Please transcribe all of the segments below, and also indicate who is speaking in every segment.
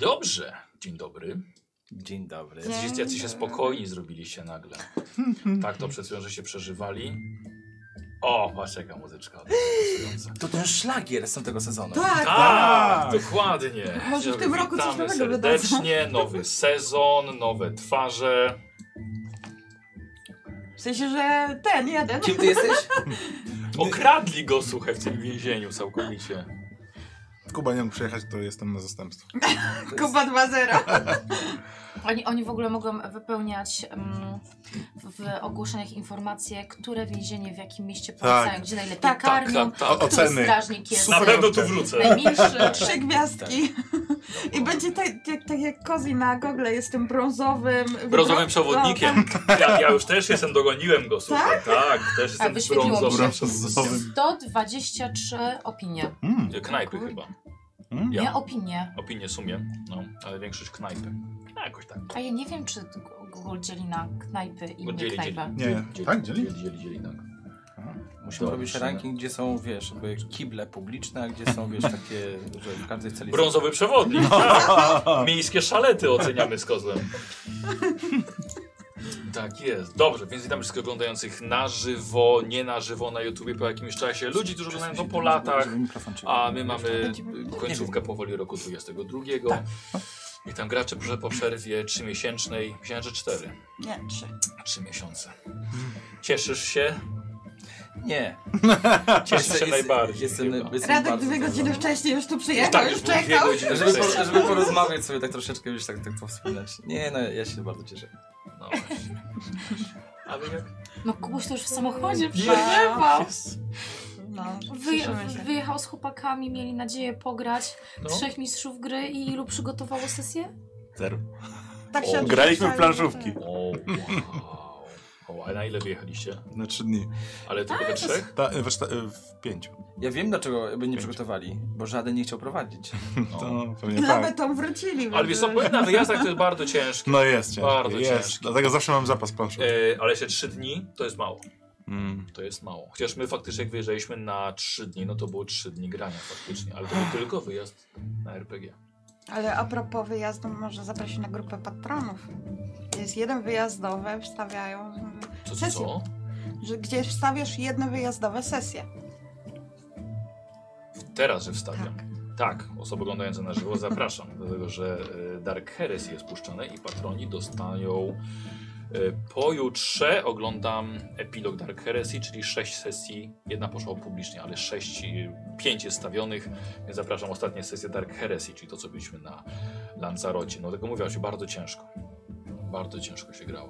Speaker 1: Dobrze, dzień dobry.
Speaker 2: Dzień dobry.
Speaker 3: Dzień.
Speaker 1: Jacyś, jacyś się spokojni zrobiliście nagle. Tak to przed chwilą, że się przeżywali. O, patrz jaka muzyczka. odblokująca.
Speaker 2: To ten szlagier z tamtego sezonu.
Speaker 3: Tak,
Speaker 1: Tak, dokładnie.
Speaker 3: Może w tym roku coś
Speaker 1: Witamy
Speaker 3: nowego wydadzą.
Speaker 1: serdecznie, nowy sezon, nowe twarze.
Speaker 3: w sensie, że ten jeden.
Speaker 2: Kim ty jesteś?
Speaker 1: Okradli go, słuchaj, w tym więzieniu całkowicie.
Speaker 4: Kuba nie mógł przyjechać, to jestem na zastępstwo.
Speaker 3: Kuba
Speaker 1: Tak.
Speaker 3: 2.0. Oni, oni w ogóle mogą wypełniać mm, w, w ogłoszeniach informacje, które więzienie w jakim mieście polecają, gdzie najlepiej tak, karmią,
Speaker 4: tak.
Speaker 3: który
Speaker 4: Oceny.
Speaker 3: strażnik jest
Speaker 1: Na
Speaker 4: Super.
Speaker 1: pewno tu wrócę.
Speaker 3: najmilszy. Trzy gwiazdki. I będzie tak tak- tak jak Kozi na gogle, jest tym brązowym... No,
Speaker 1: Brązowym przewodnikiem. Ja, ja już też jestem, dogoniłem go, słuchaj. Tak, też
Speaker 3: A
Speaker 1: jestem
Speaker 3: wyświetliło mi
Speaker 1: brązowym.
Speaker 3: się
Speaker 4: Dobra, brązowym.
Speaker 3: 123 opinie.
Speaker 4: Mm.
Speaker 1: Knajpy
Speaker 3: Kurde.
Speaker 1: chyba.
Speaker 4: Mm.
Speaker 1: Ja.
Speaker 3: Nie opinie.
Speaker 1: Opinie sumie, no, ale większość knajpy. No, jakoś tak.
Speaker 3: A ja nie wiem, czy Google dzieli na knajpy i
Speaker 1: Bo
Speaker 3: nie
Speaker 1: dzieli, dzieli.
Speaker 3: knajpę.
Speaker 4: Nie, tak? Dzieli?
Speaker 1: Dzieli, dzieli, dzieli tak.
Speaker 2: Musimy
Speaker 1: Dobra,
Speaker 2: robić
Speaker 1: musimy.
Speaker 2: ranking, gdzie są, wiesz, jakby kible publiczne, a gdzie są, wiesz, takie, że w każdej celi...
Speaker 1: Brązowy przewodnik. tak. Miejskie szalety oceniamy z kozłem. Tak jest. Dobrze, więc witam wszystkich oglądających na żywo, nie na żywo na YouTubie po jakimś czasie. Ludzi, którzy oglądają to po latach, a my mamy końcówkę powoli roku 22. I tam gracze że po przerwie 3-miesięcznej, myślałem, że 4.
Speaker 3: tak. Nie, trzy.
Speaker 1: 3 miesiące. Cieszysz się?
Speaker 2: Nie.
Speaker 1: Cieszę się najbardziej.
Speaker 2: Jestem,
Speaker 1: chyba.
Speaker 2: jestem
Speaker 3: Radek
Speaker 2: bardzo
Speaker 3: dwie godziny
Speaker 2: zadowolony.
Speaker 3: wcześniej już tu przyjechał,
Speaker 1: Tak,
Speaker 3: już
Speaker 1: już były dwie
Speaker 3: czekał.
Speaker 1: godziny
Speaker 2: Żeby,
Speaker 1: wcześniej.
Speaker 2: po, żeby porozmawiać sobie tak troszeczkę, już tak, tak powspominać. Nie, no ja się bardzo cieszę.
Speaker 1: No właśnie. A wy jak?
Speaker 3: No Kubuś to już w samochodzie
Speaker 1: Nie.
Speaker 3: przyjechał.
Speaker 5: No,
Speaker 3: Wy,
Speaker 5: cieszymy się.
Speaker 3: wyjechał z chłopakami, mieli nadzieję pograć
Speaker 1: No.
Speaker 3: trzech mistrzów gry i ilu przygotowało sesję?
Speaker 6: Zero.
Speaker 5: Tak
Speaker 1: O,
Speaker 5: się
Speaker 6: Graliśmy w
Speaker 5: odwracają,
Speaker 6: planszówki.
Speaker 5: tak.
Speaker 1: O, wow. O, a na ile wyjechaliście?
Speaker 4: Na trzy dni.
Speaker 1: Ale tylko we trzech?
Speaker 4: Ta, e, weszta, e, w pięciu.
Speaker 2: Ja wiem, dlaczego by nie przygotowali, bo żaden nie chciał prowadzić.
Speaker 1: No.
Speaker 4: To pewnie tak.
Speaker 5: Nawet tą wrócili.
Speaker 1: Ale wiesz co, powiem na wyjazdach to jest bardzo ciężkie.
Speaker 4: No jest ciężko.
Speaker 1: Bardzo
Speaker 4: jest.
Speaker 1: ciężkie.
Speaker 4: Dlatego zawsze mam zapas planszówek.
Speaker 1: E, ale się trzy dni to jest mało.
Speaker 4: Mm.
Speaker 1: To jest mało. Chociaż my faktycznie jak wyjeżdżaliśmy na trzy dni, no to było trzy dni grania faktycznie. Ale to był tylko wyjazd na RPG.
Speaker 5: Ale a propos wyjazdu, może zaprosić na grupę patronów. Jest jeden wyjazdowy, wstawiają,
Speaker 1: Co, co,
Speaker 5: Sesja.
Speaker 1: co?
Speaker 5: że gdzie wstawiasz jedne wyjazdowe sesje.
Speaker 1: Teraz, że wstawiam. Tak, osoby oglądające na żywo zapraszam, dlatego że e, Dark Heresy jest puszczane i patroni dostają e, pojutrze. Oglądam epilog Dark Heresy, czyli sześć sesji. Jedna poszła publicznie, ale sześć, e, pięć jest stawionych, więc zapraszam ostatnie sesje Dark Heresy, czyli to, co byliśmy na Lanzarocie. No tego mówiłem się bardzo ciężko. Bardzo ciężko się grało.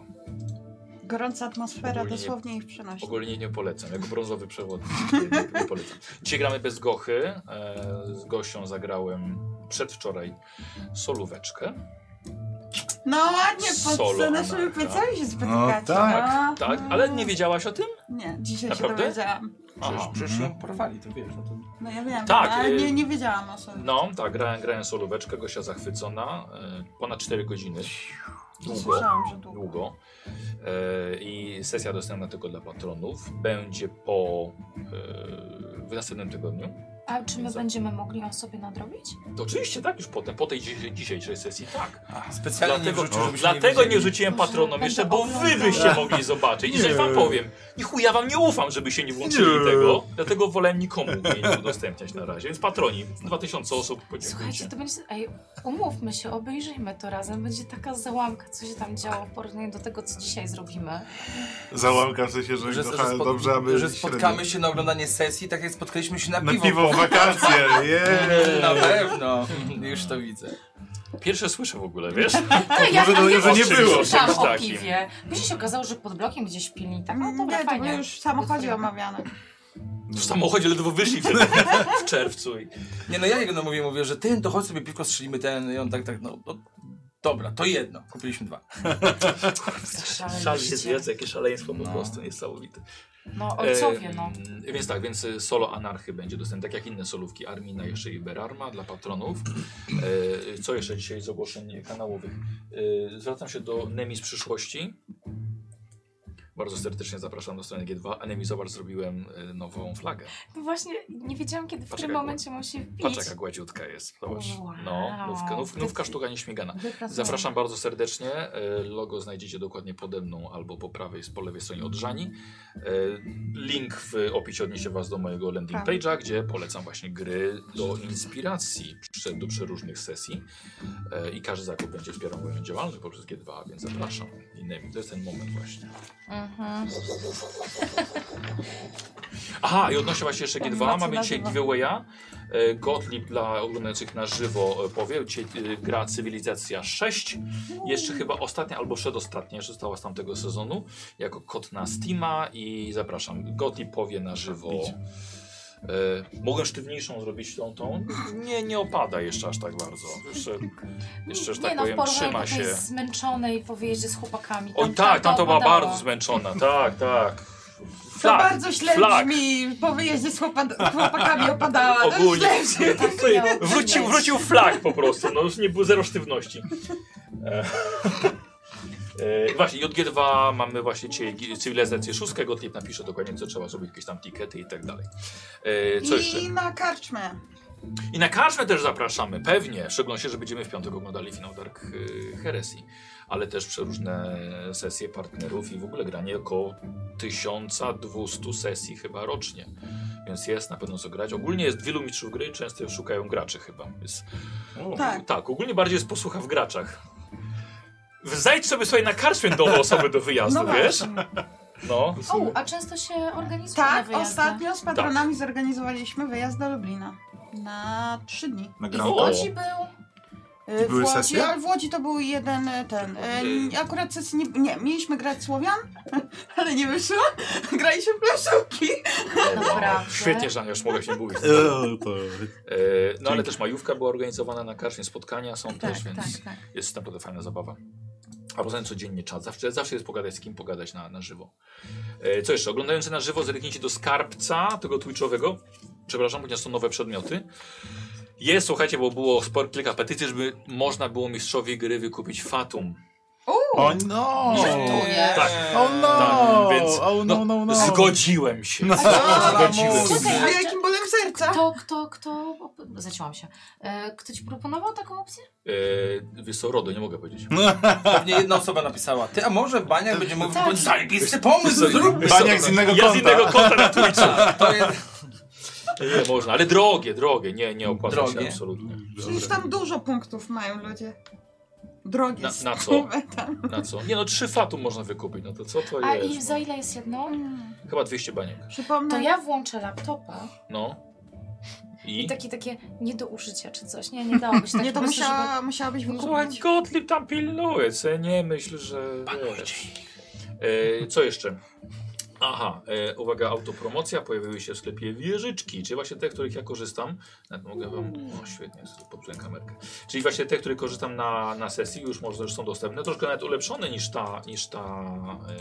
Speaker 5: Gorąca atmosfera
Speaker 1: Ogólnie-
Speaker 5: dosłownie ich przynosi.
Speaker 1: Ogólnie nie polecam, jako brązowy przewodnik nie, nie polecam. Dzisiaj gramy bez Gochy, e, z Gosią zagrałem przedwczoraj solóweczkę.
Speaker 5: No ładnie, pod
Speaker 1: Solo
Speaker 5: za naszymi
Speaker 1: anarcha.
Speaker 5: plecami się spotykacie.
Speaker 4: No tak.
Speaker 5: no.
Speaker 1: Tak, ale nie wiedziałaś o tym?
Speaker 5: Nie, dzisiaj
Speaker 1: Naprawdę?
Speaker 5: się dowiedziałam.
Speaker 2: Przecież,
Speaker 1: Aha.
Speaker 2: przecież ją porwali, to wiesz. No to...
Speaker 5: No ja wiem,
Speaker 1: Tak,
Speaker 5: ale
Speaker 1: y-
Speaker 5: nie, nie wiedziałam o sobie.
Speaker 1: No, tak, grałem, grałem solóweczkę, Gosia zachwycona, e, ponad 4 godziny. Długo.
Speaker 5: Słyszałam, że długo.
Speaker 1: długo. E, I sesja dostępna tylko dla patronów. Będzie po e, w następnym tygodniu.
Speaker 3: A czy my
Speaker 1: Za-
Speaker 3: będziemy mogli ją sobie nadrobić?
Speaker 1: To oczywiście tak, już potem, po tej dzisi- dzisiejszej sesji, tak.
Speaker 2: Specjalnie
Speaker 1: dlatego,
Speaker 2: nie wrzucił, żebyśmy
Speaker 1: dlatego nie,
Speaker 2: wiedzieli.
Speaker 1: rzuciłem
Speaker 3: Może
Speaker 1: patronom
Speaker 3: będę
Speaker 1: jeszcze, bo wy
Speaker 3: oglądał.
Speaker 1: byście mogli zobaczyć. I coś wam powiem. I chuj, ja wam nie ufam, żeby się nie włączyli
Speaker 4: Nie.
Speaker 1: tego. Dlatego wolę nikomu jej nie udostępniać na razie. Więc patroni, 2000 osób,
Speaker 3: Słuchajcie,
Speaker 1: podziękujcie.
Speaker 3: to będzie. Ej, umówmy się, obejrzyjmy to razem. Będzie taka załamka, co się tam działo w porównaniu do tego, co dzisiaj zrobimy.
Speaker 4: Załamka w sensie, że,
Speaker 2: Że,
Speaker 4: kocha,
Speaker 2: że, spot-
Speaker 4: dobrze, aby
Speaker 2: że spotkamy
Speaker 4: średnio.
Speaker 2: się na oglądanie sesji, tak jak spotkaliśmy się na piwo. Mm,
Speaker 4: na piwo w wakacje. Yeah.
Speaker 2: Na pewno, już to widzę.
Speaker 1: Pierwsze słyszę w ogóle, wiesz?
Speaker 5: Tak,
Speaker 3: No ja
Speaker 4: może
Speaker 3: tam
Speaker 4: to-
Speaker 3: nie
Speaker 4: że nie
Speaker 3: wiem,
Speaker 4: było
Speaker 3: słyszałam
Speaker 1: czymś
Speaker 3: o
Speaker 1: takim.
Speaker 3: piwie. Później się okazało, że pod blokiem gdzieś pili. Tak, no dobra,
Speaker 5: Mm, nie, to
Speaker 3: fajnie.
Speaker 5: było już w samochodzie omawiane.
Speaker 1: W samochodzie ledwo wyszli wtedy, w czerwcu. I...
Speaker 2: Nie no, ja jego mówię, mówię, że ten, to chodź sobie piwko strzelimy ten i on tak, tak, no, no dobra, to jedno, kupiliśmy dwa.
Speaker 1: Szal jest
Speaker 3: Szaleństwo.
Speaker 1: wiedzę, jakie szaleństwo po
Speaker 2: No.
Speaker 1: prostu niesamowite. E,
Speaker 3: No, ojcowie, no.
Speaker 1: Em, Więc tak, więc y, solo anarchy będzie dostępne, tak jak inne solówki Armina jeszcze i Berarma dla patronów. E, Co jeszcze dzisiaj z ogłoszeń kanałowych? E, Zwracam się do Nemi z przyszłości. Bardzo serdecznie zapraszam do strony G2. Enemy Zobacz, zrobiłem y, nową flagę.
Speaker 6: No właśnie, nie wiedziałam kiedy, w
Speaker 1: Patrz,
Speaker 6: którym
Speaker 1: jaka
Speaker 6: momencie musi wbić.
Speaker 1: Patrz jaka gładziutka jest. Zobacz. No,
Speaker 3: Wow.
Speaker 1: nówka, nów, nówka sztuka nieśmigana.
Speaker 3: Wypracowane.
Speaker 1: Zapraszam bardzo serdecznie. E, Logo znajdziecie dokładnie pode mną albo po prawej, po lewej stronie od Żani. E, Link w opisie odniesie Was do mojego landing
Speaker 5: Tak.
Speaker 1: page'a, gdzie polecam właśnie gry do inspiracji przy- do przeróżnych sesji. E, I każdy zakup będzie wspierał moją działalność poprzez G2, więc zapraszam. Innymi. To jest ten moment właśnie.
Speaker 3: Mhm.
Speaker 1: Aha, i odnośnie właśnie jeszcze
Speaker 5: Tak,
Speaker 1: G2,
Speaker 5: macie
Speaker 1: mamy
Speaker 5: na
Speaker 1: dzisiaj
Speaker 5: żywo.
Speaker 1: giveawaya. E, Gottlieb dla oglądających na żywo e, powie, dzisiaj e, gra Cywilizacja 6, jeszcze chyba ostatnia albo przedostatnia, jeszcze została z tamtego sezonu, jako kod na Steama i zapraszam, Gottlieb powie na żywo. E, mogę sztywniejszą zrobić tą, tą? Nie, nie opada jeszcze aż tak bardzo. Jeszcze, jeszcze że
Speaker 3: nie
Speaker 1: tak
Speaker 3: no, w
Speaker 1: powiem,
Speaker 3: porównaniu
Speaker 1: trzyma
Speaker 3: do
Speaker 1: się.
Speaker 3: tej zmęczonej po wyjeździe z chłopakami.
Speaker 1: Oj tak, tamto była
Speaker 3: opadało.
Speaker 1: bardzo zmęczona, tak, tak.
Speaker 5: no. To
Speaker 1: Flag,
Speaker 5: bardzo źle
Speaker 1: flag.
Speaker 5: brzmi, po wyjeździe z chłopa- chłopakami opadała. No
Speaker 1: Ogólnie.
Speaker 5: źle brzmi.
Speaker 1: Słuchaj,
Speaker 3: miało być.
Speaker 1: wrócił, wrócił flag po prostu, no już nie było zero sztywności. E, e, właśnie, JG2 mamy właśnie dzisiaj gi- cywilizację szóstkę, Gottlieb napisze dokładnie co trzeba zrobić, jakieś tam tikety i tak dalej. E, co jeszcze?
Speaker 5: I na karczmę.
Speaker 1: I na karczmę też zapraszamy, pewnie, w szczególności, że będziemy w piątek oglądali finał Dark e, Heresy, ale też przeróżne sesje partnerów i w ogóle granie około 1200 sesji chyba rocznie. Więc jest na pewno co grać. Ogólnie jest wielu mistrzów gry, często szukają graczy chyba. Jest
Speaker 5: Tak.
Speaker 1: tak, ogólnie bardziej jest posłucha w graczach. Zajdź sobie sobie na karczmę do osoby do wyjazdu, wiesz?
Speaker 5: No właśnie.
Speaker 1: No.
Speaker 3: O, a często się organizuje na
Speaker 5: Tak,
Speaker 3: wyjazdy.
Speaker 5: ostatnio z patronami zorganizowaliśmy wyjazd do Lublina. Na trzy dni.
Speaker 4: Na
Speaker 3: I w
Speaker 1: O.
Speaker 4: granko.
Speaker 3: Łodzi był.
Speaker 5: Y,
Speaker 4: były
Speaker 5: w Łodzi,
Speaker 4: sesje?
Speaker 5: ale w Łodzi to był jeden y, ten. y, Akurat sesji nie, nie, mieliśmy grać Słowian, ale nie wyszło. Graliśmy w planszówki.
Speaker 3: Naprawdę?
Speaker 1: Świetnie, Żania, już mogę się mówić.
Speaker 4: Eee, to...
Speaker 1: E, No ale też majówka była organizowana na karczmie, spotkania są
Speaker 3: Tak,
Speaker 1: też, więc
Speaker 3: tak, tak.
Speaker 1: jest naprawdę fajna zabawa. A poza tym codziennie czas, zawsze, zawsze jest pogadać z kim, pogadać na, na żywo. E, Co jeszcze, oglądający na żywo zerknijcie do skarbca, tego twitchowego, przepraszam, ponieważ są nowe przedmioty. Jest, słuchajcie, bo było spor, kilka petycji, żeby można było mistrzowi gry wykupić Fatum.
Speaker 4: O no!
Speaker 3: Żartujesz.
Speaker 1: Tak.
Speaker 4: O no!
Speaker 1: Tak, więc-
Speaker 4: O no, no, no.
Speaker 1: Zgodziłem się.
Speaker 4: No.
Speaker 1: Zgodziłem
Speaker 5: Z
Speaker 1: się.
Speaker 3: Czekaj, ale-
Speaker 5: wielkim bólem serca.
Speaker 3: Kto, kto, kto... Zaciąłam się. E, Kto ci proponował taką opcję?
Speaker 1: E, wiesz co, RODO, nie mogę powiedzieć.
Speaker 4: No,
Speaker 2: Pewnie jedna osoba napisała, ty, a może Baniak będzie mówił,
Speaker 3: Tak.
Speaker 2: bądź zajebisty pomysł, zróbmy
Speaker 4: Baniak z
Speaker 2: sobie. Tak,
Speaker 4: innego
Speaker 1: Ja z
Speaker 4: konta.
Speaker 1: innego konta na Twitchu.
Speaker 2: To jest...
Speaker 1: Nie można, ale drogie, drogie, nie, nie opłaca się
Speaker 2: Drogie.
Speaker 1: absolutnie.
Speaker 5: Przecież tam dużo punktów mają ludzie. Drogie.
Speaker 1: Na- na co?
Speaker 5: skurwe tam.
Speaker 1: Na co? Nie no, trzy fatum można wykupić, no to co to
Speaker 3: A i
Speaker 1: jest?
Speaker 3: za ile jest jedno?
Speaker 5: Mm.
Speaker 1: Chyba 200 baniek.
Speaker 5: Przypomnę.
Speaker 3: To ja włączę laptopa
Speaker 1: No. I?
Speaker 6: I
Speaker 3: tak
Speaker 6: takie, takie nie do użycia czy coś. Nie, nie dałoby się tak
Speaker 5: Nie, to
Speaker 6: po prostu,
Speaker 5: musiała, musiałabyś wykupić.
Speaker 1: Gottlieb tam pilnuje, co nie myśl, że... wiesz. E, co jeszcze? Aha, e, uwaga, autopromocja. Pojawiły się w sklepie wieżyczki, czyli właśnie te, których ja korzystam. Nawet mogę wam... O, świetnie, sobie popsułem kamerkę. Czyli właśnie te, które korzystam na, na sesji, już może już są dostępne. Troszkę nawet ulepszone niż ta, niż ta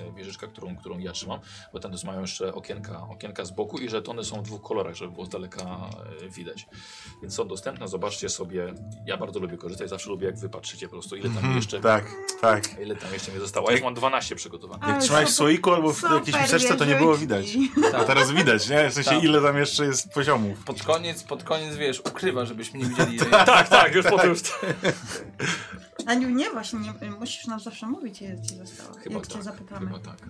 Speaker 1: e, wieżyczka, którą, którą ja trzymam, bo tam też mają jeszcze okienka, okienka z boku i żetony są w dwóch kolorach, żeby było z daleka e, widać. Więc są dostępne, zobaczcie sobie. Ja bardzo lubię korzystać, zawsze lubię jak wypatrzycie po prostu, ile tam
Speaker 4: Mhm,
Speaker 1: jeszcze...
Speaker 4: Tak, tak.
Speaker 1: Ile tam jeszcze mi zostało? Ja już mam 12 przygotowanych.
Speaker 5: Ale
Speaker 4: Jak trzymałeś w
Speaker 5: super-
Speaker 4: słoiku albo w
Speaker 5: super Tak.
Speaker 4: jakiejś miseczce, to nie było widać.
Speaker 5: wieżyczki.
Speaker 4: A teraz widać, nie? W sensie
Speaker 2: Tak.
Speaker 4: ile tam jeszcze jest poziomów.
Speaker 2: Pod koniec, pod koniec, wiesz, ukrywa, żebyśmy nie widzieli.
Speaker 1: Tak, tak, już po tym.
Speaker 5: Aniu, nie właśnie, nie, musisz nam zawsze mówić, ile ci zostało.
Speaker 1: Chyba
Speaker 5: jak
Speaker 1: tak,
Speaker 5: cię zapytamy. Mhm.
Speaker 1: Chyba tak.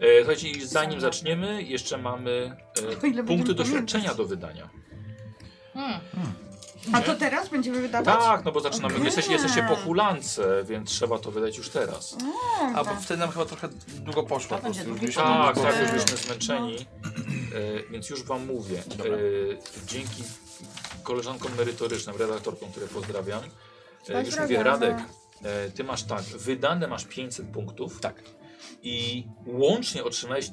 Speaker 1: E, słuchajcie, i zanim zaczniemy, jeszcze mamy
Speaker 5: O ile
Speaker 1: e, punkty
Speaker 5: będziemy
Speaker 1: doświadczenia
Speaker 5: pamiętać.
Speaker 1: do wydania.
Speaker 3: Hmm.
Speaker 5: A to teraz będziemy wydawać?
Speaker 1: Tak, no bo zaczynamy.
Speaker 5: Okej.
Speaker 1: Jesteście, jesteście po hulance, więc trzeba to wydać już teraz.
Speaker 2: A bo wtedy nam chyba trochę długo poszło.
Speaker 3: tak. To
Speaker 2: po prostu,
Speaker 3: będzie
Speaker 2: już
Speaker 3: długo.
Speaker 2: gdzieś tam
Speaker 1: Tak,
Speaker 2: było.
Speaker 1: tak, już byliśmy zmęczeni, e, więc już wam mówię.
Speaker 2: Dobra.
Speaker 1: E, dzięki koleżankom merytorycznym, redaktorkom, które pozdrawiam. E, już mówię,
Speaker 5: Pozdrawiamy.
Speaker 1: Radek, e, ty masz tak, wydane masz 500 punktów. Tak. I łącznie otrzymałeś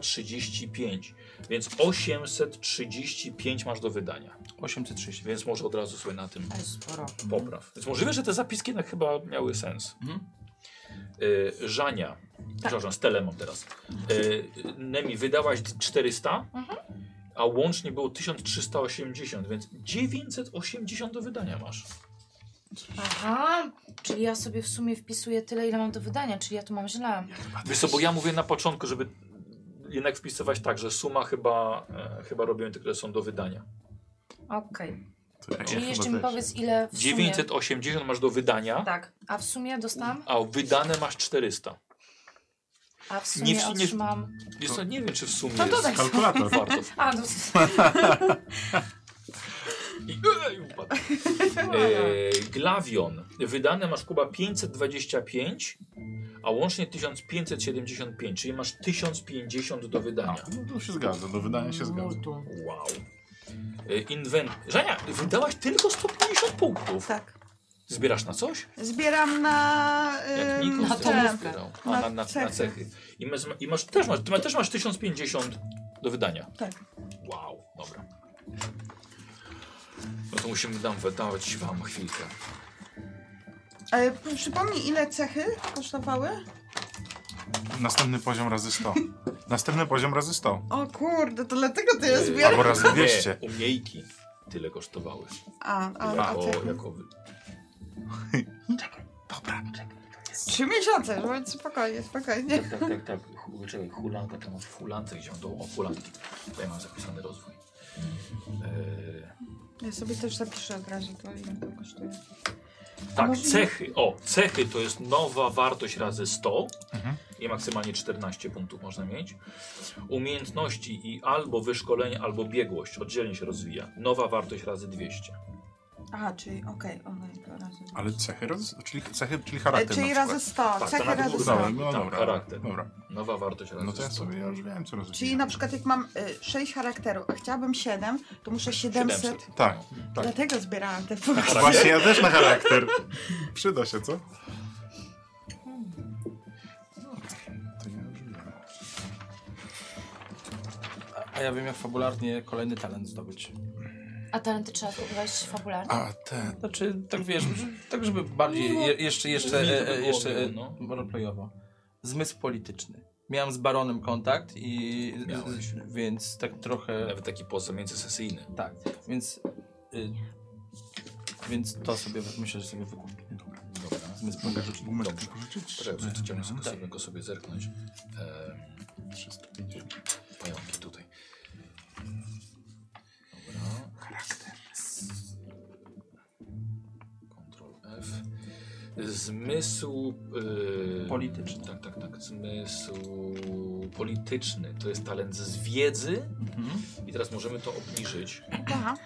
Speaker 1: 1335, więc 835 masz do wydania.
Speaker 2: 830.
Speaker 1: Więc może od razu sobie na tym
Speaker 3: Ale sporo.
Speaker 1: popraw. Więc możliwe, że te zapiski jednak chyba miały sens.
Speaker 2: Mhm.
Speaker 1: Y, Żania, przepraszam, Stelę mam teraz. Y, Nemi, wydałaś 400, a łącznie było 1380, więc 980 do wydania masz.
Speaker 3: Aha, czyli ja sobie w sumie wpisuję tyle, ile mam do wydania, czyli ja tu mam źle.
Speaker 1: Wiesz co, bo ja mówię na początku, żeby jednak wpisywać tak, że suma chyba, e, chyba robią te, które są do wydania.
Speaker 3: Okej,
Speaker 4: To ja
Speaker 3: czyli
Speaker 4: chyba
Speaker 3: jeszcze mi
Speaker 4: też.
Speaker 3: powiedz, ile w sumie...
Speaker 1: 980 masz do wydania,
Speaker 3: Tak, a w sumie dostałam?
Speaker 1: a wydane masz 400.
Speaker 3: A w sumie
Speaker 1: Nie w- nie w-
Speaker 3: otrzymam...
Speaker 1: Wiesz co, nie wiem czy w sumie
Speaker 5: To
Speaker 1: jest
Speaker 5: dodaj.
Speaker 4: Kalkulator.
Speaker 1: warto.
Speaker 3: A, no,
Speaker 1: I, i upadł. E, Glavion. Wydane masz Kuba 525, a łącznie 1575, czyli masz 1050 do
Speaker 4: No,
Speaker 1: wydania.
Speaker 4: no to się zgadza, do wydania
Speaker 5: No
Speaker 4: się zgadza.
Speaker 5: Multum.
Speaker 1: Wow. E, Inwent... Żania, wydałaś tylko 150 punktów.
Speaker 5: Tak.
Speaker 1: Zbierasz na coś?
Speaker 5: Zbieram na...
Speaker 1: Jak
Speaker 5: ym,
Speaker 1: Nikos
Speaker 3: na
Speaker 1: to
Speaker 5: te-
Speaker 3: tomówkę.
Speaker 1: zbierał. A, na, na, na cechy. I, masz, i masz, też, masz, ty ma, też masz 1050 do wydania.
Speaker 5: Tak.
Speaker 1: Wow, dobra. No to musimy dam, dawać wam chwilkę.
Speaker 5: E, przypomnij, ile cechy kosztowały?
Speaker 4: Następny poziom razy 100. Następny poziom razy 100.
Speaker 5: O kurde, to dlatego ty je
Speaker 1: Yy,
Speaker 5: zbierasz?
Speaker 4: Albo razy
Speaker 1: Nie,
Speaker 4: 200.
Speaker 1: Umiejki tyle kosztowały.
Speaker 5: A, a, a
Speaker 1: jako,
Speaker 5: cechy?
Speaker 1: jako wy-
Speaker 4: Dobra.
Speaker 5: Trzy miesiące, żeby być spokojnie, spokojnie.
Speaker 1: tak, tak, tak, tak. Hu- Czekaj, hulanka, tam masz hulance, gdzie on do o, hulanki. Tutaj mam zapisany rozwój. Yy,
Speaker 5: Ja sobie też zapiszę od razu, to ile to kosztuje.
Speaker 1: tak,
Speaker 5: Może-
Speaker 1: cechy. O, cechy to jest nowa wartość razy 100
Speaker 4: Mhm.
Speaker 1: i maksymalnie 14 punktów można mieć. Umiejętności i albo wyszkolenie, albo biegłość oddzielnie się rozwija. Nowa wartość razy 200.
Speaker 5: Aha, czyli okej, okej, to razy.
Speaker 4: Ale cechy razy, czyli cechy, czyli
Speaker 5: E,
Speaker 4: charakter na
Speaker 5: czyli
Speaker 4: przykład.
Speaker 5: razy 100,
Speaker 1: Tak, to
Speaker 5: cechy
Speaker 1: na
Speaker 5: razy
Speaker 1: górę.
Speaker 5: 100.
Speaker 4: Dobra, no
Speaker 1: Tam
Speaker 4: dobra.
Speaker 1: charakter.
Speaker 4: Dobra.
Speaker 1: Nowa wartość razy
Speaker 4: No to ja
Speaker 1: 100.
Speaker 4: sobie, ja już wiem co rozwijam.
Speaker 5: Czyli na przykład jak mam y, 6 charakterów, a chciałabym 7, to muszę 700.
Speaker 1: 700.
Speaker 4: Tak, tak.
Speaker 5: Dlatego zbierałam te punkty.
Speaker 4: Właśnie ja
Speaker 1: Tak.
Speaker 4: też na charakter. Przyda się, co? To ja już wiem.
Speaker 2: A ja wiem, jak fabularnie kolejny talent zdobyć.
Speaker 3: a talenty trzeba wybrać fabularnie?
Speaker 4: A ten.
Speaker 2: Znaczy, tak wiesz, że, tak żeby bardziej,
Speaker 1: No,
Speaker 2: je, jeszcze, jeszcze,
Speaker 1: Miło by
Speaker 2: e,
Speaker 1: było,
Speaker 2: e, jeszcze e,
Speaker 1: no.
Speaker 2: roleplayowo. Zmysł polityczny. Miałem z Baronem kontakt i...
Speaker 1: Miałeś.
Speaker 2: z- Więc tak trochę...
Speaker 1: Nawet taki poza międzysesyjny.
Speaker 2: Tak, więc... Y, więc to sobie, myślę, że sobie wykupię.
Speaker 1: Dobra.
Speaker 2: Zmysł
Speaker 4: Mogę
Speaker 2: polityczny.
Speaker 4: rzucić, mogę
Speaker 1: Dobrze.
Speaker 4: tylko rzucić?
Speaker 1: Poczekaj, chciałem sobie,
Speaker 4: Mhm.
Speaker 1: sobie go sobie zerknąć. Ehm,
Speaker 4: 350.
Speaker 1: pająki tutaj. Dobra. Charakter. Ctrl F. Zmysł. y,
Speaker 2: Polityczny.
Speaker 1: Tak, tak, tak. Zmysł polityczny. To jest talent z wiedzy.
Speaker 2: Mhm.
Speaker 1: I teraz możemy to obniżyć.
Speaker 5: Aha.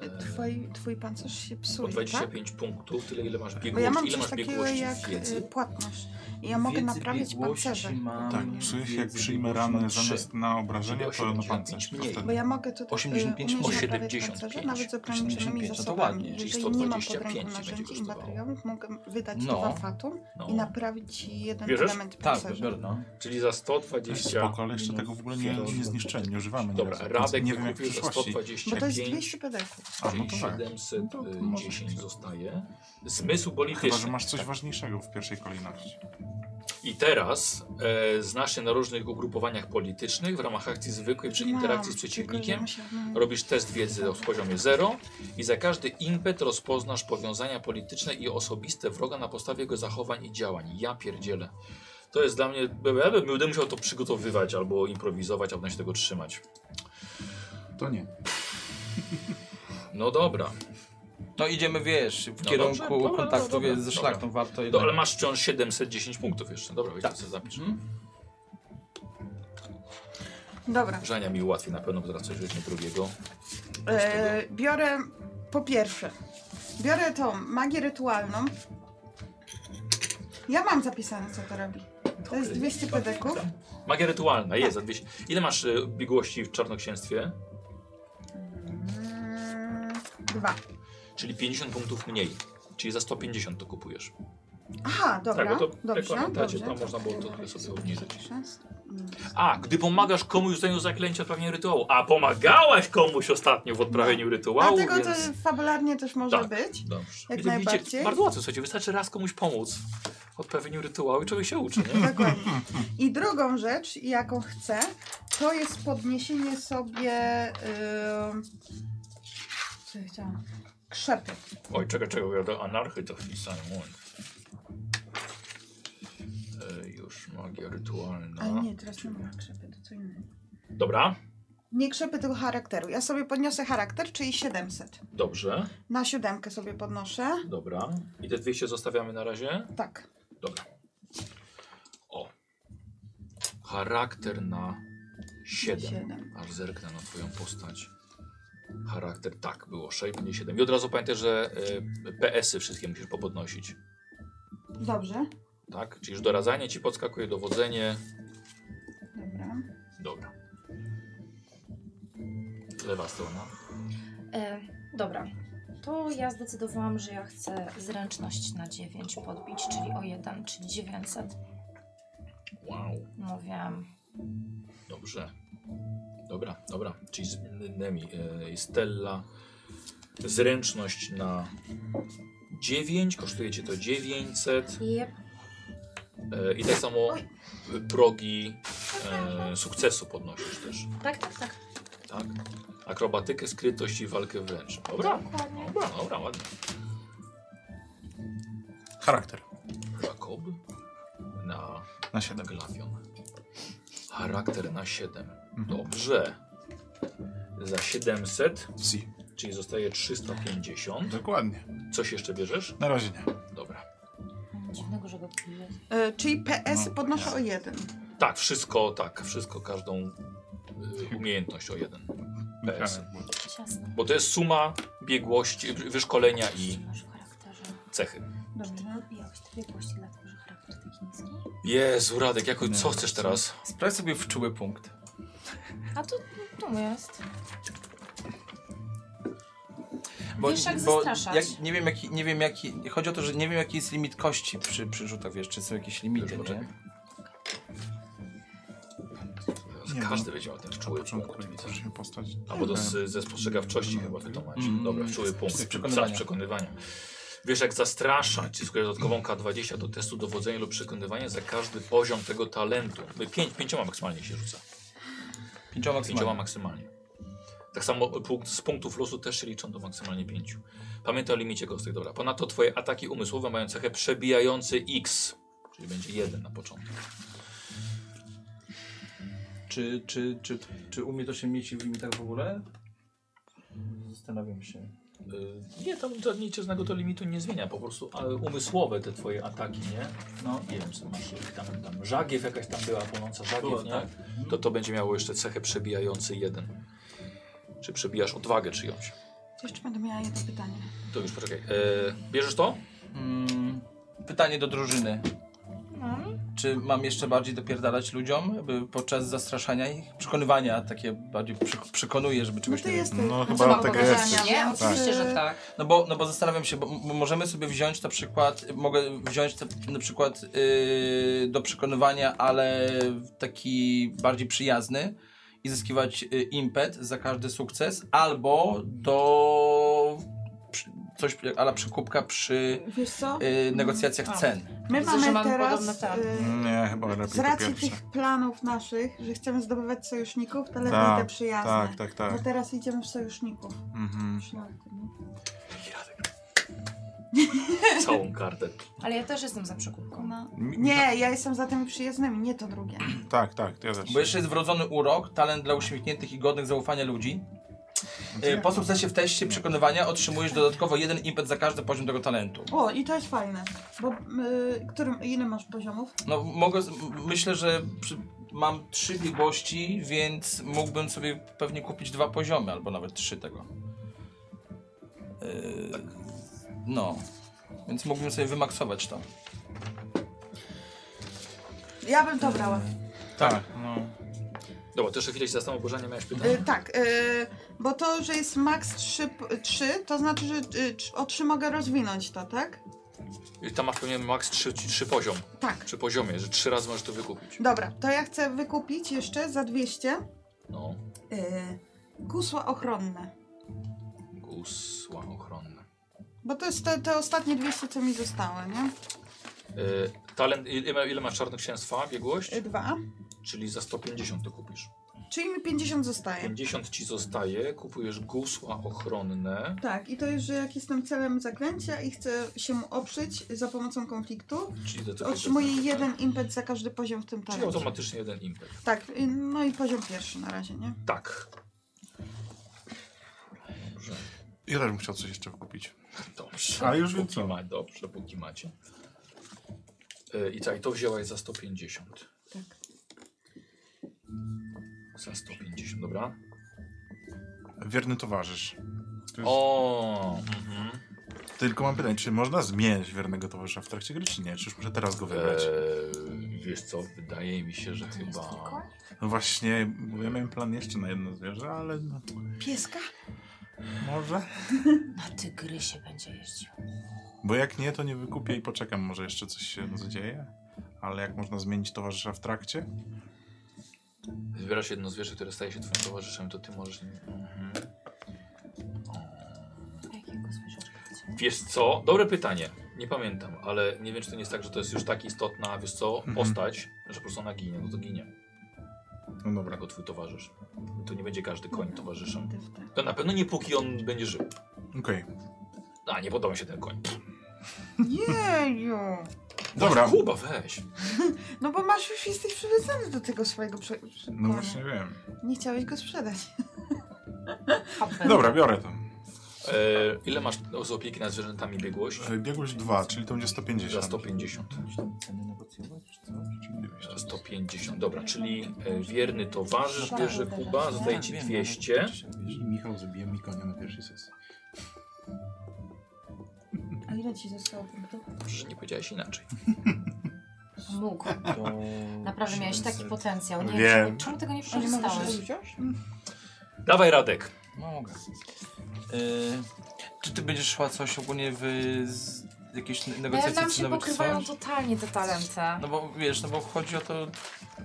Speaker 1: E,
Speaker 5: Twój, twój pancerz się
Speaker 1: o
Speaker 5: psuje, tak?
Speaker 1: 25 punktów, tyle ile masz
Speaker 5: Bo ja
Speaker 1: biegłości.
Speaker 5: mam
Speaker 1: ile
Speaker 5: coś
Speaker 1: masz
Speaker 5: takiego
Speaker 1: biegłości
Speaker 5: jak
Speaker 1: w
Speaker 5: y,
Speaker 1: wiedzy?
Speaker 5: płatność. I ja mogę
Speaker 2: Wiedzy,
Speaker 5: naprawiać
Speaker 2: biegłości
Speaker 5: pancerze.
Speaker 2: mam,
Speaker 4: Tak, przych jak
Speaker 2: wiedzy,
Speaker 4: przyjmę
Speaker 2: biegłości
Speaker 4: ranę
Speaker 2: mam
Speaker 4: zamiast na obrażenia, to na
Speaker 1: 85
Speaker 4: pancerz.
Speaker 1: mniej.
Speaker 5: Bo ja mogę tutaj
Speaker 2: 85
Speaker 5: umieć
Speaker 1: o
Speaker 5: naprawiać
Speaker 1: 75.
Speaker 5: pancerze, nawet z ograniczonymi
Speaker 2: 75, no to ładnie,
Speaker 5: zasobami.
Speaker 1: czyli
Speaker 5: Jeżeli nie mam pod
Speaker 1: 125
Speaker 5: ręką
Speaker 1: będzie
Speaker 5: narzędzi i
Speaker 1: kosztowało.
Speaker 5: materiałów, mogę wydać
Speaker 2: No.
Speaker 5: dwa fatum
Speaker 1: No.
Speaker 5: i naprawić jeden
Speaker 1: Bierzesz?
Speaker 5: element
Speaker 2: Tak,
Speaker 5: pancerza.
Speaker 2: biorę, no.
Speaker 1: Czyli za 120.
Speaker 4: Spoko, ale jeszcze tego w ogóle nie, nie zniszczyłem, nie używamy.
Speaker 1: Dobra,
Speaker 4: nieraz, więc
Speaker 1: Radek
Speaker 4: nie wiem jak w
Speaker 1: wykupił za
Speaker 4: przyszłości.
Speaker 1: 125.
Speaker 5: Bo to jest 200 PDF.
Speaker 4: A, no
Speaker 1: Czyli
Speaker 4: to tak. No to może
Speaker 1: 710
Speaker 4: być.
Speaker 1: zostaje. Zmysł
Speaker 4: Chyba, że
Speaker 1: polityczny.
Speaker 4: masz coś ważniejszego w pierwszej kolejności.
Speaker 1: I teraz e, znasz się na różnych ugrupowaniach politycznych w ramach akcji zwykłej przy
Speaker 5: Mam,
Speaker 1: interakcji z
Speaker 5: tylko
Speaker 1: przeciwnikiem.
Speaker 5: ja musiałam-
Speaker 1: Robisz test wiedzy o poziomie 0 i za każdy impet rozpoznasz powiązania polityczne i osobiste wroga na podstawie jego zachowań i działań. Ja pierdzielę. To jest dla mnie... Ja bym- będę musiał to przygotowywać albo improwizować, albo się tego trzymać.
Speaker 4: To nie.
Speaker 1: No dobra.
Speaker 2: No idziemy, wiesz, w
Speaker 1: No
Speaker 2: kierunku
Speaker 1: dobrze, dobra,
Speaker 2: kontaktu
Speaker 1: dobra,
Speaker 2: wiesz, ze
Speaker 1: dobra.
Speaker 2: szlachtą warto
Speaker 1: No, ale
Speaker 2: jednak-
Speaker 1: masz wciąż 710 punktów jeszcze. Dobra, wiecie,
Speaker 2: Tak.
Speaker 1: co zapisz.
Speaker 2: Mhm.
Speaker 5: Dobra,
Speaker 1: Żania mi ułatwi na pewno, bo teraz coś weźmie drugiego.
Speaker 5: e, biorę po pierwsze, biorę tą magię rytualną. Ja mam zapisane, co to robi. To jest 200 pedeków.
Speaker 1: Magia rytualna, jest za 200. Ile masz y, biegłości w czarnoksięstwie?
Speaker 5: Mm, Dwa.
Speaker 1: Czyli 50 punktów mniej. Czyli za 150 to kupujesz.
Speaker 5: Aha, dobra.
Speaker 1: Tak, bo to
Speaker 5: dobrze,
Speaker 1: pamiętacie,
Speaker 5: dobrze.
Speaker 1: to można było to trochę sobie obniżyć.
Speaker 5: 16.
Speaker 1: A, gdy pomagasz komuś w zdaniu zaklęcia odprawieniu rytuału. A pomagałaś komuś ostatnio w odprawieniu rytuału,
Speaker 5: No. Dlatego
Speaker 1: więc...
Speaker 5: to fabularnie też może
Speaker 1: Tak.
Speaker 5: być.
Speaker 1: Dobrze.
Speaker 5: jak
Speaker 1: I to widzicie,
Speaker 5: najbardziej.
Speaker 1: Bardzo łatwo, słuchajcie, wystarczy raz komuś pomóc w odprawieniu rytuału i człowiek się uczy, nie?
Speaker 5: Dokładnie. I drugą rzecz, jaką chcę, to jest podniesienie sobie. ym, yy, Co ja chciałam? Krzepy.
Speaker 1: Oj, czekaj, czekaj, bo ja do anarchy to wpisałem. moment. E, już magia
Speaker 5: Ale
Speaker 4: No.
Speaker 1: rytualna.
Speaker 5: nie, teraz nie ma krzepy, to co innego.
Speaker 1: Dobra,
Speaker 5: Nie krzepy, tylko charakteru. Ja sobie podniosę charakter, czyli 700.
Speaker 1: dobrze,
Speaker 5: Na siódemkę sobie podnoszę.
Speaker 1: dobra. I te 200 zostawiamy na razie?
Speaker 5: Tak.
Speaker 1: Dobra. O. Charakter na 7.
Speaker 5: Siedem.
Speaker 1: Aż zerknę na twoją postać. Charakter, tak, było 6, będzie 7. I od razu pamiętaj, że y, PS-y wszystkie musisz popodnosić.
Speaker 5: Dobrze.
Speaker 1: Tak? Czyli już doradzanie ci podskakuje, dowodzenie.
Speaker 5: Dobra.
Speaker 1: Dobra. Lewa strona.
Speaker 6: E, dobra. To ja zdecydowałam, że ja chcę zręczność na 9 podbić, czyli o 1, czyli 900.
Speaker 1: Wow,
Speaker 6: Mówiłam.
Speaker 1: dobrze. Dobra, dobra. Czyli z Nemi, y, Stella. Zręczność na 9, kosztuje cię to 900.
Speaker 6: Jep.
Speaker 1: E, I tak samo progi e, sukcesu podnosisz też,
Speaker 6: Tak, tak, tak.
Speaker 1: tak? Akrobatykę, skrytość i walkę wręcz. Dobra,
Speaker 6: Dokładnie.
Speaker 1: dobra, dobra, ładnie.
Speaker 4: Charakter.
Speaker 1: Jakob na
Speaker 4: Na 7.
Speaker 1: glawion. Charakter na 7. Dobrze. Za 700,
Speaker 4: Si.
Speaker 1: czyli zostaje 350.
Speaker 4: Dokładnie.
Speaker 1: Coś jeszcze bierzesz?
Speaker 4: Na razie nie.
Speaker 1: Dobra.
Speaker 3: Dziwnego, że go piłeś.
Speaker 5: E, czyli PS
Speaker 4: No,
Speaker 5: podnoszę
Speaker 4: tak.
Speaker 5: o jeden.
Speaker 1: Tak, wszystko, tak, wszystko, każdą y, umiejętność o jeden. PS.
Speaker 3: Ciasno.
Speaker 1: Bo to jest suma biegłości, wyszkolenia
Speaker 3: I...
Speaker 1: i
Speaker 3: Masz w charakterze.
Speaker 1: cechy.
Speaker 3: Czy ty
Speaker 5: Dobrze.
Speaker 3: wybijałeś te biegłości, dlatego że charakter taki niski?
Speaker 1: Jezu, Radek, jako, co chcesz teraz?
Speaker 2: Sprawdź sobie wczuły punkt.
Speaker 6: A tu, tu jest.
Speaker 3: Wiesz, jak zastraszać.
Speaker 2: jak, nie wiem jaki, nie wiem jaki, chodzi o to, że nie wiem jaki jest limit kości przy, przy rzutach, wiesz, czy są jakieś limity,
Speaker 1: Już
Speaker 2: nie?
Speaker 1: poczekaj.
Speaker 4: Nie,
Speaker 1: Każdy
Speaker 4: no.
Speaker 1: będzie miał ten
Speaker 4: Na
Speaker 1: czuły
Speaker 4: początku
Speaker 1: punkt,
Speaker 4: nie
Speaker 1: widzę.
Speaker 4: też nie no, tak. postać.
Speaker 1: Albo do, z, ze spostrzegawczości chyba wy to macie.
Speaker 2: Mm.
Speaker 1: Dobra, czuły punkt.
Speaker 2: Z
Speaker 1: Z
Speaker 2: przekonywania.
Speaker 1: przekonywania. Wiesz, jak zastraszać, skoro dodatkową K20 do testu dowodzenia lub przekonywania za każdy poziom tego talentu. Y, Pięć, pięcioma maksymalnie się rzuca.
Speaker 2: Pięcioma
Speaker 1: Pięcioma
Speaker 2: maksymalnie.
Speaker 1: maksymalnie. Tak samo punkt, z punktów losu też się liczą do maksymalnie pięciu. Pamiętaj o limicie kostek, dobra. Ponadto twoje ataki umysłowe mają cechę przebijający X, czyli będzie jeden na początku.
Speaker 2: Czy, czy, czy, czy umie to się mieć w limitach w ogóle? Zastanawiam się.
Speaker 1: Y, Nie, tam to niczego to limitu nie zmienia, po prostu ale umysłowe te twoje ataki, nie? No, nie wiem, co masz ich tam, tam żagiew jakaś tam była płonąca, żagiew,
Speaker 2: Była,
Speaker 1: nie?
Speaker 2: tak.
Speaker 1: To to będzie miało jeszcze cechę przebijający jeden. Czy przebijasz odwagę czyjąś?
Speaker 5: Jeszcze będę miała jedno pytanie. No
Speaker 1: To już poczekaj. E, bierzesz to?
Speaker 2: Mm, pytanie do drużyny.
Speaker 6: No.
Speaker 2: Czy mam jeszcze bardziej dopierdalać ludziom by podczas zastraszania ich? Przekonywania takie bardziej przy, przekonuję, żeby
Speaker 5: No
Speaker 2: czegoś
Speaker 5: ty
Speaker 2: nie...
Speaker 5: jesteś.
Speaker 4: No
Speaker 3: Co
Speaker 4: chyba
Speaker 3: mam
Speaker 4: od tego
Speaker 3: powiedzenia?
Speaker 4: jest.
Speaker 3: Nie, oczywiście,
Speaker 5: Tak.
Speaker 3: że tak.
Speaker 2: No bo, no bo zastanawiam się, bo m- możemy sobie wziąć na przykład, mogę wziąć te, na przykład yy, do przekonywania, ale taki bardziej przyjazny i zyskiwać yy, impet za każdy sukces, albo do przy, coś ala przekupka przy
Speaker 5: tak. Wiesz co?
Speaker 2: yy, negocjacjach cen.
Speaker 5: My
Speaker 6: Widzę, że
Speaker 5: mamy
Speaker 6: mamy podobne
Speaker 5: teraz.
Speaker 6: te.
Speaker 5: y,
Speaker 4: Nie, chyba
Speaker 5: Z
Speaker 4: lepiej to
Speaker 5: racji
Speaker 4: Mm, pierwsze.
Speaker 5: tych planów naszych, że chcemy zdobywać sojuszników, to lepiej
Speaker 4: Tak,
Speaker 5: te przyjazne. No
Speaker 4: Tak, tak, tak.
Speaker 5: Bo teraz idziemy w sojuszników.
Speaker 4: Mhm.
Speaker 5: Szlak, no.
Speaker 1: Całą kartę.
Speaker 6: Ale ja też jestem za przekupką.
Speaker 5: No.
Speaker 4: Mi-
Speaker 5: Nie, ja jestem za tymi przyjaznymi, nie to drugie.
Speaker 4: Tak, tak, to ja też.
Speaker 2: Bo jeszcze jest wrodzony urok, talent dla uśmiechniętych i godnych zaufania ludzi. Yy, po sukcesie w teście przekonywania otrzymujesz dodatkowo jeden impet za każdy poziom tego talentu.
Speaker 5: O, i to jest fajne. Bo y, którym, ile masz poziomów?
Speaker 2: No mogę, z- m- myślę, że przy, mam trzy biegłości, więc mógłbym sobie pewnie kupić dwa poziomy, albo nawet trzy tego. Yy, No, więc mógłbym sobie wymaksować to.
Speaker 5: Ja bym to brała.
Speaker 4: Tak, no.
Speaker 1: Dobra, to jeszcze chwilę się zastanów, bo Żania miałeś
Speaker 5: Y,
Speaker 1: pytanie.
Speaker 5: tak, y, bo to, że jest max 3, to znaczy, że y, trz- o 3 mogę rozwinąć to, tak?
Speaker 1: I Y, Tam masz pewnie maks 3, 3 poziom,
Speaker 5: Tak.
Speaker 1: przy poziomie, że trzy razy możesz to wykupić.
Speaker 5: Dobra, to ja chcę wykupić jeszcze za 200
Speaker 1: No,
Speaker 5: y, gusła ochronne.
Speaker 1: gusła ochronne.
Speaker 5: Bo to jest te, te ostatnie 200, co mi zostały, nie?
Speaker 1: E, talent, ile, ile masz czarnoksięstwa, biegłość?
Speaker 5: Y, Dwa.
Speaker 1: Czyli za 150 to kupisz.
Speaker 5: Czyli mi 50 zostaje.
Speaker 1: 50 ci zostaje, kupujesz gusła ochronne.
Speaker 5: Tak, i to jest, że jak jestem celem zaklęcia i chcę się mu oprzeć za pomocą konfliktu,
Speaker 1: Czyli do tego
Speaker 5: otrzymuję
Speaker 1: tak?
Speaker 5: jeden impet za każdy poziom w tym
Speaker 1: Czyli
Speaker 5: talencie.
Speaker 1: automatycznie jeden impet.
Speaker 5: Tak, y, no i poziom pierwszy na razie, nie?
Speaker 1: Tak. Dobrze.
Speaker 4: Ja też bym chciał coś jeszcze kupić.
Speaker 1: Dobrze.
Speaker 4: A już wiem
Speaker 1: póki
Speaker 4: co.
Speaker 1: ma, Dobrze, póki macie. E, I tak, to wzięłaś za 150.
Speaker 5: Tak.
Speaker 1: Za 150, dobra.
Speaker 4: Wierny towarzysz. To jest-
Speaker 1: O! Mhm.
Speaker 4: Tylko mam pytanie, czy można zmieniać wiernego towarzysza w trakcie gry, czy nie? Czy już muszę teraz go wybrać?
Speaker 1: Eee, wiesz co, wydaje mi się, że
Speaker 3: To jest tylko?
Speaker 1: chyba...
Speaker 4: No właśnie, bo ja miałem plan jeszcze na jedno zwierzę, ale no,
Speaker 5: Pieska?
Speaker 4: może?
Speaker 3: Na tygrysie będzie jeździł.
Speaker 4: Bo jak nie, to nie wykupię i poczekam, może jeszcze coś się zadzieje. Ale jak można zmienić towarzysza w trakcie?
Speaker 1: Wybierasz jedno zwierzę, które staje się twoim towarzyszem, to ty możesz... Mhm.
Speaker 3: Jakiego zwierzaczka chcecie?
Speaker 1: Wiesz co? Dobre pytanie. Nie pamiętam, ale nie wiem, czy to nie jest tak, że to jest już tak istotna, wiesz co,
Speaker 4: Mhm.
Speaker 1: postać, że po prostu ona ginie, no to ginie.
Speaker 4: No dobra.
Speaker 1: Jako twój towarzysz. To nie będzie każdy koń
Speaker 3: Mhm.
Speaker 1: towarzyszem.
Speaker 5: Ty w te.
Speaker 1: To na pewno nie póki on będzie żył. No,
Speaker 4: Okej.
Speaker 1: A, nie podoba mi się ten koń.
Speaker 5: Jeju!
Speaker 4: Dobra.
Speaker 1: Kuba, weź.
Speaker 5: No bo masz już jesteś przywiązany do tego swojego prze... prze-
Speaker 4: No
Speaker 5: konia.
Speaker 4: właśnie wiem.
Speaker 5: Nie chciałeś go sprzedać.
Speaker 4: Dobra, biorę to.
Speaker 1: E, ile masz z opieki nad zwierzętami biegłość?
Speaker 4: E, Biegłość 2, czyli to będzie
Speaker 1: Za
Speaker 4: 150.
Speaker 1: 150.
Speaker 2: Ceny negocjować, czy co?
Speaker 1: Za 150, dobra, czyli e, wierny towarzysz,
Speaker 3: Tak.
Speaker 1: Tak, wiesz, że
Speaker 2: Tak,
Speaker 1: Kuba, zostaje ci 200.
Speaker 4: Michał zabija mi konia na pierwszej sesji.
Speaker 5: A ile ci zostało punktów?
Speaker 1: Dobrze, że nie powiedziałeś inaczej.
Speaker 3: Mógł. Naprawdę miałeś taki potencjał. Nie
Speaker 4: Wiem.
Speaker 3: wiem. Czemu tego nie
Speaker 5: A nie mogę
Speaker 3: przeczytałeś?
Speaker 5: się wziąć?
Speaker 1: Dawaj Radek.
Speaker 2: No, Mogę. Y, czy ty będziesz szła coś ogólnie w z, jakieś ne-
Speaker 3: No
Speaker 6: No
Speaker 3: Ja,
Speaker 2: negocjacje
Speaker 3: nam się
Speaker 2: cenowe czy
Speaker 3: pokrywają
Speaker 2: coś?
Speaker 3: totalnie te talenty.
Speaker 2: No bo wiesz, no bo chodzi o to,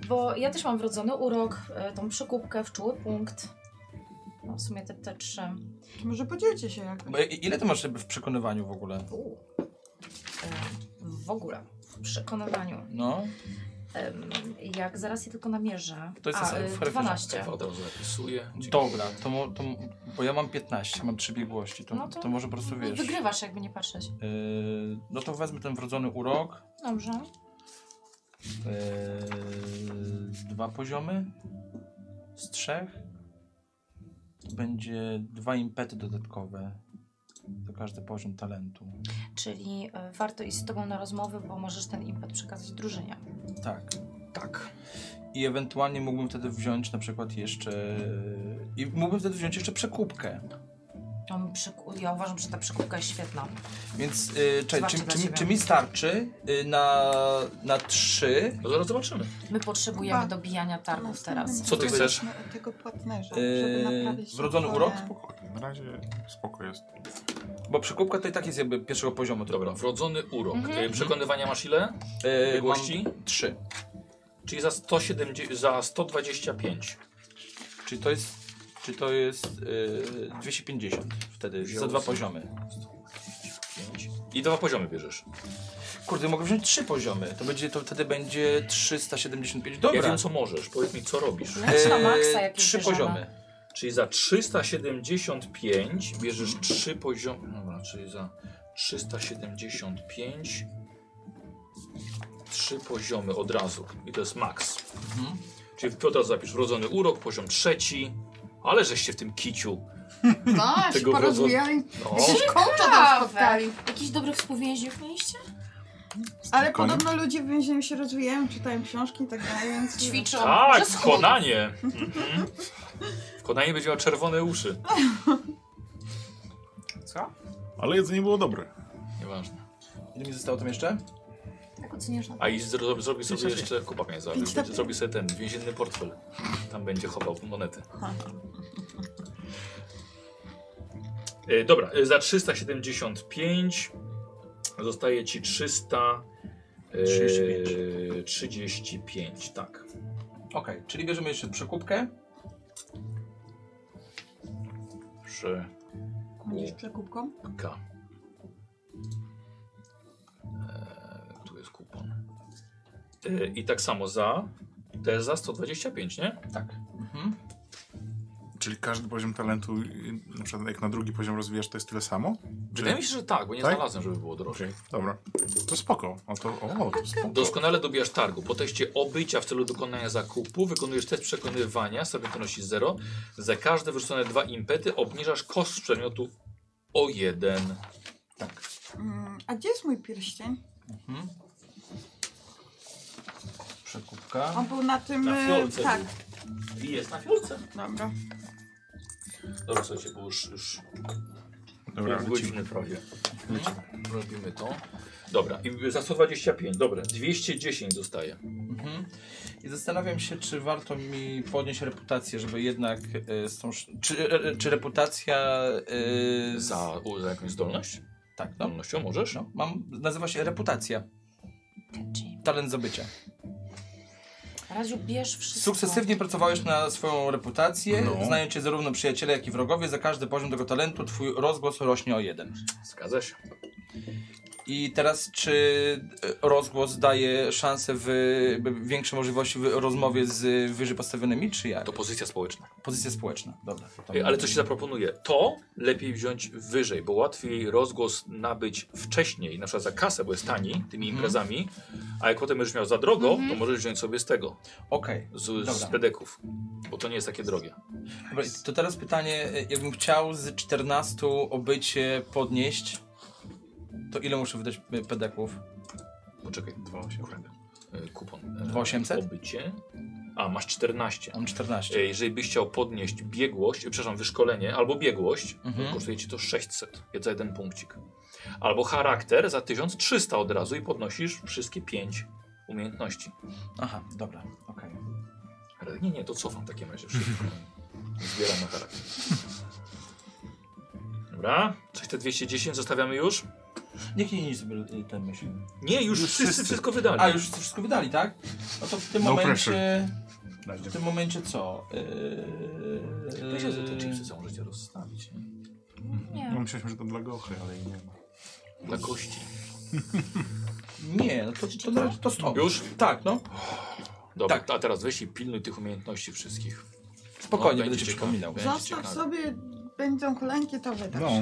Speaker 6: Bo ja też mam wrodzony urok, e, tą przykupkę, wczuły punkt. No w sumie te, te trzy.
Speaker 5: To Może podzielcie się jakoś.
Speaker 2: bo i- ile ty masz jakby w przekonywaniu w ogóle?
Speaker 6: U. E, W ogóle. W przekonywaniu.
Speaker 2: No,
Speaker 6: Em, Jak zaraz je tylko namierzę.
Speaker 2: To jest
Speaker 6: A,
Speaker 2: za-
Speaker 6: e,
Speaker 2: w charakterze.
Speaker 6: 12.
Speaker 1: Ja od razu zapisuję. Dzięki.
Speaker 2: dobra, to, mo- to mo- bo ja mam 15, mam trzy biegłości, to,
Speaker 6: No
Speaker 2: to...
Speaker 6: to-
Speaker 2: może po prostu wiesz.
Speaker 3: Wygrywasz, jakby nie patrzeć.
Speaker 2: Y, no to wezmę ten wrodzony urok,
Speaker 6: Dobrze.
Speaker 2: y, dwa poziomy z trzech. To będzie dwa impety dodatkowe za każdy poziom talentu.
Speaker 6: Czyli e, warto iść z tobą na rozmowy, bo możesz ten impet przekazać drużynie.
Speaker 2: Tak.
Speaker 1: Tak.
Speaker 2: I ewentualnie mógłbym wtedy wziąć na przykład jeszcze. I mógłbym wtedy wziąć jeszcze przekupkę.
Speaker 3: Ja mam przyku- Ja uważam, że ta przykupka jest świetna.
Speaker 2: Więc yy, czekaj, czy,
Speaker 3: Zwłaszcza dla
Speaker 2: czy, mi-
Speaker 3: ciebie.
Speaker 2: czy mi starczy y, na, na trzy?
Speaker 1: No zaraz zobaczymy.
Speaker 3: My potrzebujemy
Speaker 5: Ba-
Speaker 3: dobijania targów teraz.
Speaker 1: Co ty chcesz?
Speaker 5: Od tego płatnerza,
Speaker 2: Yy,
Speaker 5: żeby naprawić...
Speaker 2: wrodzony
Speaker 5: swoje-
Speaker 2: urok?
Speaker 4: No, Spokojnie, na razie spoko jest.
Speaker 2: Bo przekupka to i tak jest jakby pierwszego poziomu. tylko.
Speaker 1: Dobra, wrodzony urok.
Speaker 3: Mhm.
Speaker 1: E, Przekonywania masz ile?
Speaker 2: Y,
Speaker 1: Biegłości?
Speaker 2: mam trzy.
Speaker 1: Czyli za, 170, za 125.
Speaker 2: Czyli to jest. Czy to jest y, 250 wtedy
Speaker 1: Wziął
Speaker 2: za dwa
Speaker 1: sobie.
Speaker 2: poziomy.
Speaker 1: 5. I dwa poziomy bierzesz.
Speaker 2: Kurde, mogę wziąć trzy poziomy. To będzie to wtedy będzie 375. Dobra.
Speaker 1: Ja wiem, co możesz. Powiedz mi, co robisz.
Speaker 6: Leć na
Speaker 2: Y,
Speaker 6: maksa, jak
Speaker 2: Trzy
Speaker 6: bierzemy.
Speaker 2: poziomy.
Speaker 1: Czyli za 375 bierzesz 3 poziomy. Dobra, czyli za 375 3 poziomy od razu. I to jest max.
Speaker 2: Mhm.
Speaker 1: Czyli w Piotra zapisz wrodzony urok, poziom trzeci. Ale żeś się w tym kiciu.
Speaker 5: No, się
Speaker 1: Tego
Speaker 5: porozwijali.
Speaker 1: No.
Speaker 5: Jakiś kołcza tam spotkali.
Speaker 3: Jakichś dobrych współwięźniów mieliście?
Speaker 5: Ale
Speaker 4: Koniem?
Speaker 5: podobno ludzie w więzieniu się rozwijają, czytają książki i tak dalej, więc...
Speaker 3: Ćwiczą.
Speaker 1: Tak,
Speaker 3: Przez chód.
Speaker 1: konanie. Mhm. Konanie będzie miał czerwone uszy.
Speaker 2: Co?
Speaker 4: Ale jedzenie było dobre.
Speaker 1: Nieważne.
Speaker 2: Ile mi zostało tam jeszcze?
Speaker 3: Jak oceniasz na
Speaker 1: A i zro, zrobi sobie
Speaker 4: Pięć
Speaker 1: jeszcze kupak nie zabił.
Speaker 5: Pięć
Speaker 1: Będzie- Zrobi sobie ten więzienny portfel. Tam będzie chował monety. E, dobra, e, za 375 zostaje ci 300. e,
Speaker 2: 35.
Speaker 1: 35, tak.
Speaker 2: Okej, czyli bierzemy jeszcze przekupkę.
Speaker 1: Przy
Speaker 5: Będziesz przekupką?
Speaker 1: K. E, tu jest kupon. E, I tak samo za. To jest za 125, nie?
Speaker 2: Tak. Mhm.
Speaker 4: Czyli każdy poziom talentu, y, na przykład jak na drugi poziom rozwijasz, to jest tyle samo? Czy...
Speaker 1: Wydaje mi się, że tak, bo nie
Speaker 4: Tak?
Speaker 1: znalazłem, żeby było droższe.
Speaker 4: Okej, dobra. To spoko. O, to, o, to spoko.
Speaker 1: Doskonale dobijasz targu. Po teście obycia w celu dokonania zakupu wykonujesz test przekonywania, sobie to nosi 0. Za każde wyrzucone dwa impety obniżasz koszt przedmiotu o jeden.
Speaker 4: Tak.
Speaker 5: Mm, A gdzie jest mój pierścień?
Speaker 2: Przekupka.
Speaker 5: On był na tym...
Speaker 1: Na
Speaker 5: y,
Speaker 1: fiolce
Speaker 5: tak,
Speaker 1: I jest na fiolce.
Speaker 5: dobra.
Speaker 1: Dobra, słuchajcie, bo już, już
Speaker 4: Dobra,
Speaker 1: pół
Speaker 4: lecimy.
Speaker 1: godziny prawie. Mhm. Robimy to. Dobra, i za 125, dobra. 210 zostaje.
Speaker 2: Mhm. I zastanawiam się, czy warto mi podnieść reputację, żeby jednak y, z tą... sz- Czy, e, czy reputacja... y, z-
Speaker 1: Za, u, za jakąś zdolność?
Speaker 2: Tak, no.
Speaker 1: Zdolnością możesz?
Speaker 2: no. Mam, nazywa się reputacja.
Speaker 3: Catchy.
Speaker 2: Talent zabycia.
Speaker 3: Radziu, bierz wszystko.
Speaker 2: Sukcesywnie pracowałeś na swoją reputację,
Speaker 4: No.
Speaker 2: znają cię zarówno przyjaciele, jak i wrogowie. Za każdy poziom tego talentu twój rozgłos rośnie o jeden.
Speaker 1: Zgadza się.
Speaker 2: I teraz czy e, rozgłos daje szansę w jakby większe możliwości w rozmowie z wyżej postawionymi, czy jak?
Speaker 1: To pozycja społeczna.
Speaker 2: Pozycja społeczna, dobra. To-
Speaker 1: Ej, Ale co się zaproponuje? To lepiej wziąć wyżej, bo łatwiej rozgłos nabyć wcześniej, na przykład za kasę, bo jest tani tymi imprezami, a jak potem będziesz miał za drogo, to możesz wziąć sobie z tego,
Speaker 2: Okej.
Speaker 1: z, z
Speaker 2: Dobra.
Speaker 1: pedeków, bo to nie jest takie drogie.
Speaker 2: Dobra, To teraz pytanie, e, jakbym chciał z 14 obycie podnieść, to ile muszę wydać e, pedeków?
Speaker 1: Poczekaj, 2800. Kupon. E,
Speaker 2: 2800?
Speaker 1: Obycie. A, masz 14.
Speaker 2: Mam 14.
Speaker 1: E, Jeżeli byś chciał podnieść biegłość, e, przepraszam, wyszkolenie albo biegłość,
Speaker 2: Mhm.
Speaker 1: kosztuje ci to 600, więc za jeden punkcik. Albo charakter za 1300 od razu i podnosisz wszystkie 5 umiejętności.
Speaker 2: Aha, dobra, okej.
Speaker 1: Ale nie, nie, to cofam w takim razie wszystko. Zbieram na charakter. Dobra, coś te 210 zostawiamy już?
Speaker 2: Niech nie inni sobie e, ten myśli.
Speaker 1: Nie, już,
Speaker 4: Już
Speaker 1: wszyscy,
Speaker 4: wszyscy.
Speaker 1: wszystko wydali.
Speaker 2: A, już wszystko wydali, tak? No to w tym
Speaker 4: No
Speaker 2: momencie...
Speaker 4: pressure.
Speaker 2: W tym momencie co? e, Yy,
Speaker 1: To się
Speaker 2: Mm.
Speaker 1: te chipsy całe życie rozstawić. nie?
Speaker 4: No, myśleliśmy, że to dla gochy, ale i nie ma.
Speaker 1: Dla kości.
Speaker 2: nie, no to, to, to, to stąd.
Speaker 1: Już?
Speaker 2: Tak, no.
Speaker 1: Dobra,
Speaker 2: Tak.
Speaker 1: a teraz weź i pilnuj tych umiejętności wszystkich. No,
Speaker 2: Spokojnie, będę
Speaker 1: będzie
Speaker 2: ci
Speaker 1: ciekawe.
Speaker 2: przypominał.
Speaker 1: Będzie
Speaker 5: Zostaw
Speaker 1: ciekawe.
Speaker 5: sobie, będą kolejki, to wydasz.
Speaker 4: No,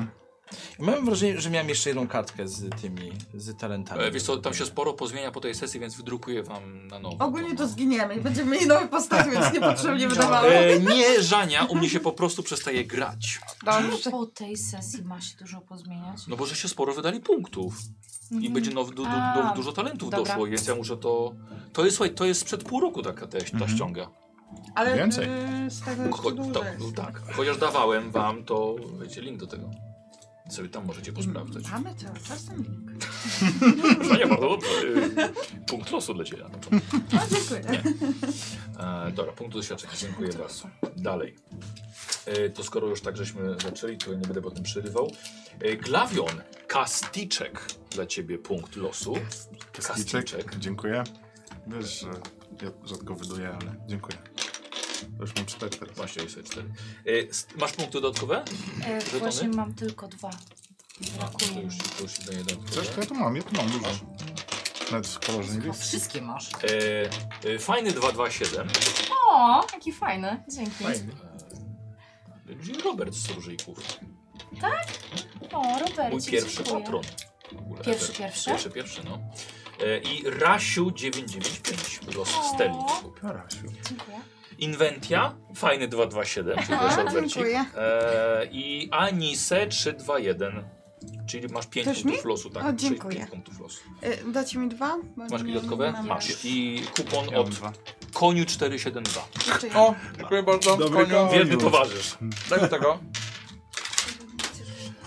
Speaker 2: Mam wrażenie, że miałem jeszcze jedną kartkę z tymi, z talentami.
Speaker 1: E, Wiesz co, tam się sporo pozmienia po tej sesji, więc wydrukuję wam na nowo.
Speaker 5: Ogólnie to zginiemy i będziemy mieli nowe postacie, więc niepotrzebnie wydawało.
Speaker 1: E, nie, Żania, u mnie się po prostu przestaje grać.
Speaker 5: Dobrze.
Speaker 3: Po tej sesji ma się dużo pozmieniać.
Speaker 1: No bo że się sporo wydali punktów.
Speaker 5: Mhm.
Speaker 1: I będzie now, du, du, du,
Speaker 3: A,
Speaker 1: dużo talentów
Speaker 3: dobra.
Speaker 1: doszło, więc ja muszę to... To jest, słuchaj, to jest sprzed pół roku taka te, ta ściąga.
Speaker 5: Ale
Speaker 4: Więcej.
Speaker 5: y, z tego
Speaker 1: Cho,
Speaker 5: jeszcze
Speaker 1: to,
Speaker 5: dłużej.
Speaker 1: no tak. Chociaż dawałem wam, to wiecie, link do tego. Sobie tam możecie posprawdzać.
Speaker 5: Mamy cały czas ten link.
Speaker 1: Żania, bardzo dobrze. Y, Punkt losu dla ciebie.
Speaker 5: No, dziękuję.
Speaker 1: E, dobra, punkt doświadczenia. Dziękuję bardzo. Dalej. E, to skoro już tak żeśmy zaczęli, to nie będę potem przerywał. E, Glawion, kasticzek dla ciebie punkt losu.
Speaker 4: Kasticzek, dziękuję. Wiesz, że ja rzadko wyduję, ale dziękuję. To już mam cztery teraz.
Speaker 1: Właśnie, jest cztery. E, s- masz punkty dodatkowe?
Speaker 3: E,
Speaker 1: Żetony?
Speaker 3: właśnie mam tylko dwa.
Speaker 1: To
Speaker 3: Brakuje.
Speaker 1: już, to już daje
Speaker 4: Coś
Speaker 1: dodatkowe.
Speaker 4: to ja tu mam, ja tu mam dużo. Nawet w kolorze
Speaker 3: O,
Speaker 4: niebieskim.
Speaker 3: wszystkie masz.
Speaker 1: E, e, fajny 227.
Speaker 3: O, jaki fajny. Dzięki.
Speaker 1: E, Jill Roberts z Różyjków.
Speaker 3: O, Robercie,
Speaker 1: Mój pierwszy
Speaker 3: dziękuję.
Speaker 1: patron. W ogóle
Speaker 3: Pierwszy,
Speaker 1: ever.
Speaker 3: pierwszy?
Speaker 1: Pierwszy, pierwszy, no. E, I Rasiu 995. Los
Speaker 3: O.
Speaker 1: Steli.
Speaker 4: Karasiu.
Speaker 3: Dziękuję.
Speaker 1: Inwentia, fajny 227, czyli to
Speaker 5: A,
Speaker 1: jest Albercik.
Speaker 5: dziękuję.
Speaker 1: E, I Anise 321, czyli masz 5
Speaker 5: Też
Speaker 1: punktów
Speaker 5: mi?
Speaker 1: losu. Tak,
Speaker 5: O,
Speaker 1: Czyli
Speaker 5: dziękuję.
Speaker 1: pięć punktów losu.
Speaker 5: Y, Dacie mi dwa? Bo
Speaker 1: Masz
Speaker 5: nie-
Speaker 1: jakieś dodatkowe?
Speaker 5: nie mam
Speaker 1: Masz. I kupon
Speaker 4: Ja mam
Speaker 1: od
Speaker 4: dwa.
Speaker 1: koniu 472.
Speaker 5: Jeszcze jeden.
Speaker 2: O, dziękuję bardzo.
Speaker 4: Dobry
Speaker 2: Koniu.
Speaker 4: koń.
Speaker 1: Wierny
Speaker 4: Koniu.
Speaker 1: towarzysz.
Speaker 2: Daj mi tego.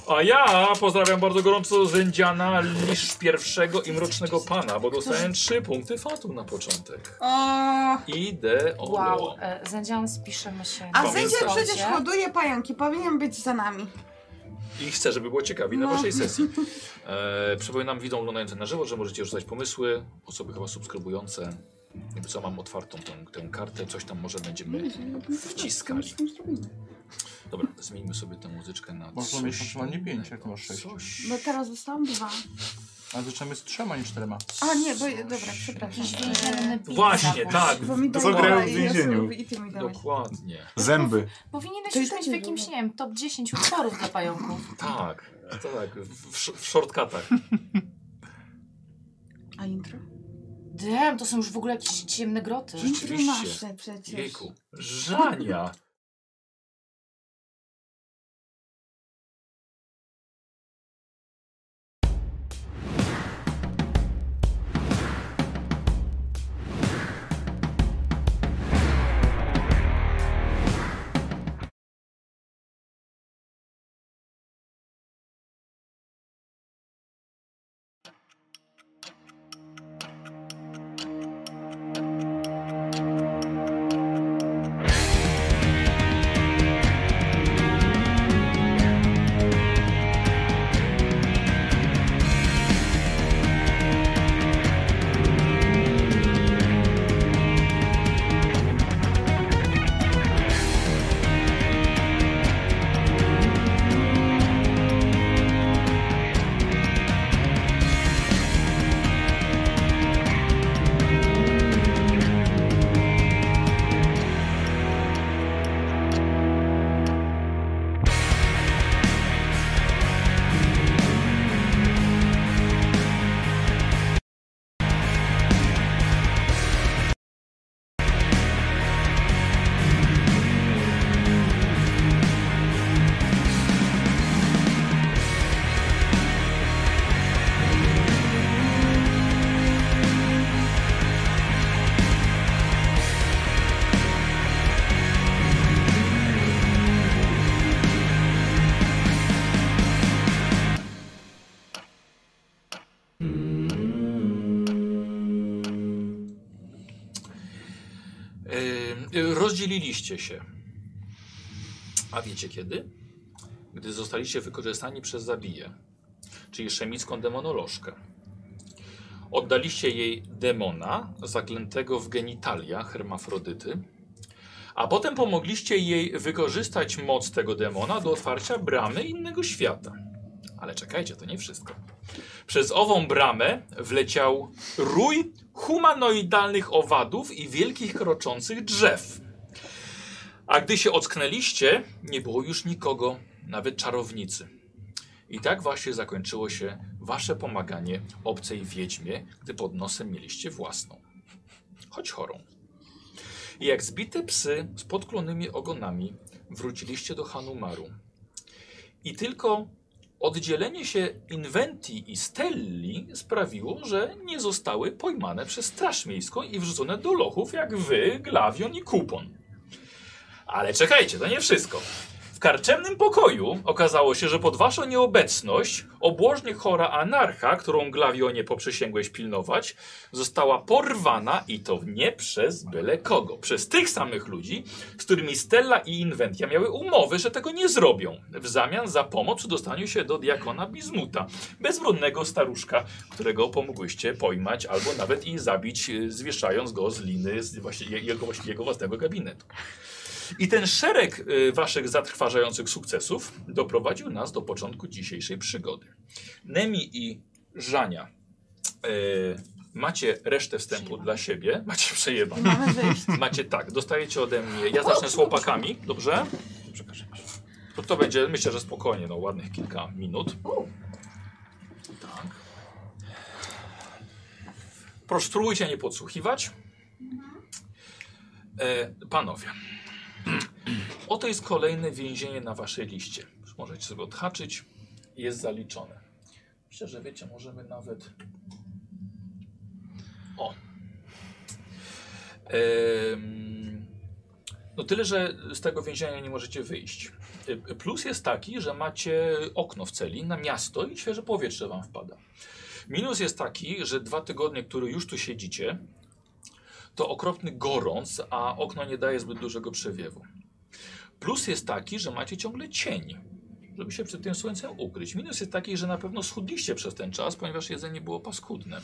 Speaker 1: A ja pozdrawiam bardzo gorąco Zędziana, Lisz pierwszego i Mrocznego Pana, bo dostałem 3 punkty fatu na początek.
Speaker 5: O,
Speaker 1: Ideolo.
Speaker 3: Wow, e, zędzian spiszemy się.
Speaker 5: a
Speaker 3: na
Speaker 5: sędzia
Speaker 3: koncie.
Speaker 5: przecież hoduje pająki, powinien być za nami.
Speaker 1: I chcę, żeby było ciekawiej na
Speaker 5: No.
Speaker 1: waszej sesji. E, przypominam widzom oglądającym na żywo, że możecie rzucać pomysły. Osoby chyba subskrybujące. Jakby co, mam otwartą tę, tę kartę. Coś tam może będziemy wciskali. Dobra, zmieńmy sobie tę muzyczkę na
Speaker 2: Można
Speaker 1: coś
Speaker 2: mieć maksymalnie pięć, jak
Speaker 1: innego.
Speaker 5: No
Speaker 2: masz sześć.
Speaker 1: Coś...
Speaker 5: Bo teraz dostałam dwa.
Speaker 2: A zaczynamy z trzema niż czterema.
Speaker 5: A nie, bo dobra, przepraszam. E,
Speaker 3: Jakiś więzienny pizza
Speaker 1: Właśnie,
Speaker 3: puść.
Speaker 1: tak.
Speaker 5: Bo mi
Speaker 4: Co
Speaker 5: dała
Speaker 4: grają w
Speaker 5: i
Speaker 4: więzieniu?
Speaker 5: ja sobie- I ty mi dałeś.
Speaker 1: Dokładnie.
Speaker 4: Zęby.
Speaker 3: Powinieneś
Speaker 5: To i
Speaker 3: już
Speaker 5: tak
Speaker 3: mieć w
Speaker 5: nie
Speaker 3: jakimś,
Speaker 5: było.
Speaker 3: nie wiem, top 10 utworów dla pająków.
Speaker 1: Tak, tak. W, w, sz- w shortcutach.
Speaker 5: A intro?
Speaker 3: Dem, to są już w ogóle jakieś ciemne groty.
Speaker 5: Intro
Speaker 1: Rzeczywiście.
Speaker 5: masz te przecież.
Speaker 1: Jejku. Żania. Yy, rozdzieliliście się. A wiecie kiedy? Gdy zostaliście wykorzystani przez zabiję, czyli szemicką demonolożkę. Oddaliście jej demona zaklętego w genitalia hermafrodyty, a potem pomogliście jej wykorzystać moc tego demona do otwarcia bramy innego świata. Ale czekajcie, to nie wszystko. Przez ową bramę wleciał rój humanoidalnych owadów i wielkich kroczących drzew. A gdy się ocknęliście, nie było już nikogo, nawet czarownicy. I tak właśnie zakończyło się wasze pomaganie obcej wiedźmie, gdy pod nosem mieliście własną. Choć chorą. I jak zbite psy z podklonymi ogonami wróciliście do Hanumaru. I tylko Oddzielenie się Inventi i Stelli sprawiło, że nie zostały pojmane przez Straż Miejską i wrzucone do lochów jak wy, Glawion i Kupon. Ale czekajcie, to nie wszystko. W karczemnym pokoju okazało się, że pod waszą nieobecność obłożnie chora anarcha, którą Glawionie poprzysięgłeś pilnować, została porwana i to nie przez byle kogo. Przez tych samych ludzi, z którymi Stella i Inventia miały umowy, że tego nie zrobią. W zamian za pomoc w dostaniu się do diakona Bizmuta, bezbronnego staruszka, którego pomogłyście pojmać albo nawet i zabić, y, zwieszając go z liny z właśnie, je- jego, właśnie jego własnego gabinetu. I ten szereg y, waszych zatrważających sukcesów doprowadził nas do początku dzisiejszej przygody. Nemi i Żania, y, macie resztę wstępu dla siebie, macie przejebane.
Speaker 5: Mamy wyjść.
Speaker 1: Macie tak, dostajecie ode mnie. Ja zacznę z chłopakami, dobrze? To, to będzie, myślę, że spokojnie, no ładnych kilka minut. Tak. Proszę, spróbujcie nie podsłuchiwać. E, panowie, oto jest kolejne więzienie na waszej liście. Już Możecie sobie odhaczyć. Jest zaliczone. Myślę, że wiecie, możemy nawet... O, Em, No tyle, że z tego więzienia nie możecie wyjść. Y, Plus jest taki, że macie okno w celi na miasto i świeże powietrze wam wpada. Minus jest taki, że dwa tygodnie, które już tu siedzicie, to okropny gorąc, a okno nie daje zbyt dużego przewiewu. Plus jest taki, że macie ciągle cień, żeby się przed tym słońcem ukryć. Minus jest taki, że na pewno schudliście przez ten czas, ponieważ jedzenie było paskudne.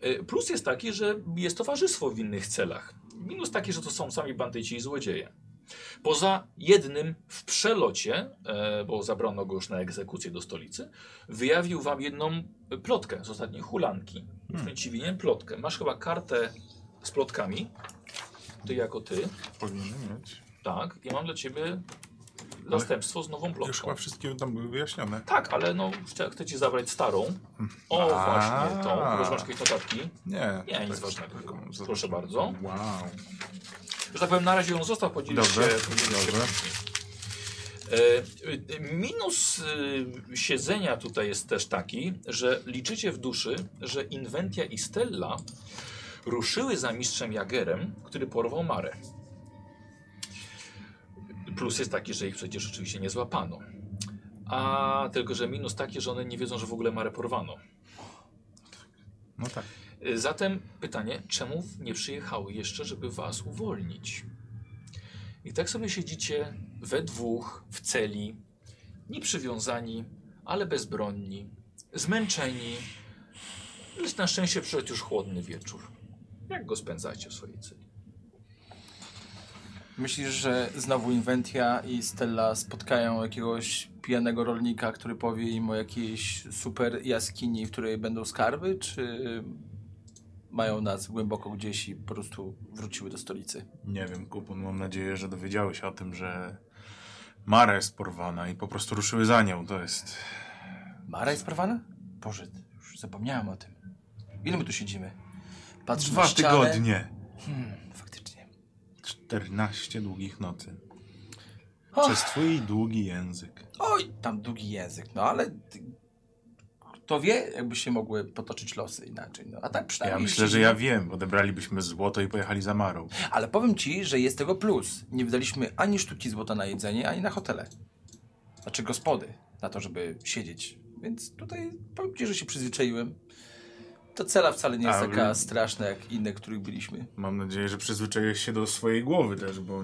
Speaker 1: E, Plus jest taki, że jest towarzystwo w innych celach. Minus taki, że to są sami bandyci i złodzieje. Poza jednym w przelocie, e, bo zabrano go już na egzekucję do stolicy, wyjawił wam jedną plotkę z ostatniej hulanki.
Speaker 4: Hmm.
Speaker 1: Jestem ci winien plotkę. Masz chyba kartę z plotkami. Ty jako ty.
Speaker 4: Powinien mieć.
Speaker 1: Tak. I mam dla ciebie zastępstwo z nową
Speaker 4: Już
Speaker 1: plotką.
Speaker 4: chyba wszystkie tam były wyjaśnione.
Speaker 1: Tak, ale no chcę, chcę ci zabrać starą. O,
Speaker 4: Hmm. A.
Speaker 1: właśnie tą. Proszę, masz jakieś notatki.
Speaker 4: Nie.
Speaker 1: Nie, nic
Speaker 4: tak,
Speaker 1: ważnego.
Speaker 4: taką-
Speaker 1: Proszę bardzo.
Speaker 4: Wow.
Speaker 1: Że tak powiem, na razie ją zostaw, podzielić się.
Speaker 4: Dobrze,
Speaker 1: podzielić się
Speaker 4: dobrze.
Speaker 1: później. E, e, Minus e, siedzenia tutaj jest też taki, że liczycie w duszy, że Inventia i Stella ruszyły za mistrzem Jagerem, który porwał Marę. Plus jest taki, że ich przecież oczywiście nie złapano. A tylko, że minus taki, że one nie wiedzą, że w ogóle Marę porwano.
Speaker 4: No tak.
Speaker 1: Y, Zatem pytanie, czemu nie przyjechały jeszcze, żeby was uwolnić? I tak sobie siedzicie we dwóch w celi, nieprzywiązani, ale bezbronni, zmęczeni. Lecz na szczęście przyszedł już chłodny wieczór. Jak go spędzacie w swojej celi?
Speaker 2: Myślisz, że znowu Inventia i Stella spotkają jakiegoś pijanego rolnika, który powie im o jakiejś super jaskini, w której będą skarby, czy mają nas głęboko gdzieś i po prostu wróciły do stolicy?
Speaker 4: Nie wiem, kupon, mam nadzieję, że dowiedziały się o tym, że Mara jest porwana i po prostu ruszyły za nią. To jest...
Speaker 2: Mara jest porwana? Boże, już zapomniałem o tym. Ile my tu siedzimy? Patrz
Speaker 4: Dwa
Speaker 2: na ścianę.
Speaker 4: tygodnie.
Speaker 2: Hmm, faktycznie.
Speaker 4: 14 długich nocy.
Speaker 2: Och.
Speaker 4: Przez twój długi język.
Speaker 2: Oj, tam długi język, no ale... ty- Kto wie, jakby się mogły potoczyć losy inaczej. No, a tak
Speaker 4: Ja
Speaker 2: przynajmniej...
Speaker 4: myślę, że
Speaker 2: siedzimy.
Speaker 4: ja wiem. Odebralibyśmy złoto i pojechali za Marą.
Speaker 2: Ale powiem ci, że jest tego plus. Nie wydaliśmy ani sztuki złota na jedzenie, ani na hotele. Znaczy gospody, na to, żeby siedzieć. Więc tutaj powiem ci, że się przyzwyczaiłem. Ta cela wcale nie jest
Speaker 4: A,
Speaker 2: taka
Speaker 4: mm.
Speaker 2: straszna, jak inne, których byliśmy.
Speaker 4: Mam nadzieję, że przyzwyczaiłeś się do swojej głowy też, bo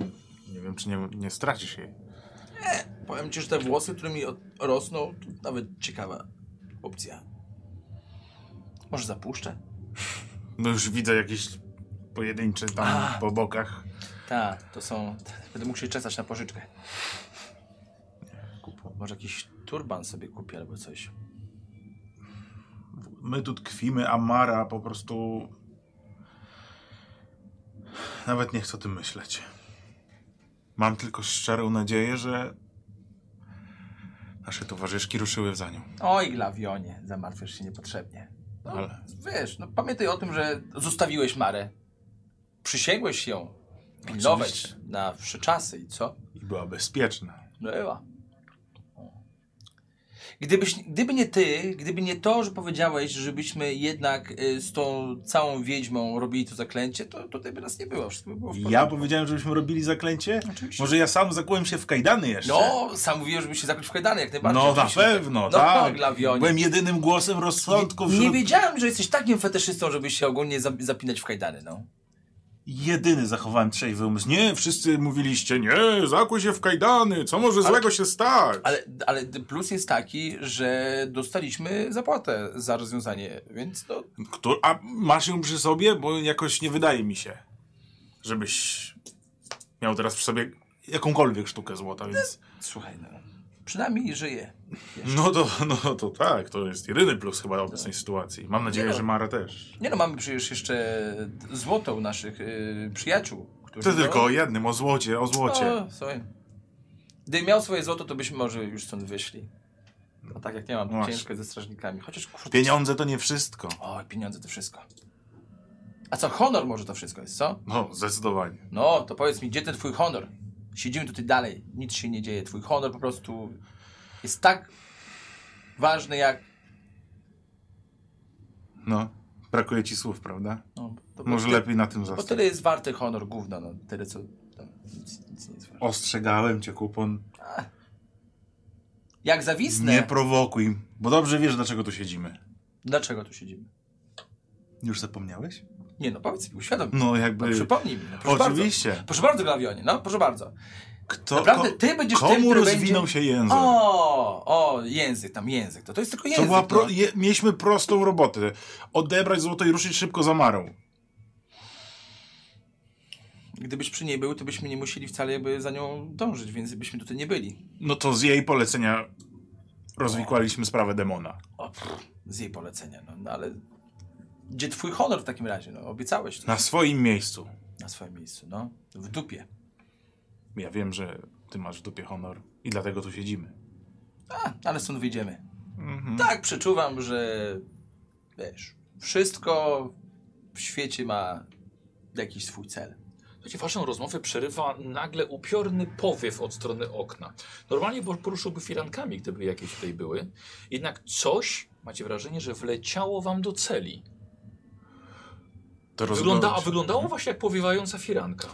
Speaker 4: nie wiem, czy nie, nie stracisz jej.
Speaker 2: Powiem ci, że te włosy, które mi od- rosną, to nawet ciekawa opcja. Może zapuszczę?
Speaker 4: No już widzę jakieś pojedyncze tam
Speaker 2: A.
Speaker 4: po bokach.
Speaker 2: Tak, to są... Będę mógł się czesać na pożyczkę. Może jakiś turban sobie kupię albo coś.
Speaker 4: My tu tkwimy, a Mara po prostu... Nawet nie chcę o tym myśleć. Mam tylko szczerą nadzieję, że nasze towarzyszki ruszyły za nią.
Speaker 2: Oj, Glawionie, zamartwiasz się niepotrzebnie. No,
Speaker 4: Ale-
Speaker 2: Wiesz, no pamiętaj o tym, że zostawiłeś Marę. Przysięgłeś ją pilnować
Speaker 4: Oczywiście.
Speaker 2: na wsze czasy i co? No,
Speaker 4: I była bezpieczna.
Speaker 2: Była. Gdybyś, gdyby nie ty, gdyby nie to, że powiedziałeś, żebyśmy jednak y, z tą całą wiedźmą robili to zaklęcie, to tutaj by nas nie było. Wszystko by było w
Speaker 4: Ja
Speaker 2: porządku.
Speaker 4: powiedziałem, żebyśmy robili zaklęcie?
Speaker 2: Oczywiście.
Speaker 4: Może ja sam zakułem się w kajdany jeszcze?
Speaker 2: No, sam mówiłem, żeby się zakuć w kajdany, jak najbardziej.
Speaker 4: No na
Speaker 2: Oczywiście, że tak.
Speaker 4: pewno,
Speaker 2: no,
Speaker 4: tak.
Speaker 2: Glawionie.
Speaker 4: Byłem jedynym głosem rozsądku
Speaker 2: nie, nie
Speaker 4: wśród...
Speaker 2: wiedziałem, że jesteś takim fetyszystą, żeby się ogólnie za- zapinać w kajdany, no.
Speaker 4: Jedyny zachowałem trzeźwy umysł. Nie, wszyscy mówiliście, nie, zakuj się w kajdany, co może złego się stać?
Speaker 2: Ale, ale plus jest taki, że dostaliśmy zapłatę za rozwiązanie, więc no, to
Speaker 4: Któr- a masz ją przy sobie? Bo jakoś nie wydaje mi się, żebyś miał teraz przy sobie jakąkolwiek sztukę złota, więc...
Speaker 2: słuchaj, no, przynajmniej żyje.
Speaker 4: No to, no to tak, to jest jedyny plus chyba obecnej sytuacji. Mam nadzieję,
Speaker 2: Nie.
Speaker 4: że Mara też.
Speaker 2: Nie no, mamy przecież jeszcze złoto u naszych y, przyjaciół. Którzy
Speaker 4: To tylko o jednym, o złocie, o złocie.
Speaker 2: O, słuchaj. Gdybym miał swoje złoto, to byśmy może już stąd wyszli. A tak jak nie mam, to
Speaker 4: Właśnie.
Speaker 2: ciężko jest ze strażnikami. Chociaż kurde...
Speaker 4: Pieniądze to nie wszystko.
Speaker 2: O, pieniądze to wszystko. A co, honor może to wszystko jest, co?
Speaker 4: No, zdecydowanie.
Speaker 2: No, to powiedz mi, gdzie ten twój honor? Siedzimy tutaj dalej, nic się nie dzieje. Twój honor po prostu jest tak ważny jak...
Speaker 4: No, brakuje ci słów, prawda?
Speaker 2: No, to
Speaker 4: Może
Speaker 2: bo,
Speaker 4: lepiej na tym
Speaker 2: Bo
Speaker 4: zastanowić.
Speaker 2: tyle jest warty honor gówno, no. Tyle co... No, nic, nic nie jest warte.
Speaker 4: Ostrzegałem cię, kupon.
Speaker 2: Jak zawisnę...
Speaker 4: Nie prowokuj, bo dobrze wiesz, dlaczego tu siedzimy.
Speaker 2: Dlaczego tu siedzimy?
Speaker 4: Już zapomniałeś?
Speaker 2: Nie no, powiedz mi, uświadom. No,
Speaker 4: No, jakby.
Speaker 2: przypomnij mi. No, proszę
Speaker 4: Oczywiście.
Speaker 2: Bardzo. Proszę bardzo, Glawionie, no, proszę bardzo.
Speaker 4: Kto,
Speaker 2: Naprawdę,
Speaker 4: ko-
Speaker 2: ty będziesz tym,
Speaker 4: komu
Speaker 2: który
Speaker 4: rozwinął
Speaker 2: będzie...
Speaker 4: się język?
Speaker 2: O, o, język, tam język. To, to jest tylko język.
Speaker 4: to była
Speaker 2: no.
Speaker 4: pro... je... Mieliśmy prostą robotę. Odebrać złoto i ruszyć szybko za Marą.
Speaker 2: Gdybyś przy niej był, to byśmy nie musieli wcale jakby za nią dążyć, więc byśmy tutaj nie byli.
Speaker 4: No to z jej polecenia rozwikłaliśmy sprawę demona.
Speaker 2: O, pff, z jej polecenia, no, no ale... Gdzie twój honor w takim razie? No, obiecałeś to
Speaker 4: Na swoim miejscu.
Speaker 2: na swoim miejscu, no. W dupie.
Speaker 4: Ja wiem, że ty masz w dupie honor i dlatego tu siedzimy.
Speaker 2: A, ale stąd wyjdziemy.
Speaker 4: Mhm.
Speaker 2: Tak, przeczuwam, że wiesz, wszystko w świecie ma jakiś swój cel.
Speaker 1: Słuchajcie, waszą rozmowę przerywa nagle upiorny powiew od strony okna. Normalnie por- poruszyłby firankami, gdyby jakieś tutaj były. Jednak coś, macie wrażenie, że wleciało wam do celi.
Speaker 4: To
Speaker 1: Wygląda, a
Speaker 4: rozglądać.
Speaker 1: wyglądało właśnie jak powiewająca firanka.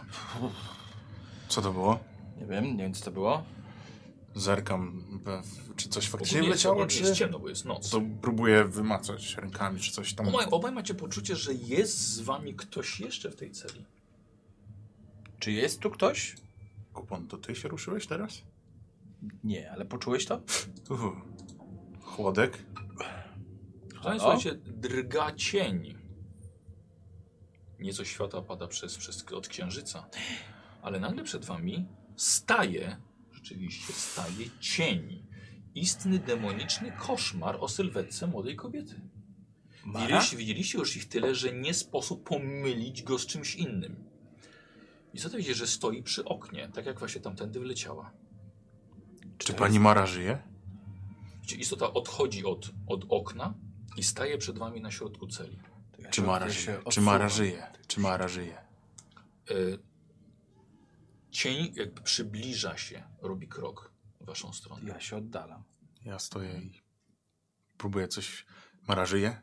Speaker 4: Co to było?
Speaker 2: Nie wiem, nie wiem co to było.
Speaker 4: Zerkam, w- czy coś
Speaker 1: Bo
Speaker 4: faktycznie
Speaker 1: nie jest,
Speaker 4: wleciało,
Speaker 1: ogólnie jest
Speaker 4: czy...
Speaker 1: ciemno, bo jest noc.
Speaker 4: To próbuję wymacać rękami, czy coś tam.
Speaker 1: Obaj, obaj macie poczucie, że jest z wami ktoś jeszcze w tej celi.
Speaker 2: Czy jest tu ktoś?
Speaker 4: Kupon, to ty się ruszyłeś teraz?
Speaker 2: Nie, ale poczułeś to?
Speaker 4: Uhu. Chłodek?
Speaker 1: Tutaj, słuchajcie, drga cień. Nieco światła pada przez, przez, od księżyca. Ale nagle przed wami staje, rzeczywiście staje cień. Istny demoniczny koszmar o sylwetce młodej kobiety.
Speaker 2: Mara?
Speaker 1: Widzieliście, widzieliście już ich tyle, że nie sposób pomylić go z czymś innym. I co to widzicie, że stoi przy oknie, tak jak właśnie tamtędy wyleciała. E,
Speaker 4: Czy pani Mara żyje?
Speaker 1: Widzicie, Istota odchodzi od, od okna i staje przed wami na środku celi.
Speaker 2: To ja
Speaker 4: Czy
Speaker 2: się-
Speaker 4: Mara
Speaker 2: ja
Speaker 4: żyje?
Speaker 2: się
Speaker 4: Czy Mara
Speaker 2: odsuwam.
Speaker 4: żyje? Czy Mara żyje?
Speaker 1: Y, Cień jakby przybliża się, robi krok w waszą stronę.
Speaker 2: Ja się oddalam.
Speaker 4: Ja stoję i próbuję coś. Mara żyje?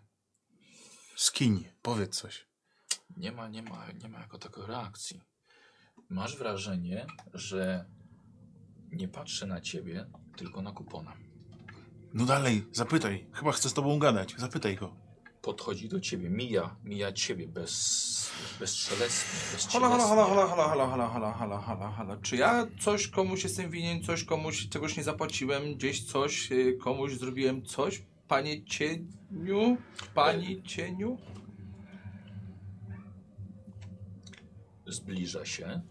Speaker 4: Skiń, powiedz coś.
Speaker 1: Nie ma, nie ma, nie ma jako takiej reakcji. Masz wrażenie, że nie patrzy na ciebie, tylko na kupona.
Speaker 4: No dalej, zapytaj. Chyba chcę z tobą gadać. Zapytaj go.
Speaker 1: Podchodzi do ciebie, mija, mija ciebie bez, bezszelestnie, bezcielesnie.
Speaker 2: Hola, hola, hola, hola, hola, hola, hola, hola, hola, hola, hola. Czy ja coś komuś jestem winien, coś komuś, czegoś nie zapłaciłem, gdzieś coś, y, komuś zrobiłem coś? Panie cieniu? Pani cieniu?
Speaker 1: Zbliża się.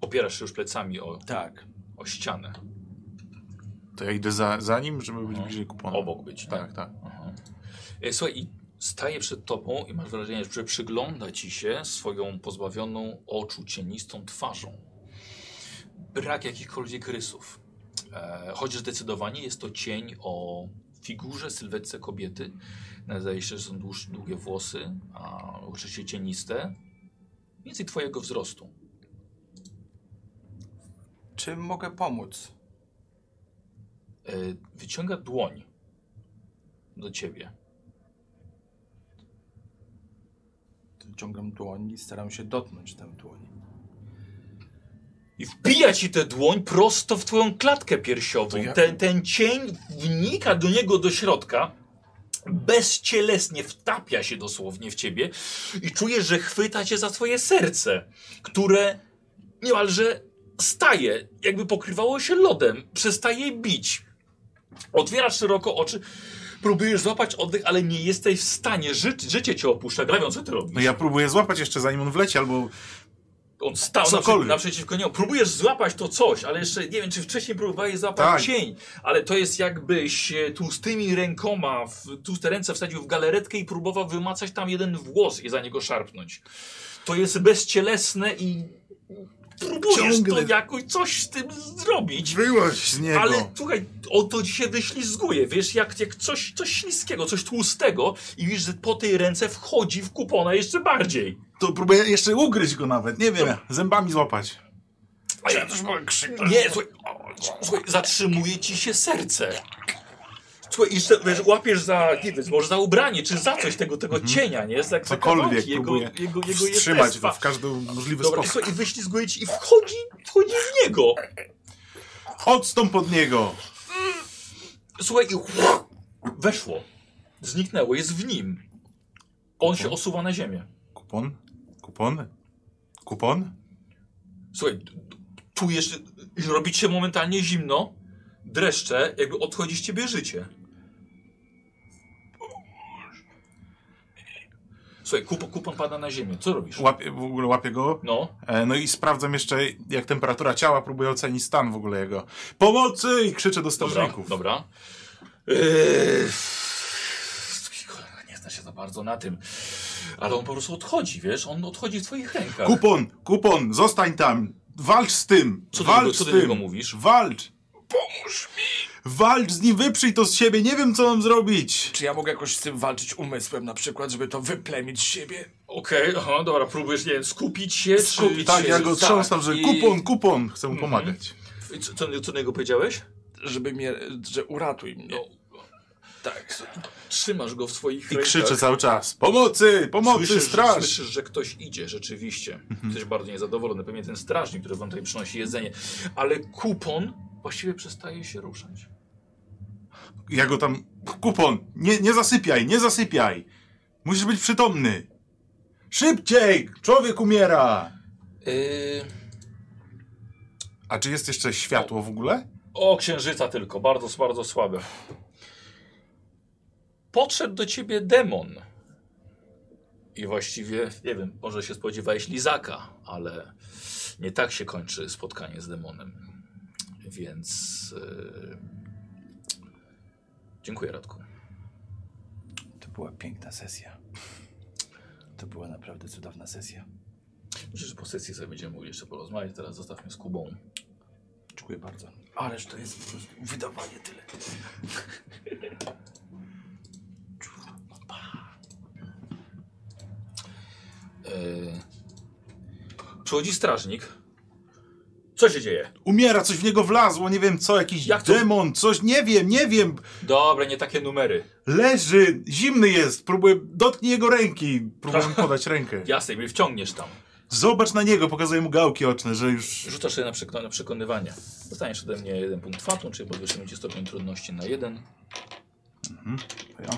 Speaker 1: Opierasz się już plecami o,
Speaker 2: Tak.
Speaker 1: o ścianę.
Speaker 4: To ja idę za, za nim, żeby być
Speaker 1: Mhm.
Speaker 4: bliżej kupona.
Speaker 1: Obok być, nie?
Speaker 4: Tak, tak.
Speaker 1: Aha. E, Słuchaj, i staje przed tobą i masz wrażenie, że przygląda ci się swoją pozbawioną oczu cienistą twarzą. Brak jakichkolwiek rysów. E, choć zdecydowanie jest to cień o figurze, sylwetce kobiety. Zdaje się, że są dłuż, długie włosy, a oczywiście cieniste. Więcej twojego wzrostu.
Speaker 2: Czy mogę pomóc?
Speaker 1: E, wyciąga dłoń do ciebie.
Speaker 2: Ciągam dłoń i staram się dotknąć tę dłoń.
Speaker 1: I wbija ci tę dłoń prosto w twoją klatkę
Speaker 4: To
Speaker 1: piersiową.
Speaker 4: ja-
Speaker 1: Ten, ten cień wnika do niego do środka. Bezcielesnie wtapia się dosłownie w ciebie i czujesz, że chwyta cię za twoje serce, które niemalże staje, jakby pokrywało się lodem, przestaje bić. Otwierasz szeroko oczy, próbujesz złapać oddech, ale nie jesteś w stanie. Ży życie cię opuszcza. Grabią, co ty robisz?
Speaker 4: No ja próbuję złapać jeszcze zanim on wleci, albo
Speaker 1: On stał
Speaker 4: Cokolwiek.
Speaker 1: naprzeciw, naprzeciwko niemu. Próbujesz złapać to coś, ale jeszcze nie wiem, czy wcześniej próbowałeś złapać
Speaker 4: Tak.
Speaker 1: cień, ale to jest jakbyś e, tłustymi rękoma, w, tłuste ręce wsadził w galaretkę i próbował wymacać tam jeden włos i za niego szarpnąć. To jest bezcielesne i próbujesz
Speaker 4: Ciągle.
Speaker 1: to jakoś coś z tym zrobić.
Speaker 4: wyłaź z niego.
Speaker 1: Ale słuchaj, o to ci się wyślizguje, wiesz, jak, jak coś, coś śliskiego, coś tłustego i widzisz, że po tej ręce wchodzi w kupona jeszcze bardziej.
Speaker 4: To próbuję jeszcze ugryźć go nawet, nie wiem. No, Zębami złapać.
Speaker 1: Tak, A ja też mogę krzyknąć. Nie, słuchaj, o, słuchaj, zatrzymuje ci się serce. Słuchaj, i se- wiesz, łapiesz za, nie wiem, może za ubranie, czy za coś tego, tego cienia, nie? Za, za
Speaker 4: Mhm. Cokolwiek
Speaker 1: kawałki
Speaker 4: próbuję
Speaker 1: tak, jego, jego
Speaker 4: wstrzymać
Speaker 1: jestestwa.
Speaker 4: go w każdy możliwy
Speaker 1: Dobra, i,
Speaker 4: sposób.
Speaker 1: słuchaj, i wyślizguje ci i wchodzi, wchodzi w niego.
Speaker 4: Odstąp od niego!
Speaker 1: Słuchaj, i chłop, weszło. Zniknęło, jest w nim. On
Speaker 4: Mhm.
Speaker 1: się osuwa na ziemię.
Speaker 4: Kupon? Kupon? Kupon?
Speaker 1: Słuchaj, d- d- czujesz, że robi ci się momentalnie zimno, dreszcze, jakby odchodzi z ciebie życie. Słuchaj, kupon, kupon pada na ziemię. Co robisz?
Speaker 4: Łapię, w ogóle łapię go.
Speaker 1: No,
Speaker 4: E, No i sprawdzam jeszcze, jak temperatura ciała, próbuję ocenić stan w ogóle jego. Pomocy! I krzyczę do
Speaker 1: dobra,
Speaker 4: strażników.
Speaker 1: dobra. Eee, cholera, nie zna się za bardzo na tym. Ale on po prostu odchodzi, wiesz? On odchodzi w twoich rękach.
Speaker 4: Kupon, kupon, zostań tam! Walcz z tym!
Speaker 1: Co do
Speaker 4: walcz
Speaker 1: niego- co
Speaker 4: z
Speaker 1: do
Speaker 4: tym!
Speaker 1: niego mówisz?
Speaker 4: Walcz! Pomóż mi! Walcz z nim, wyprzyj to z siebie, nie wiem co mam zrobić!
Speaker 2: Czy ja mogę jakoś z tym walczyć umysłem na przykład, żeby to wyplemić z siebie?
Speaker 1: Okej, aha, dobra, próbujesz, nie wiem, skupić się, czy-
Speaker 2: Skupić
Speaker 4: Tak,
Speaker 2: się,
Speaker 4: ja go
Speaker 2: tak,
Speaker 4: trząsam, że
Speaker 2: i-
Speaker 4: kupon, kupon, chcę mu pomagać.
Speaker 1: Mhm. Co, co, co do niego powiedziałeś?
Speaker 2: Żeby mnie, że uratuj mnie.
Speaker 1: No.
Speaker 2: Tak.
Speaker 1: Trzymasz go w swoich
Speaker 4: I
Speaker 1: rękach.
Speaker 4: krzyczę cały czas, pomocy, pomocy,
Speaker 1: Słyszysz,
Speaker 4: straż! Mhm.
Speaker 1: Słyszysz, że ktoś idzie, rzeczywiście. Jesteś bardzo niezadowolony, pewnie ten strażnik, który wam tutaj przynosi jedzenie. Ale kupon właściwie przestaje się ruszać.
Speaker 4: Ja go tam, kupon, nie, nie zasypiaj, nie zasypiaj! Musisz być przytomny! Szybciej! Człowiek umiera!
Speaker 1: Yy,
Speaker 4: A czy jest jeszcze światło w ogóle?
Speaker 1: o, księżyca tylko, bardzo, bardzo słabe. Podszedł do ciebie demon. I właściwie, nie wiem, może się spodziewałeś lizaka, ale nie tak się kończy spotkanie z demonem. Więc... Yy... Dziękuję, Radku.
Speaker 2: To była piękna sesja. To była naprawdę cudowna sesja.
Speaker 1: Myślę, że po sesji sobie będziemy mogli jeszcze porozmawiać. Teraz zostawmy z Kubą.
Speaker 2: Dziękuję bardzo. Ależ to jest po prostu wydawanie tyle.
Speaker 1: Yy... Przychodzi strażnik. Co się dzieje?
Speaker 4: Umiera, coś w niego wlazło, nie wiem co, jakiś
Speaker 1: Jak to-
Speaker 4: demon, coś, nie wiem, nie wiem.
Speaker 1: Dobra, nie takie numery.
Speaker 4: Leży, zimny jest, próbuję, dotknij jego ręki, próbuję
Speaker 1: Tak.
Speaker 4: mu podać rękę.
Speaker 1: Jasne, mnie wciągniesz tam.
Speaker 4: Zobacz na niego, pokazuję mu gałki oczne, że już...
Speaker 1: Rzucasz sobie na, przekon- na przekonywanie. Dostaniesz ode mnie jeden punkt fatum, czyli podwyższymy ci stopień trudności na jeden.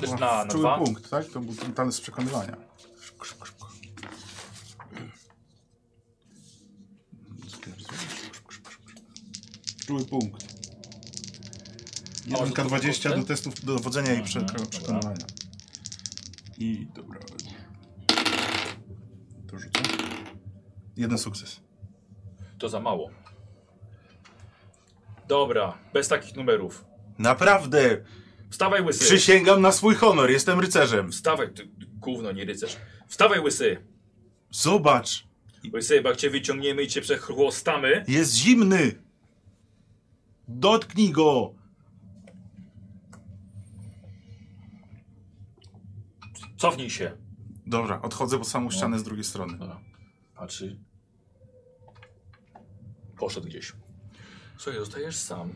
Speaker 1: Też na- na
Speaker 4: Czuły
Speaker 1: dwa?
Speaker 4: punkt, tak? To był ten talent z przekonywania. Czuły punkt.
Speaker 1: może to
Speaker 4: 1K20 do
Speaker 1: punkty?
Speaker 4: testów dowodzenia i
Speaker 1: Mhm,
Speaker 4: przek-
Speaker 1: dobra.
Speaker 4: przekonywania. I dobra. To rzucę. Jeden sukces.
Speaker 1: To za mało. Dobra, bez takich numerów.
Speaker 4: Naprawdę!
Speaker 1: Wstawaj łysy.
Speaker 4: Przysięgam na swój honor, jestem rycerzem.
Speaker 1: Wstawaj, ty gówno, nie rycerz. Wstawaj łysy.
Speaker 4: Zobacz!
Speaker 1: Łysy, bo jak cię wyciągniemy i cię przechrłostamy,
Speaker 4: Jest zimny! Dotknij go!
Speaker 1: cofnij się.
Speaker 4: Dobra, odchodzę pod samą ścianę z drugiej strony.
Speaker 1: Dobra. Patrzy. Poszedł gdzieś. Słuchaj, zostajesz sam.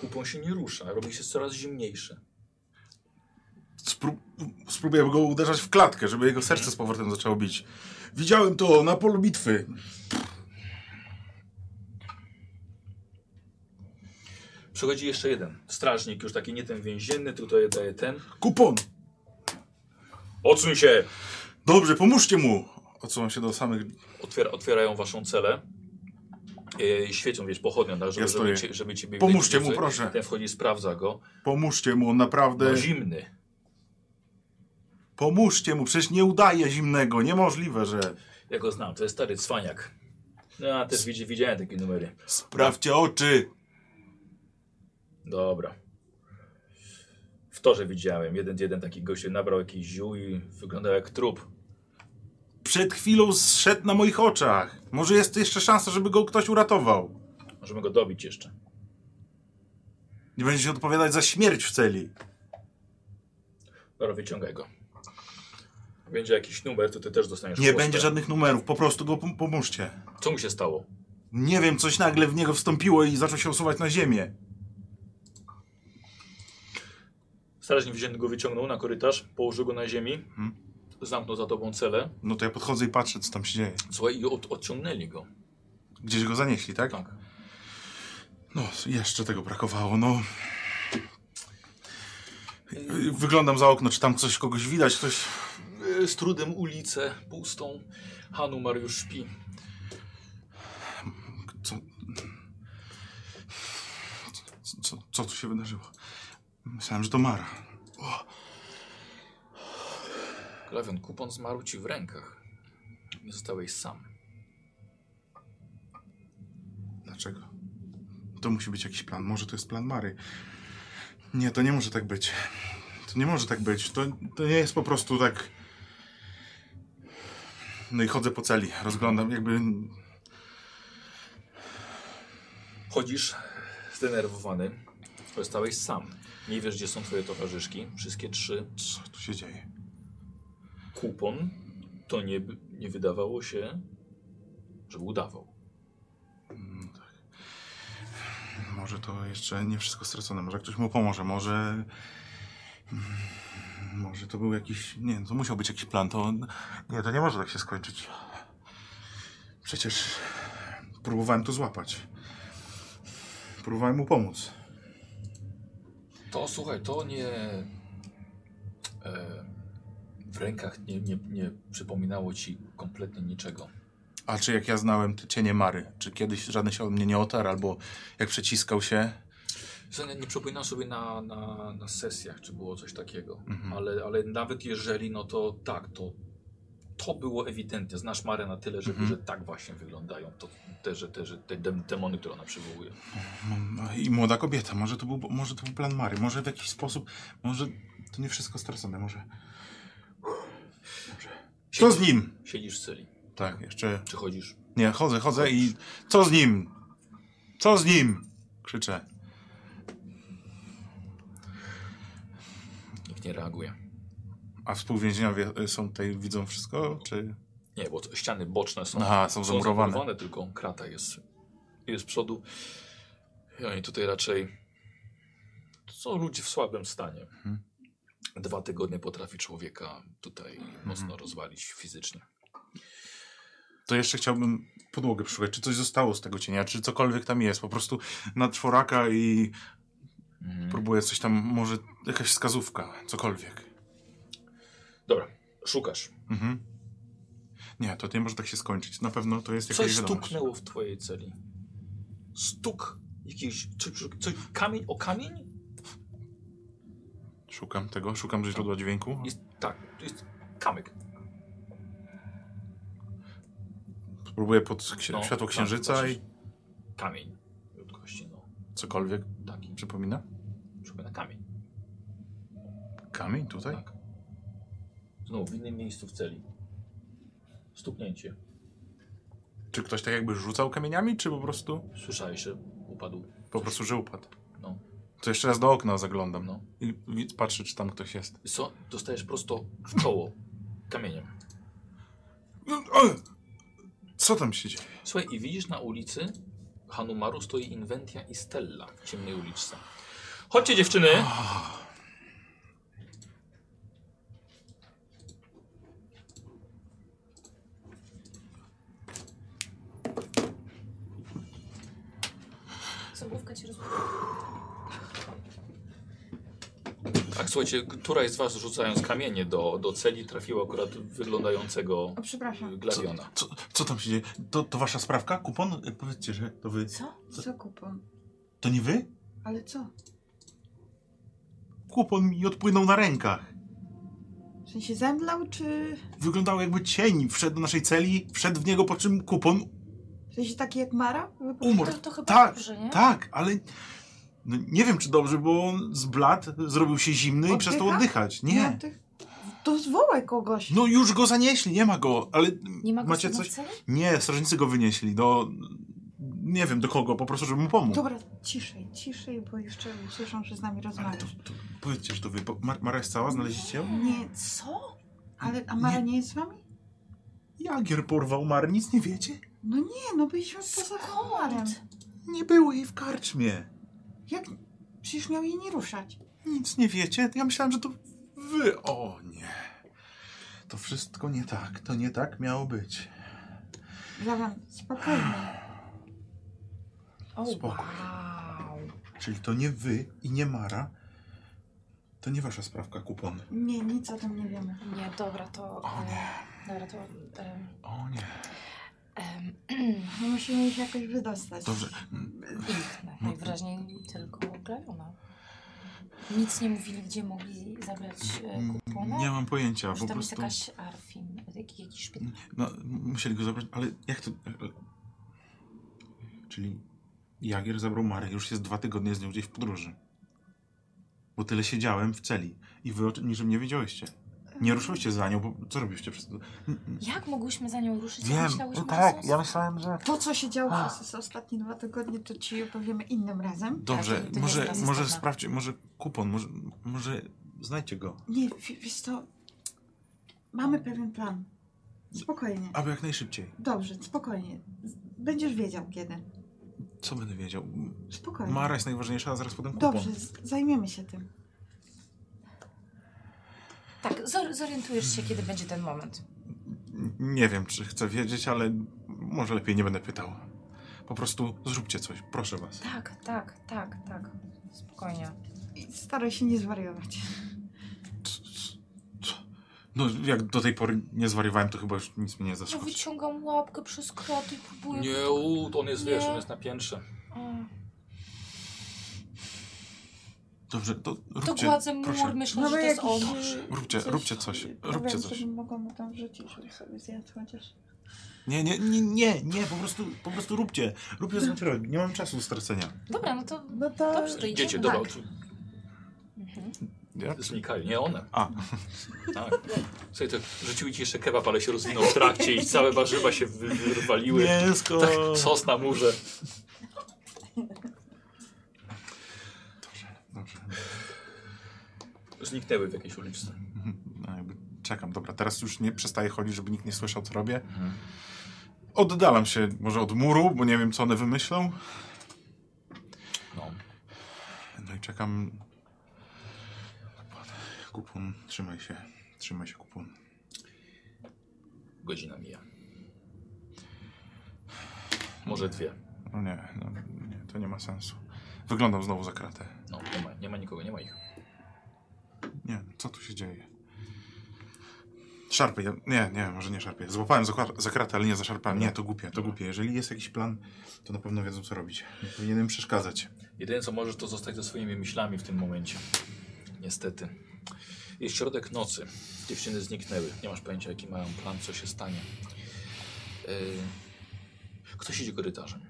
Speaker 1: Kupą się nie rusza, robi się coraz zimniejszy.
Speaker 4: Spró- spróbuję go uderzać w klatkę, żeby jego serce z powrotem zaczęło bić. Widziałem to na polu bitwy.
Speaker 1: Przychodzi jeszcze jeden. Strażnik, już taki nie ten więzienny, tylko tutaj daje ten.
Speaker 4: Kupon!
Speaker 1: Odsuń się!
Speaker 4: Dobrze, pomóżcie mu! Odsuwam się do samych...
Speaker 1: Otwiera, otwierają waszą celę. E, świecią, wiesz, pochodnią, tak, żeby,
Speaker 4: Ja
Speaker 1: żeby,
Speaker 4: stoję.
Speaker 1: cię, żeby ciebie...
Speaker 4: Pomóżcie
Speaker 1: żeby-
Speaker 4: mu, proszę. E.
Speaker 1: Ten wchodzi, sprawdza go.
Speaker 4: Pomóżcie mu, on naprawdę...
Speaker 1: No, zimny.
Speaker 4: Pomóżcie mu, przecież nie udaje zimnego, niemożliwe, że...
Speaker 1: Ja go znam, to jest stary cwaniak. Ja też widzi, widziałem takie numery.
Speaker 4: Sprawdźcie oczy!
Speaker 1: Dobra. W torze widziałem. Jeden, jeden taki gość nabrał jakiś ziół i wyglądał jak trup.
Speaker 4: Przed chwilą zszedł na moich oczach. Może jest jeszcze szansa, żeby go ktoś uratował.
Speaker 1: Możemy go dobić jeszcze.
Speaker 4: Nie będzie się odpowiadać za śmierć w celi.
Speaker 1: Dobra, wyciągaj go. Będzie jakiś numer, to ty też dostaniesz
Speaker 4: Nie
Speaker 1: chłostę.
Speaker 4: będzie żadnych numerów, po prostu go pom- pomóżcie.
Speaker 1: Co mu się stało?
Speaker 4: Nie wiem, coś nagle w niego wstąpiło i zaczął się usuwać na ziemię.
Speaker 1: Strażnik wzięty go wyciągnął na korytarz, położył go na ziemi,
Speaker 4: Mhm.
Speaker 1: zamknął za tobą celę,
Speaker 4: No to ja podchodzę i patrzę, co tam się dzieje.
Speaker 1: słuchaj, i od, odciągnęli go.
Speaker 4: Gdzieś go zanieśli, tak?
Speaker 1: Tak.
Speaker 4: No, jeszcze tego brakowało, no. Yy, Wyglądam za okno, czy tam coś kogoś widać, ktoś...
Speaker 1: Yy, Z trudem ulicę pustą, Hanu Mariusz śpi.
Speaker 4: Co... Co, co, co tu się wydarzyło? Myślałem, że to Mara. O.
Speaker 1: Glawion, kupon zmarł ci w rękach. Nie zostałeś sam.
Speaker 4: Dlaczego? To musi być jakiś plan. Może to jest plan Mary. Nie, to nie może tak być. To nie może tak być. To, to nie jest po prostu tak. No i chodzę po celi. Rozglądam, jakby.
Speaker 1: Chodzisz zdenerwowany. Zostałeś sam. Nie wiesz, gdzie są twoje towarzyszki. Wszystkie trzy.
Speaker 4: Co tu się dzieje?
Speaker 1: Kupon to nie, nie wydawało się, że udawał.
Speaker 4: Mm, tak. Może to jeszcze nie wszystko stracone. Może ktoś mu pomoże. Może. Mm, Może to był jakiś. Nie, to musiał być jakiś plan. To. Nie, to nie może tak się skończyć. Przecież. Próbowałem to złapać. Próbowałem mu pomóc.
Speaker 1: To słuchaj, to nie. E, w rękach nie, nie, nie przypominało ci kompletnie niczego.
Speaker 4: A czy jak ja znałem te cienie Mary, czy kiedyś żaden się od mnie nie otarł, albo jak przeciskał się?
Speaker 1: Słuchaj, Nie, nie przypominam sobie na, na, na sesjach, czy było coś takiego, ale, ale nawet jeżeli, no to tak, to, to było ewidentnie. Znasz Marę na tyle, żeby, że tak właśnie wyglądają to, te, że, te, że te dem- demony, które ona przywołuje.
Speaker 4: Mm, a I młoda kobieta, może to, był, może to był plan Mary, może w jakiś sposób, może to nie wszystko stracone, może. Co z nim?
Speaker 1: Siedzisz w celi,
Speaker 4: Tak, jeszcze,
Speaker 1: czy chodzisz?
Speaker 4: nie, chodzę, chodzę i co z nim? Co z nim? Krzyczę.
Speaker 1: Nikt nie reaguje.
Speaker 4: A współwięźniowie y, są tutaj, widzą wszystko, czy?
Speaker 1: Nie, bo to, ściany boczne są
Speaker 4: Aha, są
Speaker 1: Są
Speaker 4: zamurowane.
Speaker 1: zamurowane, tylko krata jest, jest z przodu. I oni tutaj raczej to są ludzie w słabym stanie.
Speaker 4: Mhm.
Speaker 1: Dwa tygodnie potrafi człowieka tutaj
Speaker 4: Mhm.
Speaker 1: mocno rozwalić fizycznie.
Speaker 4: to jeszcze chciałbym podłogę przeszukać, czy coś zostało z tego cienia, czy cokolwiek tam jest. Po prostu na czworaka i próbuję coś tam, może jakaś wskazówka, cokolwiek.
Speaker 1: Dobra, szukasz.
Speaker 4: Mhm. Nie, to nie może tak się skończyć. Na pewno to jest jakaś
Speaker 1: Coś
Speaker 4: wiadomość.
Speaker 1: stuknęło w twojej celi. Stuk jakiś, coś, coś, kamień o kamień?
Speaker 4: Szukam tego, szukam
Speaker 1: No.
Speaker 4: źródła dźwięku.
Speaker 1: Jest, tak, to jest kamyk.
Speaker 4: Próbuję pod księ-
Speaker 1: No,
Speaker 4: światło
Speaker 1: tak,
Speaker 4: księżyca
Speaker 1: patrzysz.
Speaker 4: i
Speaker 1: Kamień. Wielkości, no.
Speaker 4: cokolwiek
Speaker 1: Taki,
Speaker 4: przypomina.
Speaker 1: przypomina kamień.
Speaker 4: Kamień tutaj?
Speaker 1: Tak. Znowu w innym miejscu w celi. Stuknięcie.
Speaker 4: Czy ktoś tak jakby rzucał kamieniami, czy po prostu?
Speaker 1: Słyszałeś, że upadł.
Speaker 4: Po prostu, że upadł.
Speaker 1: No.
Speaker 4: To jeszcze raz do okna zaglądam.
Speaker 1: No.
Speaker 4: I wi- patrzę, czy tam ktoś jest.
Speaker 1: Co? Dostajesz prosto w czoło kamieniem. No,
Speaker 4: Co tam się dzieje?
Speaker 1: Słuchaj, i widzisz na ulicy Hanumaru stoi Inventia i Stella w ciemnej uliczce. Chodźcie dziewczyny!
Speaker 6: Co główka ci rozumie?
Speaker 1: Tak, słuchajcie, któraś z was rzucając kamienie do, do celi trafiła akurat wyglądającego
Speaker 5: O, przepraszam.
Speaker 1: y, Glaviona.
Speaker 4: Co, co tam się dzieje? To, to wasza sprawka? Kupon? E, Powiedzcie, że to wy.
Speaker 3: Co?
Speaker 5: Co kupon?
Speaker 4: To nie wy?
Speaker 5: Ale co?
Speaker 4: Kupon mi odpłynął na rękach.
Speaker 5: W sensie zemdlał, czy...
Speaker 4: Wyglądał jakby cień. Wszedł do naszej celi, wszedł w niego, po czym kupon
Speaker 5: W sensie taki jak Mara?
Speaker 4: umarł.
Speaker 6: To, to chyba
Speaker 4: Tak,
Speaker 6: dobrze, nie?
Speaker 4: tak, ale no, nie wiem czy dobrze, bo on zbladł, zrobił się zimny i
Speaker 5: Oddycha?
Speaker 4: przestał oddychać.
Speaker 5: No,
Speaker 4: Nie.
Speaker 5: ty... To zwołaj kogoś.
Speaker 4: No już go zanieśli, nie ma go, ale
Speaker 6: Nie ma go
Speaker 4: macie
Speaker 6: w
Speaker 4: coś?
Speaker 6: celi?
Speaker 4: Nie, strażnicy go wynieśli do... Nie wiem do kogo, po prostu żeby mu pomógł.
Speaker 5: Dobra, ciszej, ciszej, bo jeszcze usłyszą, że z nami
Speaker 4: Ale to,
Speaker 5: rozmawiasz.
Speaker 4: to powiedzcie, że to wy. bo Mar Mara jest cała, znaleźliście ją?
Speaker 5: Nie,
Speaker 6: Co?
Speaker 5: ale a Mara nie jest z wami?
Speaker 4: Jagier porwał Mar, nic nie wiecie?
Speaker 5: No nie, no byliśmy poza komarem.
Speaker 4: Nie było jej w karczmie.
Speaker 5: Jak? Przecież miał jej nie ruszać.
Speaker 4: Nic nie wiecie? Ja myślałem, że to wy. O nie. To wszystko nie tak. To nie tak miało być.
Speaker 5: Zawiam, spokojnie.
Speaker 6: O,
Speaker 4: Spokój.
Speaker 6: wow.
Speaker 4: Czyli to nie wy i nie Mara. To nie wasza sprawka, kupon.
Speaker 5: Nie, nic o tym nie wiemy.
Speaker 6: Nie, dobra, to...
Speaker 4: O nie.
Speaker 6: e, Dobra, to... em,
Speaker 4: O nie.
Speaker 6: em,
Speaker 5: No musimy ich jakoś wydostać.
Speaker 4: Dobrze. Mm,
Speaker 6: ich najwyraźniej tylko Glaviona.
Speaker 3: Nic nie mówili, gdzie mogli zabrać e, kupona?
Speaker 4: Mm, Nie mam pojęcia,
Speaker 3: Czy
Speaker 4: po
Speaker 3: tam jest
Speaker 4: prostu...
Speaker 3: jakaś Arfin, jak- jakiś szpital?
Speaker 4: No, musieli go zabrać, ale jak to... Czyli Jagier zabrał Marek, już jest dwa tygodnie z nią gdzieś w podróży. Bo tyle siedziałem w celi i wy o tym niczym nie wiedziałyście. Nie ruszyłyście za nią, bo co robiłyście przez to?
Speaker 3: Jak mogłyśmy za nią ruszyć?
Speaker 4: Wiem,
Speaker 3: myślałyśmy, że
Speaker 7: Tak,
Speaker 3: są-
Speaker 7: ja myślałem, że...
Speaker 5: To, co się działo przez ostatnie dwa tygodnie, to ci opowiemy innym razem.
Speaker 4: Dobrze,
Speaker 3: to nie
Speaker 4: może,
Speaker 3: jest
Speaker 4: może
Speaker 3: istotne.
Speaker 4: sprawdźcie, może kupon, może, może znajdźcie go.
Speaker 5: Nie, w- wiesz co, mamy pewien plan. Spokojnie.
Speaker 4: Aby jak najszybciej.
Speaker 5: Dobrze, spokojnie. Będziesz wiedział kiedy.
Speaker 4: Co będę wiedział?
Speaker 5: Spokojnie.
Speaker 4: Mara jest najważniejsza, a zaraz potem kupon.
Speaker 5: Dobrze, z- zajmiemy się tym.
Speaker 3: Tak, zor- zorientujesz się, kiedy będzie ten moment.
Speaker 4: N- Nie wiem, czy chcę wiedzieć, ale może lepiej nie będę pytał. Po prostu zróbcie coś, proszę was.
Speaker 3: Tak, tak, tak, tak. Spokojnie.
Speaker 5: I staraj się nie zwariować.
Speaker 4: No, jak do tej pory nie zwariowałem, to chyba już nic mnie nie
Speaker 3: No
Speaker 4: zaszkodzi.
Speaker 3: wyciągam łapkę przez krot i próbuję...
Speaker 1: Nie, u, on jest, wiesz,
Speaker 3: Nie.
Speaker 1: on jest na piętrze.
Speaker 3: A,
Speaker 4: Dobrze, to
Speaker 3: To
Speaker 4: róbcie,
Speaker 3: gładzę mur,
Speaker 4: proszę.
Speaker 5: No
Speaker 3: myślę, że to jest on.
Speaker 4: Róbcie, róbcie coś, róbcie
Speaker 5: powiem,
Speaker 4: coś.
Speaker 5: żebym mogła mu tam wrzucić, żeby sobie zjadł chociaż.
Speaker 4: Nie, nie, nie, nie, nie, po prostu, po prostu róbcie. Róbcie, co macie robić. Nie mam czasu do stracenia.
Speaker 3: Dobra, no to...
Speaker 5: No to...
Speaker 3: Dobrze, to idziemy.
Speaker 1: Dzieci,
Speaker 3: tak.
Speaker 1: dobra,
Speaker 3: Mhm.
Speaker 4: Jak?
Speaker 1: znikają, nie one.
Speaker 4: A.
Speaker 1: Tak. Słuchaj, to rzuciły ci jeszcze kebab, ale się rozwinął w trakcie i całe warzywa się wy- wyrwaliły.
Speaker 4: Mięsko!
Speaker 1: Tak, sos na murze.
Speaker 4: Dobrze.
Speaker 1: Zniknęły w jakiejś uliczce.
Speaker 4: No jakby czekam, dobra, teraz już nie przestaję chodzić, żeby nikt nie słyszał, co robię. Oddalam się może od muru, bo nie wiem, co one wymyślą.
Speaker 1: No.
Speaker 4: No i czekam. Kupun, trzymaj się. Trzymaj się, kupun.
Speaker 1: Godzina mija. Może dwie.
Speaker 4: No nie, no, nie, to nie ma sensu. Wyglądam znowu za kratę.
Speaker 1: No, nie ma, nie ma nikogo, nie ma ich.
Speaker 4: Nie, co tu się dzieje? Szarpę, ja, nie, nie, może nie szarpę. Złapałem za, kwa- za kratę, ale nie zaszarpałem. Nie, to głupie, to głupie. Jeżeli jest jakiś plan, to na pewno wiedzą, co robić. Nie powinienem przeszkadzać.
Speaker 1: Jedyne co możesz to zostać ze swoimi myślami w tym momencie. Niestety. Jest środek nocy. Dziewczyny zniknęły. Nie masz pojęcia jaki mają plan, co się stanie. Yy... Ktoś idzie korytarzem.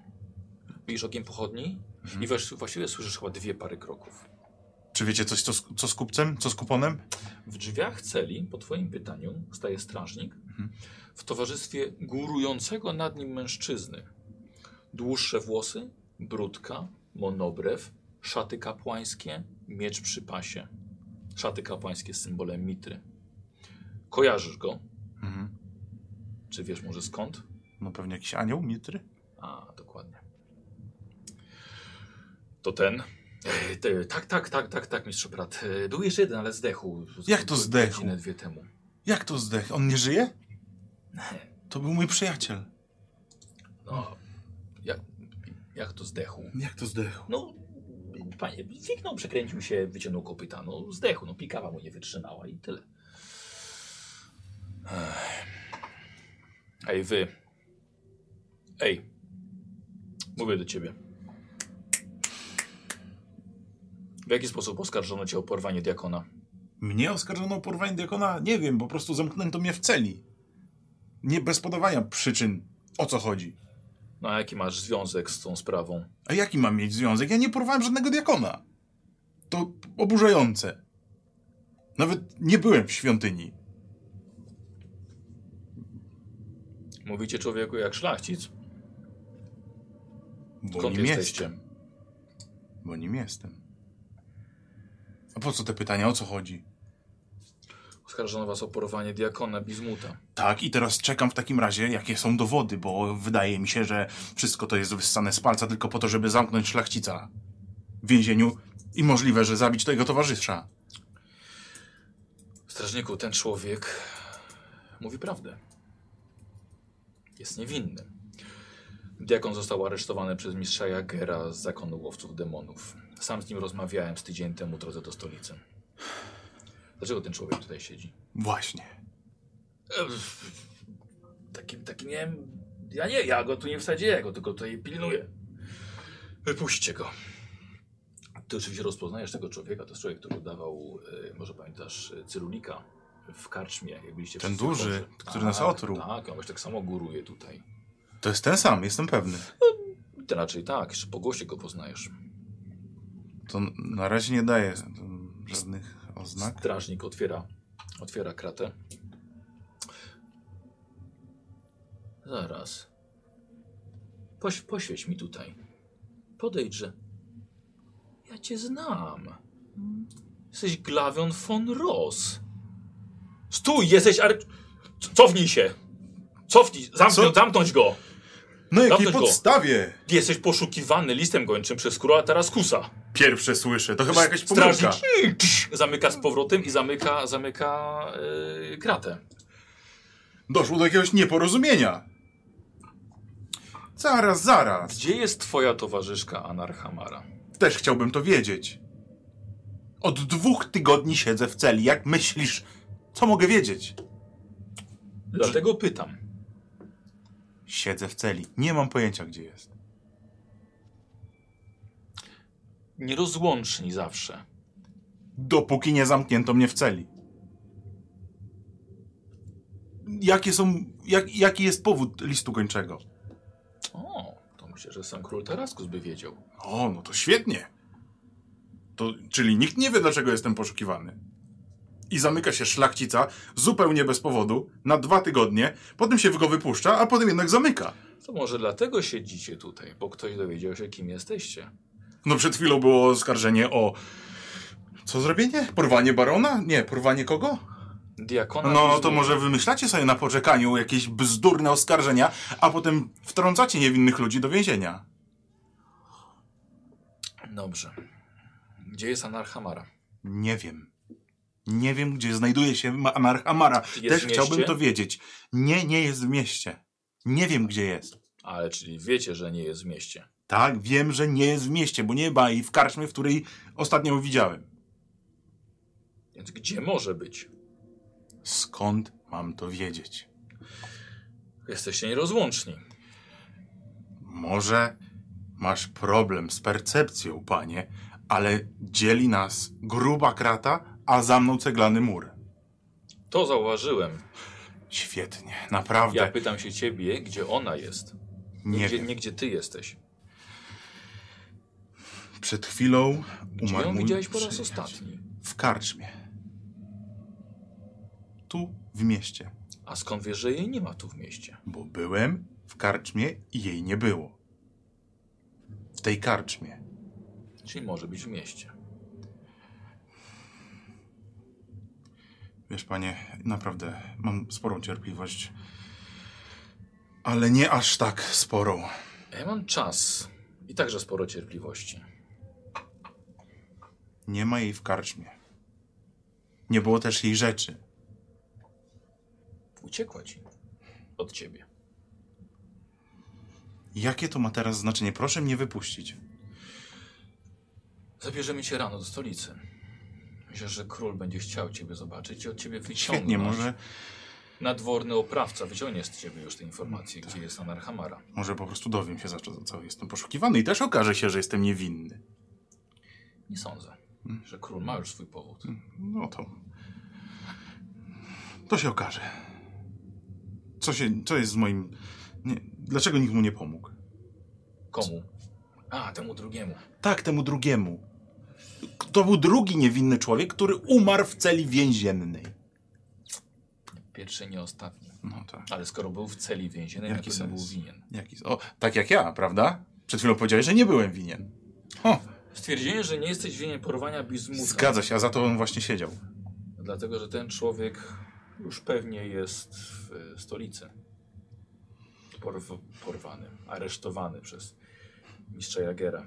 Speaker 1: Widzisz okiem pochodni i właś- właściwie słyszysz chyba dwie pary kroków.
Speaker 4: Czy wiecie coś, co z, co z kupcem? Co z kuponem?
Speaker 1: W drzwiach celi, po twoim pytaniu, staje strażnik
Speaker 4: Mhm.
Speaker 1: w towarzystwie górującego nad nim mężczyzny. Dłuższe włosy, brudka, monobrew, szaty kapłańskie, miecz przy pasie. Szaty kapłańskie z symbolem mitry. Kojarzysz go?
Speaker 4: Mhm.
Speaker 1: Czy wiesz może skąd?
Speaker 4: No pewnie jakiś anioł, mitry?
Speaker 1: A, dokładnie. To ten. Ej, te- Tak, tak, tak, tak, tak, mistrz brat. E, Był jeszcze jeden, ale zdechł. Z-
Speaker 4: Jak to zdechł?
Speaker 1: Godzinę, dwie temu.
Speaker 4: Jak to zdech? On nie żyje? To był mój przyjaciel.
Speaker 1: No, jak, jak to zdechł?
Speaker 4: Jak to zdechł?
Speaker 1: No, panie, fiknął, przekręcił się, wyciągnął kopyta, no zdechł, no pikawa mu nie wytrzymała i tyle. Ech. Ej, wy. Ej. Mówię do ciebie. W jaki sposób oskarżono cię o porwanie diakona?
Speaker 4: Mnie oskarżono o porwanie diakona? Nie wiem, po prostu zamknęto mnie w celi. Nie bez podawania przyczyn, o co chodzi.
Speaker 1: No a jaki masz związek z tą sprawą?
Speaker 4: A jaki mam mieć związek? Ja nie porwałem żadnego diakona. To oburzające. Nawet nie byłem w świątyni.
Speaker 1: Mówicie człowieku jak szlachcic?
Speaker 4: Bo
Speaker 1: Skąd
Speaker 4: nim
Speaker 1: jesteście?
Speaker 4: jestem. Bo nim jestem. A po co te pytania, o co chodzi?
Speaker 1: Oskarżono was o porwanie diakona Bizmuta.
Speaker 4: Tak, i teraz czekam w takim razie, jakie są dowody, bo wydaje mi się, że wszystko to jest wyssane z palca tylko po to, żeby zamknąć szlachcica w więzieniu i możliwe, że zabić tego towarzysza.
Speaker 1: Strażniku, ten człowiek mówi prawdę. Jest niewinny. Diakon został aresztowany przez mistrza Jagera z zakonu łowców demonów. Sam z nim rozmawiałem z tydzień temu w drodze do stolicy. Dlaczego ten człowiek tutaj siedzi?
Speaker 4: Właśnie.
Speaker 1: Taki, taki nie wiem. Ja nie, ja go tu nie wsadziłem, ja go tylko tutaj pilnuję. Wypuśćcie go. Ty oczywiście rozpoznajesz tego człowieka, to jest człowiek, który udawał, e, może pamiętasz, e, Cyrulika w karczmie, jak byliście
Speaker 4: Ten
Speaker 1: wszyscy
Speaker 4: duży,
Speaker 1: chorzy.
Speaker 4: który nas
Speaker 1: Tak,
Speaker 4: otruł.
Speaker 1: Tak, on właśnie tak samo góruje tutaj.
Speaker 4: To jest ten sam, jestem pewny.
Speaker 1: Ty raczej tak, jeszcze po głosie go poznajesz.
Speaker 4: To na razie nie daje mm, żadnych oznak.
Speaker 1: Strażnik otwiera, otwiera kratę. Zaraz. Poś, poświeć mi tutaj. Podejdźże. Ja cię znam. Jesteś Glavion von Ross. Stój, jesteś ar... C- Cofnij się! Cofnij, zamknąć,
Speaker 4: Co?
Speaker 1: zamknąć go!
Speaker 4: Na jakiej
Speaker 1: Zamknąć go.
Speaker 4: podstawie?
Speaker 1: Jesteś poszukiwany listem gończym przez króla Taraskusa.
Speaker 4: Pierwsze słyszę, to chyba jakaś pomyłka.
Speaker 1: Strażnik zamyka z powrotem i zamyka, zamyka yy, kratę.
Speaker 4: Doszło do jakiegoś nieporozumienia. Zaraz, zaraz.
Speaker 1: Gdzie jest twoja towarzyszka Anarchamara?
Speaker 4: Też chciałbym to wiedzieć. Od dwóch tygodni siedzę w celi. Jak myślisz, co mogę wiedzieć?
Speaker 1: Dlatego pytam.
Speaker 4: Siedzę w celi. Nie mam pojęcia, gdzie jest.
Speaker 1: Nierozłączni zawsze.
Speaker 4: Dopóki nie zamknięto mnie w celi. Jakie są, jak, jaki jest powód listu kończego?
Speaker 1: O, to myślę, że sam król Taraskus by wiedział.
Speaker 4: O, no to świetnie. To, czyli nikt nie wie, dlaczego jestem poszukiwany. I zamyka się szlachcica zupełnie bez powodu na dwa tygodnie, potem się go wypuszcza, a potem jednak zamyka.
Speaker 1: To może dlatego siedzicie tutaj, bo ktoś dowiedział się, kim jesteście.
Speaker 4: No przed chwilą było oskarżenie o... Co zrobienie? Porwanie barona? Nie, porwanie kogo?
Speaker 1: Diakona.
Speaker 4: No to
Speaker 1: Izmira.
Speaker 4: może wymyślacie sobie na poczekaniu jakieś bzdurne oskarżenia, a potem wtrącacie niewinnych ludzi do więzienia.
Speaker 1: Dobrze. Gdzie jest Anarchamara?
Speaker 4: Nie wiem. Nie wiem, gdzie znajduje się Ma- Anarchamara.
Speaker 1: Jest
Speaker 4: Też
Speaker 1: w
Speaker 4: chciałbym
Speaker 1: mieście?
Speaker 4: to wiedzieć. Nie, nie jest w mieście. Nie wiem, gdzie jest.
Speaker 1: Ale czyli wiecie, że nie jest w mieście.
Speaker 4: Tak, wiem, że nie jest w mieście, bo nie ma jej w karczmie, w której ostatnio ją widziałem.
Speaker 1: Więc gdzie może być?
Speaker 4: Skąd mam to wiedzieć?
Speaker 1: Jesteście nierozłączni.
Speaker 4: Może masz problem z percepcją, panie, ale dzieli nas gruba krata, a za mną ceglany mur.
Speaker 1: To zauważyłem.
Speaker 4: Świetnie, naprawdę.
Speaker 1: Ja pytam się ciebie, gdzie ona jest.
Speaker 4: nie
Speaker 1: gdzie,
Speaker 4: wiem.
Speaker 1: nie gdzie ty jesteś.
Speaker 4: Przed chwilą
Speaker 1: Gdzie
Speaker 4: umarł
Speaker 1: ją
Speaker 4: mój
Speaker 1: widziałeś po raz
Speaker 4: przyjaciel.
Speaker 1: ostatni?
Speaker 4: W karczmie. Tu, w mieście.
Speaker 1: A skąd wiesz, że jej nie ma tu w mieście?
Speaker 4: Bo byłem w karczmie i jej nie było. W tej karczmie.
Speaker 1: Czyli może być w mieście.
Speaker 4: Wiesz, panie, naprawdę mam sporą cierpliwość. Ale nie aż tak sporą.
Speaker 1: Ja E, mam czas i także sporo cierpliwości.
Speaker 4: Nie ma jej w karczmie. Nie było też jej rzeczy.
Speaker 1: Uciekła ci od ciebie.
Speaker 4: Jakie to ma teraz znaczenie? Proszę mnie wypuścić.
Speaker 1: Zabierzemy cię rano do stolicy. Myślę, że król będzie chciał ciebie zobaczyć i od ciebie wyciągnąć.
Speaker 4: Świetnie, może,
Speaker 1: Nadworny oprawca wyciągnie z ciebie już te informacje, gdzie jest Anarchamara.
Speaker 4: może po prostu dowiem się, za co, za co jestem poszukiwany i też okaże się, że jestem niewinny.
Speaker 1: Nie sądzę,
Speaker 4: Mm.
Speaker 1: że król ma już swój powód.
Speaker 4: No to. To się okaże. Co, się, co jest z moim. Nie, dlaczego nikt mu nie pomógł?
Speaker 1: Komu? A, temu drugiemu.
Speaker 4: Tak, temu drugiemu. To był drugi niewinny człowiek, który umarł w celi więziennej.
Speaker 1: Pierwszy, nie ostatni.
Speaker 4: No tak.
Speaker 1: Ale skoro był w celi więziennej,
Speaker 4: Jaki
Speaker 1: na pewno
Speaker 4: sens?
Speaker 1: był winien.
Speaker 4: Jaki, o, tak jak ja, prawda? Przed chwilą powiedziałeś, że nie byłem winien. O,
Speaker 1: Stwierdzenie, że nie jesteś winien porwania bizmusa.
Speaker 4: zgadza się, a za to on właśnie siedział.
Speaker 1: Dlatego, że ten człowiek już pewnie jest w e, stolicy. Porw porwany, aresztowany przez mistrza Jagera.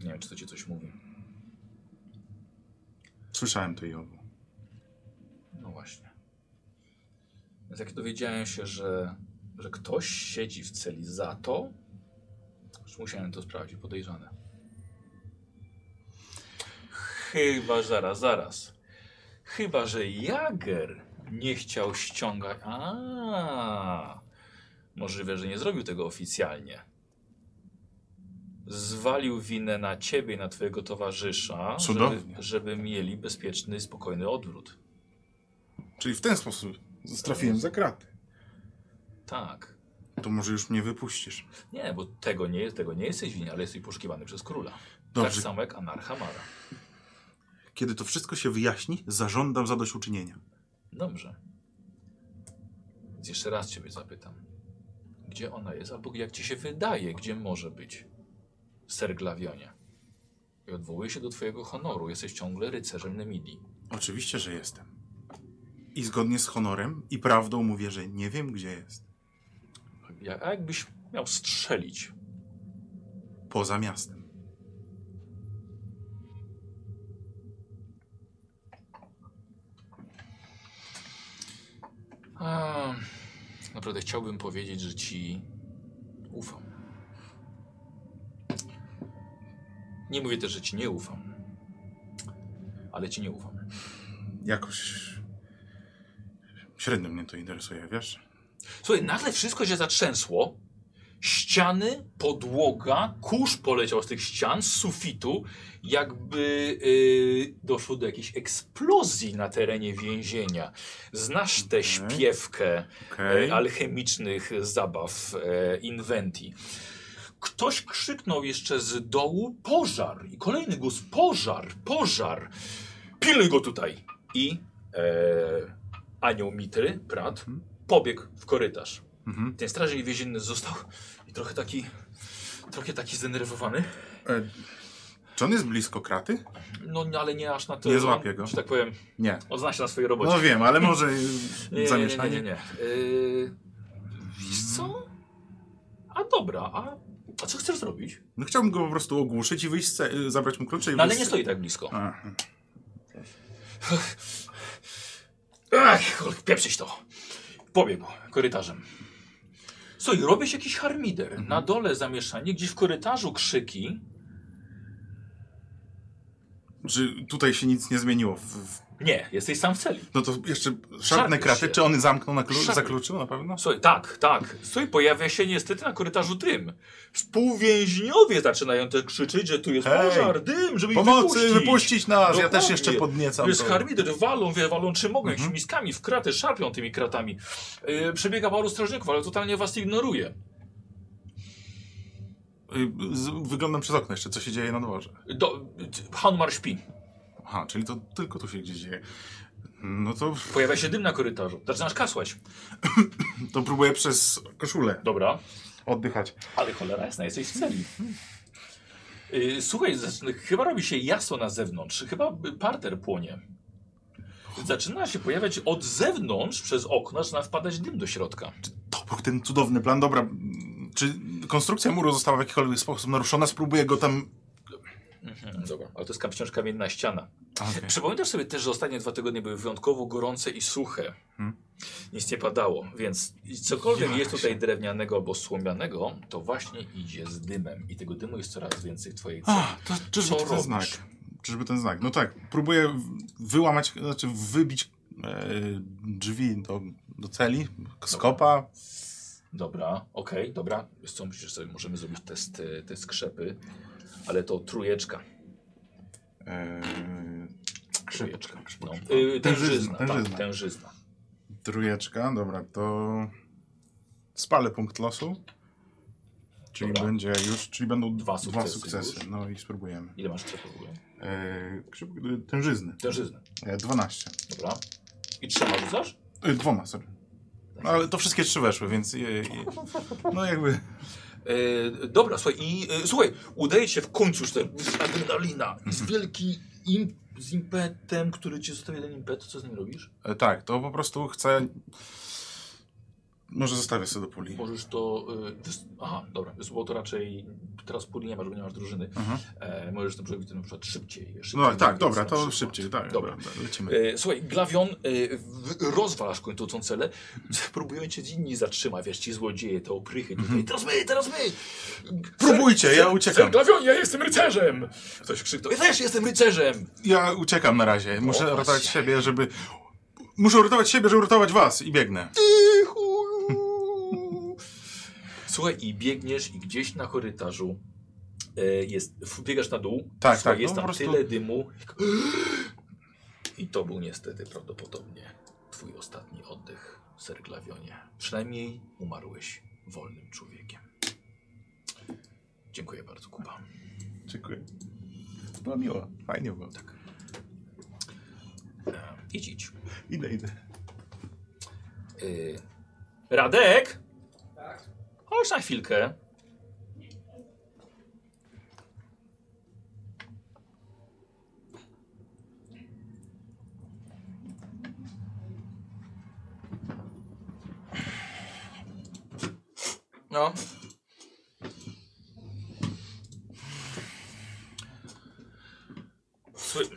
Speaker 1: Nie wiem, czy to ci coś mówi.
Speaker 4: Słyszałem to i owo.
Speaker 1: No właśnie. Więc jak dowiedziałem się, że, że ktoś siedzi w celi za to, już musiałem to sprawdzić, podejrzane. Chyba, zaraz, zaraz. Chyba, że Jager nie chciał ściągać. A, możliwe, że nie zrobił tego oficjalnie. zwalił winę na ciebie i na twojego towarzysza, żeby,
Speaker 4: Cudownie.
Speaker 1: żeby mieli bezpieczny, i spokojny odwrót.
Speaker 4: Czyli w ten sposób trafiłem za kraty.
Speaker 1: Tak.
Speaker 4: To może już mnie wypuścisz.
Speaker 1: Nie, bo tego nie, jest- tego nie jesteś winien, ale jesteś poszukiwany przez króla.
Speaker 4: Dobrze.
Speaker 1: Tak samo jak Anarchamara.
Speaker 4: Kiedy to wszystko się wyjaśni, zażądam zadośćuczynienia.
Speaker 1: Dobrze. Więc jeszcze raz ciebie zapytam. Gdzie ona jest, albo jak ci się wydaje, gdzie może być Serglawionie? I odwołuję się do twojego honoru. Jesteś ciągle rycerzem Nemidii.
Speaker 4: Oczywiście, że jestem. I zgodnie z honorem i prawdą mówię, że nie wiem, gdzie jest.
Speaker 1: Ja- A jakbyś miał strzelić?
Speaker 4: Poza miastem.
Speaker 1: A, naprawdę chciałbym powiedzieć, że ci ufam. Nie mówię też, że ci nie ufam. Ale ci nie ufam.
Speaker 4: Jakoś średnio mnie to interesuje, wiesz?
Speaker 1: Słuchaj, nagle wszystko się zatrzęsło. Ściany, podłoga, kurz poleciał z tych ścian, z sufitu, jakby yy, doszło do jakiejś eksplozji na terenie więzienia. Znasz tę
Speaker 4: Okej.
Speaker 1: śpiewkę
Speaker 4: Okej.
Speaker 1: e, alchemicznych zabaw e, Inventi. Ktoś krzyknął jeszcze z dołu pożar i kolejny głos pożar, pożar. Pilnuj go tutaj. I e, anioł Mitry, brat, pobiegł w korytarz.
Speaker 4: Mhm.
Speaker 1: Ten strażnik więzienny został i trochę taki, trochę taki zdenerwowany.
Speaker 4: E, czy on jest blisko kraty?
Speaker 1: No nie- ale nie aż na to.
Speaker 4: Nie złapie go.
Speaker 1: Że tak powiem,
Speaker 4: Nie.
Speaker 1: odzna się na swojej robocie.
Speaker 4: No wiem, ale może
Speaker 1: Nie, nie, nie, nie,
Speaker 4: zamieszanie.
Speaker 1: nie, nie. Yy, wiesz co? A dobra, a, a co chcesz zrobić?
Speaker 4: No chciałbym go po prostu ogłuszyć i wyjść, z ce- y, zabrać mu klucze i
Speaker 1: No ale
Speaker 4: wyjść
Speaker 1: nie
Speaker 4: z-
Speaker 1: stoi tak blisko.
Speaker 4: A,
Speaker 1: Ach, cholera, pieprzyć to. Pobiegł korytarzem. Co, i robisz jakiś harmider. Na dole zamieszanie, gdzieś w korytarzu krzyki.
Speaker 4: Czy tutaj się nic nie zmieniło? W, w,
Speaker 1: Nie, jesteś sam w celi.
Speaker 4: no to jeszcze
Speaker 1: Szarpie
Speaker 4: szarpne kraty,
Speaker 1: się.
Speaker 4: czy on zamknął na klucz,
Speaker 1: Szarpie.
Speaker 4: zakluczył na pewno?
Speaker 1: Słuchaj, tak, tak. Słuchaj, pojawia się niestety na korytarzu dym. Współwięźniowie zaczynają też krzyczeć, że tu jest
Speaker 4: Hej!
Speaker 1: pożar, dym, żeby
Speaker 4: Pomocy,
Speaker 1: ich
Speaker 4: wypuścić,
Speaker 1: wypuścić.
Speaker 4: nas! Ja
Speaker 1: Dokładnie.
Speaker 4: też jeszcze podniecam.
Speaker 1: Jest
Speaker 4: to.
Speaker 1: harmider, walą, wie, walą czy mogą,
Speaker 4: Mhm.
Speaker 1: jakimiś miskami w kraty, szarpią tymi kratami. Yy, przebiega paru strażników, ale totalnie was ignoruje.
Speaker 4: Y, z- Wyglądam przez okno jeszcze, co się dzieje na dworze.
Speaker 1: Do, Hanmar śpi.
Speaker 4: Aha, czyli to tylko tu się gdzieś dzieje. No to,
Speaker 1: Pojawia się dym na korytarzu. Zaczynasz kasłać.
Speaker 4: to próbuję przez koszulę
Speaker 1: Dobra.
Speaker 4: oddychać.
Speaker 1: Ale cholera jasna, jesteś w celi. Yy, słuchaj, zaczyna, chyba robi się jasno na zewnątrz. Chyba y, parter płonie. Zaczyna się pojawiać od zewnątrz, przez okno, zaczyna wpadać dym do środka.
Speaker 4: To był ten cudowny plan. Dobra, mm, czy konstrukcja muru została w jakikolwiek sposób naruszona? Spróbuję go tam...
Speaker 1: Mhm, dobra, ale to jest kam- wciąż kamienna ściana.
Speaker 4: Okay.
Speaker 1: Przypominasz sobie też, że ostatnie dwa tygodnie były wyjątkowo gorące i suche.
Speaker 4: Mhm.
Speaker 1: Nic nie padało, więc cokolwiek
Speaker 4: Ja
Speaker 1: jest
Speaker 4: się-
Speaker 1: tutaj drewnianego albo słomianego, to właśnie idzie z dymem. I tego dymu jest coraz więcej w twojej celi.
Speaker 4: A, to czyżby
Speaker 1: Co
Speaker 4: to ten
Speaker 1: robisz?
Speaker 4: znak? Czyżby ten znak? No tak, próbuję w- wyłamać, znaczy wybić e, drzwi do, do celi, skopa.
Speaker 1: Dobra, okej, dobra. Wiesz co, myślisz sobie, możemy zrobić test, y, test skrzepy, ale to trujeczka.
Speaker 4: E,
Speaker 1: Trujeczka. No. Y, tężyzna,
Speaker 4: Tężyzna,
Speaker 1: tężyzna.
Speaker 4: tężyzna.
Speaker 1: Tak, tężyzna.
Speaker 4: trójeczka, dobra, to spalę punkt losu. Czyli
Speaker 1: Dobra.
Speaker 4: będzie już, czyli będą
Speaker 1: Dwa
Speaker 4: dwa
Speaker 1: sukcesy
Speaker 4: sukcesy.
Speaker 1: już.
Speaker 4: No i spróbujemy.
Speaker 1: Ile masz skrzepy w ogóle?
Speaker 4: E, krzyw- e, tężyzny.
Speaker 1: Tężyzny,
Speaker 4: E, 12.
Speaker 1: dobra. I trzema rzucasz?
Speaker 4: E, dwoma, sorry. No, ale to wszystkie trzy weszły, więc je, je, no jakby
Speaker 1: E, dobra, słuchaj, i e, słuchaj, udaje ci się w końcu już ten adrenalina z
Speaker 4: Mhm.
Speaker 1: wielki im, z impetem, który ci zostawia ten impet, co z nim robisz?
Speaker 4: E, Tak, to po prostu chcę. Może zostawię sobie do puli.
Speaker 1: Możesz to. E, wys- aha, dobra, wiesz, bo to raczej teraz pól nie masz, bo nie masz drużyny.
Speaker 4: Mhm.
Speaker 1: E, możesz to przebić na przykład szybciej. szybciej
Speaker 4: No tak, tak,
Speaker 1: więc
Speaker 4: dobra,
Speaker 1: na
Speaker 4: to
Speaker 1: przykład.
Speaker 4: szybciej, tak.
Speaker 1: Dobra.
Speaker 4: Dobra, lecimy.
Speaker 1: E, słuchaj, Glawion, e, w- rozwalasz kończącą celę, próbują cię inni zatrzymać, wiesz, ci złodzieje, te oprychy tutaj, teraz my, teraz my!
Speaker 4: Mhm. Próbujcie, ja uciekam.
Speaker 1: Ser Glawion, ja jestem rycerzem! Ktoś krzyknął, ja też jestem rycerzem!
Speaker 4: Ja uciekam na razie. Muszę
Speaker 1: O,
Speaker 4: ratować
Speaker 1: właśnie.
Speaker 4: siebie, żeby. Muszę uratować siebie, żeby uratować was i biegnę.
Speaker 1: Ty chuju! Słuchaj, i biegniesz i gdzieś na korytarzu E, jest, w- biegasz na dół,
Speaker 4: Tak,
Speaker 1: słuchaj,
Speaker 4: tak,
Speaker 1: jest
Speaker 4: no
Speaker 1: tam
Speaker 4: po prostu-
Speaker 1: tyle dymu. I to był niestety prawdopodobnie twój ostatni oddech, Serglawionie. Przynajmniej umarłeś wolnym człowiekiem. Dziękuję bardzo, Kuba.
Speaker 4: Dziękuję. Była miła. Fajnie było. Tak.
Speaker 1: E, idź, idź.
Speaker 4: Idę, idę.
Speaker 1: Y, Radek? Chodź na chwilkę.
Speaker 2: No.
Speaker 1: Sły-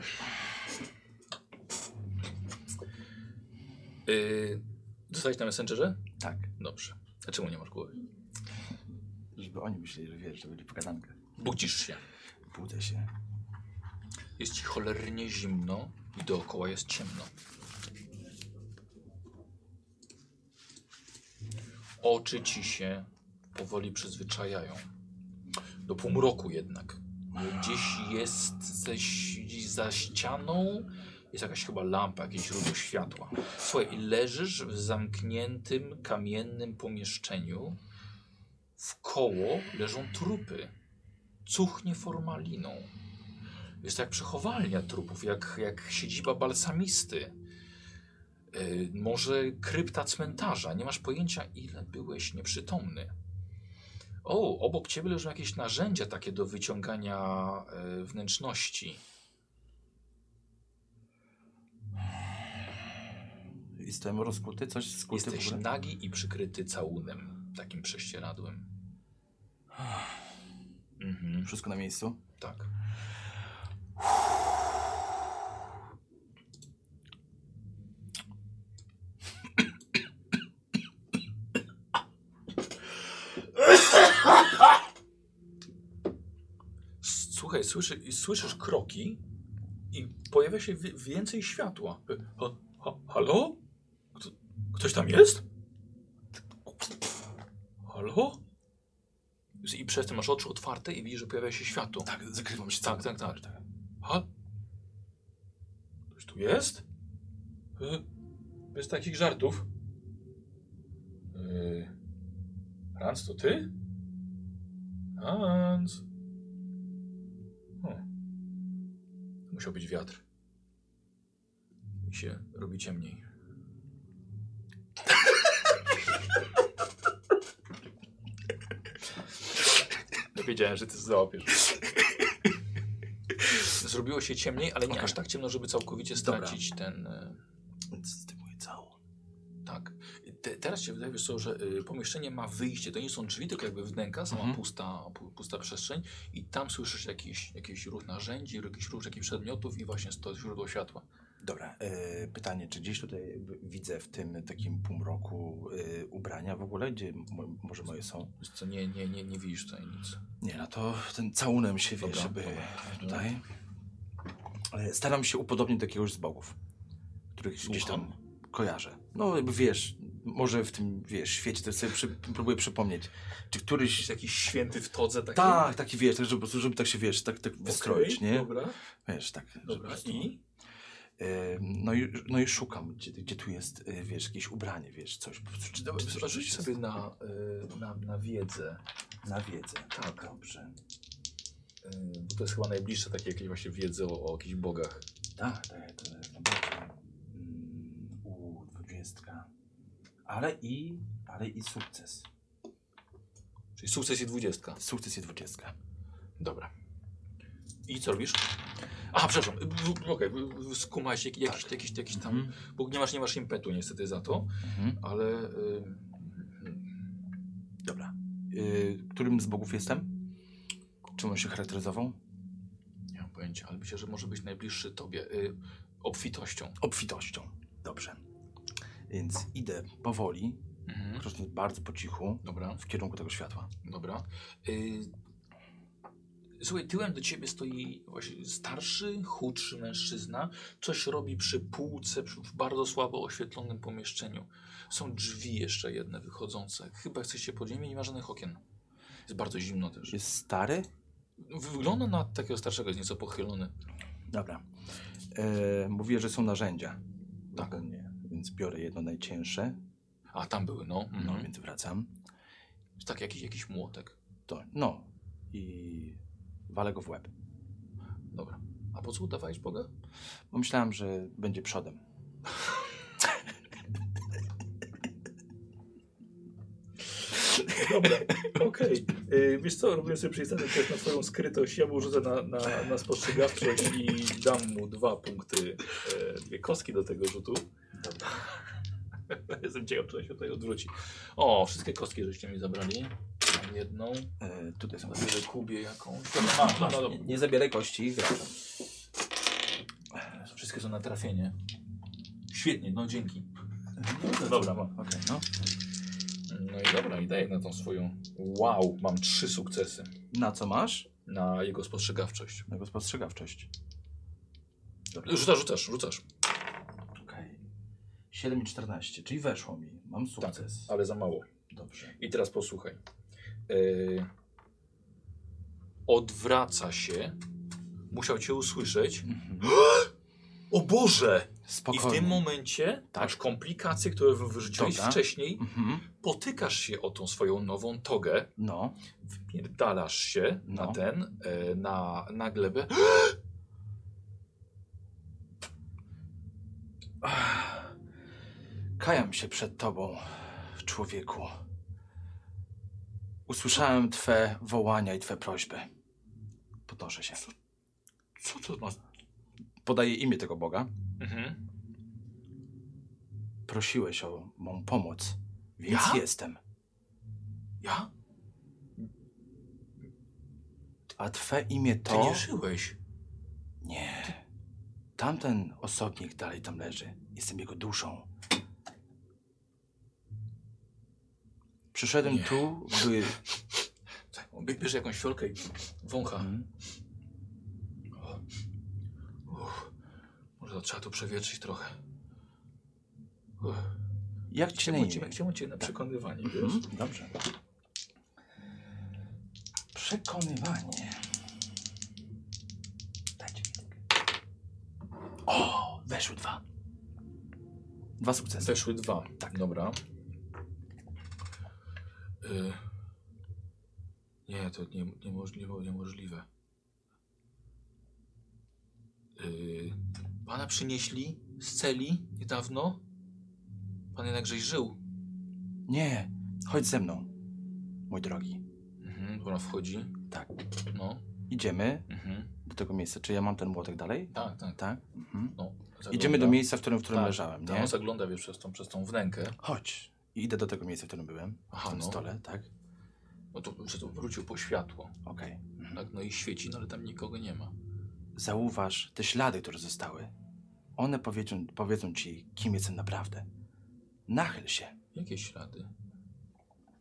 Speaker 1: Y, dostałeś na Messengerze?
Speaker 2: Tak.
Speaker 1: Dobrze. A czemu nie masz głowy?
Speaker 2: Żeby oni myśleli, że wiesz, że będzie pokazanka.
Speaker 1: Budzisz się.
Speaker 2: Budzę się.
Speaker 1: Jest ci cholernie zimno i dookoła jest ciemno. Oczy ci się powoli przyzwyczajają. Do półmroku jednak. Gdzieś jesteś za ścianą. Jest jakaś chyba lampa, jakieś źródło światła. Słuchaj, i leżysz w zamkniętym, kamiennym pomieszczeniu. W koło leżą trupy. Cuchnie formaliną. Jest to jak przechowalnia trupów, jak, jak siedziba balsamisty. Yy, może krypta cmentarza. Nie masz pojęcia, ile byłeś nieprzytomny. O, obok ciebie leżą jakieś narzędzia takie do wyciągania yy, wnętrzności.
Speaker 2: Jestem rozkuty, coś skuty w
Speaker 1: Jesteś
Speaker 2: ogóle.
Speaker 1: nagi i przykryty całunem, takim prześcieradłem. Mhm,
Speaker 2: Wszystko na miejscu.
Speaker 1: tak. S- Słuchaj, słyszy, słyszysz kroki i pojawia się wi- więcej światła. E, Ha, ha, halo? Kto, ktoś tam jest? Halo? I przez to masz oczy otwarte i widzisz, że pojawia się światło.
Speaker 2: Tak, zakrywam się
Speaker 1: Tak, tak, tak. Ha? Ktoś tu jest? E, Bez takich żartów. Yy, Hans, to ty? Hans. O. Musiał być wiatr. I się robi ciemniej. Wiedziałem, że ty załapiesz. Zrobiło się ciemniej, ale nie
Speaker 2: Okej.
Speaker 1: aż tak ciemno, żeby całkowicie
Speaker 2: Dobra.
Speaker 1: stracić ten... e,
Speaker 2: Zdejmuję całą.
Speaker 1: tak. Te, teraz się wydaje, wiesz co, że y, pomieszczenie ma wyjście. To nie są drzwi, tylko jakby wnęka, sama
Speaker 2: Mhm.
Speaker 1: pusta, pu, pusta przestrzeń i tam słyszysz jakiś, jakiś ruch narzędzi, jakiś ruch jakichś przedmiotów i właśnie to źródło światła.
Speaker 2: Dobra, e, pytanie, czy gdzieś tutaj w- widzę w tym takim półmroku e, ubrania w ogóle, gdzie mo- może moje są?
Speaker 1: Wiesz co, nie, nie, nie, nie widzisz tutaj nic.
Speaker 2: Nie, no to ten całunem się, wiesz,
Speaker 1: Dobra,
Speaker 2: żeby
Speaker 1: dobra.
Speaker 2: tutaj. E, Staram się upodobnić do jakiegoś z bogów, których gdzieś tam kojarzę. No jakby wiesz, może w tym, wiesz, świecie też sobie przy, próbuję przypomnieć, czy któryś...
Speaker 1: Jest jakiś święty w todze taki?
Speaker 2: Tak, taki wiesz, tak, żeby, po prostu- żeby tak się, wiesz, tak, tak
Speaker 1: Okej,
Speaker 2: wystroić, nie?
Speaker 1: Dobra,
Speaker 2: Wiesz, tak. żeby po
Speaker 1: dobra.
Speaker 2: prostu-
Speaker 1: I?
Speaker 2: E, No i, no i szukam, gdzie, gdzie tu jest, e, wiesz, jakieś ubranie, wiesz, coś. po prostu, Czy, czy- czy-
Speaker 1: Rzuć
Speaker 2: czy-
Speaker 1: sobie na, y, na, na wiedzę.
Speaker 2: na wiedzę.
Speaker 1: Tak.
Speaker 2: Dobrze.
Speaker 1: Y, bo to jest chyba najbliższe takie jakieś właśnie wiedzy o, o jakichś bogach.
Speaker 2: Tak, tak, to jest na dobrze. Mm, U, dwudziestka. Ale i, ale i sukces.
Speaker 1: Czyli sukces i dwudziestka.
Speaker 2: Sukces i dwudziestka.
Speaker 1: Dobra. I co robisz? A, przepraszam, w- w- okej, okay. skumałeś jak, jakiś, jakiś, jakiś tam,
Speaker 2: Mhm.
Speaker 1: bo nie masz, nie masz impetu niestety za to,
Speaker 2: Mhm.
Speaker 1: ale y,
Speaker 2: Dobra. Y, którym z bogów jestem? Czym on się charakteryzował?
Speaker 1: nie mam pojęcia, ale myślę, że może być najbliższy tobie y, obfitością.
Speaker 2: Obfitością. Dobrze. Więc idę powoli, krocząc bardzo po cichu,
Speaker 1: Dobra,
Speaker 2: w kierunku tego światła.
Speaker 1: dobra. Y, słuchaj, tyłem do ciebie stoi właśnie starszy, chudszy mężczyzna, coś robi przy półce przy, w bardzo słabo oświetlonym pomieszczeniu. Są drzwi jeszcze jedne wychodzące, chyba chce się podzielić, nie ma żadnych okien. Jest bardzo zimno też.
Speaker 2: Jest stary?
Speaker 1: Wygląda na takiego starszego, jest nieco pochylony.
Speaker 2: Dobra. E, mówię, że są narzędzia. Tak. Więc biorę jedno najcięższe,
Speaker 1: A, tam były, no. Mhm.
Speaker 2: no więc wracam.
Speaker 1: Tak, jakiś, jakiś młotek.
Speaker 2: To, no i walę go w łeb.
Speaker 1: Dobra. A po co udawałeś Boga?
Speaker 2: Bo myślałem, że będzie przodem.
Speaker 7: Dobra, okej.
Speaker 1: E,
Speaker 7: Y, Wiesz co, robię sobie przyjstanie też na twoją skrytość. Ja mu rzucę na, na, na spostrzegawczość i dam mu dwa punkty, e, dwie kostki do tego rzutu. Jestem ciekaw, czy on się tutaj odwróci.
Speaker 1: O, wszystkie kostki żeście mi zabrali. Mam jedną.
Speaker 2: E, tutaj są.
Speaker 1: Zabierę Kubie jakąś. A, no, no,
Speaker 2: Nie,
Speaker 1: dobra.
Speaker 2: nie zabieraj kości, wracam.
Speaker 1: Wszystkie są na trafienie. Świetnie, no dzięki. No, dobra, mam.
Speaker 2: Okej, no.
Speaker 1: No i dobra, i daję na tą swoją. Wow, mam trzy sukcesy
Speaker 2: Na co masz?
Speaker 1: na jego spostrzegawczość.
Speaker 2: Mego spostrzegawczość. Dobra.
Speaker 1: Rzucasz, rzucasz, rzucasz.
Speaker 2: Okej. 7 i 14, czyli weszło mi. Mam sukces.
Speaker 1: Tak. Ale za mało.
Speaker 2: Dobrze.
Speaker 1: I teraz posłuchaj. Yy, odwraca się. Musiał cię usłyszeć. O Boże!
Speaker 2: Mhm. Spokojnie.
Speaker 1: I w tym momencie masz komplikacje, które wy- wyrzuciłeś
Speaker 2: Tak. Dobra.
Speaker 1: wcześniej.
Speaker 2: Mhm.
Speaker 1: Potykasz się o tą swoją nową togę.
Speaker 2: No,
Speaker 1: Wpierdalasz się
Speaker 2: No.
Speaker 1: na ten, e, na, na glebę.
Speaker 2: kajam się przed tobą, człowieku. Usłyszałem twe wołania i twe prośby. Podnoszę się.
Speaker 1: Co to masz?
Speaker 2: Podaję imię tego Boga.
Speaker 1: Mhm.
Speaker 2: Prosiłeś o mą pomoc, więc
Speaker 1: Ja?
Speaker 2: jestem.
Speaker 1: Ja?
Speaker 2: A twe imię
Speaker 1: Ty
Speaker 2: to...
Speaker 1: nie żyłeś.
Speaker 2: Nie. Tamten osobnik dalej tam leży. Jestem jego duszą. Przyszedłem
Speaker 1: Nie.
Speaker 2: tu, by.
Speaker 1: Tak, on bie- Bierze jakąś fiolkę i wącha.
Speaker 2: Mhm.
Speaker 1: Uff. Może to trzeba tu przewietrzyć trochę. Uff.
Speaker 2: Jak cię na
Speaker 1: Czemu tak
Speaker 2: imię?
Speaker 1: cię, czemu cię na przekonywanie, wiesz?
Speaker 2: tak. Mhm, Dobrze. Przekonywanie. Dajcie mi tak. O! Weszły dwa. Dwa sukcesy.
Speaker 1: Weszły dwa. Tak. Dobra. Y... Nie, to nie, niemożliwe, niemożliwe. Y... Pana przynieśli z celi niedawno. Pan jednakżeś żył.
Speaker 2: Nie, chodź ze mną, mój drogi.
Speaker 1: Mhm, ona wchodzi.
Speaker 2: Tak.
Speaker 1: No.
Speaker 2: Idziemy
Speaker 1: Mhm.
Speaker 2: do tego miejsca. Czy ja mam ten młotek dalej?
Speaker 1: Tak, tak.
Speaker 2: Tak? Mhm.
Speaker 1: No,
Speaker 2: Idziemy do
Speaker 1: zagląda.
Speaker 2: miejsca, w którym, w którym
Speaker 1: Tak,
Speaker 2: leżałem,
Speaker 1: Tam
Speaker 2: nie?
Speaker 1: on zagląda wiesz, przez, tą, przez tą wnękę.
Speaker 2: Chodź. I idę do tego miejsca, w którym byłem.
Speaker 1: Aha,
Speaker 2: w tym
Speaker 1: no.
Speaker 2: stole, tak?
Speaker 1: No to, że to wrócił po światło.
Speaker 2: Okej.
Speaker 1: Tak, no i świeci, no ale tam nikogo nie ma.
Speaker 2: Zauważ te ślady, które zostały. One powiedzą, powiedzą ci, kim jestem naprawdę. Nachyl się.
Speaker 1: Jakie ślady?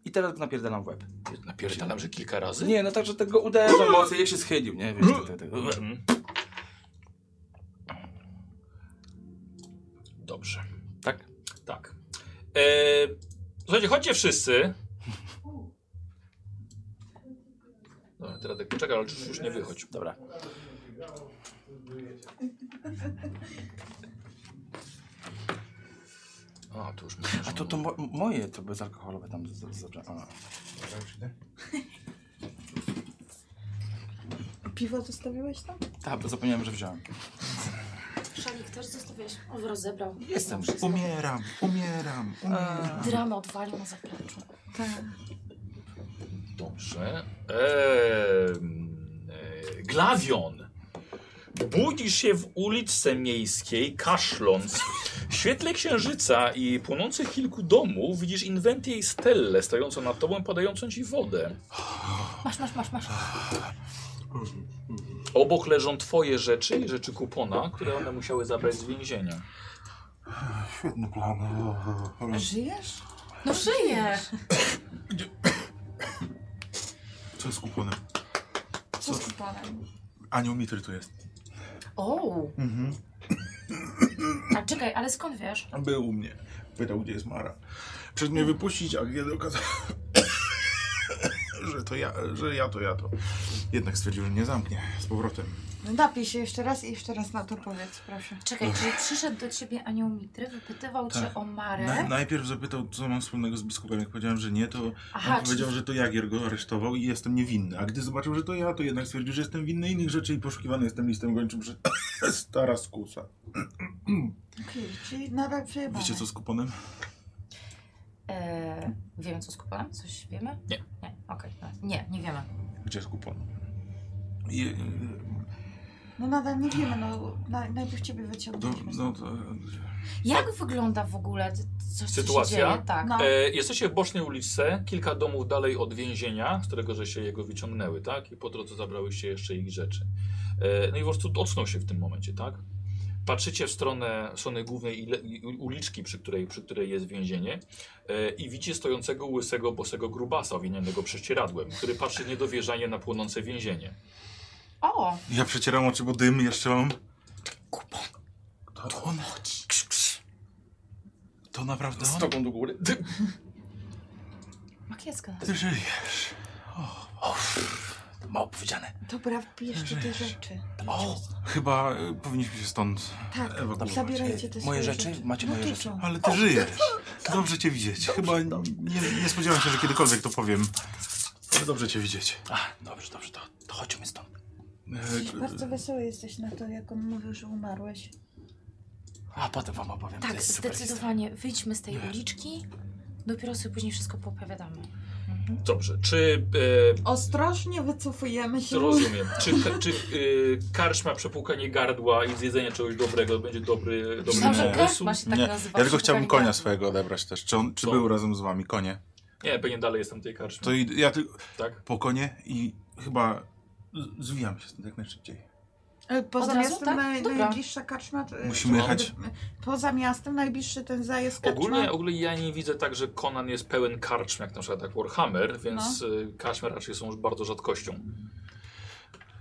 Speaker 2: I teraz go napierdalam w łeb.
Speaker 1: Napierdalam, że kilka razy?
Speaker 2: Nie, no tak, że tego uderzam mocno, ja się schylił, nie? Wiesz, tak, tak, tak.
Speaker 1: Mhm. Dobrze.
Speaker 2: tak?
Speaker 1: Tak. Eee, słuchajcie, chodźcie wszyscy. Dobra, teraz tak poczekaj, ale już, już nie wychodź.
Speaker 2: Dobra.
Speaker 1: A, tu już myślę, że
Speaker 2: A to, to mo moje, to bezalkoholowe tam z- z- z- a.
Speaker 5: Piwo zostawiłeś tam?
Speaker 2: Tak, bo zapomniałem, że wziąłem.
Speaker 6: Szalik też zostawiłeś. On rozebrał.
Speaker 2: Jestem.
Speaker 4: Umieram, umieram, umieram.
Speaker 6: Dramę odwalił na zapleczu.
Speaker 5: Tak.
Speaker 1: Dobrze. Em, e, glawion. Budzisz się w uliczce miejskiej, kaszląc. W świetle księżyca i płonących kilku domów widzisz inwentję i stellę stojącą nad tobą, podającą ci wodę.
Speaker 3: Masz, masz, masz, masz.
Speaker 1: Obok leżą twoje rzeczy i rzeczy kupona, które one musiały zabrać z więzienia.
Speaker 4: Świetny plan. O, o, o.
Speaker 5: Żyjesz?
Speaker 3: No żyje!
Speaker 4: Co jest kuponem?
Speaker 3: Co z panem?
Speaker 4: Anioł Mitry tu jest.
Speaker 6: O,
Speaker 4: Mhm.
Speaker 6: a czekaj, ale skąd wiesz?
Speaker 4: Był u mnie. Pytał, gdzie jest Mara. Przed mnie wypuścić, a kiedy okazało że to ja, że ja to ja to. Jednak stwierdził, że nie zamknie z powrotem.
Speaker 5: No napij się jeszcze raz i jeszcze raz na to powiedz, proszę.
Speaker 3: Czekaj, czyli przyszedł do ciebie anioł Mitry, wypytywał cię
Speaker 4: Tak.
Speaker 3: o Marę.
Speaker 4: Na, najpierw zapytał, co mam wspólnego z biskupem. Jak powiedziałem, że nie, to
Speaker 3: Aha,
Speaker 4: on powiedział, że to Jagier go aresztował i jestem niewinny. A gdy zobaczył, że to ja, to jednak stwierdził, że jestem winny innych rzeczy i poszukiwany jestem listem gończym przez stara skusa.
Speaker 5: Okej, czyli nadal przejebane.
Speaker 4: Wiecie co z kuponem?
Speaker 3: E, wiemy co z kuponem? Coś wiemy?
Speaker 1: Nie.
Speaker 3: Nie, okej. no. Nie, nie wiemy.
Speaker 4: Gdzie jest kupon? I,
Speaker 5: No nadal nie wiemy, no na, najpierw ciebie
Speaker 4: do,
Speaker 5: wyciągnęliśmy.
Speaker 4: no, to,
Speaker 3: Jak wygląda w ogóle t- coś, co
Speaker 1: Sytuacja?
Speaker 3: się dzieje? Tak.
Speaker 5: No.
Speaker 1: E, jesteście w bocznej ulicy, kilka domów dalej od więzienia, z którego że się jego wyciągnęły, tak? I po drodze zabrałyście jeszcze ich rzeczy. E, no i po prostu ocknął się w tym momencie, tak? Patrzycie w stronę, w stronę głównej ile- i- uliczki, przy której, przy której jest więzienie e, i widzicie stojącego łysego, bosego grubasa owinianego prześcieradłem, który patrzy niedowierzanie na płonące więzienie.
Speaker 3: O,
Speaker 4: ja przecieram oczy, bo dym jeszcze mam.
Speaker 2: Kupon.
Speaker 4: To on chodzi. To naprawdę
Speaker 2: Z
Speaker 4: on?
Speaker 2: tobą do góry.
Speaker 3: makieska.
Speaker 4: Ty żyjesz.
Speaker 2: To mało powiedziane.
Speaker 5: Dobra, wpij jeszcze te rzeczy.
Speaker 2: O,
Speaker 4: Chyba y, powinniśmy się stąd
Speaker 5: Tak,
Speaker 4: ewakuować.
Speaker 5: zabierajcie te
Speaker 2: moje
Speaker 5: swoje
Speaker 2: rzeczy? Macie moje
Speaker 5: no, ty
Speaker 2: rzeczy?
Speaker 5: co?
Speaker 4: Ale ty żyjesz. Dobrze cię widzieć. Chyba nie, nie spodziewałem się, że kiedykolwiek to powiem. Ale dobrze cię widzieć.
Speaker 2: Ach, dobrze, dobrze, to, to chodźmy stąd.
Speaker 4: E,
Speaker 5: Jesteś bardzo wesoły jesteś na to, jak on mówił, że umarłeś.
Speaker 2: A potem wam opowiem. to
Speaker 3: Tak,
Speaker 2: jest super
Speaker 3: zdecydowanie. Wyjdźmy z tej uliczki, dopiero sobie później wszystko poopowiadamy. Mhm.
Speaker 1: Dobrze, czy...
Speaker 5: Ostrożnie wycofujemy
Speaker 1: E,
Speaker 5: się.
Speaker 1: rozumiem. Czy, czy y, karczma, przepłukanie gardła i zjedzenie czegoś dobrego będzie dobry, dobry
Speaker 3: Myślałam, że
Speaker 4: Nie.
Speaker 1: pomysł?
Speaker 3: Karpma się tak
Speaker 4: Nie,
Speaker 3: nazywa.
Speaker 4: Ja tylko chciałbym
Speaker 3: szukali-
Speaker 4: konia swojego odebrać też. Czy, on, czy
Speaker 1: Co?
Speaker 4: był razem z wami konie?
Speaker 1: Nie, pewnie dalej jestem tej karczmy.
Speaker 4: To i, ja tylko
Speaker 1: Tak?
Speaker 4: po konie i chyba z- zwijamy się stąd jak najszybciej.
Speaker 5: E, Poza
Speaker 3: Od razu,
Speaker 5: miastem
Speaker 3: tak?
Speaker 5: naj,
Speaker 3: Dobra.
Speaker 5: najbliższa e, karczma... to-
Speaker 4: Musimy jechać.
Speaker 5: Poza miastem najbliższy ten No zajazd karczma.
Speaker 1: Ogólnie, ogólnie ja nie widzę tak, że Conan jest pełen karczm, jak na przykład jak Warhammer, więc y, karczmy raczej są już bardzo rzadkością.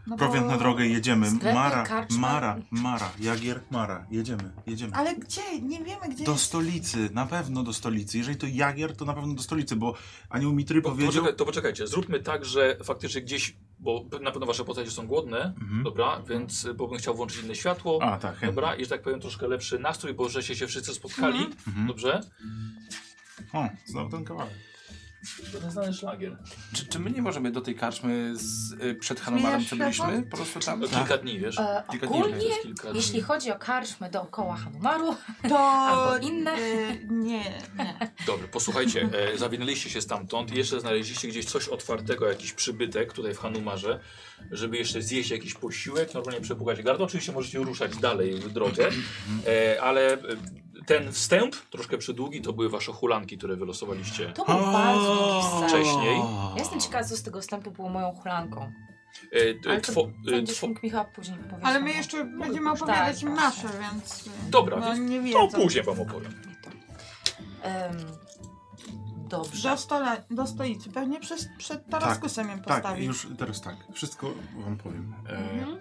Speaker 5: no bo-
Speaker 4: Prowiant na drogę i jedziemy.
Speaker 3: Sklepy,
Speaker 4: Mara,
Speaker 3: karczmy.
Speaker 4: Mara, Mara, Jagier, Mara. Jedziemy, jedziemy.
Speaker 5: Ale gdzie? Nie wiemy gdzie
Speaker 4: Do
Speaker 5: jest.
Speaker 4: stolicy, na pewno do stolicy. Jeżeli to Jagier, to na pewno do stolicy, bo anioł Mitry
Speaker 1: Po,
Speaker 4: powiedział...
Speaker 1: poczekaj, to poczekajcie, zróbmy tak, że faktycznie gdzieś, bo na pewno wasze postacie są głodne,
Speaker 4: Mhm.
Speaker 1: dobra, więc y, bo bym chciał włączyć inne światło,
Speaker 4: A, tak, chętnie.
Speaker 1: dobra, i że tak powiem troszkę lepszy nastrój, bo żeście się wszyscy spotkali,
Speaker 4: Mhm.
Speaker 1: dobrze?
Speaker 4: O, znowu ten kawałek.
Speaker 1: Ten znany szlagier.
Speaker 2: Czy, czy my nie możemy do tej karczmy z, y, przed Hanomarem, co
Speaker 5: Zmieniasz
Speaker 2: byliśmy? Po prostu tam.
Speaker 1: No, kilka dni, wiesz?
Speaker 3: E,
Speaker 2: Kilka dni
Speaker 3: ogólnie,
Speaker 1: Przez kilka dni.
Speaker 3: jeśli chodzi o karczmy dookoła Hanumaru,
Speaker 5: To...
Speaker 3: albo inne,
Speaker 5: Y, nie.
Speaker 1: Dobrze, posłuchajcie, e, zawinęliście się stamtąd i jeszcze znaleźliście gdzieś coś otwartego, jakiś przybytek tutaj w Hanumarze, żeby jeszcze zjeść jakiś posiłek, normalnie przepłukać gardło. Oczywiście możecie ruszać dalej w drogę, e, ale e, ten wstęp, troszkę przydługi, to były wasze hulanki, które wylosowaliście.
Speaker 3: to był bardzo długi sen.
Speaker 1: Wcześniej.
Speaker 3: Ja jestem ciekawa, co z tego wstępu było moją hulanką.
Speaker 1: E,
Speaker 3: Ale
Speaker 1: t-
Speaker 3: to
Speaker 1: two- e,
Speaker 3: Będziesz
Speaker 1: two-
Speaker 3: mógł mi chyba później powiedzieć.
Speaker 5: Ale my jeszcze będziemy opowiadać
Speaker 3: Tak,
Speaker 5: im
Speaker 3: tak,
Speaker 5: nasze,
Speaker 3: tak.
Speaker 5: więc... y,
Speaker 1: Dobra,
Speaker 5: no,
Speaker 1: więc
Speaker 5: nie
Speaker 1: to
Speaker 5: wiedzą.
Speaker 1: później wam opowiem.
Speaker 3: Em, dobrze.
Speaker 5: Do, stola, do stolicy. Pewnie przez, przed Taraskusem ją
Speaker 4: Tak,
Speaker 5: postawić.
Speaker 4: już teraz tak. Wszystko wam powiem. E,
Speaker 3: Mhm.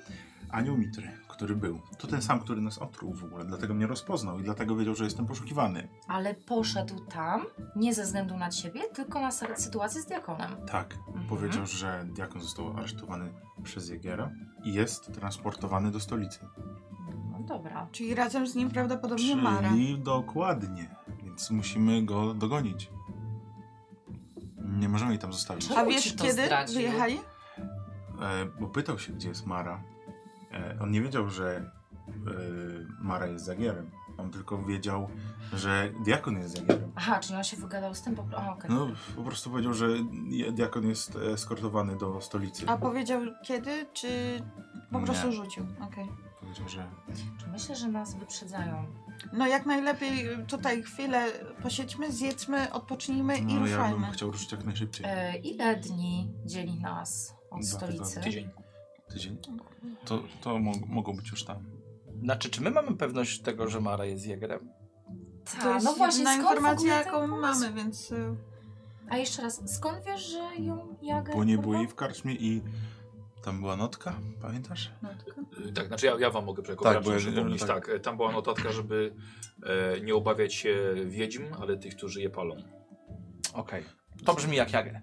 Speaker 4: Anioł Mitry, który był, to ten sam, który nas otruł w ogóle, dlatego mnie rozpoznał i dlatego wiedział, że jestem poszukiwany.
Speaker 3: Ale poszedł tam nie ze względu na ciebie, tylko na sy- sytuację z diakonem.
Speaker 4: Tak,
Speaker 3: Mhm.
Speaker 4: powiedział, że diakon został aresztowany przez Jagiera i jest transportowany do stolicy.
Speaker 3: No dobra.
Speaker 5: Czyli razem z nim prawdopodobnie
Speaker 4: Czyli
Speaker 5: Mara.
Speaker 4: dokładnie, więc musimy go dogonić. Nie możemy jej tam zostawić.
Speaker 5: A
Speaker 3: Czemu
Speaker 5: wiesz
Speaker 3: ci to
Speaker 5: kiedy
Speaker 3: zdradził?
Speaker 5: wyjechali?
Speaker 4: E, bo pytał się, gdzie jest Mara. E, on nie wiedział, że e, Mara jest zagierem. On tylko wiedział, że diakon jest zagierem.
Speaker 3: Aha, czyli on się wygadał z tym po prostu. Okay.
Speaker 4: No, po prostu powiedział, że je- diakon jest eskortowany do stolicy.
Speaker 5: A powiedział kiedy, czy po
Speaker 4: Nie.
Speaker 5: prostu rzucił? Okej.
Speaker 4: Powiedział, że
Speaker 3: Myślę, że nas wyprzedzają.
Speaker 5: No jak najlepiej y, tutaj chwilę posiedźmy, zjedzmy, odpocznijmy i
Speaker 4: no, ja bym
Speaker 5: ruszajmy.
Speaker 4: chciał ruszyć jak najszybciej.
Speaker 3: E, ile dni dzieli nas od
Speaker 4: Dwa
Speaker 3: stolicy?
Speaker 4: tygodnie.
Speaker 1: Tydzień.
Speaker 4: Tydzień. To, to mo- mogą być już tam.
Speaker 2: Znaczy, czy my mamy pewność tego, że Mara jest jegerem?
Speaker 3: Ta,
Speaker 5: To jest
Speaker 3: no właśnie,
Speaker 5: jedyna
Speaker 3: skąd
Speaker 5: informacja,
Speaker 3: w ogóle
Speaker 5: jaką
Speaker 3: ten pomysł?
Speaker 5: mamy, więc y,
Speaker 3: A jeszcze raz, skąd wiesz, że ją Jager...
Speaker 4: Bo nie
Speaker 3: porwał?
Speaker 4: było jej w karczmie i tam była notka, pamiętasz?
Speaker 5: no, tylko-
Speaker 1: Y, Tak, znaczy ja, ja wam mogę
Speaker 4: Tak,
Speaker 1: przekopać,
Speaker 4: bo ja-
Speaker 1: przypomnieć.
Speaker 4: tak.
Speaker 1: Tak. e, tam była notatka, żeby e, nie obawiać się wiedźm, ale tych, którzy je palą.
Speaker 2: Okej. To brzmi jak jager.
Speaker 3: E,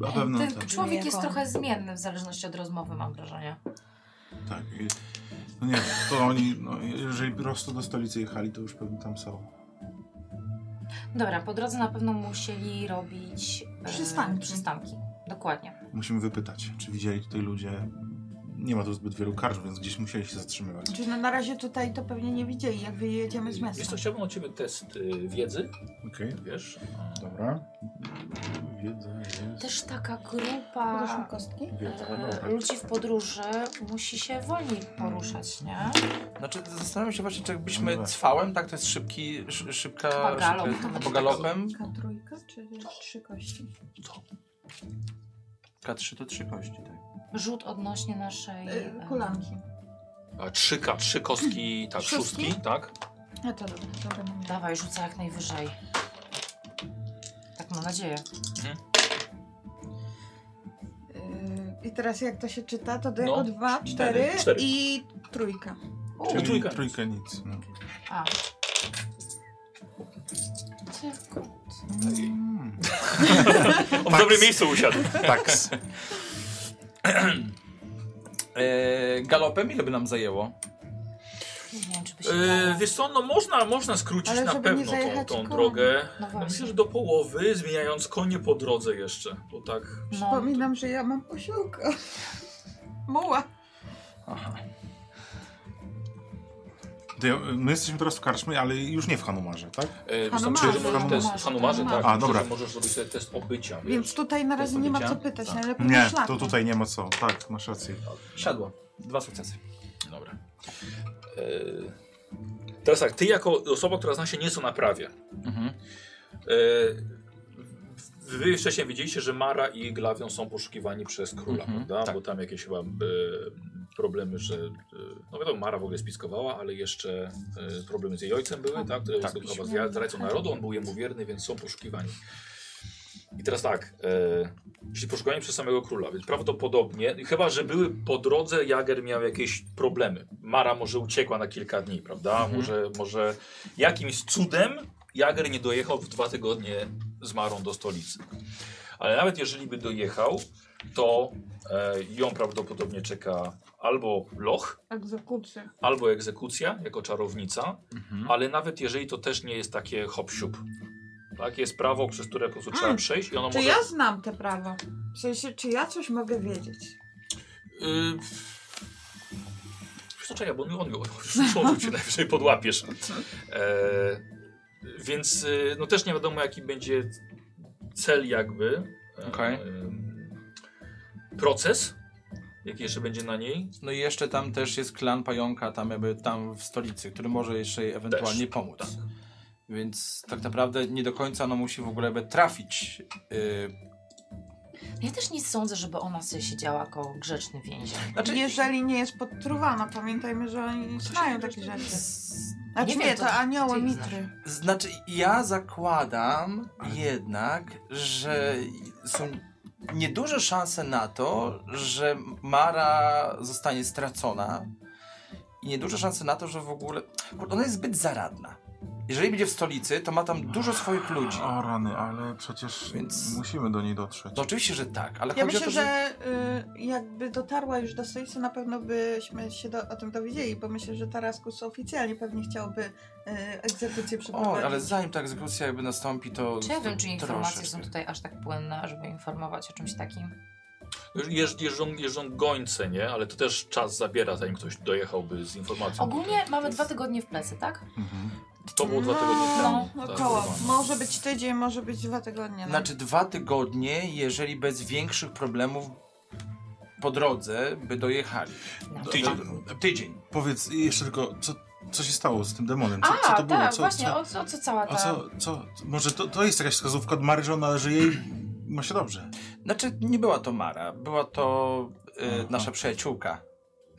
Speaker 4: Na pewno
Speaker 3: Ten
Speaker 4: tak.
Speaker 3: człowiek jest
Speaker 8: Jako-
Speaker 3: trochę zmienny w zależności od rozmowy, mam wrażenie.
Speaker 4: tak. I, no nie, to oni, no, jeżeli prosto do stolicy jechali, to już pewnie tam są.
Speaker 3: Dobra, po drodze na pewno musieli robić e,
Speaker 5: Przystanki.
Speaker 3: przystanki. Dokładnie.
Speaker 4: Musimy wypytać, czy widzieli tutaj ludzie. Nie ma tu zbyt wielu karcz, więc gdzieś musieli się zatrzymywać.
Speaker 5: Znaczy, no na razie tutaj to pewnie nie widzieli, jak wyjedziemy z
Speaker 1: E, Wiesz co,
Speaker 5: miasta.
Speaker 1: chciałbym od ciebie test y, wiedzy,
Speaker 4: Okej,
Speaker 1: wiesz?
Speaker 4: dobra. Wiedza jest...
Speaker 3: Też taka
Speaker 8: Podasz mi
Speaker 3: grupa
Speaker 8: kostki?
Speaker 4: Wiedza,
Speaker 3: e,
Speaker 4: dobra.
Speaker 3: ludzi w podróży musi się wolniej poruszać, nie?
Speaker 2: Znaczy zastanawiam się właśnie, czy
Speaker 4: No
Speaker 2: jakbyśmy
Speaker 4: dobra.
Speaker 2: cwałem, tak? To jest szybki, szy, szybka...
Speaker 3: Chyba galop,
Speaker 2: szybka-
Speaker 3: to będzie
Speaker 2: po galopem.
Speaker 5: Taka trójka czy trzy kości?
Speaker 2: K3 to trzy kości, tak.
Speaker 3: Rzut odnośnie naszej...
Speaker 5: Y,
Speaker 3: e,
Speaker 5: Kulanki.
Speaker 9: A trzy, K, trzy kostki, tak,
Speaker 5: Szóstki?
Speaker 9: szóstki, tak?
Speaker 5: No to dobra, dobra. mam.
Speaker 3: Dawaj, rzucę jak najwyżej. Tak mam nadzieję.
Speaker 5: Y, I teraz jak to się czyta, to daje
Speaker 1: No,
Speaker 5: o dwa,
Speaker 1: cztery,
Speaker 5: cztery
Speaker 1: cztery.
Speaker 5: i trójka.
Speaker 4: Czyli
Speaker 1: I trójka.
Speaker 4: trójka nic. No.
Speaker 3: A.
Speaker 4: Mm.
Speaker 1: On w dobrym miejscu usiadł.
Speaker 4: Taks.
Speaker 2: E, galopem ile by nam zajęło?
Speaker 3: Nie wiem, czy by się
Speaker 1: E,
Speaker 3: dało.
Speaker 1: wiesz co, no można, można skrócić
Speaker 5: Ale
Speaker 1: na
Speaker 5: żeby nie
Speaker 1: pewno tą,
Speaker 5: zajechać
Speaker 1: tą
Speaker 5: kołem.
Speaker 1: drogę.
Speaker 3: No
Speaker 1: No myślę,
Speaker 3: właśnie.
Speaker 1: że do połowy, zmieniając konie po drodze jeszcze, bo tak...
Speaker 3: No,
Speaker 5: Przypominam, że ja mam posiłka. Muła.
Speaker 4: To ja- My jesteśmy teraz w karczmie, ale już nie w Hanumarze, tak?
Speaker 1: E,
Speaker 5: Hanumarze.
Speaker 1: myślę, że możesz
Speaker 4: Hanumarze.
Speaker 1: test, Hanumarze, tak.
Speaker 5: Hanumarze.
Speaker 4: A,
Speaker 1: myślę,
Speaker 4: dobra.
Speaker 1: że Możesz zrobić sobie test obycia, wiesz?
Speaker 5: Więc tutaj na razie nie ma co
Speaker 1: Odpowiedziałem?
Speaker 5: pytać,
Speaker 1: Tak.
Speaker 3: No
Speaker 5: najlepiej na
Speaker 4: Nie,
Speaker 5: szlaku.
Speaker 4: to tutaj nie ma co. Tak, masz rację.
Speaker 2: Siadło. Dwa sukcesy.
Speaker 1: Dobra. E, teraz tak, ty jako osoba, która zna się nieco na prawie,
Speaker 2: Mhm.
Speaker 1: E, Wy wcześniej wiedzieliście, że Mara i Glawion są poszukiwani przez króla,
Speaker 2: Mhm,
Speaker 1: prawda?
Speaker 2: tak.
Speaker 1: Bo tam jakieś chyba e, problemy, że. E, no wiadomo, Mara w ogóle spiskowała, ale jeszcze e, problemy z jej ojcem były, tak? Które
Speaker 2: tak.
Speaker 1: tak. chyba zja- zdrajcą narodu, on był jemu wierny, więc są poszukiwani. I teraz tak, e, jeśli poszukiwani przez samego króla, więc prawdopodobnie, chyba że były po drodze, Jager miał jakieś problemy. Mara może uciekła na kilka dni, prawda? Może, może jakimś cudem Jager nie dojechał w dwa tygodnie z Marą do stolicy. Ale nawet jeżeli by dojechał, to e, ją prawdopodobnie czeka albo loch,
Speaker 5: Egzekucja.
Speaker 1: albo egzekucja jako czarownica,
Speaker 2: Mhm.
Speaker 1: ale nawet jeżeli to też nie jest takie hop-siup. Tak, jest prawo, przez które po prostu trzeba
Speaker 5: Mm.
Speaker 1: przejść i ono
Speaker 5: Czy
Speaker 1: może...
Speaker 5: ja znam te prawa? W sensie, czy ja coś mogę wiedzieć?
Speaker 1: Y... Wiesz co, czekaj, bo on, on, on, on cię najwyżej podłapiesz. E, więc y, no też nie wiadomo jaki będzie cel jakby. E,
Speaker 2: Okej.
Speaker 1: Proces, jaki jeszcze będzie na niej.
Speaker 2: No i jeszcze tam też jest klan pająka, tam jakby tam w stolicy, który może jeszcze jej ewentualnie
Speaker 1: Też,
Speaker 2: pomóc.
Speaker 1: tak.
Speaker 2: Więc tak naprawdę nie do końca ona musi w ogóle jakby trafić. Yy,
Speaker 3: Ja też nie sądzę, żeby ona sobie siedziała jako grzeczny więzień.
Speaker 2: znaczy,
Speaker 5: Jeżeli nie jest podtruwana, pamiętajmy, że oni znają takie rzeczy.
Speaker 2: z,
Speaker 5: Znaczy
Speaker 3: Nie
Speaker 5: nie,
Speaker 3: wiem,
Speaker 5: nie
Speaker 3: to-
Speaker 5: to anioły,
Speaker 3: ty
Speaker 5: mitry.
Speaker 2: znaczy ja zakładam jednak, że są nieduże szanse na to, że Mara zostanie stracona i nieduże szanse na to, że w ogóle... Kurde, ona jest zbyt zaradna. Jeżeli będzie w stolicy, to ma tam dużo swoich ludzi.
Speaker 4: O rany, ale przecież
Speaker 2: Więc-
Speaker 4: musimy do niej dotrzeć.
Speaker 2: No oczywiście, że tak, ale
Speaker 5: Ja
Speaker 2: chodzi
Speaker 5: myślę,
Speaker 2: o to, że...
Speaker 5: że y, jakby dotarła już do stolicy, na pewno byśmy się do, o tym dowiedzieli, bo myślę, że Taraskus oficjalnie pewnie chciałby y, egzekucję
Speaker 2: O,
Speaker 5: przeprowadzić.
Speaker 2: ale zanim ta egzekucja jakby nastąpi, to...
Speaker 3: Czy ja wiem, czy
Speaker 2: to
Speaker 3: informacje są
Speaker 2: troszeczkę.
Speaker 3: tutaj aż tak płynne, żeby informować o czymś takim?
Speaker 1: Jeżdż, jeżdżą, jeżdżą gońce, nie? Ale to też czas zabiera, zanim ktoś dojechałby z informacją.
Speaker 3: Ogólnie mamy dwa tygodnie w plecy, tak?
Speaker 4: Mhm.
Speaker 1: To było dwa tygodnie
Speaker 5: No,
Speaker 1: temu.
Speaker 5: no
Speaker 1: tak,
Speaker 5: koło.
Speaker 1: dokładnie.
Speaker 5: Może być tydzień, może być dwa tygodnie. No.
Speaker 2: Znaczy dwa tygodnie, jeżeli bez większych problemów po drodze by dojechali.
Speaker 3: No. E,
Speaker 1: Tydzień.
Speaker 2: Tydzień.
Speaker 4: no, Powiedz jeszcze tylko, co, co się stało z tym demonem? Co,
Speaker 3: A,
Speaker 4: co to było?
Speaker 3: tak,
Speaker 4: co,
Speaker 3: właśnie,
Speaker 4: co,
Speaker 3: O, tak. co- o co cała ta...
Speaker 4: a co, co, może to, to jest jakaś wskazówka od Mary, że ona, że jej ma się dobrze.
Speaker 2: Znaczy nie była to Mara, była to e,
Speaker 4: Aha.
Speaker 2: nasza przyjaciółka.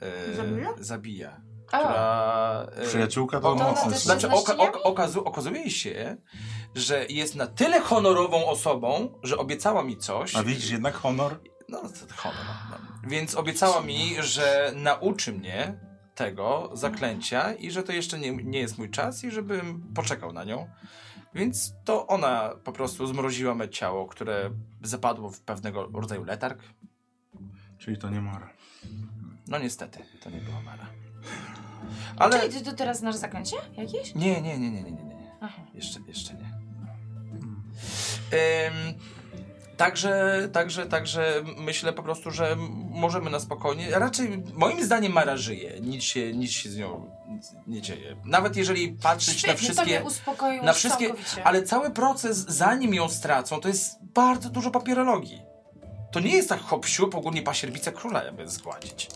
Speaker 2: e,
Speaker 5: Zabija?
Speaker 2: Zabija.
Speaker 3: A,
Speaker 2: Która, e,
Speaker 4: Przyjaciółka
Speaker 2: O,
Speaker 4: to
Speaker 3: to ona
Speaker 4: mocne
Speaker 3: też
Speaker 4: słowo.
Speaker 2: Znaczy,
Speaker 3: Ze
Speaker 2: oka,
Speaker 3: złościeniami?
Speaker 2: ok, okazu, okazuje się, że jest na tyle honorową osobą, że obiecała mi coś.
Speaker 4: A widzisz, jednak honor.
Speaker 2: No, to honor. No. Więc obiecała mi, że nauczy mnie tego zaklęcia i że to jeszcze nie, nie jest mój czas i żebym poczekał na nią. Więc to ona po prostu zmroziła me ciało, które zapadło w pewnego rodzaju letarg.
Speaker 4: Czyli to nie Mara.
Speaker 2: No niestety, to nie była Mara.
Speaker 3: Ale...
Speaker 2: Ale
Speaker 3: Czyli to, to teraz nasz zaklęcie jakieś?
Speaker 2: nie, nie, nie, nie, nie, nie, nie.
Speaker 3: Aha.
Speaker 2: Jeszcze, jeszcze nie. Ym, także, także, także myślę po prostu, że m- możemy na spokojnie. Raczej moim zdaniem Mara żyje. Nic się, nic się z nią nie dzieje. Nawet jeżeli patrzeć
Speaker 3: Świetnie,
Speaker 2: na wszystkie.
Speaker 3: to mnie uspokoiło
Speaker 2: na wszystkie-
Speaker 3: całkowicie.
Speaker 2: Ale cały proces, zanim ją stracą, to jest bardzo dużo papierologii. To nie jest tak hop-siup, ogólnie pasierbice króla jakby zgładzić.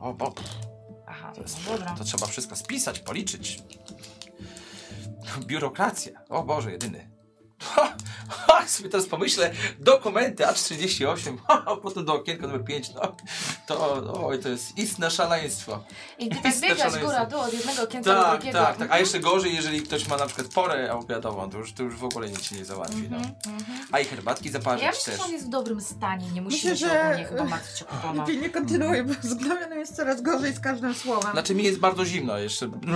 Speaker 2: O, bo pff,
Speaker 3: Aha,
Speaker 2: to, jest,
Speaker 3: no dobra.
Speaker 2: to trzeba wszystko spisać, policzyć. Biurokracja. O Boże, jedyny. Ha, ha, sobie teraz pomyślę, dokumenty aż 38, ha, ha, potem do okienka numer 5, no. To, oj, to jest istne szaleństwo.
Speaker 3: I gdy tak
Speaker 2: Jest
Speaker 3: biegać
Speaker 2: szaleństwo.
Speaker 3: góra, dół, od jednego okienca do
Speaker 2: Tak,
Speaker 3: drugiego. Mhm.
Speaker 2: tak, tak. A jeszcze gorzej, jeżeli ktoś ma na przykład porę obiadową, to już, to już w ogóle nic się nie załatwi, no.
Speaker 3: Mhm, mhm.
Speaker 2: A i herbatki zaparzyć
Speaker 3: Ja myślę,
Speaker 2: też.
Speaker 3: że on jest w dobrym stanie, nie musimy
Speaker 5: Myślę,
Speaker 3: się
Speaker 5: że-
Speaker 3: ogólnie chyba martwić o kupona.
Speaker 5: Lepiej nie kontynuuj, bo z Glawionem jest coraz gorzej z każdym słowem.
Speaker 2: Znaczy mi jest bardzo zimno jeszcze. Bo to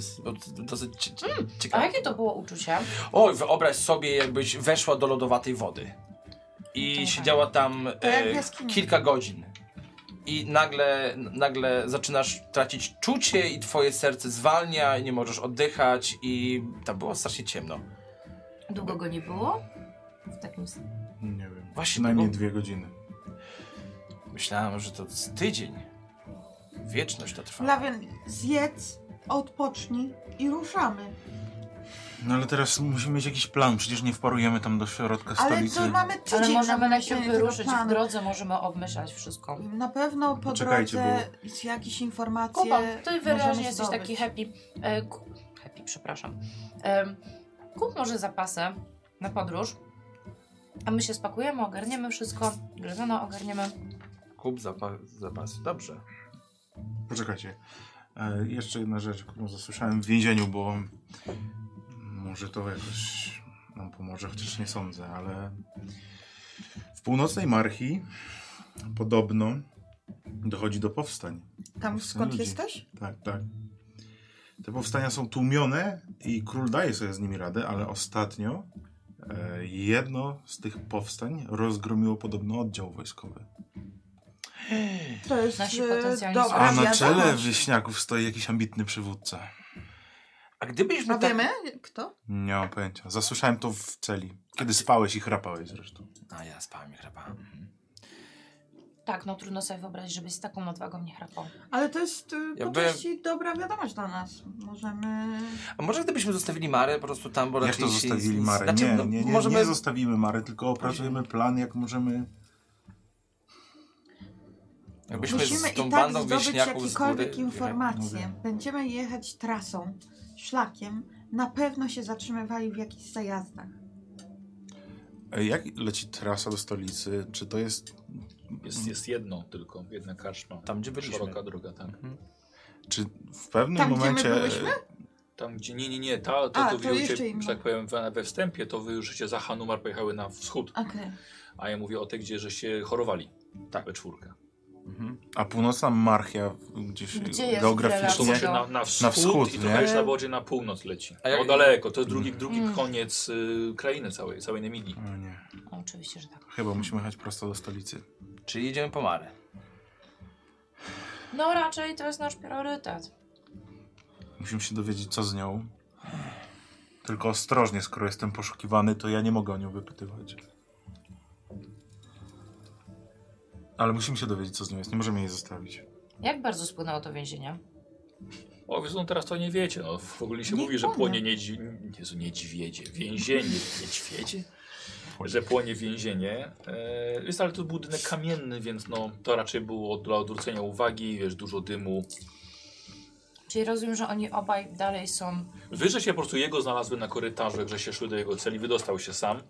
Speaker 2: Dosyć cie- cie-
Speaker 3: Mhm. A
Speaker 2: ciekawe.
Speaker 3: jakie to było uczucie?
Speaker 2: Oj, wyobraź sobie, jakbyś weszła do lodowatej wody i siedziała tam
Speaker 5: jak w
Speaker 2: e,
Speaker 5: jaskini.
Speaker 2: kilka godzin. I nagle, nagle zaczynasz tracić czucie i twoje serce zwalnia i nie możesz oddychać i tam było strasznie ciemno.
Speaker 3: Długo go nie było? W takim s-
Speaker 4: Nie wiem.
Speaker 2: Właśnie,
Speaker 4: Przynajmniej
Speaker 2: no.
Speaker 4: dwie godziny.
Speaker 2: Myślałem, że to z tydzień. Wieczność to trwa.
Speaker 5: Glawion, zjedz, odpocznij i ruszamy.
Speaker 4: No ale teraz musimy mieć jakiś plan, przecież nie wparujemy tam do środka
Speaker 5: Ale
Speaker 4: stolicy.
Speaker 5: to mamy tydzień
Speaker 3: Ale możemy
Speaker 5: na
Speaker 3: najpierw
Speaker 5: wymyślenie tego
Speaker 3: wyruszyć w
Speaker 5: planu.
Speaker 3: drodze, możemy obmyślać wszystko.
Speaker 5: Na pewno po
Speaker 4: Poczekajcie,
Speaker 5: drodze z jakieś informacje
Speaker 3: Kuba, ty wyraźnie
Speaker 5: możemy
Speaker 3: jesteś
Speaker 5: zdobyć.
Speaker 3: taki happy. E, ku, happy, przepraszam. Em, kup może zapasy na podróż, a my się spakujemy, ogarniemy wszystko, grzewiono ogarniemy.
Speaker 2: Kup zapa- zapasy. Dobrze.
Speaker 4: Poczekajcie. E, jeszcze jedna rzecz, którą zasłyszałem w więzieniu, bo może to jakoś nam pomoże, chociaż nie sądzę, ale w północnej Marchi podobno dochodzi do powstań.
Speaker 5: Tam skąd
Speaker 4: Ludzi.
Speaker 5: jesteś?
Speaker 4: Tak, tak. Te powstania są tłumione i król daje sobie z nimi radę, ale ostatnio e, jedno z tych powstań rozgromiło podobno oddział wojskowy.
Speaker 5: To jest
Speaker 3: Nasi
Speaker 5: e,
Speaker 3: potencjalni
Speaker 5: dobra
Speaker 4: A na
Speaker 5: wiadomość.
Speaker 4: czele wieśniaków stoi jakiś ambitny przywódca.
Speaker 2: A gdybyśmy
Speaker 5: A
Speaker 3: No
Speaker 2: tak...
Speaker 5: wiemy? Kto?
Speaker 4: Nie mam pojęcia. Zasłyszałem to w celi. Kiedy spałeś i chrapałeś zresztą.
Speaker 2: A ja spałem i chrapałem. mhm.
Speaker 3: Tak, no trudno sobie wyobrazić, żebyś z taką odwagą nie chrapał.
Speaker 5: Ale to jest e,
Speaker 2: Ja
Speaker 5: po
Speaker 2: byłem-
Speaker 5: części dobra wiadomość dla nas. Możemy...
Speaker 2: A może gdybyśmy zostawili Marę po prostu tam, bo
Speaker 4: Jak
Speaker 2: raczej
Speaker 4: to
Speaker 2: się
Speaker 4: zostawili
Speaker 2: nic-
Speaker 4: Marę?
Speaker 2: Znaczy,
Speaker 4: nie,
Speaker 2: no,
Speaker 4: nie, nie,
Speaker 2: możemy...
Speaker 4: nie zostawimy Mary, tylko opracujemy plan, jak możemy...
Speaker 2: Jakbyśmy
Speaker 5: Musimy
Speaker 2: z tą
Speaker 5: i tak
Speaker 2: bandą
Speaker 5: zdobyć
Speaker 2: wieśniaków z góry...
Speaker 5: jakiekolwiek informacje.
Speaker 4: mówię.
Speaker 5: Będziemy jechać trasą, szlakiem. Na pewno się zatrzymywali w jakichś zajazdach.
Speaker 4: E, Jak leci trasa do stolicy? Czy to jest...
Speaker 1: Jest, jest jedno tylko, jedna karczma.
Speaker 2: Tam, gdzie byliśmy.
Speaker 1: Szeroka droga, tak.
Speaker 4: Czy w pewnym
Speaker 5: Tam, gdzie my
Speaker 4: momencie...
Speaker 5: byłyśmy?
Speaker 1: Tam gdzie, nie, nie, nie, ta, to, to
Speaker 5: A, to jeszcze
Speaker 1: wyjęcie,
Speaker 5: inna.
Speaker 1: że tak powiem, we, we wstępie, to wy już żeście za Hanumar pojechały na wschód,
Speaker 5: Okej.
Speaker 1: a ja mówię o tej, gdzie żeście chorowali.
Speaker 2: Tak.
Speaker 1: We czwórkę.
Speaker 2: Mhm.
Speaker 4: A północna Marchia gdzieś
Speaker 3: Gdzie jest
Speaker 1: Wiesz, to
Speaker 4: geograficznie...
Speaker 1: właśnie
Speaker 3: relacja?
Speaker 1: na, na, wschód,
Speaker 4: wschód,
Speaker 1: i
Speaker 4: nie?
Speaker 1: trochę już na wodzie na północ leci.
Speaker 2: A jak-
Speaker 1: No daleko, to jest drugi, drugi
Speaker 3: Mm.
Speaker 1: koniec y, krainy całej, całej Nemidii.
Speaker 4: O nie.
Speaker 3: No, oczywiście, że tak.
Speaker 4: Chyba musimy jechać prosto do stolicy.
Speaker 2: Czyli jedziemy po Marę.
Speaker 3: No raczej to jest nasz priorytet.
Speaker 4: Musimy się dowiedzieć, co z nią. Tylko ostrożnie, skoro jestem poszukiwany, to ja nie mogę o nią wypytywać. Ale musimy się dowiedzieć, co z nią jest. Nie możemy jej zostawić.
Speaker 3: Jak bardzo spłynęło to więzienie?
Speaker 1: O, więc no teraz to nie wiecie. No, w ogóle się
Speaker 5: Nie
Speaker 1: mówi, że
Speaker 5: płonę.
Speaker 1: płonie niedź... Jezu, niedźwiedzie, więzienie, niedźwiedzie? Że płonie więzienie. E, jest, ale to był budynek kamienny, więc no, to raczej było dla odwrócenia uwagi, wiesz, dużo dymu.
Speaker 3: Czyli rozumiem, że oni obaj dalej są...
Speaker 1: Wy, że się po prostu jego znalazły na korytarzu, że się szły do jego celi, wydostał się sam.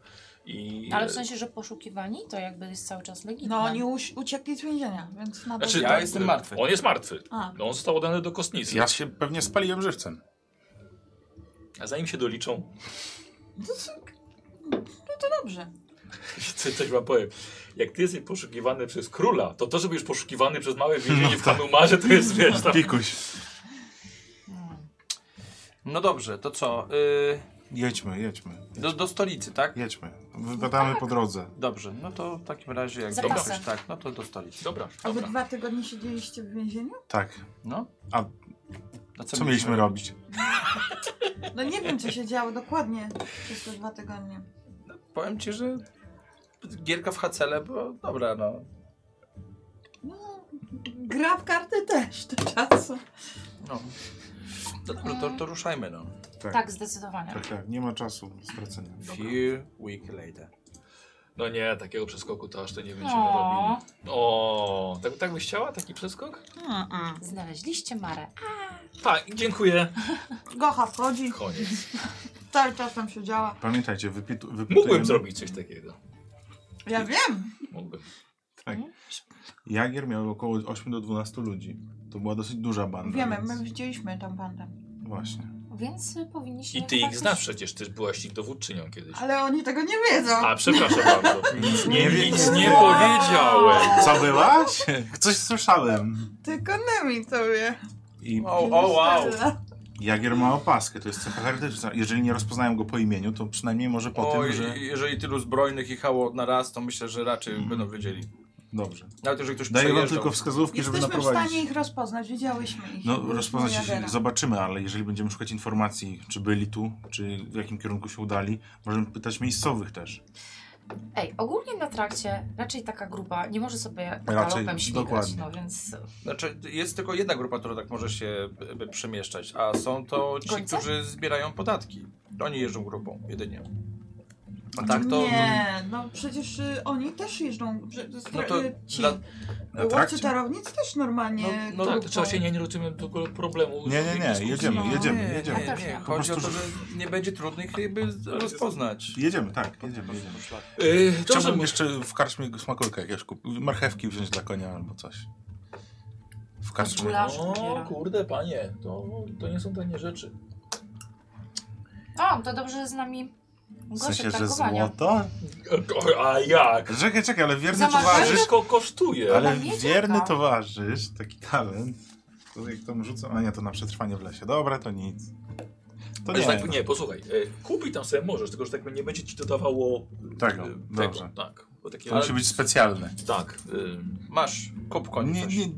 Speaker 1: I, e,
Speaker 3: Ale w sensie, że poszukiwani to jakby jest cały czas legitne.
Speaker 5: No oni uś- uciekli z więzienia, więc na
Speaker 1: Znaczy,
Speaker 2: Ja
Speaker 1: tak,
Speaker 2: jestem martwy.
Speaker 1: On jest martwy.
Speaker 5: A,
Speaker 1: No, on został oddany do kostnicy.
Speaker 4: Ja się pewnie spaliłem żywcem.
Speaker 1: A zanim się doliczą,
Speaker 5: to, co- no to dobrze.
Speaker 1: co- coś wam powiem. Jak ty jesteś poszukiwany przez króla, to to, że będziesz poszukiwany przez małe więzienie
Speaker 2: No
Speaker 1: w
Speaker 2: tak.
Speaker 1: Hanumarze, to jest, wiesz, tam...
Speaker 4: Pikuś.
Speaker 2: No dobrze, to co? Y...
Speaker 4: Jedźmy, jedźmy,
Speaker 2: Do, do stolicy, tak?
Speaker 4: jedźmy. Wypadamy po drodze.
Speaker 2: Dobrze, no to w takim razie jak
Speaker 3: Zapasem.
Speaker 2: dobrze, tak, no to do stolicy.
Speaker 1: Dobra,
Speaker 5: A wy
Speaker 1: dobra.
Speaker 5: dwa tygodnie siedzieliście w więzieniu?
Speaker 4: Tak.
Speaker 2: No.
Speaker 4: A
Speaker 2: A
Speaker 4: Co mieliśmy robić?
Speaker 5: No nie wiem, co się działo dokładnie przez te dwa tygodnie.
Speaker 2: Powiem ci, że gierka w hacele była dobra, no.
Speaker 5: No, gra w karty też do czasu.
Speaker 2: no. To, to, to, to ruszajmy, no.
Speaker 3: Tak, zdecydowanie.
Speaker 4: Tak, tak. Nie ma czasu do stracenia.
Speaker 2: Few week later.
Speaker 1: No nie, takiego przeskoku to aż to nie
Speaker 4: tak,
Speaker 1: będziemy
Speaker 3: O,
Speaker 1: robili. O, tak, tak byś chciała taki przeskok?
Speaker 4: tak.
Speaker 3: znaleźliście Marę.
Speaker 1: Tak, dziękuję.
Speaker 5: Gocha wchodzi,
Speaker 1: Koniec.
Speaker 5: cały czas tam siedziała.
Speaker 4: Pamiętajcie, wypitu, wypytujemy...
Speaker 1: Mógłbym zrobić coś takiego.
Speaker 5: Ja wiem,
Speaker 1: Mógłbym.
Speaker 4: Tak. Jagier miał około 8 do 12 ludzi. To była dosyć duża banda.
Speaker 5: wiemy,
Speaker 4: więc-
Speaker 5: my widzieliśmy tam bandę.
Speaker 4: Właśnie.
Speaker 3: Więc y, powinniśmy...
Speaker 1: I ty
Speaker 3: chyba
Speaker 1: ich
Speaker 3: coś-
Speaker 1: znasz przecież, ty byłaś ich dowódczynią kiedyś.
Speaker 5: Ale oni tego nie wiedzą.
Speaker 1: A, przepraszam bardzo. Nic nie,
Speaker 4: wiem.
Speaker 1: nic nie powiedziałem.
Speaker 4: Co byłaś? Coś słyszałem.
Speaker 5: Tylko Nemi to wie.
Speaker 4: I
Speaker 2: O, o wow!
Speaker 5: Stella.
Speaker 4: Jagier ma opaskę, to jest cecha charakterystyczna. Jeżeli nie rozpoznają go po imieniu, to przynajmniej może po
Speaker 2: Oj,
Speaker 4: tym, że...
Speaker 2: jeżeli tylu zbrojnych jechało na raz, to myślę, że raczej będą wiedzieli.
Speaker 4: Dobrze.
Speaker 2: Nawet jeżeli ktoś
Speaker 4: Daję wam
Speaker 2: przejeżdżał.
Speaker 4: tylko wskazówki, żeby
Speaker 5: Jesteśmy w stanie
Speaker 4: naprowadzić.
Speaker 5: ich rozpoznać, widziałyśmy ich.
Speaker 4: No, rozpoznać
Speaker 5: Jagera.
Speaker 4: zobaczymy, ale jeżeli będziemy szukać informacji, czy byli tu, czy w jakim kierunku się udali, możemy pytać miejscowych też.
Speaker 3: Ej, ogólnie na trakcie raczej taka grupa nie może sobie
Speaker 4: Raczej,
Speaker 3: galopem śmigać,
Speaker 4: dokładnie.
Speaker 3: no więc...
Speaker 2: Znaczy, jest tylko jedna grupa, która tak może się e, przemieszczać, a są to ci,
Speaker 3: Gońce?
Speaker 2: którzy zbierają podatki. Oni jeżdżą grupą, jedynie. A tak to...
Speaker 5: Nie, no przecież y, oni też jeżdżą. Że,
Speaker 2: No
Speaker 5: no
Speaker 2: to
Speaker 5: ci
Speaker 2: dla-
Speaker 4: Na
Speaker 5: łowcy
Speaker 4: trakcie?
Speaker 5: tarownic też normalnie.
Speaker 2: No-
Speaker 1: Tak,
Speaker 2: no
Speaker 5: grupą.
Speaker 1: to trzeba się nie nierzucimy do problemu.
Speaker 4: Nie, nie, nie, jedziemy,
Speaker 5: No.
Speaker 4: jedziemy,
Speaker 2: nie,
Speaker 4: jedziemy.
Speaker 2: nie, nie. Chodzi o to, że nie będzie trudnych jakby z- rozpoznać.
Speaker 4: Jedziemy, tak, jedziemy, jedziemy.
Speaker 1: Yy, dobrze,
Speaker 4: Chciałbym jeszcze w karczmie smakołyka jakiegoś kupić, marchewki wziąć dla konia albo coś. W karczmie.
Speaker 3: Gulasz
Speaker 1: O,
Speaker 3: kupiera.
Speaker 1: kurde, panie, to, to nie są tanie rzeczy.
Speaker 3: O, to dobrze, że z nami
Speaker 4: W
Speaker 3: goście
Speaker 4: sensie, że
Speaker 3: tankowania.
Speaker 4: złoto?
Speaker 1: A jak?
Speaker 4: Czekaj, czekaj, ale wierny
Speaker 3: Zamarzaj?
Speaker 4: towarzysz,
Speaker 1: Wszystko kosztuje.
Speaker 4: ale
Speaker 3: Dla mnie
Speaker 4: wierny
Speaker 3: dzięka.
Speaker 4: towarzysz, taki talent, to jak tam rzucam, a nie, to na przetrwanie w lesie. Dobra, to nic. To
Speaker 1: Ale
Speaker 4: nie,
Speaker 1: tak, nie, posłuchaj, e, kupić tam sobie możesz, tylko że tak nie będzie ci dodawało e,
Speaker 4: Tego, dobrze.
Speaker 1: tego tak. Bo takie,
Speaker 4: to musi być specjalne.
Speaker 1: Tak,
Speaker 2: Masz, kup koniu
Speaker 4: Nie,
Speaker 2: coś.
Speaker 4: nie,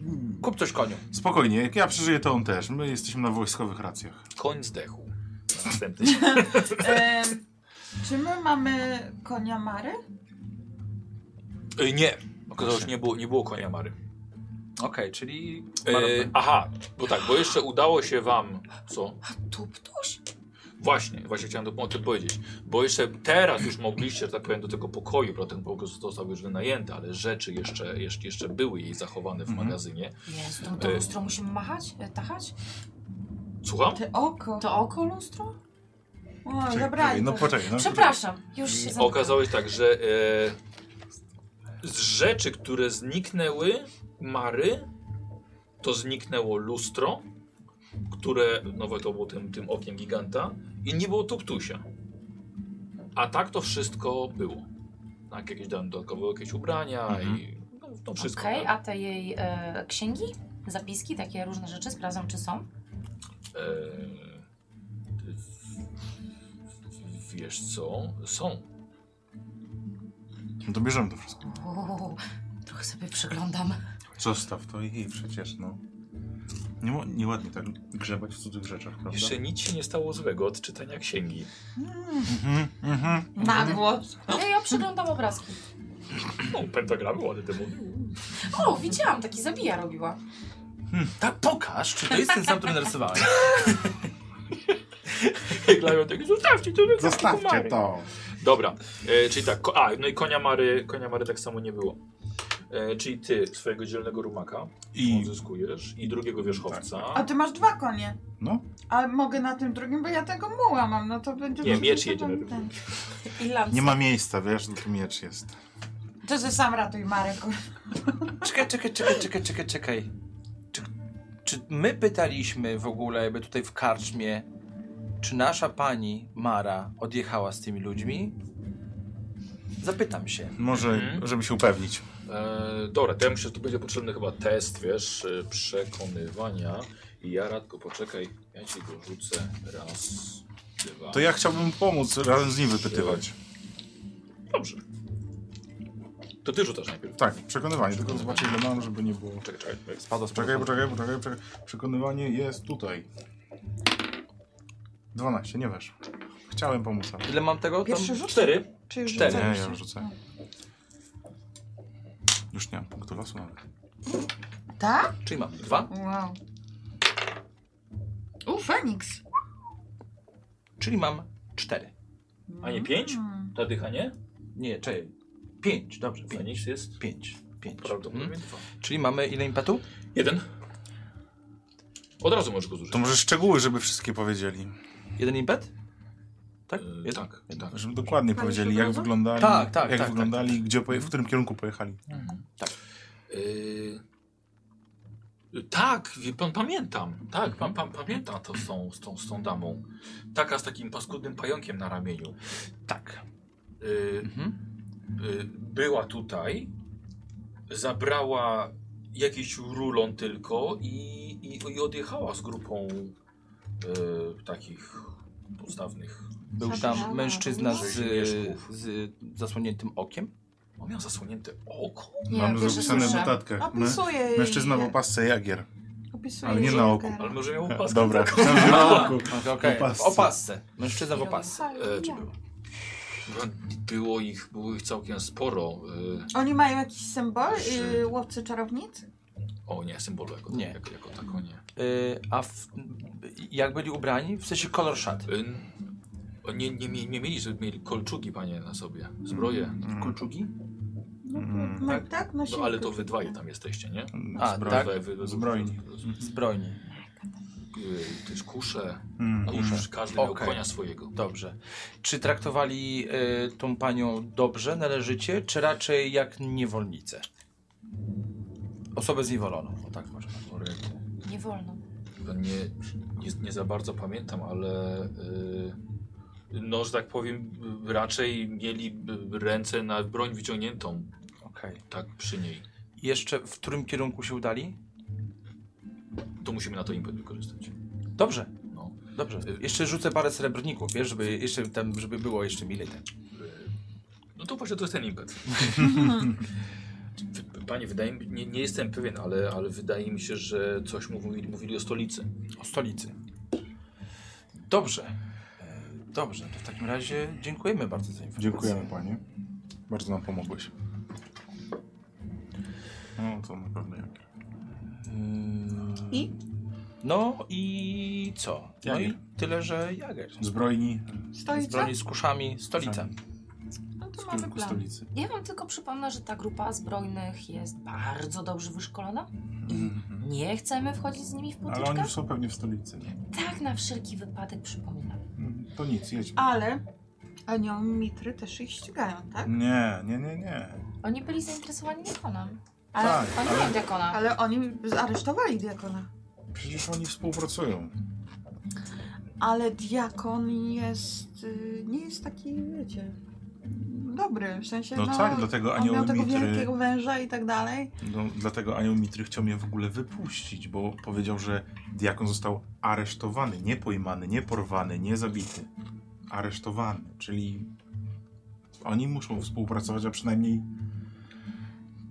Speaker 2: Kup coś koniu.
Speaker 4: spokojnie, jak ja przeżyję, to on też. My jesteśmy na wojskowych racjach.
Speaker 1: y, koń zdechł. Następny.
Speaker 5: Em, czy my mamy konia Mary?
Speaker 1: E, nie, okazało się, że nie było, nie było konia Mary.
Speaker 2: Okej, czyli...
Speaker 1: E, aha, bo tak, bo jeszcze udało się wam, co?
Speaker 3: Tuptuś?
Speaker 1: Właśnie, właśnie chciałem to- o tym powiedzieć. Bo jeszcze teraz już mogliście, że tak powiem, do tego pokoju, bo ten pokój został już wynajęty, ale rzeczy jeszcze, jeszcze, jeszcze były jej zachowane w
Speaker 4: Mhm.
Speaker 1: magazynie.
Speaker 3: Jest, tą, tą
Speaker 4: Y-
Speaker 1: E.
Speaker 3: lustro musimy machać, e, tachać?
Speaker 1: Słucham?
Speaker 5: Te oko.
Speaker 3: To oko lustro?
Speaker 5: O,
Speaker 4: Czekaj,
Speaker 5: zabrali.
Speaker 4: No
Speaker 5: to.
Speaker 4: poczekaj, no. y-
Speaker 3: Przepraszam, już się zamknę.
Speaker 1: Okazało się tak, że e, z rzeczy, które zniknęły Mary, to zniknęło lustro, które, no to było tym, tym okiem giganta i nie było tuptusia. A tak to wszystko było. Tak, jakieś dałem dodatkowe jakieś ubrania
Speaker 4: Mhm.
Speaker 1: i no, no wszystko.
Speaker 3: Okej,
Speaker 1: tak.
Speaker 3: a te jej e, księgi, zapiski, takie różne rzeczy, sprawdzam czy są.
Speaker 1: Eee, wiesz co? Są.
Speaker 4: No to bierzemy to wszystko.
Speaker 3: Uuu, trochę sobie przeglądam.
Speaker 4: Zostaw to i przecież, no. Nie, mo- nieładnie tak grzebać w cudzych rzeczach, prawda?
Speaker 1: Jeszcze nic się nie stało złego od czytania księgi.
Speaker 4: Mhm, mhm.
Speaker 5: Na głos.
Speaker 3: Ja, ja przeglądam obrazki.
Speaker 1: No, pentagramy ładne temu.
Speaker 3: O, widziałam, taki zabija robiła.
Speaker 2: Tak, pokaż, czy to jest ten sam, który narysowałem.
Speaker 1: Glawią tak, zostawcie to. zostawcie
Speaker 4: Zostawcie
Speaker 1: komary.
Speaker 4: to.
Speaker 1: Dobra, e, czyli tak, ko- a, no i konia Mary, konia Mary tak samo nie było. E, czyli ty swojego dzielnego rumaka
Speaker 4: I
Speaker 1: odzyskujesz i
Speaker 4: Tak.
Speaker 1: drugiego wierzchowca.
Speaker 5: A ty masz dwa konie.
Speaker 4: no,
Speaker 5: A mogę na tym drugim, bo ja tego muła mam, no to będzie...
Speaker 1: Nie, miecz
Speaker 5: to
Speaker 1: jedzie na
Speaker 5: ten-
Speaker 1: tym.
Speaker 3: I lance.
Speaker 4: nie ma miejsca, wiesz, no tu miecz jest.
Speaker 5: To ze sam ratuj Marek. kurwa.
Speaker 2: Czekaj, czekaj, czekaj, czekaj, czekaj, czekaj. Czy, czy my pytaliśmy w ogóle jakby tutaj w karczmie, czy nasza pani Mara odjechała z tymi ludźmi? Zapytam się.
Speaker 4: Może,
Speaker 1: Mhm.
Speaker 4: żeby się upewnić.
Speaker 1: E, dobra, to ja myślę, że tu będzie potrzebny chyba test, wiesz, e, przekonywania. I ja Radko, poczekaj, ja ci go rzucę raz, Dwa.
Speaker 4: To ja chciałbym pomóc razem z nim wypytywać.
Speaker 1: Dobrze. To ty rzucasz najpierw.
Speaker 4: Tak, przekonywanie, tylko zobaczę ile mam, żeby nie było...
Speaker 1: Czekaj, czekaj. jak
Speaker 4: Spada, poczekaj, poczekaj, poczekaj, poczekaj. Przekonywanie jest tutaj. 12, nie weszło. Chciałem pomóc, ale...
Speaker 2: Ile mam tego? Tam?
Speaker 5: Pierwszy rzut?
Speaker 1: Cztery.
Speaker 5: Czy już
Speaker 2: Cztery.
Speaker 4: Nie,
Speaker 5: rzucałeś
Speaker 4: ja
Speaker 5: się?
Speaker 4: już rzucę. Już nie mam punktu losu nawet.
Speaker 5: Tak?
Speaker 2: Czyli mam dwa.
Speaker 5: Wow. U, Feniks.
Speaker 2: Czyli mam cztery.
Speaker 1: A
Speaker 5: Mm.
Speaker 1: nie pięć?
Speaker 5: Hmm.
Speaker 1: Ta dycha nie?
Speaker 2: Nie, czekaj. Pięć, dobrze. Pięć.
Speaker 1: Feniks jest
Speaker 2: Pięć. Pięć.
Speaker 1: prawdopodobnie
Speaker 2: Mhm.
Speaker 1: dwa.
Speaker 5: Mm.
Speaker 2: Czyli mamy ile impetu?
Speaker 1: Jeden. Od razu możesz go zużyć.
Speaker 4: To może szczegóły, żeby wszystkie powiedzieli.
Speaker 2: Jeden impet? Tak?
Speaker 1: Yy,
Speaker 2: Jeden?
Speaker 1: tak, tak.
Speaker 4: Żeby dokładnie
Speaker 5: Palisz
Speaker 4: powiedzieli,
Speaker 5: od
Speaker 4: jak
Speaker 5: razu?
Speaker 4: wyglądali,
Speaker 2: Tak, tak,
Speaker 4: jak
Speaker 2: tak,
Speaker 4: wyglądali, Gdzie poje, w którym kierunku pojechali.
Speaker 1: Y, Tak, wie pan, pamiętam. Tak, pan, pan pamięta to z tą, z, tą, z tą damą. Taka z takim paskudnym pająkiem na ramieniu.
Speaker 2: Tak.
Speaker 1: Y,
Speaker 2: Mhm.
Speaker 1: y, była tutaj, zabrała jakiś rulon tylko i, i, i odjechała z grupą y, takich podstawnych.
Speaker 2: Był tam mężczyzna z, z zasłoniętym okiem.
Speaker 1: On miał zasłonięte oko?
Speaker 3: Nie,
Speaker 4: mam
Speaker 3: pierwszy
Speaker 4: zapisane w
Speaker 3: słyszę.
Speaker 4: notatkach. Mę-
Speaker 5: Opisuję jej.
Speaker 4: Mężczyzna w opasce Jagier.
Speaker 5: Opisuję
Speaker 4: ale nie
Speaker 5: jej
Speaker 4: na
Speaker 5: Jagera.
Speaker 1: Ale może miał opaskę.
Speaker 4: Dobra,
Speaker 1: taką.
Speaker 4: chciałem, że na oku.
Speaker 2: Okej, okay.
Speaker 4: W opasce.
Speaker 2: w opasce. Mężczyzna w opasce.
Speaker 1: E, czy było? Było ich, było ich całkiem sporo. Y,
Speaker 5: Oni mają jakiś symbol,
Speaker 1: Żyd.
Speaker 5: y, łowcy czarownic?
Speaker 1: O nie, symbolu jako,
Speaker 2: Nie.
Speaker 1: jako, jako tako nie.
Speaker 2: Yy, a w, jak byli ubrani? W sensie kolor szat.
Speaker 1: Ym, Y, o, nie, nie, mie- nie mieli, żeby mieli kolczugi panie na sobie, zbroje.
Speaker 2: Mm. Kolczugi?
Speaker 5: No,
Speaker 4: Mm.
Speaker 5: no, tak, no
Speaker 1: No ale to wy dwaje tam jesteście, nie?
Speaker 2: A,
Speaker 4: Zbroja.
Speaker 2: tak.
Speaker 1: Wy- wy- wy-
Speaker 4: Zbrojni.
Speaker 2: Zbrojni.
Speaker 1: y, Też kusze,
Speaker 4: Mm, mm.
Speaker 1: kusze, każdy miał
Speaker 2: Okej.
Speaker 1: konia swojego.
Speaker 2: Dobrze. Czy traktowali y, tą panią dobrze, należycie, czy raczej jak niewolnicę? Osobę zniewoloną, o tak może.
Speaker 3: Nie wolno.
Speaker 1: Chyba Nie, nie, nie za bardzo pamiętam, ale y, no, że tak powiem, y, raczej mieli y, ręce na broń wyciągniętą,
Speaker 2: Okej.
Speaker 1: tak przy niej.
Speaker 2: Jeszcze w którym kierunku się udali?
Speaker 1: To musimy na to impet wykorzystać. Y,
Speaker 2: Dobrze.
Speaker 1: No.
Speaker 2: Dobrze. Jeszcze rzucę parę srebrników, wiesz, żeby jeszcze tam, żeby było jeszcze milej. tak.
Speaker 1: No to właśnie to jest ten impet. W- Panie, wydaje mi, nie, nie jestem pewien, ale, ale wydaje mi się, że coś mówili, mówili o stolicy.
Speaker 2: O stolicy. Dobrze. E, Dobrze. To w takim razie dziękujemy bardzo za informację.
Speaker 4: Dziękujemy panie. Bardzo nam pomogłeś. No to na pewno Jagier.
Speaker 2: Mm.
Speaker 5: I?
Speaker 2: No i co? No
Speaker 4: Jager.
Speaker 2: i tyle, że Jager.
Speaker 4: Zbrojni,
Speaker 2: Z
Speaker 5: Stoica?
Speaker 2: broni z kuszami, stolica.
Speaker 3: No to
Speaker 4: w
Speaker 3: mamy
Speaker 4: kierunku
Speaker 3: plan.
Speaker 4: stolicy.
Speaker 3: Ja wam tylko przypomnę, że ta grupa zbrojnych jest bardzo dobrze wyszkolona.
Speaker 4: Mhm.
Speaker 3: Nie chcemy wchodzić z nimi w
Speaker 4: Ale oni
Speaker 3: potyczkę.
Speaker 4: już są pewnie w stolicy.
Speaker 3: Tak na wszelki wypadek przypominam.
Speaker 4: Mm, To nic, jedźmy.
Speaker 5: Ale anioł mitry też ich ścigają, tak?
Speaker 4: Nie, nie, nie, nie.
Speaker 3: Oni byli zainteresowani dekonem.
Speaker 5: Ale,
Speaker 4: Tak,
Speaker 3: Oni
Speaker 4: ale-
Speaker 3: mają dekona.
Speaker 5: ale oni aresztowali diakona.
Speaker 4: Przecież oni współpracują.
Speaker 5: Ale diakon jest. y, nie jest taki, wiecie. Dobry, w sensie.
Speaker 4: No tak, dlatego
Speaker 5: on
Speaker 4: anioły
Speaker 5: miał tego
Speaker 4: mitry-
Speaker 5: wielkiego węża i tak dalej.
Speaker 4: No, dlatego anioł Mitry chciał mnie w ogóle wypuścić, bo powiedział, że diakon został aresztowany, nie pojmany, nie porwany, nie zabity. Aresztowany, czyli oni muszą współpracować, a przynajmniej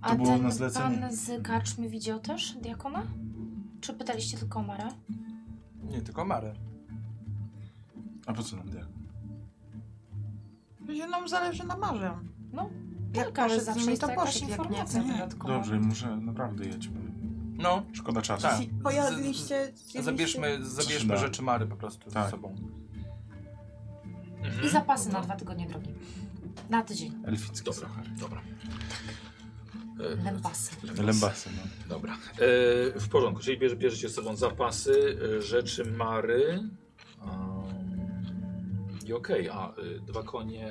Speaker 3: A
Speaker 4: było
Speaker 3: ten
Speaker 4: na zlecenie.
Speaker 3: pan z karczmy widział też diakona? Czy pytaliście tylko o Marę?
Speaker 2: Nie, tylko Marę.
Speaker 4: A po co nam diakon?
Speaker 5: W sensie nam zależy na marzę.
Speaker 3: No,
Speaker 5: Jak
Speaker 3: Taka,
Speaker 5: poszedł
Speaker 3: że
Speaker 5: z
Speaker 3: zawsze
Speaker 5: nimi,
Speaker 3: jest
Speaker 5: to
Speaker 3: to jakaś
Speaker 5: poszedł, jak nie, to
Speaker 3: informacja
Speaker 5: nie.
Speaker 3: dodatkowa.
Speaker 4: Dobrze, muszę naprawdę jedźmy.
Speaker 2: No,
Speaker 4: Szkoda czasu.
Speaker 2: Tak.
Speaker 5: Si- Pojadliście. zjedliście-
Speaker 2: zabierzmy, zabierzmy
Speaker 4: da.
Speaker 2: rzeczy Mary po prostu
Speaker 4: Tak.
Speaker 2: ze sobą.
Speaker 1: Mhm.
Speaker 3: I zapasy
Speaker 1: Dobra.
Speaker 5: No.
Speaker 3: na dwa tygodnie drogi. Na tydzień.
Speaker 4: Elficki
Speaker 1: Dobra,
Speaker 4: suchar.
Speaker 1: dobra.
Speaker 5: Mhm.
Speaker 1: E,
Speaker 3: Lębasy.
Speaker 4: Lębasy, no.
Speaker 1: Dobra. E, w porządku, czyli bierze, bierzecie z sobą zapasy, e, rzeczy Mary. Um, I okej, a y, dwa konie,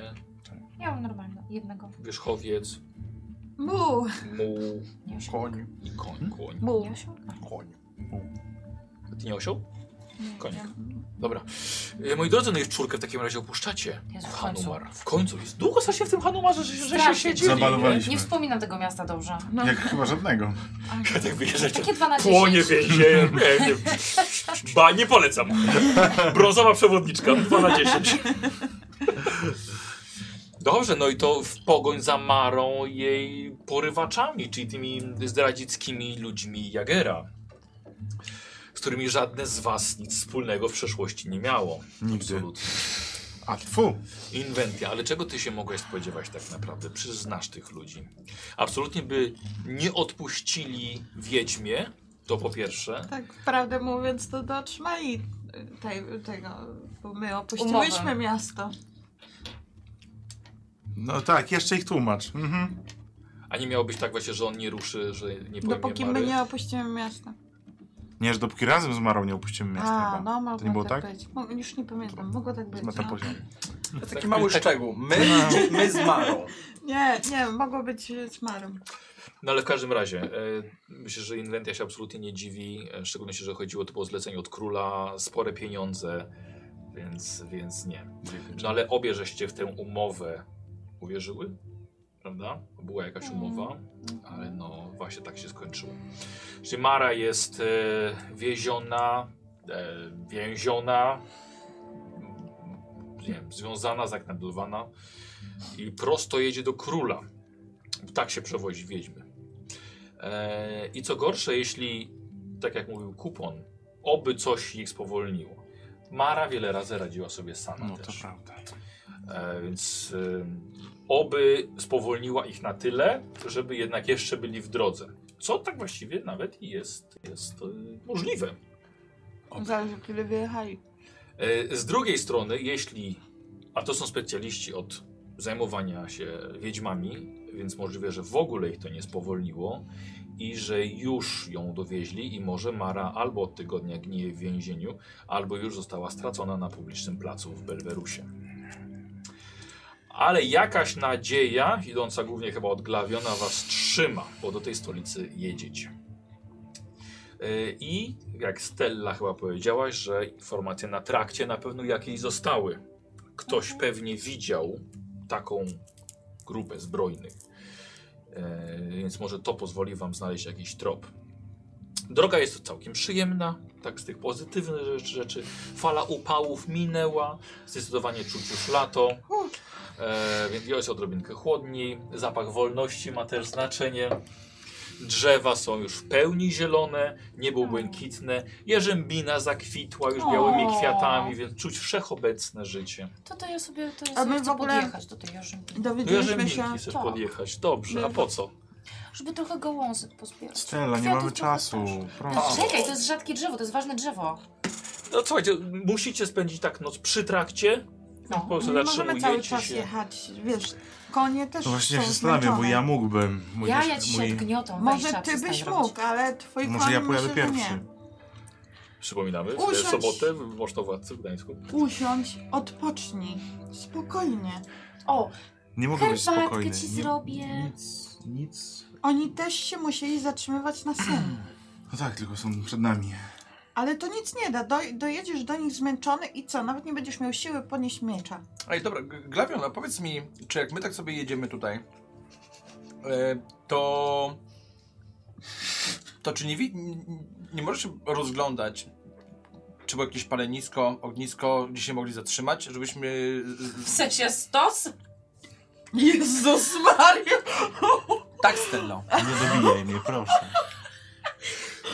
Speaker 3: Ja mam normalne. Jednego.
Speaker 1: wierzchowiec,
Speaker 5: Mu,
Speaker 1: muł
Speaker 3: Nie osiołka.
Speaker 2: Koń.
Speaker 1: i koń. koń.
Speaker 5: mu.
Speaker 3: Nie osiołka.
Speaker 2: Koń.
Speaker 1: Ty nie osioł? Konik. Dobra. E, Moi drodzy, no i czwórkę w takim razie opuszczacie.
Speaker 3: Jezu, w końcu.
Speaker 1: Hanumar. W końcu. Jest długo strasznie w tym Hanumarze, że, że się
Speaker 3: Strasznie.
Speaker 1: siedzi.
Speaker 4: Zabalowaliśmy.
Speaker 3: Nie wspominam tego miasta dobrze.
Speaker 4: Jak chyba żadnego.
Speaker 1: Tak wyjeżdżacie.
Speaker 3: Takie 12
Speaker 1: Płonie więzieniem. Nie, nie. Ba, nie polecam. Brązowa przewodniczka, 2 na 10. Dobrze, no i to w pogoń za Marą i jej porywaczami, czyli tymi zdradzieckimi ludźmi Jagera, z którymi żadne z was nic wspólnego w przeszłości nie miało.
Speaker 4: Nigdy.
Speaker 1: Absolutnie.
Speaker 4: A tfu.
Speaker 1: Inwentia, ale czego ty się mogłeś spodziewać tak naprawdę? Przecież znasz tych ludzi. Absolutnie by nie odpuścili wiedźmie, to po pierwsze.
Speaker 5: Tak prawdę mówiąc, to dotrzymali y, tej, tego, bo my opuściłyśmy
Speaker 3: Umowę.
Speaker 5: miasto.
Speaker 4: No tak, jeszcze ich tłumacz. Mhm.
Speaker 1: A nie miało być tak właśnie, że on nie ruszy, że nie pojmie
Speaker 5: Dopóki
Speaker 1: Mary?
Speaker 5: No my nie opuścimy miasta.
Speaker 4: Nie, że dopóki razem z Marą nie opuścimy miasta.
Speaker 5: A,
Speaker 4: chyba.
Speaker 5: no mogło
Speaker 4: To nie było
Speaker 5: tak,
Speaker 4: tak?
Speaker 5: być. Mo- Już nie pamiętam, mogło tak być.
Speaker 4: Ma tam
Speaker 5: no.
Speaker 4: poziom.
Speaker 2: To taki mały szczegół. My,
Speaker 4: No.
Speaker 2: my z Marą.
Speaker 5: Nie, nie, mogło być e, z Marą.
Speaker 1: No ale w każdym razie, e, myślę, że Inwentia się absolutnie nie dziwi, e, w szczególności, że chodziło tu o zlecenie od króla, spore pieniądze, więc, więc nie.
Speaker 4: Mhm.
Speaker 1: No ale obie żeście w tę umowę uwierzyły, prawda? Była jakaś umowa, ale no właśnie tak się skończyło. Czyli Mara jest e, wieziona, e, więziona, m, nie wiem, związana, zakneblowana i prosto jedzie do króla. Tak się przewozi wiedźmy. E, I co gorsze, jeśli, tak jak mówił kupon, oby coś ich spowolniło. Mara wiele razy radziła sobie sama
Speaker 4: No to
Speaker 1: też.
Speaker 4: prawda.
Speaker 1: E, więc y, oby spowolniła ich na tyle, żeby jednak jeszcze byli w drodze. Co tak właściwie nawet i jest, jest y, możliwe.
Speaker 5: Zależy, kiedy wyjechali.
Speaker 1: E, Z drugiej strony, jeśli, a to są specjaliści od zajmowania się wiedźmami, więc możliwe, że w ogóle ich to nie spowolniło i że już ją dowieźli i może Mara albo od tygodnia gnije w więzieniu, albo już została stracona na publicznym placu w Belwerusie. Ale jakaś nadzieja, idąca głównie chyba od Glawiona, was trzyma, bo do tej stolicy jedziecie. Yy, I jak Stella chyba powiedziałaś, że informacje na trakcie na pewno jakieś zostały. Ktoś pewnie widział taką grupę zbrojnych. Yy, Więc może to pozwoli wam znaleźć jakiś trop. Droga jest całkiem przyjemna, tak z tych pozytywnych rzeczy. rzeczy. Fala upałów minęła, zdecydowanie czuć już lato, e, więc jest odrobinkę chłodniej. Zapach wolności ma też znaczenie. Drzewa są już w pełni zielone, niebo błękitne, jarzębina zakwitła już białymi
Speaker 3: O.
Speaker 1: kwiatami, więc czuć wszechobecne życie.
Speaker 3: To to ja sobie, to ja
Speaker 5: A
Speaker 3: sobie
Speaker 5: my w
Speaker 3: chcę
Speaker 5: ogóle-
Speaker 3: podjechać do tej jarzynki.
Speaker 1: Do
Speaker 5: Dowiedzieliśmy się...
Speaker 1: jarzębinki chcesz
Speaker 3: Tak.
Speaker 1: podjechać, dobrze, a po co?
Speaker 3: Żeby trochę gałązek pozbierać.
Speaker 4: Stella, nie
Speaker 3: Kwiatów
Speaker 4: mamy
Speaker 3: trochę
Speaker 4: czasu.
Speaker 3: też.
Speaker 4: Proszę.
Speaker 3: No, czekaj, to jest rzadkie drzewo, to jest ważne drzewo.
Speaker 1: No słuchajcie, musicie spędzić tak noc przy trakcie,
Speaker 3: No.
Speaker 1: po prostu
Speaker 5: Nie możemy cały
Speaker 1: zatrzymujecie
Speaker 5: czas
Speaker 1: się.
Speaker 5: jechać, wiesz, konie też
Speaker 4: To No właśnie
Speaker 5: są
Speaker 4: się zastanawiam, bo
Speaker 5: zmęczone.
Speaker 4: ja mógłbym. Mój
Speaker 3: Ja
Speaker 4: też-
Speaker 3: ja ci się
Speaker 4: mój-
Speaker 3: gniotą.
Speaker 5: Może ty byś mógł, ale twój
Speaker 4: Może
Speaker 5: koń
Speaker 4: ja pojadę
Speaker 5: myślę, że
Speaker 4: pierwszy.
Speaker 5: Nie.
Speaker 1: Przypominamy, w
Speaker 5: Usiądź.
Speaker 1: sobotę w Mosztowładcy w Gdańsku.
Speaker 5: Usiądź, odpocznij. Spokojnie.
Speaker 3: O,
Speaker 4: Nie mogę być
Speaker 3: herbatkę
Speaker 4: spokojny.
Speaker 3: ci
Speaker 4: Nie-
Speaker 3: zrobię.
Speaker 4: Nic, nic.
Speaker 5: Oni też się musieli zatrzymywać na sen.
Speaker 4: No tak, tylko są przed nami.
Speaker 5: Ale to nic nie da. Doj- dojedziesz do nich zmęczony i co? Nawet nie będziesz miał siły podnieść miecza.
Speaker 2: Ej, dobra, G- Glawion, a powiedz mi, czy jak my tak sobie jedziemy tutaj, e, to... To czy nie, wi- n- nie możesz się rozglądać, czy było jakieś palenisko, ognisko, gdzie się mogli zatrzymać, żebyśmy...
Speaker 3: W sensie stos?
Speaker 5: Jezus Maria!
Speaker 2: Tak, Stello.
Speaker 4: Nie dobijaj mnie, proszę.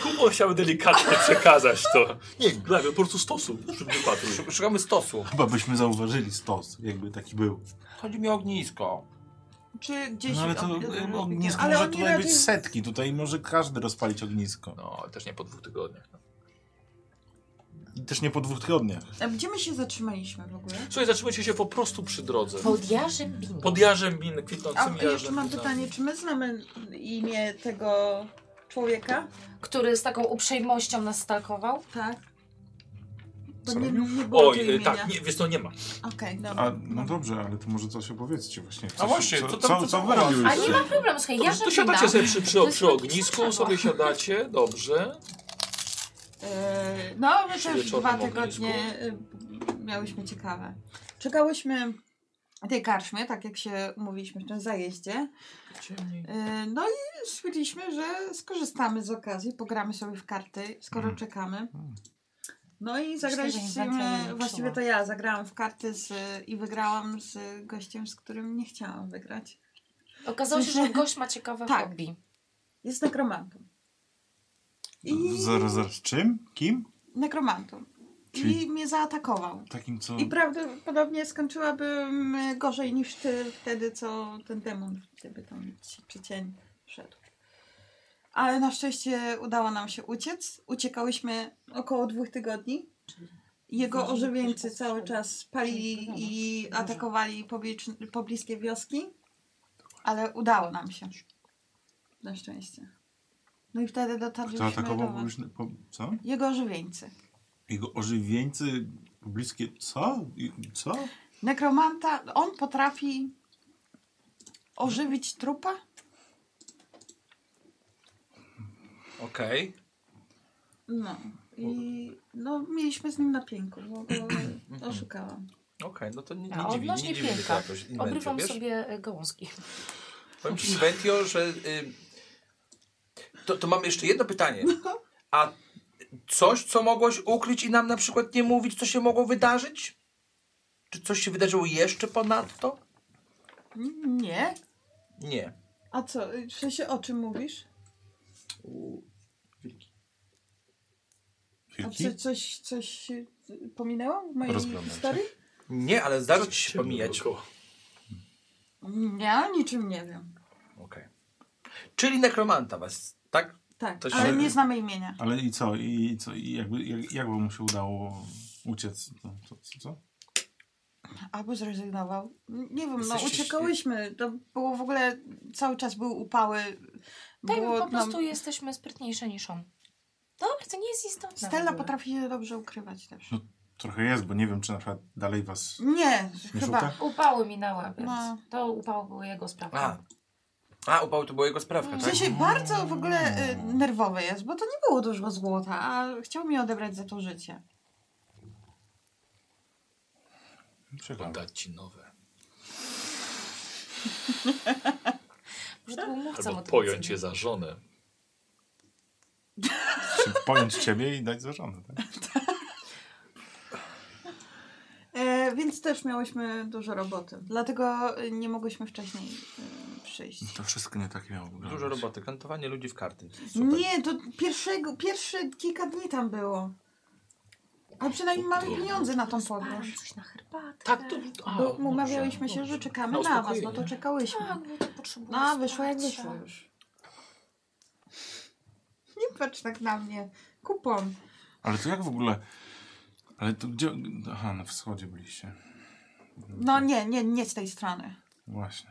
Speaker 1: Kubo chciał delikatnie przekazać to. Nie, Glawion, po prostu stosu w tym wypadku.
Speaker 2: Sz- Szukamy stosu.
Speaker 4: Chyba byśmy zauważyli stos, jakby taki był.
Speaker 2: Chodzi mi o ognisko.
Speaker 5: Czy gdzieś...
Speaker 4: No ale
Speaker 5: o-
Speaker 4: to
Speaker 5: o- o-
Speaker 4: ognisko
Speaker 5: ale
Speaker 4: może
Speaker 5: oni
Speaker 4: tutaj
Speaker 5: raczej-
Speaker 4: być setki. Tutaj może każdy rozpalić ognisko.
Speaker 1: No, ale też nie po dwóch tygodniach.
Speaker 4: I też nie po dwóch tygodniach.
Speaker 5: A E, Gdzie my się zatrzymaliśmy w ogóle?
Speaker 1: Słuchaj, zatrzymajcie się po prostu przy drodze.
Speaker 3: Pod jarzębiną.
Speaker 1: Pod jarzębin,
Speaker 5: A
Speaker 1: kwitnącymi
Speaker 5: jeszcze mam
Speaker 1: jarzębinami.
Speaker 5: pytanie, czy my znamy imię tego człowieka?
Speaker 3: Który z taką uprzejmością nas stalkował.
Speaker 5: Tak. Bo
Speaker 4: Co e,
Speaker 5: nie, nie było tu
Speaker 1: Oj, y,
Speaker 5: imienia.
Speaker 1: tak, nie, wiesz to nie ma.
Speaker 5: Okej, dobra.
Speaker 4: A, no dobrze, ale to może coś opowiedzcie właśnie. Coś,
Speaker 2: właśnie, co tam- co
Speaker 4: co
Speaker 2: tam
Speaker 4: wy
Speaker 2: było?
Speaker 3: A
Speaker 4: robiłyście?
Speaker 3: nie ma problemu, słuchaj,
Speaker 1: Dobrze, to
Speaker 3: jarzębina.
Speaker 1: siadacie sobie przy, przy,
Speaker 3: To jest
Speaker 1: przy
Speaker 3: taki
Speaker 1: ognisku,
Speaker 3: przyczep.
Speaker 1: sobie siadacie, dobrze.
Speaker 5: E, No, my
Speaker 7: Przy
Speaker 5: też
Speaker 7: wieczornym
Speaker 5: dwa
Speaker 7: ognisku.
Speaker 5: tygodnie e, miałyśmy ciekawe. Czekałyśmy tej karczmy, tak jak się umówiliśmy w tym zajeździe. E, No i stwierdziliśmy, że skorzystamy z okazji, pogramy sobie w karty, skoro
Speaker 4: Mm.
Speaker 5: czekamy. No i
Speaker 3: że
Speaker 5: zagraliśmy,
Speaker 3: inwencja mnie zepsuła.
Speaker 5: właściwie to ja zagrałam w karty z, i wygrałam z gościem, z którym nie chciałam wygrać.
Speaker 3: Okazało się, że gość ma ciekawe
Speaker 5: Tak.
Speaker 3: hobby.
Speaker 5: Jest nekromantą. I
Speaker 4: Zaraz, zaraz. Czym? Kim?
Speaker 5: nekromantą. I
Speaker 4: Czyli-
Speaker 5: mnie zaatakował.
Speaker 4: Takim, co...
Speaker 5: I prawdopodobnie skończyłabym e, gorzej niż ty wtedy, co ten demon, gdyby tam ci przycień wszedł. Ale na szczęście udało nam się uciec. Uciekałyśmy około dwóch tygodni. Jego ożywieńcy cały czas palili i atakowali poblicz- pobliskie wioski, ale udało nam się. Na szczęście. No i wtedy dotarliśmy
Speaker 4: Kto atakował
Speaker 5: do was.
Speaker 4: publiczny... Po... Co?
Speaker 5: Jego ożywieńcy.
Speaker 4: Jego ożywieńcy pobliskie... Co? I- Co?
Speaker 5: Nekromanta, on potrafi ożywić trupa?
Speaker 2: Okej.
Speaker 5: No. I no, mieliśmy z nim na pięku, bo go oszukałam.
Speaker 2: Okej, no to nie, nie
Speaker 3: A
Speaker 2: dziwi, nie
Speaker 3: odnośnie
Speaker 2: dziwi mnie to
Speaker 3: pięka.
Speaker 2: jakoś. Inventio,
Speaker 3: Obrywam
Speaker 2: wiesz?
Speaker 3: sobie y, gałązki.
Speaker 2: Powiem ci Inventio, że... Y, to, to mam jeszcze jedno pytanie.
Speaker 3: No.
Speaker 2: A coś, co mogłeś ukryć i nam na przykład nie mówić, co się mogło wydarzyć? Czy coś się wydarzyło jeszcze ponadto?
Speaker 5: N- Nie?
Speaker 2: Nie.
Speaker 5: A co, w sensie o czym mówisz? A
Speaker 4: Wilki?
Speaker 5: co, coś, coś się pominęło w mojej
Speaker 4: Rozglądam się.
Speaker 5: historii?
Speaker 2: Nie, ale zdarza ci się pomijać.
Speaker 5: Ja niczym nie wiem.
Speaker 2: Okej. Czyli nekromanta was, tak?
Speaker 5: Tak,
Speaker 2: To się-
Speaker 5: ale nie znamy imienia.
Speaker 4: Ale i co? I co? I jakby, jak, jakby mu się udało uciec? No, co, co, co?
Speaker 5: Albo zrezygnował. N- Nie wiem, no
Speaker 2: Jesteście-
Speaker 5: uciekałyśmy. To było w ogóle, cały czas były upały.
Speaker 3: Tak,
Speaker 5: było
Speaker 3: po prostu
Speaker 5: nam-
Speaker 3: jesteśmy sprytniejsze niż on. Dobra, to nie jest istotne. w
Speaker 5: Stella
Speaker 3: ogóle.
Speaker 5: potrafi się dobrze ukrywać też.
Speaker 4: No. Trochę jest, bo nie wiem, czy na przykład dalej was
Speaker 5: Nie,
Speaker 4: nie
Speaker 5: chyba.
Speaker 4: szuka.
Speaker 3: Upały minęły, więc
Speaker 5: No.
Speaker 3: to upały były jego sprawą.
Speaker 2: A. A, upał to była jego sprawka,
Speaker 3: No.
Speaker 5: W
Speaker 2: tak?
Speaker 5: sensie bardzo w ogóle y, nerwowy jest, bo to nie było dużo złota, a chciał mi odebrać za to życie.
Speaker 4: Ciekawe.
Speaker 7: Dać ci nowe.
Speaker 3: Może to był mówca
Speaker 7: Albo
Speaker 3: motywacyjny.
Speaker 7: pojąć je za żonę.
Speaker 4: Czy pojąć ciebie i dać za żonę, tak?
Speaker 5: E, więc też miałyśmy dużo roboty. Dlatego y, nie mogłyśmy wcześniej y, przyjść.
Speaker 4: To wszystko nie takie miało wyglądać.
Speaker 2: Dużo roboty, kantowanie ludzi w karty.
Speaker 5: Nie, to pierwszego, pierwsze kilka dni tam było. A przynajmniej mamy pieniądze na tą
Speaker 3: Palam
Speaker 5: podróż.
Speaker 3: coś na herbatę.
Speaker 7: Tak, to...
Speaker 1: No,
Speaker 7: A,
Speaker 5: Bo
Speaker 7: dobrze,
Speaker 5: umawiałyśmy się,
Speaker 7: dobrze.
Speaker 5: że czekamy
Speaker 7: Na
Speaker 5: na was, no
Speaker 7: uspokojenie.
Speaker 5: to czekałyśmy.
Speaker 3: Tak, bo to potrzebuję
Speaker 5: No, a wyszło jak
Speaker 3: wsparcia.
Speaker 5: wyszło już. Nie patrz tak na mnie. Kupon.
Speaker 4: Ale to jak w ogóle... Ale to gdzie... Aha, na wschodzie byliście.
Speaker 5: No nie, nie, nie z tej strony.
Speaker 4: Właśnie.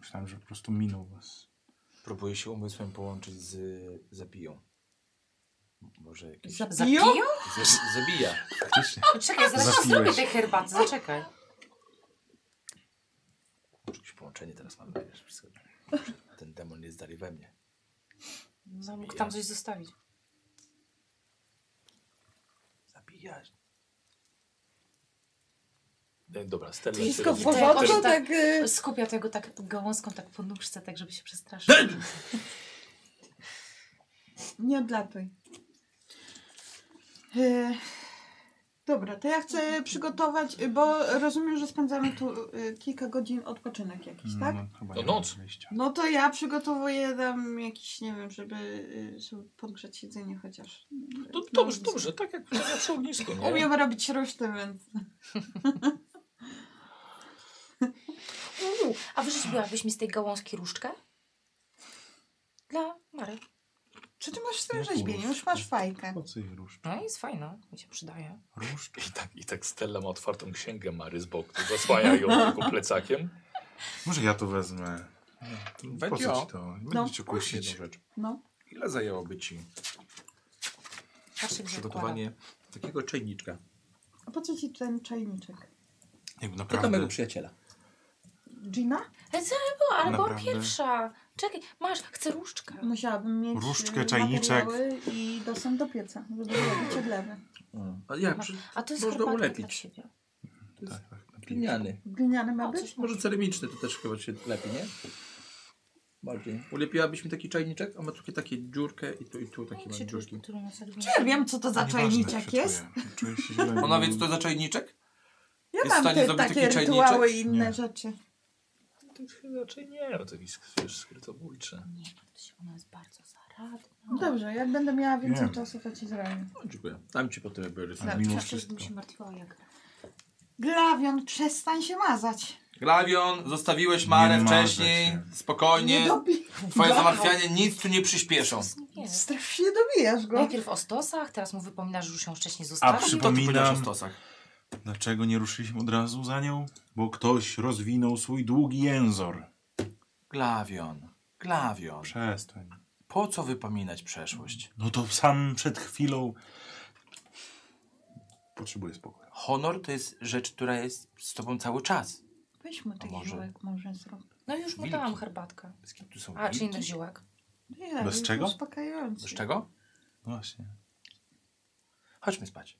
Speaker 4: Myślałem, że po prostu minął was.
Speaker 2: Próbuję się umysłem połączyć z zabiją. Może jakiś...
Speaker 5: Zabiją?
Speaker 2: Z- zabija.
Speaker 4: Faktycznie.
Speaker 5: tak?
Speaker 3: No, Czekaj, zaraz
Speaker 4: Zapiłeś.
Speaker 3: zrobię tej herbaty, zaczekaj.
Speaker 2: Może jakieś połączenie teraz mamy, wiesz, wszystko. Ten demon jest dalej we mnie.
Speaker 3: No, mógł tam coś zostawić.
Speaker 2: Zabija.
Speaker 7: E, Dobra, Stella się
Speaker 5: Wszystko w
Speaker 7: robi.
Speaker 5: porządku,
Speaker 3: Tak,
Speaker 5: tak... y,
Speaker 3: Skupia tego tak gałązką, tak po nóżce, tak żeby się przestraszył.
Speaker 5: Nie odlatuj. E, dobra, to ja chcę przygotować, y, bo rozumiem, że spędzamy tu y, kilka godzin odpoczynek jakiś, tak?
Speaker 4: No, chyba
Speaker 7: To
Speaker 4: nie
Speaker 7: noc.
Speaker 4: ma wyjścia.
Speaker 5: No to ja przygotowuję tam jakiś, nie wiem, żeby, y, żeby podgrzać jedzenie chociaż. No,
Speaker 7: To, dobrze, dobrze, tak jak jak przy ognisku, nie?
Speaker 5: Umiem robić ruszty, więc...
Speaker 3: Uuu, a wyrzeźbiłabyś mi z tej gałązki różdżkę? Dla Mary.
Speaker 5: Czy ty masz w tym
Speaker 4: No
Speaker 5: rzeźbieniu? Już masz fajkę.
Speaker 4: Po co jej róż?
Speaker 3: No jest fajna, mi się przydaje.
Speaker 4: Róż?
Speaker 7: I tak, I tak Stella ma otwartą księgę Mary z boku. Zasłania ją tylko plecakiem.
Speaker 4: Może ja to wezmę. Po co
Speaker 2: Wetio.
Speaker 4: ci to?
Speaker 5: No.
Speaker 4: Będę cię kusić.
Speaker 2: rzecz.
Speaker 5: No.
Speaker 2: Ile zajęłoby ci
Speaker 3: Patrzcie, gdzie odkładam.
Speaker 2: przygotowanie takiego czajniczka?
Speaker 5: A po co ci ten czajniczek?
Speaker 4: Jakby
Speaker 2: To do mego
Speaker 4: naprawdę...
Speaker 2: przyjaciela.
Speaker 5: Gina?
Speaker 3: Ale co ja była? Ale byłam
Speaker 4: Naprawdę?
Speaker 3: pierwsza.
Speaker 6: Czekaj, masz, chcę różdżkę.
Speaker 5: Musiałabym mieć
Speaker 4: Różdżkę,
Speaker 5: y,
Speaker 4: czajniczek.
Speaker 5: materiały i dostęp do pieca, żeby zrobić odlewy.
Speaker 2: A jak? Przy...
Speaker 6: A to jest
Speaker 2: Można
Speaker 6: herbatka
Speaker 2: ulepić.
Speaker 6: dla ciebie.
Speaker 4: Tak, tak.
Speaker 2: Gliniany.
Speaker 5: Gliniany ma
Speaker 6: O,
Speaker 5: być?
Speaker 6: coś
Speaker 2: Może ceramiczny to też chyba się lepi, nie? Bardziej. Ulepiłabyś mi taki czajniczek, a ma tutaj takie dziurkę i tu i tu takie mam dziurki.
Speaker 6: Krzyku, którą
Speaker 3: tak
Speaker 6: nas odmieni.
Speaker 5: Nie wiem, co to za
Speaker 4: Nieważne, jak
Speaker 5: czajniczek
Speaker 4: się
Speaker 5: jest.
Speaker 4: Czuję. Czuję się źle.
Speaker 2: Ona wie co to za czajniczek?
Speaker 5: Ja
Speaker 2: Jest w
Speaker 5: mam
Speaker 2: stanie
Speaker 5: te,
Speaker 2: zrobić taki
Speaker 5: takie
Speaker 2: czajniczek?
Speaker 5: rytuały i inne
Speaker 4: Nie.
Speaker 5: rzeczy.
Speaker 1: To chyba raczej nie, bo to jakiś wiesz, skrytobójczy.
Speaker 6: Nie, martw się, ona jest bardzo zaradna.
Speaker 5: Dobrze, jak będę miała więcej
Speaker 4: Nie.
Speaker 5: czasu, to ci zrobię.
Speaker 2: No, dziękuję. Dam ci potem jakby rysy.
Speaker 5: Tak.
Speaker 4: Ale mimo wszystko.
Speaker 6: Bym się martwiła jak
Speaker 5: Glawion, przestań się mazać.
Speaker 2: Glawion, zostawiłeś Marę
Speaker 4: Nie marzę
Speaker 2: wcześniej.
Speaker 4: się.
Speaker 2: Spokojnie.
Speaker 5: Nie dobi-
Speaker 2: Twoje
Speaker 5: Wow.
Speaker 2: zamartwianie nic tu nie przyspieszą.
Speaker 6: nie wiem.
Speaker 5: Strasznie dobijasz go.
Speaker 6: Najpierw o stosach, teraz mu wypominasz, że już ją wcześniej
Speaker 4: A
Speaker 6: zostawił.
Speaker 2: To ty powiedziałeś o
Speaker 4: przypominam,
Speaker 2: stosach.
Speaker 4: dlaczego nie ruszyliśmy od razu za nią? Bo ktoś rozwinął swój długi jęzor.
Speaker 2: Glawion. Glawion.
Speaker 4: Przestań.
Speaker 2: Po co wypominać przeszłość?
Speaker 4: No to sam przed chwilą... Potrzebuję spokoju.
Speaker 2: Honor to jest rzecz, która jest z tobą cały czas.
Speaker 5: Weź mu tych
Speaker 2: może-
Speaker 5: ziółek, może zrób.
Speaker 6: No już mu
Speaker 2: Wilki.
Speaker 6: dałam herbatkę.
Speaker 2: Z kim tu są
Speaker 6: A, czy
Speaker 2: wilki?
Speaker 6: innych ziółek.
Speaker 5: Nie,
Speaker 4: Bez
Speaker 5: jest
Speaker 4: czego?
Speaker 5: uspokajający.
Speaker 2: Z czego?
Speaker 4: No Właśnie.
Speaker 2: Chodźmy spać.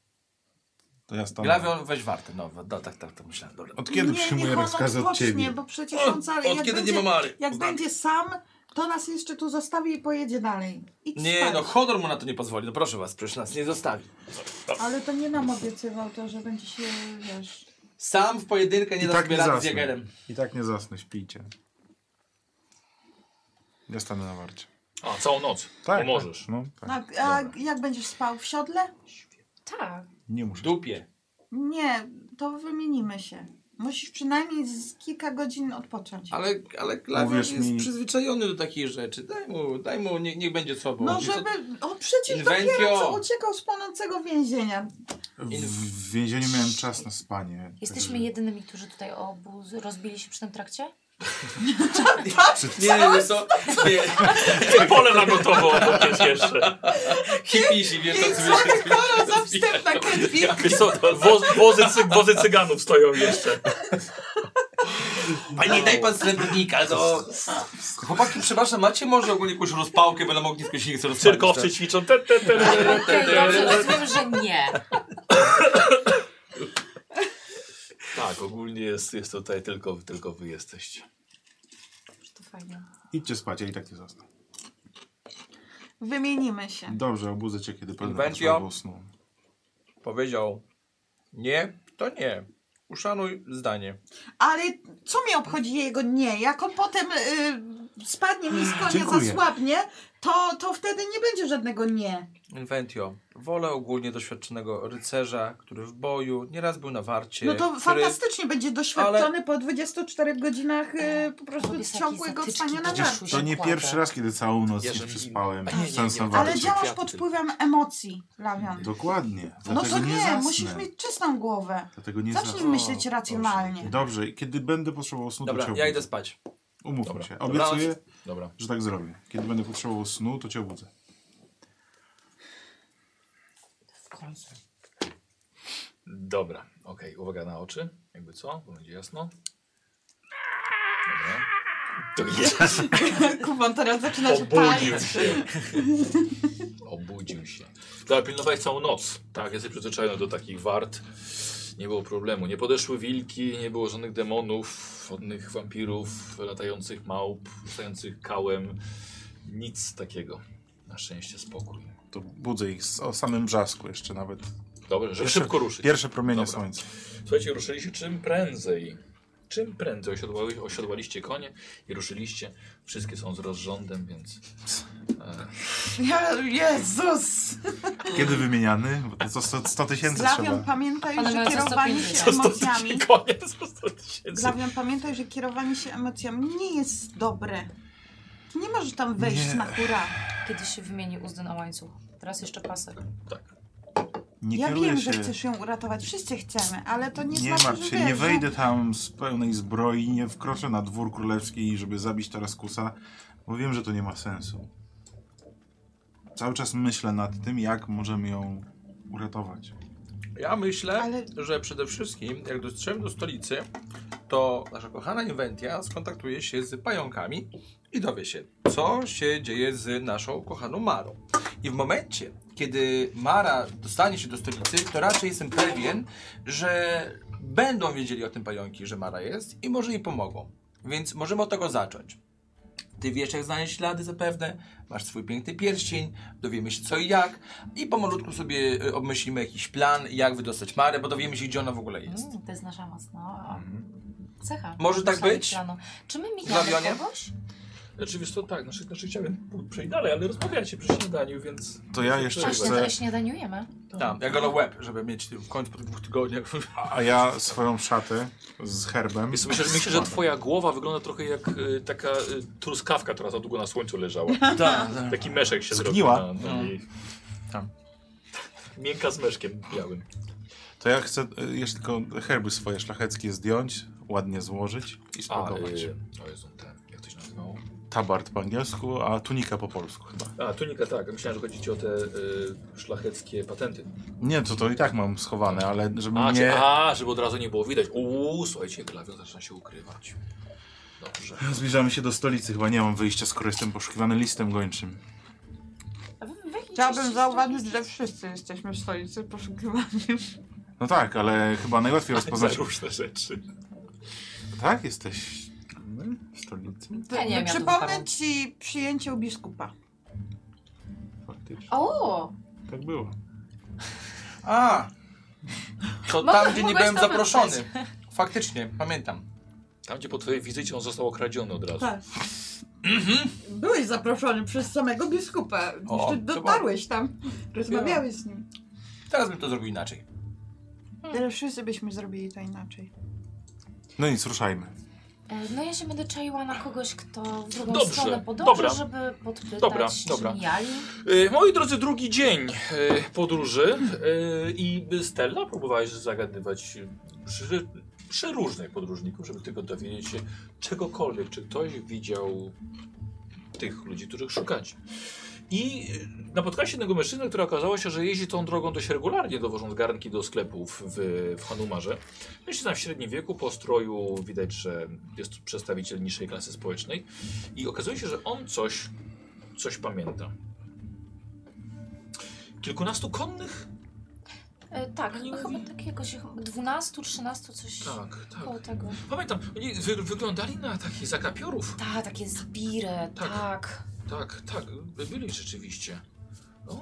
Speaker 4: To ja stanę.
Speaker 2: Glawion, weź wartę. No, no tak, tak, to myślałem. Dobra.
Speaker 4: Od kiedy przyjmuję
Speaker 5: niech on
Speaker 4: rozkazy od
Speaker 5: odpocznie,
Speaker 4: ciebie?
Speaker 5: bo przecież on cały...
Speaker 2: Od
Speaker 5: jak
Speaker 2: kiedy
Speaker 5: będzie,
Speaker 2: nie ma Mary?
Speaker 5: Jak będzie sam, to nas jeszcze tu zostawi i pojedzie dalej. Idź
Speaker 2: Nie,
Speaker 5: spać.
Speaker 2: no honor mu na to nie pozwoli. No proszę was, przecież nas nie zostawi.
Speaker 5: Ale to nie nam obiecywał to, że będzie się, wiesz...
Speaker 2: Sam w pojedynkę nie
Speaker 4: I
Speaker 2: da
Speaker 4: tak
Speaker 2: sobie
Speaker 4: nie
Speaker 2: rady z
Speaker 4: zasnę.
Speaker 2: Jagerem.
Speaker 4: I tak nie zasnę, śpijcie. Ja stanę na warcie.
Speaker 1: A, całą noc.
Speaker 4: Tak.
Speaker 1: Pomożesz.
Speaker 4: tak, No, tak.
Speaker 5: A, a jak będziesz spał? W siodle?
Speaker 6: Tak.
Speaker 4: Nie muszę.
Speaker 2: Dupie.
Speaker 5: Nie, to wymienimy się. Musisz przynajmniej z kilka godzin odpocząć.
Speaker 2: Ale, ale Glawion
Speaker 4: Mówisz
Speaker 2: jest
Speaker 4: mi-
Speaker 2: przyzwyczajony do takich rzeczy. Daj mu, daj mu, nie, niech będzie sobą.
Speaker 5: No żeby... O, przecież
Speaker 2: Inwentio.
Speaker 5: dopiero co uciekał z płonącego więzienia.
Speaker 4: W, w więzieniu miałem czas na spanie.
Speaker 6: Jesteśmy jedynymi, którzy tutaj obu z- rozbili się przy tym trakcie?
Speaker 2: Nie, nie, wiesz co? Nie,
Speaker 1: Pole na gotowo, bo jeszcze.
Speaker 2: hipisi, wiesz, tacy wiesz,
Speaker 5: Kolor za wstęp na Kedwik.
Speaker 1: Wiesz co, woz, wozy, cy, wozy cyganów stoją jeszcze.
Speaker 2: A nie daj pan srebrnika, no. Chłopaki, przepraszam, macie może ogólnie jakąś rozpałkę, bo na ognisko się nie chce rozpalić.
Speaker 1: Cyrkowcy
Speaker 4: tak.
Speaker 1: ćwiczą. Te, te, te, te.
Speaker 6: Okej, dobrze, rozumiem, że nie.
Speaker 1: Tak, ogólnie jest, jest tutaj tylko, tylko wy jesteście.
Speaker 6: Że To fajnie.
Speaker 4: Idźcie spać, ja i tak nie zasnę.
Speaker 5: Wymienimy się.
Speaker 4: Dobrze, obudzę cię, kiedy będę
Speaker 2: Inwentio.
Speaker 4: potrzebował snu.
Speaker 2: tak? Powiedział, nie, to nie. Uszanuj zdanie.
Speaker 5: Ale co mnie obchodzi jego nie? Jak on potem y, spadnie nisko, nie
Speaker 4: Dziękuję.
Speaker 5: zasłabnie, to, to wtedy nie będzie żadnego nie.
Speaker 2: Inventio, wolę ogólnie doświadczonego rycerza, który w boju nieraz był na warcie.
Speaker 5: No to
Speaker 2: który...
Speaker 5: fantastycznie będzie doświadczony po 24 godzinach y, po prostu
Speaker 6: Robię sobie
Speaker 5: ciągłego
Speaker 6: jakieś
Speaker 5: spania na
Speaker 6: zatyczki.
Speaker 5: żarcie.
Speaker 4: Przecież to nie
Speaker 6: Kładę.
Speaker 4: pierwszy raz, kiedy całą noc
Speaker 7: Ja
Speaker 4: nie
Speaker 7: żebym-
Speaker 4: przespałem.
Speaker 7: Nie, nie, nie.
Speaker 4: Sens na
Speaker 5: Ale
Speaker 4: warcie.
Speaker 5: działasz
Speaker 7: kwiaty
Speaker 5: pod
Speaker 7: tylko.
Speaker 5: wpływem emocji, Lawian.
Speaker 4: Dokładnie.
Speaker 5: No
Speaker 4: Dlatego
Speaker 5: to
Speaker 4: nie
Speaker 5: nie, musisz
Speaker 4: zasnę.
Speaker 5: mieć czystą głowę.
Speaker 4: Dlatego nie
Speaker 5: Zacznij
Speaker 4: zasnę.
Speaker 5: myśleć racjonalnie.
Speaker 4: Dobrze, i kiedy będę potrzebował snu, to
Speaker 2: Dobra,
Speaker 4: cię
Speaker 2: ja
Speaker 4: obudzę.
Speaker 2: idę spać.
Speaker 4: Umówmy
Speaker 1: Dobra.
Speaker 4: się. Obiecuję,
Speaker 1: Dobra.
Speaker 4: że tak zrobię. Kiedy będę potrzebował snu, to cię obudzę.
Speaker 6: W końcu.
Speaker 1: Dobra, okej, uwaga na oczy. Jakby co, bo będzie jasno. Dobra. To jest.
Speaker 5: Kuban teraz zaczyna się
Speaker 1: Obudził
Speaker 5: palić.
Speaker 1: się. Obudził się. Dobra, pilnowałeś całą noc. Tak, jesteś przyzwyczajony do takich wart. Nie było problemu. Nie podeszły wilki, nie było żadnych demonów, żadnych wampirów, latających małp, stających kałem. Nic takiego. Na szczęście spokój.
Speaker 4: To budzę ich z, o samym brzasku jeszcze nawet.
Speaker 1: Dobrze, żeby
Speaker 4: Pierwsze-
Speaker 1: szybko ruszyć.
Speaker 4: Pierwsze promienie
Speaker 1: Dobra.
Speaker 4: słońca.
Speaker 1: Słuchajcie, ruszyliście czym prędzej. Czym prędzej osiodłali, osiodłaliście konie i ruszyliście. Wszystkie są z rozrządem, więc. E,
Speaker 5: Ja, Jezus!
Speaker 4: Kiedy wymieniany? Bo to co, 100 100 tysięcy
Speaker 5: Glawion,
Speaker 4: trzeba.
Speaker 5: pamiętaj,
Speaker 6: Ale
Speaker 5: że
Speaker 6: mają za
Speaker 5: kierowanie
Speaker 6: 150.
Speaker 5: się
Speaker 1: to 100
Speaker 5: emocjami...
Speaker 1: tysięcy konie, to 100 tysięcy.
Speaker 5: Glawion, pamiętaj, że kierowanie się emocjami nie jest dobre. Ty nie możesz tam wejść
Speaker 4: Nie.
Speaker 5: na hura.
Speaker 6: Kiedyś się wymieni uzdy na łańcuch. Teraz jeszcze pasek.
Speaker 1: Tak.
Speaker 4: Nie
Speaker 5: Ja
Speaker 4: kieruję
Speaker 5: wiem,
Speaker 4: się.
Speaker 5: że chcesz ją uratować. Wszyscy chcemy, ale to nie,
Speaker 4: Nie
Speaker 5: znaczy,
Speaker 4: martw
Speaker 5: że
Speaker 4: się,
Speaker 5: wiesz, że-
Speaker 4: nie wejdę tam z pełnej zbroi, nie wkroczę na dwór królewski, żeby zabić Taraskusa, bo wiem, że to nie ma sensu. Cały czas myślę nad tym, jak możemy ją uratować.
Speaker 2: Ja myślę,
Speaker 5: Ale-
Speaker 2: że przede wszystkim, jak dotrzemy do stolicy, to nasza kochana Inventia skontaktuje się z pająkami i dowie się, co się dzieje z naszą kochaną Marą. I w momencie, kiedy Mara dostanie się do stolicy, to raczej jestem pewien, że będą wiedzieli o tym pająki, że Mara jest i może jej pomogą. Więc możemy od tego zacząć. Ty wiesz, jak znaleźć ślady zapewne, masz swój piękny pierścień, dowiemy się co i jak i pomalutku sobie y, obmyślimy jakiś plan, jak wydostać Marę, bo dowiemy się, gdzie ona w ogóle jest.
Speaker 3: Mm, to jest nasza
Speaker 6: no.
Speaker 3: mocna cecha.
Speaker 2: Może tak
Speaker 3: Myślenie
Speaker 2: być?
Speaker 3: Planu. Czy my
Speaker 2: Zawionie?
Speaker 3: mijamy kogoś?
Speaker 1: Znaczy wiesz to tak, znaczy, znaczy chciałem pój- przejść dalej, ale rozmawiacie przy śniadaniu, więc...
Speaker 4: To ja jeszcze
Speaker 3: Właśnie,
Speaker 4: chcę,
Speaker 3: teraz śniadaniujemy.
Speaker 2: Tam, jak go na łeb, żeby mieć w końcu po dwóch tygodniach.
Speaker 4: a ja swoją szatę z herbem.
Speaker 1: Więc myślę, że, myślę, że twoja głowa wygląda trochę jak y, taka y, truskawka, która za długo na słońcu leżała.
Speaker 2: Tak,
Speaker 1: Taki meszek się
Speaker 4: Zgniła.
Speaker 1: zrobił. Na, na
Speaker 2: No.
Speaker 1: jej.
Speaker 2: Tam.
Speaker 1: Miękka z meszkiem białym.
Speaker 4: To ja chcę y, jeszcze tylko herby swoje szlacheckie zdjąć, ładnie złożyć i
Speaker 1: A,
Speaker 4: spakować.
Speaker 1: y, o Jezu, ten, jak to się nazywało?
Speaker 4: Tabard po angielsku, a tunika po polsku chyba.
Speaker 1: A, tunika, tak. Myślałem, że chodzi ci o te y, szlacheckie patenty.
Speaker 4: Nie, to to i tak mam schowane, ale żeby
Speaker 1: A,
Speaker 4: nie...
Speaker 1: czy, a, żeby od razu nie było widać. Uuu, słuchajcie, klawion zaczyna się ukrywać. Dobrze.
Speaker 4: Zbliżamy się do stolicy, chyba nie mam wyjścia, skoro jestem poszukiwany listem gończym.
Speaker 3: A wy- wy jakiś
Speaker 5: Chciałabym
Speaker 3: jesteście
Speaker 5: zauważyć,
Speaker 3: stronnicy?
Speaker 5: że wszyscy jesteśmy w stolicy poszukiwani.
Speaker 4: No tak, ale chyba najłatwiej rozpoznać...
Speaker 1: różne rzeczy.
Speaker 4: Tak, jesteś w stolicy?
Speaker 3: Ja nie wiem, ja tu
Speaker 5: No, Przypomnę
Speaker 3: wypadam.
Speaker 5: ci przyjęcie u biskupa.
Speaker 4: Faktycznie.
Speaker 3: O,
Speaker 4: Tak było.
Speaker 2: A! To
Speaker 3: Mogę-
Speaker 2: tam, gdzie nie
Speaker 3: mogłeś
Speaker 2: byłem
Speaker 3: to
Speaker 2: zaproszony. Faktycznie, pamiętam.
Speaker 1: Tam, gdzie po twojej wizycie on został okradziony od razu.
Speaker 5: Tak.
Speaker 4: Mhm.
Speaker 5: Byłeś zaproszony przez samego biskupa.
Speaker 2: O,
Speaker 5: Jeszcze
Speaker 2: to
Speaker 5: dotarłeś tam. Rozmawiałeś z nim.
Speaker 2: Teraz bym to zrobił inaczej.
Speaker 5: Hmm. Teraz wszyscy byśmy zrobili to inaczej.
Speaker 4: No nic, ruszajmy.
Speaker 3: e, no ja się będę czaiła na kogoś, kto w drugą
Speaker 1: Dobrze,
Speaker 3: stronę podąża,
Speaker 1: dobra.
Speaker 3: żeby podpytać,
Speaker 1: Dobra,
Speaker 3: czy
Speaker 1: dobra.
Speaker 3: mijali.
Speaker 1: Y, Moi drodzy, drugi dzień y, podróży y, i Stella próbowałeś zagadywać przy, przeróżnych podróżników, żeby tylko dowiedzieć się czegokolwiek, czy ktoś widział tych ludzi, których szukacie. I y, napotkałaś jednego mężczyznę, który okazało się, że jeździ tą drogą dość regularnie, dowożąc garnki do sklepów w, w Hanumarze. Mężczyzna w średnim wieku, po stroju widać, że jest przedstawiciel niższej klasy społecznej i okazuje się, że on coś, coś pamięta. Kilkunastu konnych?
Speaker 3: E, tak,
Speaker 1: Nie
Speaker 3: chyba
Speaker 1: mówi.
Speaker 3: takiego się 12, 13 coś
Speaker 1: Tak, tak.
Speaker 3: koło tego.
Speaker 1: Pamiętam, oni wy wyglądali na takich zakapiorów.
Speaker 3: Tak, takie zbire,
Speaker 1: Tak.
Speaker 3: tak.
Speaker 1: Tak, tak, by- byli rzeczywiście. No,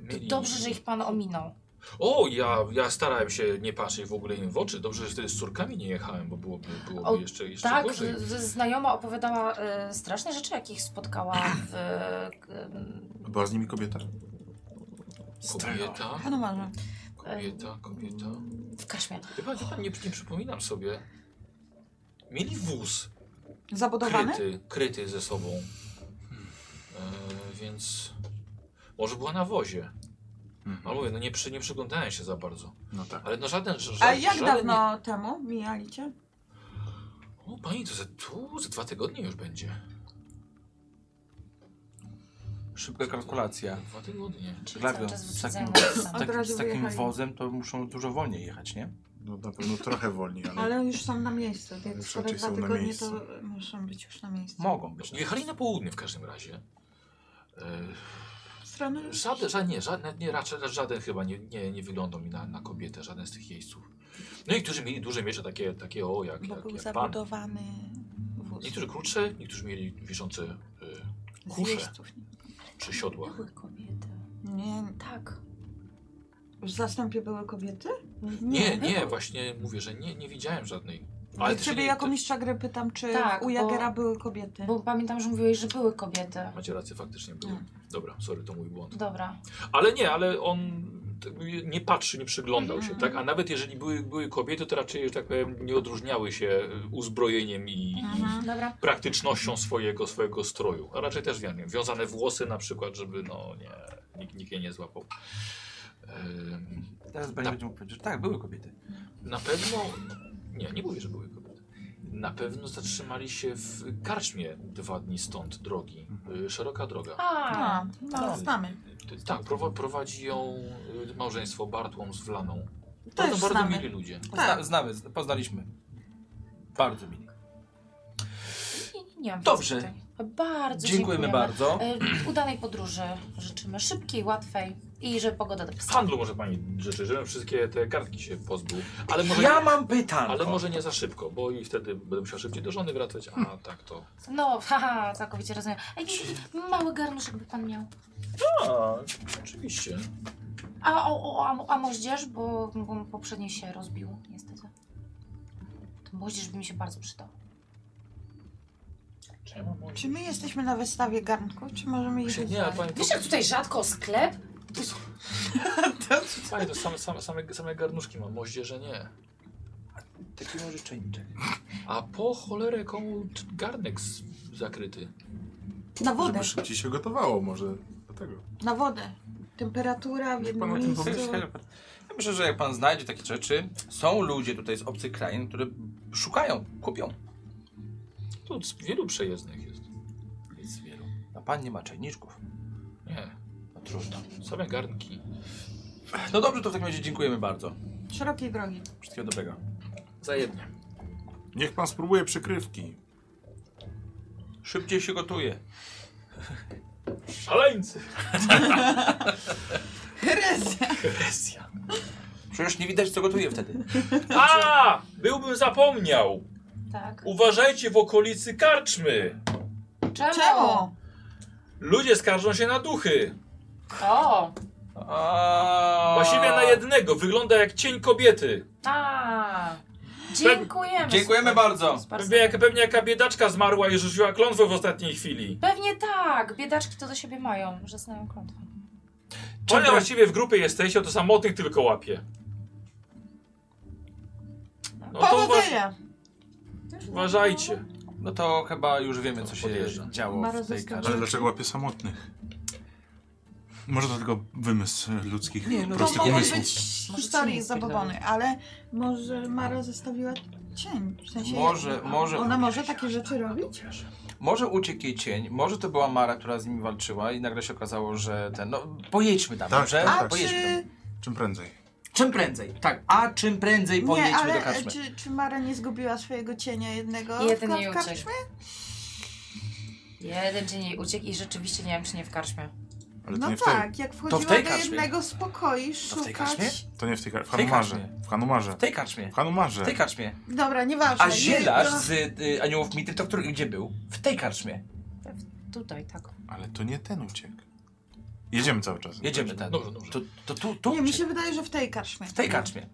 Speaker 1: mieli...
Speaker 3: Dobrze, że ich pan ominął.
Speaker 1: O, ja, ja starałem się nie patrzeć w ogóle im w oczy. Dobrze, że wtedy z córkami nie jechałem, bo byłoby, byłoby
Speaker 3: O,
Speaker 1: jeszcze, jeszcze
Speaker 3: Tak,
Speaker 1: gorzej.
Speaker 3: z- z- znajoma opowiadała e, straszne rzeczy, jakich spotkała w... e, k-
Speaker 4: Była z nimi kobieta?
Speaker 1: Kobieta,
Speaker 4: Hmm.
Speaker 5: Hanumarze.
Speaker 1: kobieta, kobieta.
Speaker 3: w Kaśmie.
Speaker 1: Wie pan, wie pan nie, nie przypominam sobie. Mieli wóz
Speaker 5: Zabudowany?
Speaker 1: kryty, kryty ze sobą. Hmm. E, więc może była na wozie. Ale mówię, no nie, przy, nie przyglądałem się za bardzo.
Speaker 4: No tak.
Speaker 1: Ale no żaden... Ża,
Speaker 5: A jak
Speaker 1: żaden
Speaker 5: dawno temu mijali cię?
Speaker 1: Nie... O pani, to za, tu, za dwa tygodnie już będzie.
Speaker 2: Szybka kalkulacja.
Speaker 1: Dwa tygodnie.
Speaker 3: Czyli
Speaker 2: Gladio,
Speaker 3: cały czas
Speaker 2: z
Speaker 3: wyprzedzają
Speaker 2: takim,
Speaker 3: nas.
Speaker 2: z
Speaker 5: Od
Speaker 1: Tak.
Speaker 2: takim,
Speaker 5: razu
Speaker 2: z takim
Speaker 5: wyjechali.
Speaker 2: wozem to muszą dużo wolniej jechać, nie?
Speaker 4: No na pewno trochę wolniej, ale...
Speaker 5: Ale już są na miejscu. Jak
Speaker 4: No. Już
Speaker 5: skoro
Speaker 4: raczej
Speaker 5: dwa
Speaker 4: są na
Speaker 5: tygodnie,
Speaker 4: miejscu.
Speaker 5: to muszą być już na miejscu.
Speaker 2: Mogą być.
Speaker 1: Jechali na No południe w każdym razie.
Speaker 5: W stronę?
Speaker 1: E, żaden, żaden, nie, żaden, nie, raczej żaden chyba nie, nie, nie wyglądał mi na, na kobietę, żaden z tych jeźdźców. No niektórzy mieli duże miecze takie, takie o, jak,
Speaker 5: Bo
Speaker 1: jak,
Speaker 5: No, był
Speaker 1: jak pan.
Speaker 5: zabudowany wóz.
Speaker 1: Niektórzy krótsze, niektórzy mieli wiszące y,
Speaker 5: Z
Speaker 1: kusze.
Speaker 5: jeźdźców.
Speaker 1: przy siodłach.
Speaker 3: Były kobiety.
Speaker 5: Nie,
Speaker 3: Tak.
Speaker 5: w zastępie były kobiety?
Speaker 1: Nie, nie, właśnie mówię, że nie, nie widziałem żadnej.
Speaker 5: Ale
Speaker 1: też
Speaker 5: ciebie
Speaker 1: nie-
Speaker 5: jako mistrza gry pytam, czy
Speaker 3: Tak,
Speaker 5: u
Speaker 3: bo-
Speaker 5: Jagera były kobiety?
Speaker 3: Bo pamiętam, że mówiłeś, że były kobiety.
Speaker 1: Macie rację, faktycznie było.
Speaker 5: No.
Speaker 1: Dobra, sorry, to mój błąd.
Speaker 3: Dobra.
Speaker 1: Ale nie, ale on tak jakby nie patrzy, nie przyglądał
Speaker 5: Mhm.
Speaker 1: się, tak? A nawet jeżeli były, były kobiety, to raczej, że tak powiem, nie odróżniały się y, uzbrojeniem i, i
Speaker 5: Mhm.
Speaker 3: Dobra.
Speaker 1: praktycznością swojego, swojego stroju. A raczej też wiem, wiązane włosy na przykład, żeby no nie, nikt, nikt je nie złapał. Ym,
Speaker 2: Teraz będzie będzie mógł powiedzieć, że tak, były kobiety.
Speaker 1: Na pewno. Nie, nie mówię, że były kobiety. Na pewno zatrzymali się Mhm. w karczmie dwa dni stąd drogi. Y, Szeroka droga.
Speaker 3: A,
Speaker 5: A, no, znamy.
Speaker 1: Tak, prowa- prowadzi ją y, małżeństwo Bartłom z Wlaną. To
Speaker 5: Też
Speaker 1: bardzo
Speaker 5: znamy.
Speaker 1: mili ludzie.
Speaker 5: Tak.
Speaker 3: Tak.
Speaker 2: Zna, znamy, z- poznaliśmy. Bardzo mili.
Speaker 3: Nie, nie mam
Speaker 2: Dobrze.
Speaker 3: więcej pytań. Bardzo
Speaker 2: Dziękujemy bardzo.
Speaker 3: E, Udanej podróży życzymy. Szybkiej, łatwej i żeby pogoda tak
Speaker 1: W
Speaker 3: dopisała.
Speaker 1: handlu może pani życzy, żebym wszystkie te kartki się pozbył. Ale może,
Speaker 2: Ja mam pytanko.
Speaker 1: ale może nie za szybko, bo i wtedy będę musiał szybciej do żony wracać, a tak to...
Speaker 3: No, haha, całkowicie rozumiem. A jakiś mały garnuszek by pan miał.
Speaker 1: Tak, oczywiście.
Speaker 3: A, o, o, a, a moździerz, bo, bo poprzedni się rozbił, niestety. To moździerz by mi się bardzo przydał.
Speaker 1: Czemu?
Speaker 5: Czy my jesteśmy na wystawie garnków, czy możemy
Speaker 1: Właśnie
Speaker 5: jeździć
Speaker 1: Nie, ale pani,
Speaker 3: Wiesz, jak tutaj rzadko o sklep?
Speaker 1: pani to same, same, same, same garnuszki mam, moździerze nie.
Speaker 2: Taki może czajniczek.
Speaker 1: A po cholerę komu t- garnek z, zakryty?
Speaker 5: na wodę?
Speaker 4: Żeby szybciej się gotowało może. Dlatego.
Speaker 5: Na wodę. Temperatura w
Speaker 4: Jak
Speaker 5: jednym
Speaker 4: pan o tym
Speaker 5: miejscu.
Speaker 4: pomyślał?
Speaker 2: Ja myślę, że jak pan znajdzie takie rzeczy, są ludzie tutaj z obcych krain, które szukają, kupią.
Speaker 1: Tu z- wielu przejezdnych jest.
Speaker 2: Jest wielu. A pan nie ma czajniczków.
Speaker 1: Nie,
Speaker 2: No trudno.
Speaker 1: same garnki.
Speaker 2: No dobrze, to w takim razie dziękujemy bardzo.
Speaker 5: Szerokiej drogi.
Speaker 2: Wszystkiego dobrego.
Speaker 1: Za jednie.
Speaker 4: Niech pan spróbuje przykrywki.
Speaker 2: Szybciej się gotuje.
Speaker 1: Szaleńcy!
Speaker 5: Herezja.
Speaker 1: Presja.
Speaker 2: Przecież nie widać, co gotuje wtedy.
Speaker 10: A! Byłbym zapomniał!
Speaker 3: Tak.
Speaker 10: Uważajcie w okolicy karczmy!
Speaker 3: Czemu?
Speaker 5: Czemu?
Speaker 10: Ludzie skarżą się na duchy.
Speaker 3: O!
Speaker 2: A...
Speaker 10: Właściwie na jednego. Wygląda jak cień kobiety.
Speaker 3: A! Dziękujemy.
Speaker 2: Dziękujemy bardzo.
Speaker 10: Pewnie, jak, pewnie jaka biedaczka zmarła i rzuciła klątwę w ostatniej chwili.
Speaker 3: Pewnie tak. Biedaczki to do siebie mają, że znają klątwę.
Speaker 1: tak?
Speaker 10: Czemu właściwie w grupie jesteście, to samotnych tylko łapie. No to uważ,
Speaker 5: Powodzenia.
Speaker 10: uważajcie.
Speaker 2: No to chyba już wiemy, co się
Speaker 1: Podjeżdżam.
Speaker 2: działo w tej karze.
Speaker 4: Ale dlaczego łapie samotnych? Może to tylko wymysł e, ludzkich
Speaker 2: Nie, no
Speaker 5: To
Speaker 4: prostych
Speaker 5: mogą
Speaker 4: umysłów.
Speaker 5: być historie zabobony, ale może Mara zostawiła cień. W sensie
Speaker 2: Może, może.
Speaker 5: Ona może takie rzeczy robić?
Speaker 2: Może uciekł jej cień, może to była Mara, która z nim walczyła i nagle się okazało, że ten... No, pojedźmy tam,
Speaker 4: Tak,
Speaker 2: dobrze?
Speaker 4: tak,
Speaker 5: A
Speaker 4: tak.
Speaker 2: Pojedźmy tam.
Speaker 5: czy...
Speaker 4: Czym prędzej.
Speaker 2: Czym prędzej, tak. A czym prędzej pojedźmy
Speaker 5: Nie,
Speaker 2: do
Speaker 5: ale e,
Speaker 2: karczmy.
Speaker 5: czy, czy Mara nie zgubiła swojego cienia jednego
Speaker 3: Jeden
Speaker 5: w
Speaker 3: jej
Speaker 5: kar-
Speaker 3: uciekł.
Speaker 5: karczmie?
Speaker 3: Jeden dzień jej uciekł i rzeczywiście nie wiem, czy nie w karczmie.
Speaker 4: Ale to
Speaker 5: No
Speaker 4: nie w tej.
Speaker 5: tak, jak wchodziła do
Speaker 2: tej karczmie.
Speaker 5: jednego z pokoi
Speaker 2: w tej karczmie?
Speaker 5: szukać...
Speaker 4: To nie w tej kar- W
Speaker 2: tej
Speaker 4: Hanumarze.
Speaker 2: karczmie.
Speaker 4: W Hanumarze.
Speaker 2: W tej karczmie.
Speaker 4: W Hanumarze.
Speaker 2: W tej karczmie.
Speaker 5: Dobra, nieważne.
Speaker 2: A
Speaker 5: Nie,
Speaker 2: zielarz
Speaker 5: to-
Speaker 2: z y, aniołów mity, to który gdzie był? W tej karczmie.
Speaker 3: Tutaj, tak.
Speaker 4: Ale to nie ten uciekł. Jedziemy cały czas.
Speaker 2: Jedziemy tam.
Speaker 1: Dobrze, dobrze.
Speaker 2: To, to tu, tu.
Speaker 5: Nie, mi się wydaje, że w tej karczmie.
Speaker 2: W tej karczmie.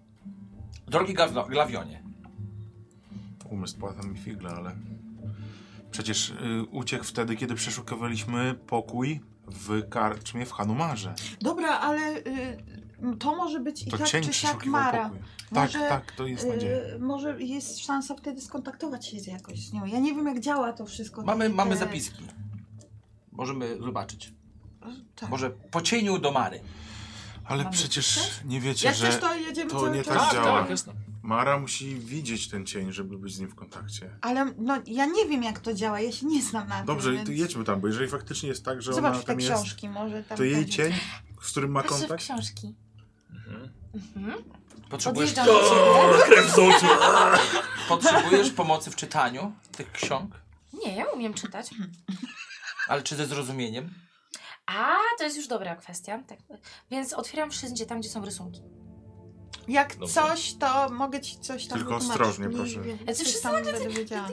Speaker 2: Drogi gawlo, glawionie.
Speaker 4: Umysł płata mi figle, ale... Przecież y, uciekł wtedy, kiedy przeszukiwaliśmy pokój w karczmie w Hanumarze.
Speaker 5: Dobra, ale y, to może być i
Speaker 4: To
Speaker 5: tak
Speaker 4: cień
Speaker 5: czy siak
Speaker 4: przeszukiwał
Speaker 5: Mara.
Speaker 4: pokój. Tak,
Speaker 5: Może,
Speaker 4: tak, to jest nadzieja.
Speaker 5: y, może jest szansa wtedy skontaktować się z jakoś z nią. Ja nie wiem, jak działa to wszystko.
Speaker 2: Mamy,
Speaker 5: takie
Speaker 2: mamy
Speaker 5: te-
Speaker 2: zapiski. Możemy zobaczyć.
Speaker 5: Tak.
Speaker 2: Może po cieniu do Mary.
Speaker 4: Ale
Speaker 3: Mamy
Speaker 4: przecież nie wiecie,
Speaker 5: Jak
Speaker 4: że
Speaker 5: chcesz, to jedziemy
Speaker 4: to
Speaker 5: cały
Speaker 4: nie
Speaker 5: czas.
Speaker 4: tak
Speaker 1: Tak,
Speaker 4: działa.
Speaker 1: tak, jasne.
Speaker 4: Mara musi widzieć ten cień, żeby być z nim w kontakcie.
Speaker 5: Ale no, ja nie wiem, jak to działa. Ja się nie znam na tym.
Speaker 4: Dobrze,
Speaker 5: więc...
Speaker 4: to jedźmy tam, bo jeżeli faktycznie jest tak, że ona
Speaker 5: Zobacz te
Speaker 4: tam jest,
Speaker 5: książki, może tam.
Speaker 4: to jej
Speaker 5: będzie.
Speaker 4: cień, z którym ma
Speaker 3: Proszę w
Speaker 4: kontakt,
Speaker 3: książki. Mhm.
Speaker 2: Potrzebujesz,
Speaker 3: Odjeżdżam do ciebie.
Speaker 10: Krew z oczu.
Speaker 2: potrzebujesz pomocy w czytaniu tych ksiąg,
Speaker 3: Nie, ja umiem czytać.
Speaker 2: ale czy ze zrozumieniem?
Speaker 3: A, to jest już dobra kwestia. Tak. Więc otwieram wszędzie tam, gdzie są rysunki.
Speaker 5: Jak
Speaker 1: Dobrze.
Speaker 5: coś, to mogę ci coś tam
Speaker 4: Tylko
Speaker 5: wytłumaczyć.
Speaker 4: ostrożnie,
Speaker 5: Nie
Speaker 4: proszę.
Speaker 5: wiem,
Speaker 3: Ale to
Speaker 5: coś
Speaker 3: wszyscy
Speaker 5: tam będę wiedziała.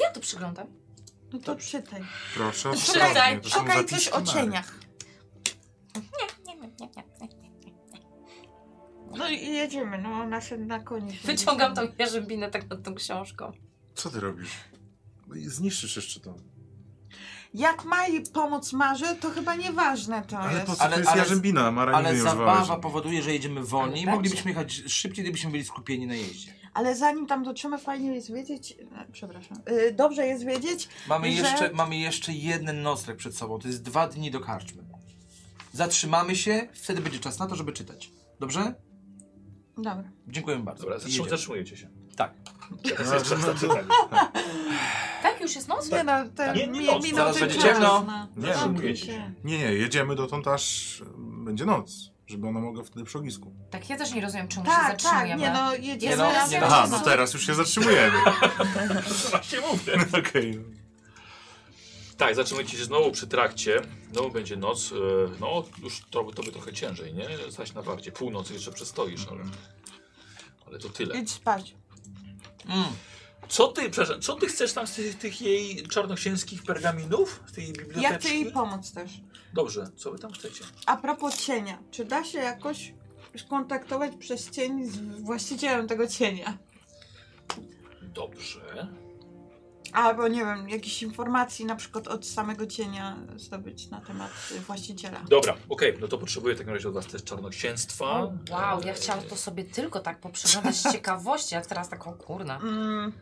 Speaker 3: Ja tu przyglądam.
Speaker 5: No to czytaj.
Speaker 4: proszę.
Speaker 5: Szukaj,
Speaker 4: ostrożnie, to są
Speaker 5: szukaj coś
Speaker 4: zapiski
Speaker 5: o
Speaker 4: Mary.
Speaker 5: cieniach.
Speaker 3: Nie, nie, nie, nie. nie.
Speaker 5: No i jedziemy, no na, na koniec.
Speaker 3: Wyciągam tą jarzębinę tak nad tą książką.
Speaker 4: Co ty robisz? No i Zniszczysz jeszcze to.
Speaker 5: Jak ma jej pomóc Marze, to chyba nieważne to
Speaker 4: Ale
Speaker 5: jest.
Speaker 4: po co
Speaker 2: Ale-
Speaker 4: to jest
Speaker 2: ale-
Speaker 4: jarzębina? Mara
Speaker 2: Ale
Speaker 4: nigdy nie
Speaker 2: zabawa
Speaker 4: używała
Speaker 2: powoduje, że jedziemy wolniej.
Speaker 3: Ale tak.
Speaker 2: Moglibyśmy jechać szybciej, gdybyśmy byli skupieni na jeździe.
Speaker 5: Ale zanim tam dotrzemy, fajnie jest wiedzieć. e, Przepraszam. Y, Dobrze jest wiedzieć.
Speaker 2: Mamy,
Speaker 5: że-
Speaker 2: jeszcze, mamy jeszcze jeden nocleg przed sobą, to jest dwa dni do karczmy. Zatrzymamy się, wtedy będzie czas na to, żeby czytać. Dobrze?
Speaker 5: Dobra.
Speaker 2: Dziękujemy bardzo.
Speaker 1: Dobra, zatrzym-
Speaker 2: Jedziemy.
Speaker 4: No,
Speaker 1: zatrzymujecie się.
Speaker 2: Tak.
Speaker 1: Teraz jest czas na czytanie.
Speaker 3: Tak już już jest noc?
Speaker 5: Nie no, ten
Speaker 1: Nie, nie
Speaker 5: mi-
Speaker 1: noc,
Speaker 5: minął
Speaker 2: zaraz
Speaker 5: ten
Speaker 2: będzie ciemno.
Speaker 5: czas, no.
Speaker 4: Nie,
Speaker 5: Zamknij
Speaker 11: się.
Speaker 5: się.
Speaker 4: Nie, nie, jedziemy dotąd aż e, będzie noc, żeby ona mogła wtedy przy ognisku.
Speaker 3: Tak, ja też nie rozumiem, czemu się
Speaker 5: Tak, tak,
Speaker 3: zatrzymujemy.
Speaker 5: nie no, jedziemy
Speaker 2: no,
Speaker 5: razem.
Speaker 2: nie no.
Speaker 4: Aha, no teraz już się zatrzymujemy.
Speaker 1: Właśnie mówię.
Speaker 4: Okej.
Speaker 1: Tak, zatrzymujcie się znowu przy trakcie. Znowu będzie noc. e, No, już to, to by trochę ciężej, nie? Stać na bardzie. Północy jeszcze przestoisz, ale, ale to tyle.
Speaker 5: Idź spać.
Speaker 2: Mm.
Speaker 1: Co ty, przepraszam, co ty chcesz tam z tych, tych jej czarnoksięskich pergaminów? Z tej jej biblioteczki?
Speaker 5: Ja chcę jej pomóc też.
Speaker 1: Dobrze, co wy tam chcecie?
Speaker 5: A propos cienia, czy da się jakoś skontaktować przez cień z właścicielem tego cienia?
Speaker 1: Dobrze.
Speaker 5: Albo nie wiem, jakichś informacji na przykład od samego cienia zdobyć na temat y, właściciela.
Speaker 1: Dobra, okej, no to potrzebuję w takim razie od was też czarnoksięstwa.
Speaker 3: Wow, ja chciałam to sobie tylko tak poprzeglądać z ciekawości, jak teraz taką kurna.
Speaker 5: Mm,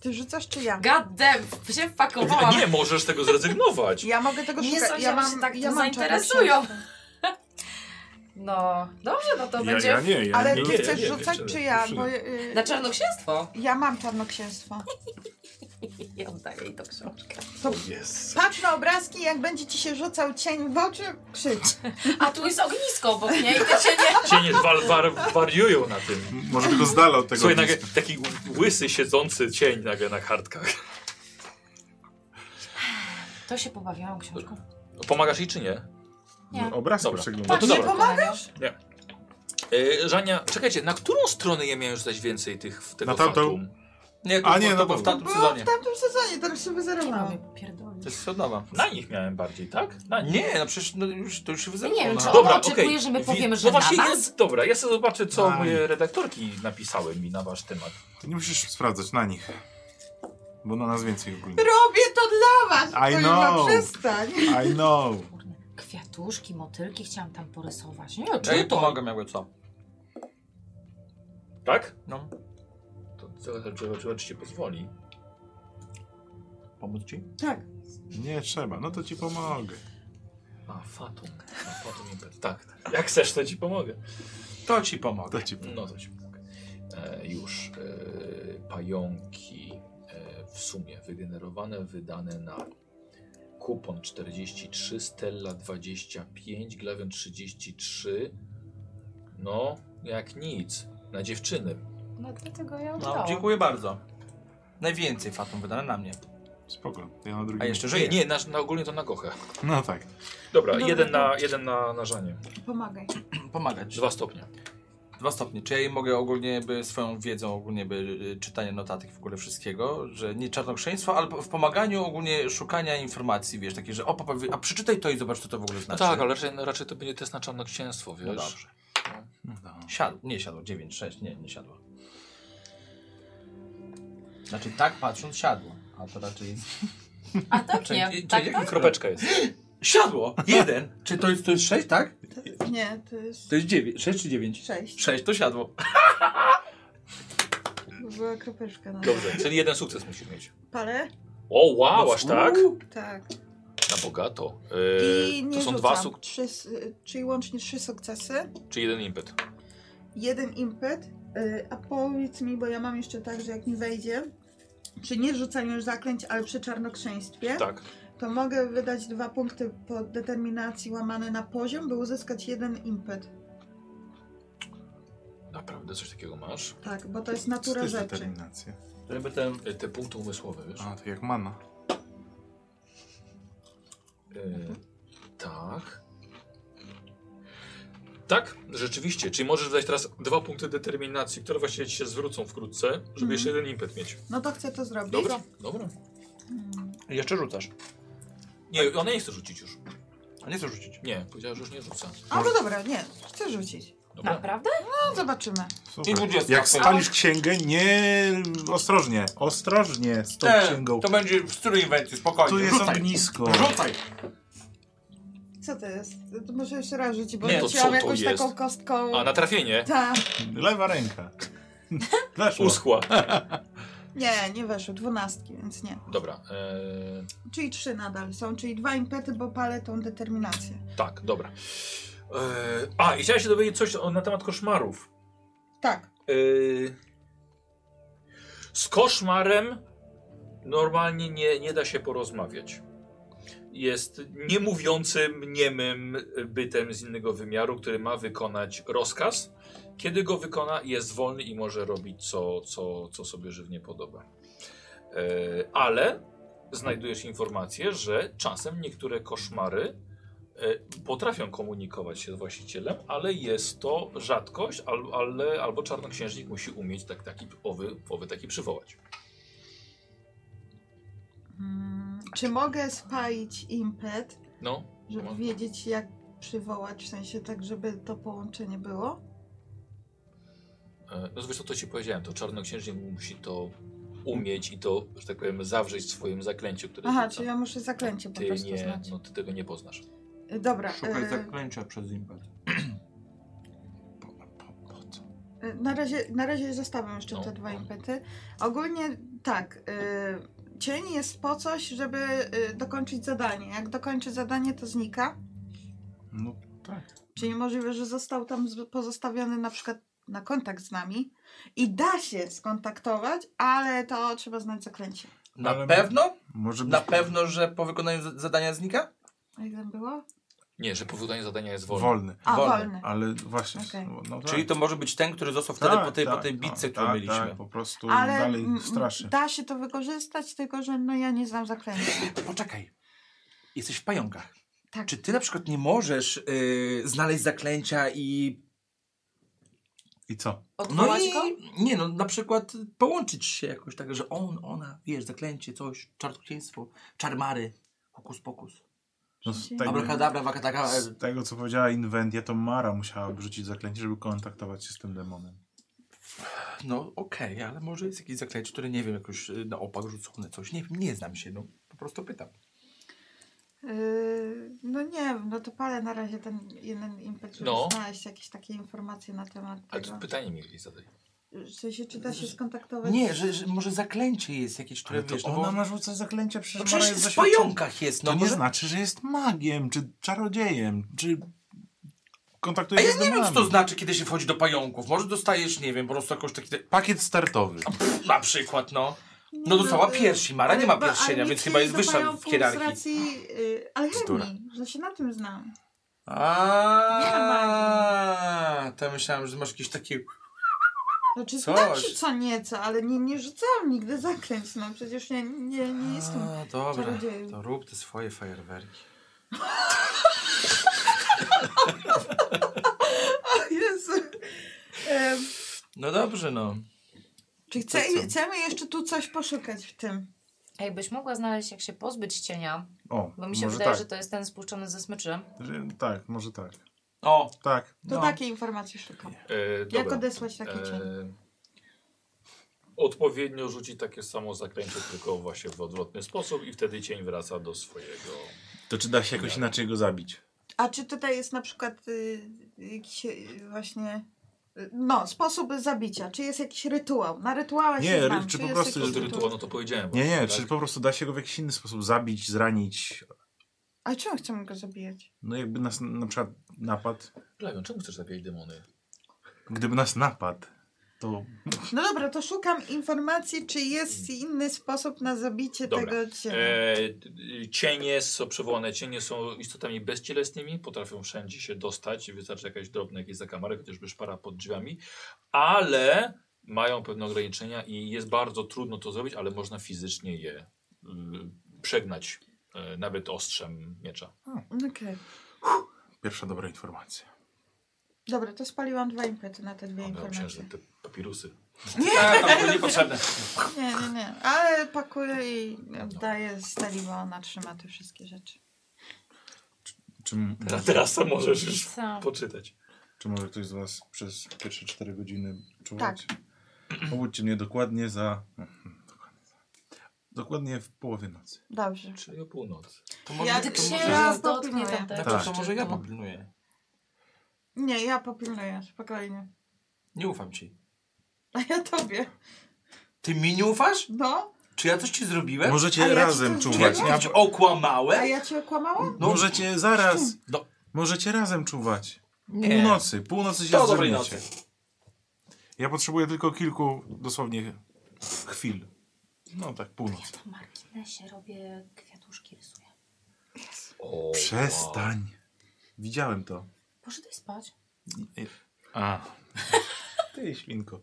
Speaker 5: ty rzucasz czy ja?
Speaker 3: God damn, się
Speaker 1: A
Speaker 3: wpakowałam.
Speaker 1: E, nie, możesz tego zrezygnować.
Speaker 5: Ja mogę tego
Speaker 3: Nie
Speaker 5: szukać.
Speaker 3: sądziłam,
Speaker 5: ja
Speaker 3: że się tak tym
Speaker 5: mam
Speaker 3: zainteresują.
Speaker 5: czarnoksięstwo.
Speaker 3: No, dobrze, no to
Speaker 4: Ja,
Speaker 3: będzie
Speaker 4: ja nie, ja
Speaker 5: Ale
Speaker 4: nie.
Speaker 5: ty
Speaker 1: nie,
Speaker 5: chcesz
Speaker 1: nie,
Speaker 5: rzucać
Speaker 1: jeszcze-
Speaker 5: czy ja?
Speaker 4: jeszcze
Speaker 5: Bo, y,
Speaker 2: Znaczy-
Speaker 3: na czarnoksięstwo.
Speaker 5: ja mam czarnoksięstwo.
Speaker 3: I oddaję jej tą książkę.
Speaker 1: Jest.
Speaker 5: Patrz na obrazki, jak będzie ci się rzucał cień w oczy, krzycz.
Speaker 3: A tu jest ognisko obok niej, to się nie...
Speaker 1: Cienie wal, war, wariują na tym.
Speaker 4: M- Może tylko z dala od tego.
Speaker 1: Słuchaj, nagle
Speaker 4: ogniska.
Speaker 1: taki łysy siedzący cień nagle na kartkach.
Speaker 3: To się pobawiłam książką.
Speaker 1: Pomagasz jej czy nie?
Speaker 3: Nie.
Speaker 4: Obrazek
Speaker 1: Dobra.
Speaker 4: przeglądam.
Speaker 1: to
Speaker 5: nie
Speaker 1: dobra.
Speaker 5: pomagasz?
Speaker 1: E, Żania, czekajcie, na którą stronę ja miałem rzucać więcej tych w tego
Speaker 4: Na tamtą.
Speaker 1: fatum?
Speaker 2: Nie, to,
Speaker 4: A
Speaker 2: A
Speaker 4: nie,
Speaker 2: nie,
Speaker 4: no
Speaker 2: to było w
Speaker 4: dobra.
Speaker 2: tamtym
Speaker 5: Było
Speaker 2: sezonie.
Speaker 5: w tamtym sezonie, teraz sobie
Speaker 3: No.
Speaker 5: zerowałam.
Speaker 2: To jest sodowa.
Speaker 1: Na nich miałem bardziej, tak? Na nich.
Speaker 2: Nie, no przecież no, już, to już się wyzerwało.
Speaker 3: Nie wiem,
Speaker 2: no.
Speaker 3: czy
Speaker 1: Dobra,
Speaker 3: Ona oczekuje,
Speaker 1: okej.
Speaker 3: że my
Speaker 1: Wi-
Speaker 3: powiemy, że
Speaker 1: no właśnie
Speaker 3: na was?
Speaker 1: jest. Dobra, ja sobie zobaczę, co
Speaker 4: Aj.
Speaker 1: moje redaktorki napisały mi na wasz temat.
Speaker 4: Ty nie musisz sprawdzać na nich. Bo na nas więcej ogólnie.
Speaker 5: Robię to dla was!
Speaker 4: I
Speaker 5: to
Speaker 4: know.
Speaker 5: Już przestań.
Speaker 4: I know.
Speaker 3: Kurde, Kwiatuszki, motylki chciałam tam porysować. Nie,
Speaker 2: Ja jej
Speaker 3: czy to?
Speaker 2: pomagam jakby co.
Speaker 1: Tak?
Speaker 2: No.
Speaker 1: To zobaczymy, czy ci pozwoli. Pomóc ci?
Speaker 5: Tak.
Speaker 4: Nie trzeba, no to ci pomogę.
Speaker 1: A, fatum. A, fatum impet. Tak, tak. Jak chcesz, to ci pomogę.
Speaker 2: To ci pomogę.
Speaker 4: To ci pomogę.
Speaker 1: No to ci pomogę. E, już. E, pająki e, w sumie wygenerowane, wydane na kupon 43, Stella 25, Glawion 33. No, jak nic. Na dziewczyny.
Speaker 3: No dlatego ja
Speaker 2: No,
Speaker 3: oddałam.
Speaker 2: dziękuję bardzo. Najwięcej fatum wydane na mnie.
Speaker 4: Spoko, ja na drugim.
Speaker 2: A jeszcze
Speaker 1: Nie,
Speaker 2: żyję.
Speaker 1: nie na, na ogólnie to na gochę.
Speaker 4: No tak.
Speaker 1: Dobra,
Speaker 5: Dobra,
Speaker 1: jeden,
Speaker 5: dobra.
Speaker 1: na, jeden na, na żanie.
Speaker 5: Pomagaj.
Speaker 2: Pomagać.
Speaker 1: Dwa stopnie.
Speaker 2: Dwa stopnie. Czy ja jej mogę ogólnie by swoją wiedzą, ogólnie by y, czytanie notatek w ogóle wszystkiego, że nie czarnoksięstwo, ale po- w pomaganiu ogólnie szukania informacji, wiesz, takie, że o, papa, wie- a przeczytaj to i zobacz, co to w ogóle
Speaker 1: No
Speaker 2: znaczy.
Speaker 1: tak, ale raczej, raczej to będzie test na czarnoksięstwo, wiesz?
Speaker 2: No dobrze.
Speaker 4: No, no.
Speaker 2: Siadł, nie siadło, 9, 6, nie, nie siadło. Znaczy tak patrząc siadło, a to raczej...
Speaker 3: A tak nie,
Speaker 2: Czyli-
Speaker 3: tak
Speaker 2: czyli-
Speaker 3: tak?
Speaker 1: Kropeczka jest.
Speaker 2: Siadło! Jeden! Czy to jest, to jest 6, tak?
Speaker 5: Nie, to jest
Speaker 2: To jest 9, 6 czy 9?
Speaker 5: sześć.
Speaker 2: 6 to siadło.
Speaker 5: Była kropeczka na
Speaker 1: Dobrze, czyli jeden sukces musisz mieć.
Speaker 5: parę.
Speaker 1: O, wow, aż tak?
Speaker 2: Uuu.
Speaker 5: Tak.
Speaker 1: Na bogato.
Speaker 5: I
Speaker 1: Yy,
Speaker 5: nie
Speaker 1: to są
Speaker 5: rzucam.
Speaker 1: dwa suk-
Speaker 5: Trzy, s- y, czyli łącznie trzy sukcesy,
Speaker 1: czy jeden impet.
Speaker 5: jeden impet. Y, A powiedz mi, bo ja mam jeszcze tak, że jak mi wejdzie, przy nie rzucaniu zaklęć, ale przy czarnoksięstwie,
Speaker 1: Tak.
Speaker 5: to mogę wydać dwa punkty po determinacji łamane na poziom, by uzyskać jeden impet.
Speaker 1: Naprawdę coś takiego masz?
Speaker 5: Tak, bo to jest
Speaker 4: Co to
Speaker 5: natura
Speaker 4: jest
Speaker 5: rzeczy.
Speaker 4: determinacja?
Speaker 2: Żeby ten...
Speaker 1: Yy, Te punkty umysłowe, wiesz?
Speaker 4: A, to jak mana.
Speaker 1: Yy, tak. Tak, rzeczywiście. Czyli możesz dać teraz dwa punkty determinacji, które właściwie ci się zwrócą wkrótce, żeby
Speaker 5: Mhm.
Speaker 1: jeszcze jeden impet mieć.
Speaker 5: No to chcę to zrobić.
Speaker 1: Dobra, dobra.
Speaker 5: Mm.
Speaker 2: Jeszcze rzucasz.
Speaker 1: Nie, ona nie chce rzucić już.
Speaker 2: A nie chcę rzucić.
Speaker 1: Nie, powiedziała, że już nie rzuca.
Speaker 5: A no dobra, nie, chcę rzucić.
Speaker 1: Dobra.
Speaker 3: Naprawdę?
Speaker 5: No zobaczymy.
Speaker 4: Super.
Speaker 2: I 20.
Speaker 4: Jak spalisz księgę, nie... Ostrożnie, ostrożnie z tą księgą.
Speaker 2: to będzie w stylu inwencji, spokojnie.
Speaker 4: Tu jest
Speaker 2: Rzucaj.
Speaker 4: ognisko.
Speaker 2: Rzucaj!
Speaker 5: Co to jest? To może jeszcze raz rzucić, bo
Speaker 1: Nie, to co
Speaker 5: rzuciłam
Speaker 1: to
Speaker 5: jakąś
Speaker 1: jest?
Speaker 5: taką kostką.
Speaker 1: A na trafienie
Speaker 5: Ta.
Speaker 4: Lewa ręka. Weszło.
Speaker 1: uschła.
Speaker 5: Nie, nie weszło, dwunastki, więc nie.
Speaker 1: Dobra, eee,
Speaker 5: Czyli trzy nadal są, czyli dwa impety, bo palę tą determinację.
Speaker 1: tak, dobra. Eee, a, i chciałem się dowiedzieć coś o, na temat koszmarów.
Speaker 5: Tak.
Speaker 1: Eee, z Y, koszmarem Normalnie nie, nie da się porozmawiać. Jest niemówiącym, niemym bytem z innego wymiaru, który ma wykonać rozkaz. Kiedy go wykona, jest wolny i może robić co, co, co sobie żywnie podoba. E, ale znajdujesz informację, że czasem niektóre koszmary e, potrafią komunikować się z właścicielem, ale jest to rzadkość, al, ale, albo czarnoksiężnik musi umieć tak, taki, owy, owy taki przywołać.
Speaker 5: Mm, Czy mogę spalić impet,
Speaker 1: No,
Speaker 5: żeby
Speaker 1: Można.
Speaker 5: wiedzieć jak przywołać, w sensie tak, żeby to połączenie było?
Speaker 1: e, no zresztą to ci powiedziałem, to czarnoksiężnik musi to umieć i to, że tak powiem, zawrzeć w swoim zaklęciu, które
Speaker 5: Aha,
Speaker 1: rzuca.
Speaker 5: czyli ja muszę zaklęcie po
Speaker 1: Ty
Speaker 5: prostu znaczy.
Speaker 1: nie,
Speaker 5: znać.
Speaker 1: no ty tego nie poznasz.
Speaker 5: Y, Dobra,
Speaker 2: Szukaj
Speaker 5: y,
Speaker 2: zaklęcia przez impet.
Speaker 5: y, na razie, na razie zostawiam jeszcze
Speaker 1: No,
Speaker 5: te dwa
Speaker 1: no.
Speaker 5: impety. Ogólnie tak, y, cień jest po coś, żeby y, dokończyć zadanie. Jak dokończy zadanie, to znika.
Speaker 4: No,
Speaker 5: Czyli możliwe, że został tam z- pozostawiony na przykład na kontakt z nami i da się skontaktować, ale to trzeba znać zaklęcie.
Speaker 2: Na
Speaker 4: Ale-
Speaker 2: pewno?
Speaker 4: może być
Speaker 2: Na pewno, że po wykonaniu za- zadania znika?
Speaker 5: A jak tam było?
Speaker 1: Nie, że po wykonaniu zadania jest wolny.
Speaker 4: wolny.
Speaker 5: A,
Speaker 2: Wolny.
Speaker 5: wolne.
Speaker 4: Ale właśnie.
Speaker 5: Okej.
Speaker 4: No, no, tak.
Speaker 2: Czyli to może być ten, który został wtedy po tej, po tej bitce, którą
Speaker 4: tak,
Speaker 2: mieliśmy.
Speaker 4: Tak, po prostu
Speaker 5: Ale
Speaker 4: dalej
Speaker 5: mm,
Speaker 4: straszy.
Speaker 5: da się to wykorzystać, tylko że no ja nie znam zaklęcia.
Speaker 2: Poczekaj. Jesteś w pająkach.
Speaker 5: Tak.
Speaker 2: Czy ty na przykład nie możesz y, znaleźć zaklęcia i.
Speaker 4: I co?
Speaker 2: No
Speaker 3: Odwołać
Speaker 2: i.
Speaker 3: go?
Speaker 2: Nie, no na przykład połączyć się jakoś tak, że on, ona, wiesz, zaklęcie, coś, czarnoksięstwo, czarmary, hokus pokus.
Speaker 4: No, z,
Speaker 5: Tak.
Speaker 4: tego,
Speaker 2: Abrakadabra, wakataka.
Speaker 4: z tego, co powiedziała Inwentia, to Mara musiała wrzucić zaklęcie, żeby kontaktować się z tym demonem.
Speaker 2: No okej, ale może jest jakieś zaklęcie, które nie wiem, jakoś y, na opak rzucone, coś. Nie wiem, nie znam się, no po prostu pytam.
Speaker 5: Yy, no nie wiem, no to palę na razie ten jeden impet, żeby
Speaker 1: No.
Speaker 5: znaleźć jakieś takie informacje na temat
Speaker 1: Ale
Speaker 5: tego.
Speaker 1: to pytanie mieli zadać. E,
Speaker 5: W sensie, czy da się skontaktować?
Speaker 2: Nie, że, że może zaklęcie jest jakieś, które
Speaker 4: Ale to
Speaker 2: wiesz, no,
Speaker 4: ona
Speaker 2: bo...
Speaker 4: ma rzucać zaklęcia, przecież,
Speaker 2: no
Speaker 4: Mara
Speaker 2: przecież
Speaker 4: jest
Speaker 2: w
Speaker 4: doświadczona.
Speaker 2: pająkach jest,
Speaker 4: To
Speaker 2: no
Speaker 4: nie
Speaker 2: może...
Speaker 4: znaczy, że jest magiem, czy czarodziejem, czy kontaktuje
Speaker 2: A
Speaker 4: się
Speaker 2: ja
Speaker 4: z
Speaker 2: nie wiem, co
Speaker 4: demonami.
Speaker 2: to znaczy, kiedy się wchodzi do pająków. Może dostajesz, nie wiem, po prostu jakoś taki...
Speaker 4: Pakiet startowy.
Speaker 2: Na przykład, no.
Speaker 5: Nie,
Speaker 2: No dostała
Speaker 5: y,
Speaker 2: piersi, Mara nie ma
Speaker 5: ale- ale
Speaker 2: pierścienia,
Speaker 5: nie
Speaker 2: więc chyba jest
Speaker 5: przyjdę do
Speaker 2: wyższa w
Speaker 5: pająków Z
Speaker 2: hierarchii.
Speaker 5: racji yy,
Speaker 4: Bzdura.
Speaker 5: alchemii, że się na tym znam.
Speaker 2: A, to myślałem, że masz jakieś takie...
Speaker 5: Znaczy
Speaker 2: Coś.
Speaker 5: znam się co nieco, ale nie, nie rzucałam nigdy zaklęć, no przecież nie, nie, nie jestem.
Speaker 2: A, dobra,
Speaker 5: czarodziejem.
Speaker 2: to rób te swoje fajerwerki.
Speaker 5: O Jezu. Em,
Speaker 2: No dobrze, no.
Speaker 5: czy
Speaker 2: To co?
Speaker 5: chce, chcemy jeszcze tu coś poszukać w tym?
Speaker 3: Jakbyś mogła znaleźć, jak się pozbyć cienia,
Speaker 4: O,
Speaker 3: bo mi się
Speaker 4: może
Speaker 3: wydaje,
Speaker 4: tak.
Speaker 3: że to jest ten spuszczony ze smyczy.
Speaker 4: Że- Tak, może tak.
Speaker 2: O,
Speaker 4: Tak.
Speaker 5: To
Speaker 2: No.
Speaker 5: takie informacje szukam.
Speaker 1: E,
Speaker 5: Jak
Speaker 1: dobra.
Speaker 5: odesłać taki cień?
Speaker 1: E, Odpowiednio rzuci takie samo zakręcie, tylko właśnie w odwrotny sposób i wtedy cień wraca do swojego.
Speaker 4: To czy da się jakoś inaczej go zabić?
Speaker 5: A czy tutaj jest na przykład y, jakiś y, właśnie... y, No, sposób zabicia. Czy jest jakiś rytuał? Na rytuałach
Speaker 4: Nie,
Speaker 5: się
Speaker 4: ry-
Speaker 5: znam.
Speaker 4: czy po prostu
Speaker 1: To
Speaker 5: jakiś
Speaker 4: jest
Speaker 1: ty rytuał, no to powiedziałem.
Speaker 4: Nie,
Speaker 1: właśnie,
Speaker 4: nie,
Speaker 1: tak?
Speaker 4: czy po prostu da się go w jakiś inny sposób zabić, zranić?
Speaker 5: A czemu chcemy go zabijać?
Speaker 4: No jakby nas na przykład napadł.
Speaker 1: Plawion, czemu chcesz zabijać demony?
Speaker 4: Gdyby nas napadł, to
Speaker 5: No dobra, to szukam informacji, czy jest
Speaker 4: Mm.
Speaker 5: inny sposób na zabicie
Speaker 1: Dobra.
Speaker 5: tego cienia.
Speaker 1: E, t- y, cienie, są przywołane cienie są istotami bezcielesnymi, potrafią wszędzie się dostać, wystarczy jakaś drobna jakiś zakamarek, chociażby szpara pod drzwiami, ale mają pewne ograniczenia i jest bardzo trudno to zrobić, ale można fizycznie je y, przegnać, y, nawet ostrzem miecza.
Speaker 5: Okej.
Speaker 4: pierwsza dobra informacja.
Speaker 5: Dobra, to spaliłam dwa impety na te dwie
Speaker 1: One
Speaker 5: informacje.
Speaker 1: obciążą te papirusy.
Speaker 2: nie, Tak, to było niepotrzebne.
Speaker 5: Nie, nie, nie. Ale pakuję i oddaję Steli, bo ona trzyma te wszystkie rzeczy.
Speaker 4: Czy, m-
Speaker 1: Teraz, teraz to możesz już
Speaker 3: Co?
Speaker 1: poczytać.
Speaker 4: czy może ktoś z Was przez pierwsze 4 godziny czuwać? Tak. Obudźcie mnie dokładnie za. mhm, dokładnie za- Dokładnie w połowie nocy.
Speaker 5: Dobrze.
Speaker 1: Czyli o północy.
Speaker 2: To może,
Speaker 5: Ja
Speaker 3: Ty
Speaker 5: To
Speaker 2: to
Speaker 5: się-
Speaker 2: może,
Speaker 5: ja-
Speaker 3: księżnotnie tam
Speaker 5: Tak.
Speaker 3: tak.
Speaker 2: znaczy, to
Speaker 3: jeszcze
Speaker 2: może ja
Speaker 3: tu.
Speaker 2: popilnuję.
Speaker 5: Nie, ja popilnuję, spokojnie.
Speaker 2: Nie ufam ci.
Speaker 5: A ja tobie.
Speaker 2: Ty mi nie ufasz?
Speaker 5: No,
Speaker 2: Czy ja coś ci zrobiłem?
Speaker 5: A
Speaker 4: Możecie
Speaker 5: ja
Speaker 4: razem
Speaker 5: ci to
Speaker 4: czuwać.
Speaker 2: Czy
Speaker 5: zrobię?
Speaker 2: ja cię okłamałem?
Speaker 5: a ja cię okłamałam?
Speaker 2: No,
Speaker 4: Możecie zaraz.
Speaker 2: No.
Speaker 4: Możecie razem czuwać.
Speaker 2: Nie.
Speaker 4: Północy, północy się
Speaker 2: Do dobrej
Speaker 4: zdrzemniecie. Ja potrzebuję tylko kilku dosłownie chwil. No tak,
Speaker 3: Ja
Speaker 4: północ.
Speaker 3: na marginesie robię kwiatuszki, rysuję.
Speaker 1: O,
Speaker 4: Przestań. Widziałem to.
Speaker 3: Poszedłeś spać?
Speaker 4: A. Ty, świnko.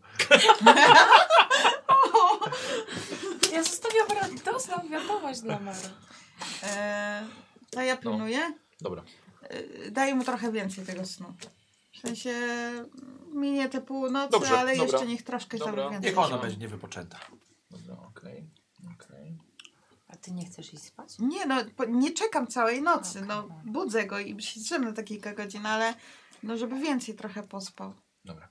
Speaker 3: Ja zostawiam radosną wiadomość dla Mary.
Speaker 5: E, to
Speaker 1: No.
Speaker 5: ja pilnuję.
Speaker 1: Dobra.
Speaker 5: E, daję mu trochę więcej tego snu. W sensie minie te północy,
Speaker 1: Dobrze,
Speaker 5: ale
Speaker 1: dobra.
Speaker 5: jeszcze niech troszkę
Speaker 1: Dobra.
Speaker 5: tam więcej.
Speaker 2: Niech ona będzie niewypoczęta.
Speaker 1: Dobra, okej. okej.
Speaker 3: A ty nie chcesz iść spać?
Speaker 5: Nie no, po- nie czekam całej nocy.
Speaker 3: Okej.
Speaker 5: No, budzę go i się drzemnę te kilka godzin, ale no, żeby więcej trochę pospał.
Speaker 1: Dobra.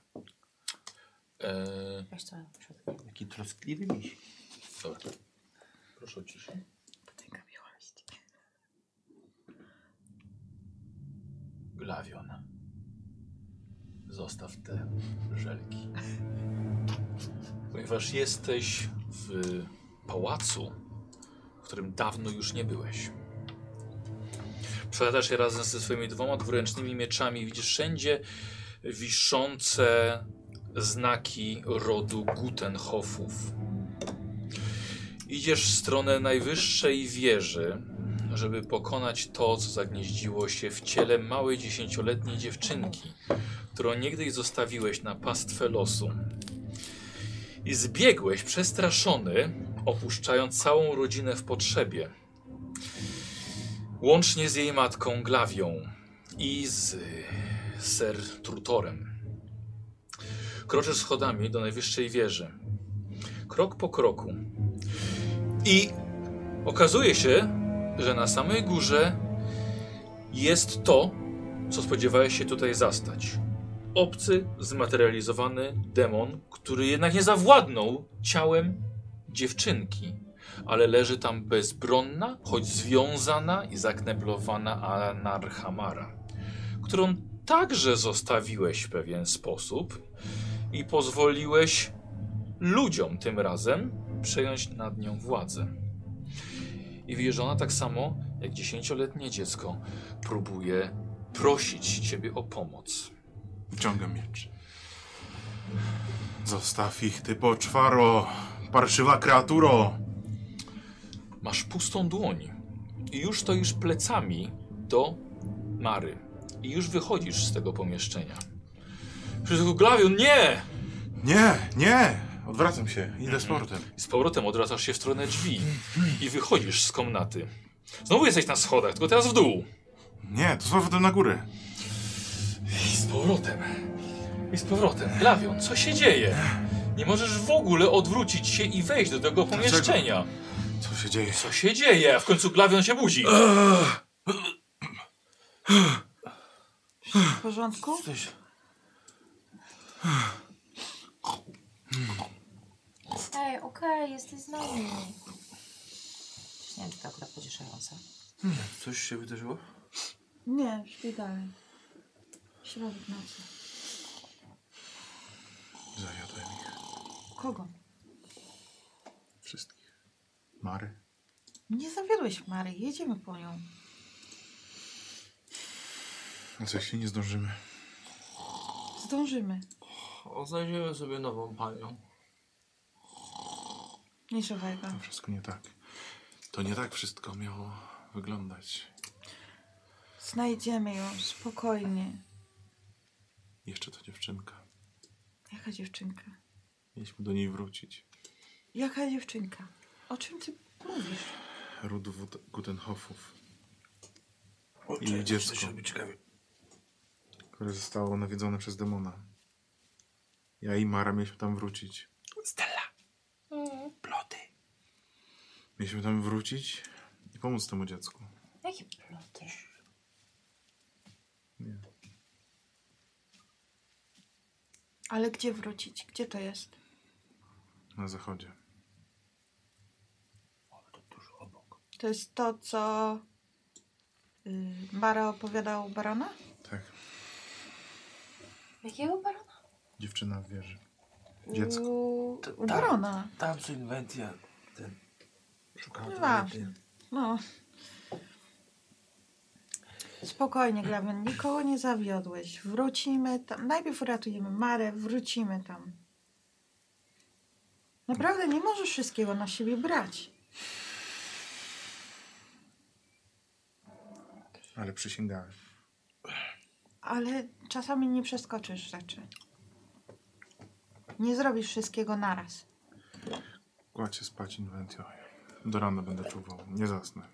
Speaker 1: Eee,
Speaker 3: Weź to przed
Speaker 2: Jaki troskliwy miś.
Speaker 1: dobra. Proszę o ciszę.
Speaker 5: Potęga miłość.
Speaker 1: Glawion. Zostaw te żelki. Ponieważ jesteś w pałacu, w którym dawno już nie byłeś. Przelatasz się razem ze swoimi dwoma dwuręcznymi mieczami. Widzisz wszędzie wiszące znaki rodu Gutenhofów. Idziesz w stronę najwyższej wieży, żeby pokonać to, co zagnieździło się w ciele małej dziesięcioletniej dziewczynki, którą niegdyś zostawiłeś na pastwę losu. I zbiegłeś przestraszony, opuszczając całą rodzinę w potrzebie. Łącznie z jej matką Glawią i z y, ser Trutorem. Kroczysz schodami do najwyższej wieży. Krok po kroku. I okazuje się, że na samej górze jest to, co spodziewałeś się tutaj zastać. Obcy, zmaterializowany demon, który jednak nie zawładnął ciałem dziewczynki, ale leży tam bezbronna, choć związana i zakneblowana Anarchamara, którą także zostawiłeś w pewien sposób i pozwoliłeś ludziom tym razem przejąć nad nią władzę. I widzisz, że ona tak samo jak dziesięcioletnie dziecko próbuje prosić ciebie o pomoc.
Speaker 4: Wyciągam miecz. Zostaw ich, ty poczwaro. Parszywa kreaturo.
Speaker 1: Masz pustą dłoń i już stoisz plecami do Mary. I już wychodzisz z tego pomieszczenia. Przecież Glawion, nie!
Speaker 4: Nie, nie. Odwracam się. Idę z portem.
Speaker 1: I z powrotem odwracasz się w stronę drzwi i wychodzisz z komnaty. Znowu jesteś na schodach, tylko teraz w dół.
Speaker 4: Nie, to z powrotem na górę.
Speaker 1: I z powrotem. I z powrotem. Glawion, co się dzieje? Nie możesz w ogóle odwrócić się i wejść do tego
Speaker 4: Dlaczego?
Speaker 1: pomieszczenia.
Speaker 4: Co się dzieje?
Speaker 1: Co się dzieje? A w końcu Glawion się budzi.
Speaker 5: W porządku?
Speaker 2: Coś.
Speaker 3: Ej, okej, jesteś z nami. Przecież Nie wiem, czy to akurat pocieszające.
Speaker 2: Coś się wydarzyło?
Speaker 5: Nie, szli dalej. Środek nocy.
Speaker 4: Zajadłem ich
Speaker 5: Kogo?
Speaker 4: wszystkich. Mary.
Speaker 5: Nie zawiodłeś Mary, jedziemy po nią.
Speaker 4: No co, jeśli nie zdążymy?
Speaker 5: Zdążymy.
Speaker 2: O, znajdziemy sobie nową panią.
Speaker 5: Niczego.
Speaker 4: To wszystko nie tak. To nie tak wszystko miało wyglądać.
Speaker 5: Znajdziemy ją spokojnie.
Speaker 4: Jeszcze to dziewczynka.
Speaker 5: Jaka dziewczynka?
Speaker 4: Mieliśmy do niej wrócić.
Speaker 5: Jaka dziewczynka? O czym ty mówisz?
Speaker 4: Rodu Wut- Gutenhofów, I dziecko.
Speaker 2: Coś robi ciekawie.
Speaker 4: które zostało nawiedzone przez demona. Ja i Mara mieliśmy tam wrócić.
Speaker 2: Stella. Ploty.
Speaker 4: Mieliśmy tam wrócić i pomóc temu dziecku.
Speaker 3: Jakie ploty?
Speaker 4: Nie.
Speaker 5: Ale gdzie wrócić? Gdzie to jest?
Speaker 4: Na zachodzie.
Speaker 5: To jest to, co y, Bara opowiadał Barona?
Speaker 4: Tak.
Speaker 3: Jakiego barona?
Speaker 4: Dziewczyna w wieży. Dziecko.
Speaker 5: U, u
Speaker 2: tak.
Speaker 5: Barona.
Speaker 2: Tam co inwentia. Ten. Szukałem
Speaker 5: No
Speaker 2: no
Speaker 5: właśnie. No. Spokojnie, Glawion, nikogo nie zawiodłeś. Wrócimy tam. Najpierw uratujemy Marę, wrócimy tam. Naprawdę nie możesz wszystkiego na siebie brać.
Speaker 4: Ale przysięgałem.
Speaker 5: Ale czasami nie przeskoczysz rzeczy. Nie zrobisz wszystkiego naraz.
Speaker 4: Kładź się spać, Inventio. Do rana będę czuwał. Nie zasnę.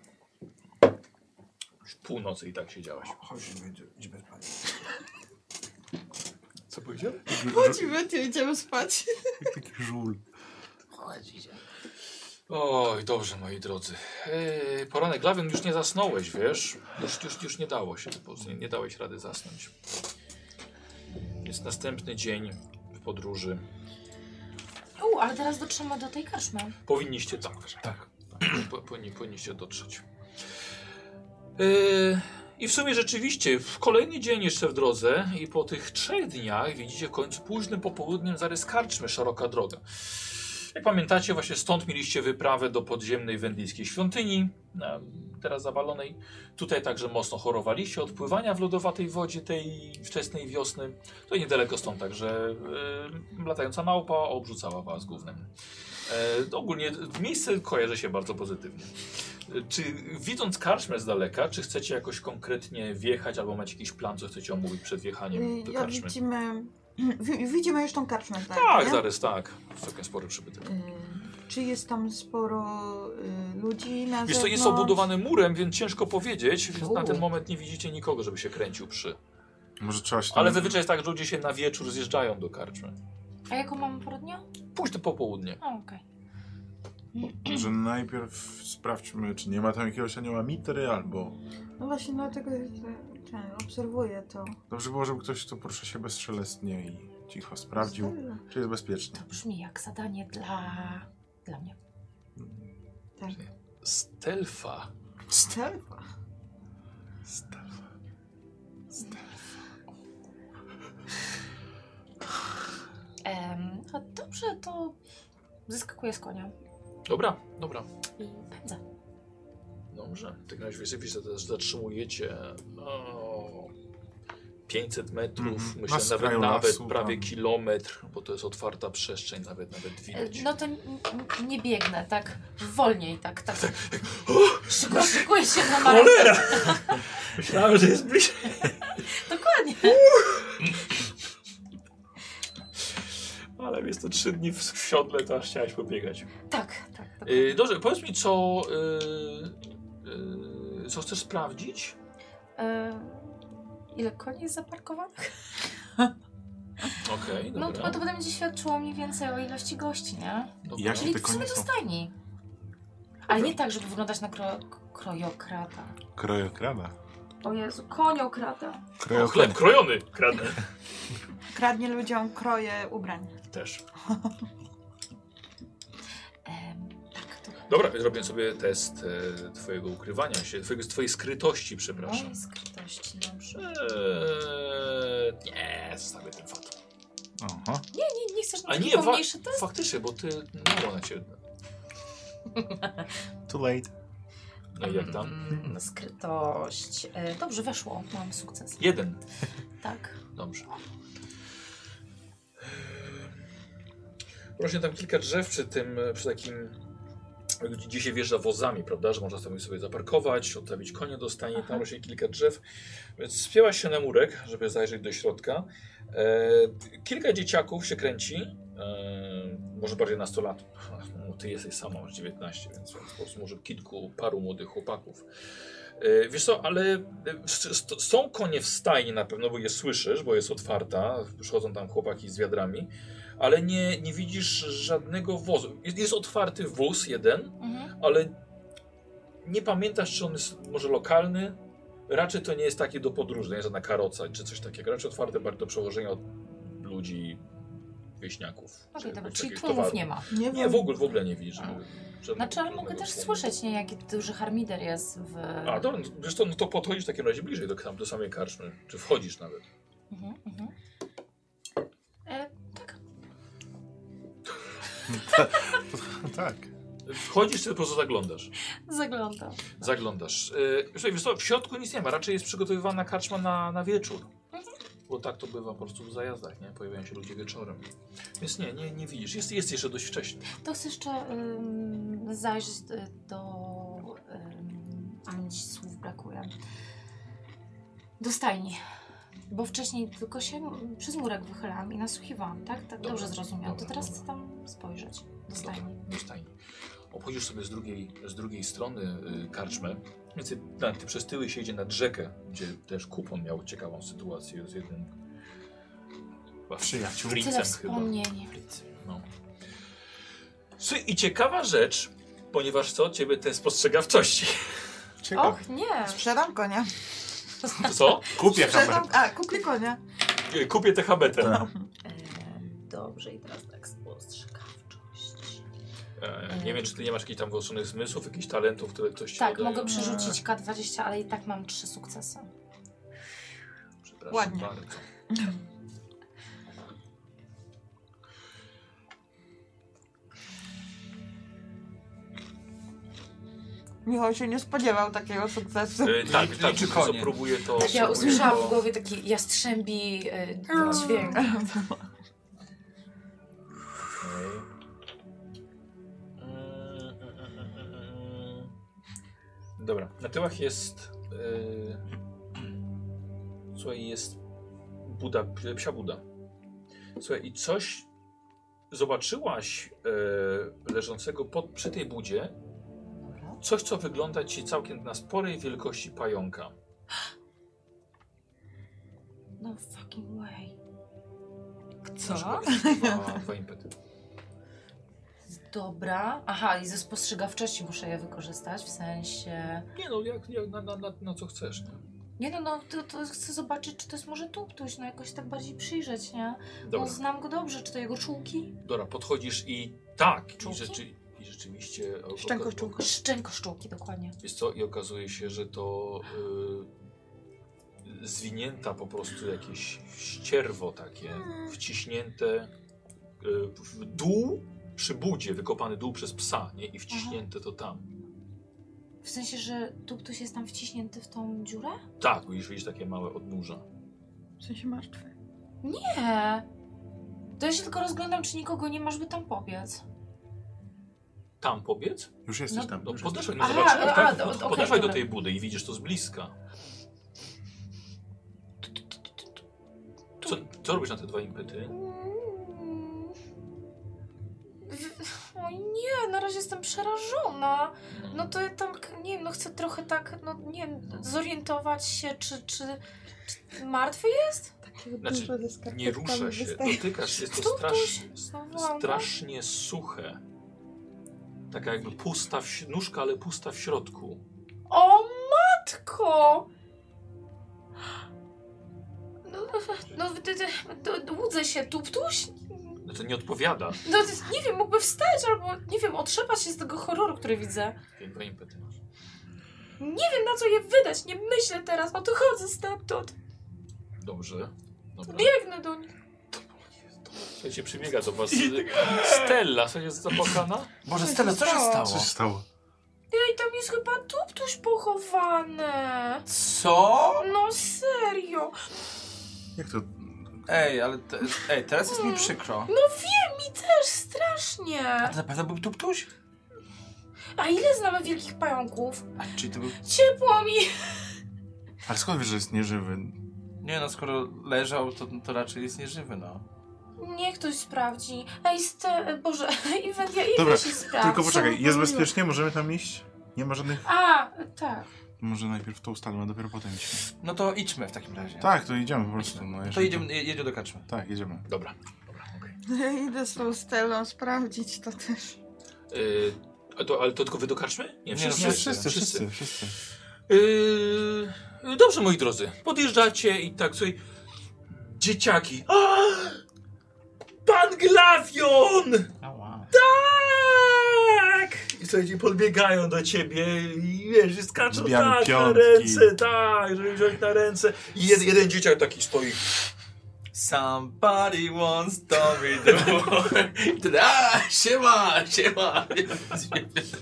Speaker 1: Już północy i tak siedziałaś.
Speaker 12: Chodź, idziemy spać.
Speaker 1: Co powiedziałeś?
Speaker 5: Chodźmy, ty idziemy spać.
Speaker 4: Taki żul.
Speaker 1: Oj, dobrze, moi drodzy. Yy, poranek, Glawion, już nie zasnąłeś, wiesz? Już, już, już nie dało się, po prostu nie, nie dałeś rady zasnąć. Jest następny dzień w podróży.
Speaker 3: U, ale teraz dotrzemy do tej karczmy.
Speaker 1: Powinniście tak. Tak. Po, powinni, powinniście dotrzeć. Yy, I w sumie rzeczywiście, w kolejny dzień jeszcze w drodze i po tych trzech dniach widzicie w końcu późnym popołudniem zarys karczmy, szeroka droga. Jak pamiętacie, właśnie stąd mieliście wyprawę do podziemnej wendyjskiej świątyni, na- teraz zawalonej. Tutaj także mocno chorowaliście od pływania w lodowatej wodzie tej wczesnej wiosny. To niedaleko stąd także yy, latająca małpa obrzucała was gównem. E, ogólnie miejsce kojarzy się bardzo pozytywnie. E, Czy widząc karczmę z daleka, czy chcecie jakoś konkretnie wjechać albo macie jakiś plan, co chcecie omówić przed wjechaniem do
Speaker 5: Y, Ja
Speaker 1: karczmy?
Speaker 5: widzimy, wi- widzimy już tą karczmę. Tak,
Speaker 1: Tak,
Speaker 5: nie?
Speaker 1: zaraz tak. Całkiem spory przybytek.
Speaker 5: Y, Czy jest tam sporo y, ludzi na
Speaker 1: Jest to
Speaker 5: zewnątrz?
Speaker 1: jest obudowany murem, więc ciężko powiedzieć. Więc na
Speaker 3: U.
Speaker 1: ten moment nie widzicie nikogo, żeby się kręcił przy.
Speaker 4: Może trzeba się tam...
Speaker 1: Ale zazwyczaj jest tak, że ludzie się na wieczór zjeżdżają do karczmy.
Speaker 3: A jaką mamy porę dnia?
Speaker 1: Późno popołudnie.
Speaker 3: O, okej.
Speaker 4: Może najpierw sprawdźmy, czy nie ma tam jakiegoś anioła mitry, albo...
Speaker 5: No właśnie dlatego że- ten, obserwuję to.
Speaker 4: Dobrze było, żeby ktoś to proszę się bezszelestnie i cicho sprawdził, czy jest bezpiecznie.
Speaker 3: To brzmi jak zadanie dla... dla mnie.
Speaker 1: Stelfa.
Speaker 5: Stelfa.
Speaker 3: Em, a dobrze, to zeskakuję z konia
Speaker 1: Dobra, dobra.
Speaker 3: i pędzę.
Speaker 1: Dobrze. W takim razie wy się zatrzymujecie o, 500 metrów,
Speaker 4: Mhm.
Speaker 1: myślę
Speaker 4: Na
Speaker 1: nawet,
Speaker 4: skraju
Speaker 1: nawet
Speaker 4: lasu,
Speaker 1: prawie
Speaker 4: tam.
Speaker 1: kilometr, bo to jest otwarta przestrzeń, nawet nawet
Speaker 3: E,
Speaker 1: widać.
Speaker 3: No to n- n- nie biegnę, tak wolniej, tak, tak. Szyku- Szykuję się na maraton.
Speaker 1: Myślałem, że jest bliżej.
Speaker 3: Dokładnie.
Speaker 1: Ale jest to 3 dni w siodle, to aż chciałeś pobiegać.
Speaker 3: Tak, tak. tak.
Speaker 1: Yy, dobrze, powiedz mi, co, yy, yy, co chcesz sprawdzić?
Speaker 3: E, ile koni jest zaparkowanych?
Speaker 1: Okej,
Speaker 3: No
Speaker 1: dobra. No,
Speaker 3: to, to będzie świadczyło mniej więcej o ilości gości, nie?
Speaker 1: dobra.
Speaker 4: Jak-
Speaker 3: Czyli
Speaker 4: te
Speaker 3: w sumie
Speaker 4: konie są?
Speaker 3: dostajni. Ale nie tak, żeby wyglądać na kro, krojokrata.
Speaker 4: Krajokrada.
Speaker 3: O Jezu, koniokrata.
Speaker 1: O, chleb krojony kradnę.
Speaker 5: Kradnie ludziom kroje ubrań.
Speaker 1: Też.
Speaker 3: Em, tak, to
Speaker 1: Dobra, zrobię sobie test e, twojego ukrywania się, twojego, twojej skrytości, przepraszam.
Speaker 3: mojej skrytości, dobrze.
Speaker 1: Eee, nie, zostawię ten fat.
Speaker 4: Aha.
Speaker 3: Nie, nie chcesz
Speaker 1: A
Speaker 3: na
Speaker 1: nie,
Speaker 3: taki
Speaker 1: wa-
Speaker 3: pomniejszy test?
Speaker 1: Faktycznie, bo ty, no ona cię,
Speaker 12: Too late.
Speaker 1: no i jak tam?
Speaker 3: Mm, skrytość. E, dobrze, weszło. Mam sukces.
Speaker 1: Jeden,
Speaker 3: Tak.
Speaker 1: dobrze. Ehm, Rośnie tam kilka drzew przy tym, przy takim, gdzie się wjeżdża wozami, prawda, że można sobie sobie zaparkować, odstawić konie do stani, tam rośnie kilka drzew, więc spięłaś się na murek, żeby zajrzeć do środka. E, kilka dzieciaków się kręci, e, może bardziej nastolatków, no, ty jesteś sama, masz 19, więc po prostu może kilku, paru młodych chłopaków. E, wiesz co, ale e, s- s- są konie w stajni na pewno, bo je słyszysz, bo jest otwarta, przychodzą tam chłopaki z wiadrami, ale nie, nie widzisz żadnego wozu. Jest, jest otwarty wóz jeden,
Speaker 3: Mhm.
Speaker 1: ale nie pamiętasz, czy on jest może lokalny. Raczej to nie jest taki do podróży, nie jest żadna karoca czy coś takiego. Raczej otwarte bardziej do przewożenia od ludzi, wieśniaków.
Speaker 3: Okej,
Speaker 1: czy
Speaker 3: dobra,
Speaker 1: jakiegoś
Speaker 3: czyli
Speaker 1: jakiegoś
Speaker 3: tłumów
Speaker 1: towaru.
Speaker 3: nie ma.
Speaker 5: Nie,
Speaker 1: Nie,
Speaker 5: wiem.
Speaker 1: w ogóle, w ogóle nie widzisz.
Speaker 3: A.
Speaker 1: żeby- żadnego-
Speaker 3: Znaczy, ale
Speaker 1: żadnego
Speaker 3: mogę też
Speaker 1: tłumu.
Speaker 3: słyszeć, nie? Jaki duży harmider jest w...
Speaker 1: A, dobra, no, wiesz co, no to podchodzisz w takim razie bliżej do, tam, do samej karczmy, czy wchodzisz nawet.
Speaker 3: Mhm, mhm. E, tak.
Speaker 4: tak.
Speaker 1: Wchodzisz, czy po prostu zaglądasz? E,
Speaker 3: Zaglądam. Mhm.
Speaker 1: Zaglądasz. Yy, słuchaj, wiesz co, w środku nic nie ma, raczej jest przygotowywana karczma na, na wieczór. Bo tak to bywa po prostu w zajazdach, nie? Pojawiają się ludzie wieczorem. Więc nie, nie, nie widzisz. Jest, jest jeszcze dość wcześnie.
Speaker 3: To chcę jeszcze ym, zajrzeć d- do. Ym, a mnie dziś słów brakuje. Do stajni. Bo wcześniej tylko się przez murek wychylałam i nasłuchiwałam, tak? Tak
Speaker 1: Dobra,
Speaker 3: dobrze zrozumiałam.
Speaker 1: dobra,
Speaker 3: to teraz
Speaker 1: dobra.
Speaker 3: chcę tam spojrzeć. Do
Speaker 1: Dobra,
Speaker 3: stajni.
Speaker 1: do stajni. No tak, Obchodzisz sobie z drugiej, z drugiej strony y, karczmę. Więc ty, na- ty przez tyły się idzie nad rzekę, gdzie też kupon miał ciekawą sytuację z jednym chyba
Speaker 4: Przyjaciół.
Speaker 1: fritzem
Speaker 3: Tyle
Speaker 1: chyba.
Speaker 3: wspomnień.
Speaker 1: No. Słuchaj, I ciekawa rzecz, ponieważ co? Ciebie te spostrzegawczości.
Speaker 4: Ciekawe.
Speaker 3: Och, nie!
Speaker 5: Sprzedam konia.
Speaker 1: To co?
Speaker 4: Kupię
Speaker 5: Sprzedam,
Speaker 4: kamerę.
Speaker 5: a, kupię konia.
Speaker 1: Kupię te habetę.
Speaker 13: Dobrze, i teraz tak spostrzegawczość.
Speaker 1: E, nie wiem, czy ty nie masz jakichś tam wyostronych zmysłów, jakichś talentów, które ktoś ci
Speaker 3: Tak,
Speaker 1: oddaje.
Speaker 3: mogę przerzucić K20, ale i tak mam trzy sukcesy.
Speaker 1: Przepraszam
Speaker 5: Ładnie.
Speaker 1: bardzo.
Speaker 5: Michał się nie spodziewał takiego sukcesu.
Speaker 1: E, tak, tak,
Speaker 2: Liczy
Speaker 1: czy co
Speaker 2: konie.
Speaker 1: próbuję to...
Speaker 3: Tak, ja
Speaker 1: próbuję
Speaker 3: usłyszałam
Speaker 1: to-
Speaker 3: w głowie taki jastrzębi y, dźwięk.
Speaker 1: Okej. Mm, mm, mm, mm, mm. Dobra, na tyłach jest. Yy, słuchaj, jest Buda, psia Buda. Słuchaj, i coś zobaczyłaś yy, leżącego pod, przy tej budzie. Coś, co wygląda ci całkiem na sporej wielkości pająka.
Speaker 3: No fucking way.
Speaker 1: Co? Dwa impety.
Speaker 3: Dobra. Aha, i ze spostrzegawczości muszę je wykorzystać, w sensie...
Speaker 1: Nie no, jak, jak, na, na, na, na co chcesz. Nie?
Speaker 3: Nie no, no to, to chcę zobaczyć, czy to jest może tuptuś, no jakoś tak bardziej przyjrzeć, nie? Bo
Speaker 1: Dobra.
Speaker 3: znam go dobrze, czy to jego czułki?
Speaker 1: Dobra, podchodzisz i tak, i,
Speaker 3: Czułki?
Speaker 1: rzeczy, i rzeczywiście. o-
Speaker 5: Szczęko,
Speaker 1: oka-
Speaker 5: szczęko.
Speaker 3: Szczęko szczółki, dokładnie.
Speaker 1: Wiesz co, i okazuje się, że to y, zwinięta po prostu jakieś ścierwo takie, wciśnięte y, w dół przy budzie, wykopany dół przez psa, nie? I wciśnięte to tam.
Speaker 3: W sensie, że tuptuś jest tam wciśnięty w tą dziurę?
Speaker 1: Tak, widzisz, widzisz takie małe odnóża.
Speaker 5: W sensie martwy.
Speaker 3: Nie. E, To ja się tylko rozglądam, czy nikogo nie ma, żeby tam pobiec.
Speaker 1: Tam pobiec?
Speaker 4: Już jesteś
Speaker 3: No,
Speaker 4: tam.
Speaker 1: No
Speaker 4: już
Speaker 1: podeszłaj,
Speaker 4: jesteś.
Speaker 1: no
Speaker 3: Aha,
Speaker 1: zobacz,
Speaker 3: a,
Speaker 1: tak,
Speaker 3: do-
Speaker 1: no,
Speaker 3: okej,
Speaker 1: podeszłaj do
Speaker 3: dobra.
Speaker 1: tej budy i widzisz to z bliska. Co, co robisz na te dwa impety?
Speaker 3: Mm. W- O nie, na razie jestem przerażona. No to ja tam, nie wiem, no chcę trochę tak, no nie wiem, zorientować się, czy, czy, czy martwy jest?
Speaker 5: Takiego
Speaker 1: Znaczy,
Speaker 5: dużo ze
Speaker 3: Tak,
Speaker 5: skarpetkami
Speaker 1: Nie rusza się,
Speaker 5: wystaje.
Speaker 1: dotykasz, jest to
Speaker 3: Tu,
Speaker 1: strasz,
Speaker 3: Znowu
Speaker 1: strasznie suche. Taka jakby pusta w, si- nóżka, ale pusta w środku.
Speaker 3: O matko! No, no, ty, ty, to łudzę się, tuptuś?
Speaker 1: Znaczy nie odpowiada.
Speaker 3: No, ty- nie wiem, mógłby wstać albo, nie wiem, otrzepać się z tego horroru, który widzę.
Speaker 1: Jakie dwa impety masz.
Speaker 3: Nie wiem, na co je wydać, nie myślę teraz, no to chodzę stamtąd,
Speaker 1: Dobrze. Dobra.
Speaker 3: biegnę do nich.
Speaker 1: Słuchajcie, przybiega do was y, Stella, słuchajcie, jest zapłakana.
Speaker 2: Boże, Stella, co się
Speaker 5: stało?
Speaker 4: Co
Speaker 2: stało?
Speaker 4: się stało?
Speaker 3: Ej, tam jest chyba tuptuś pochowane.
Speaker 2: Co?
Speaker 3: No serio.
Speaker 4: Jak to?
Speaker 2: Ej, ale te, ej, teraz jest mi przykro.
Speaker 3: No wiem, mi też strasznie.
Speaker 2: A to na pewno był tuptuś?
Speaker 3: A ile znamy wielkich pająków?
Speaker 2: A, czyli to był...
Speaker 3: Ciepło mi.
Speaker 4: Ale skąd wiesz, że jest nieżywy?
Speaker 2: Nie no, skoro leżał, to, to raczej jest nieżywy, no.
Speaker 3: Niech ktoś sprawdzi. Ej, ste... e, Boże, Iwendia, ile
Speaker 4: Dobra,
Speaker 3: się sprawdzi?
Speaker 4: Tylko poczekaj, jest
Speaker 3: Miło.
Speaker 4: bezpiecznie? Możemy tam iść? Nie ma żadnych...
Speaker 3: A, tak.
Speaker 4: Może najpierw to ustalmy, a dopiero potem iść.
Speaker 2: No to idźmy w takim razie.
Speaker 4: Tak, to idziemy po prostu. No,
Speaker 2: To
Speaker 4: jeżeli-
Speaker 2: jedziemy, jedziemy do kaczmy.
Speaker 4: Tak, jedziemy.
Speaker 1: Dobra, dobra, okej.
Speaker 5: Idę z tą Stellą sprawdzić to też.
Speaker 1: Y, a to, ale to tylko wy dokarczmy?
Speaker 2: Nie,
Speaker 1: wszyscy.
Speaker 2: no
Speaker 4: Wszyscy, wszyscy, wszyscy.
Speaker 1: Yy, dobrze, moi drodzy. Podjeżdżacie i tak sobie. Dzieciaki. A! Pan Glawion!
Speaker 2: Ała.
Speaker 1: Tak! I słuchajcie, podbiegają do ciebie i wiesz, i skaczą
Speaker 4: Zbijamy
Speaker 1: tak na
Speaker 4: piątki.
Speaker 1: ręce, tak, żeby wziąć na ręce. I jed, jeden dzieciak taki stoi
Speaker 2: Somebody wants to be the one. I wtedy, A, siema, siema.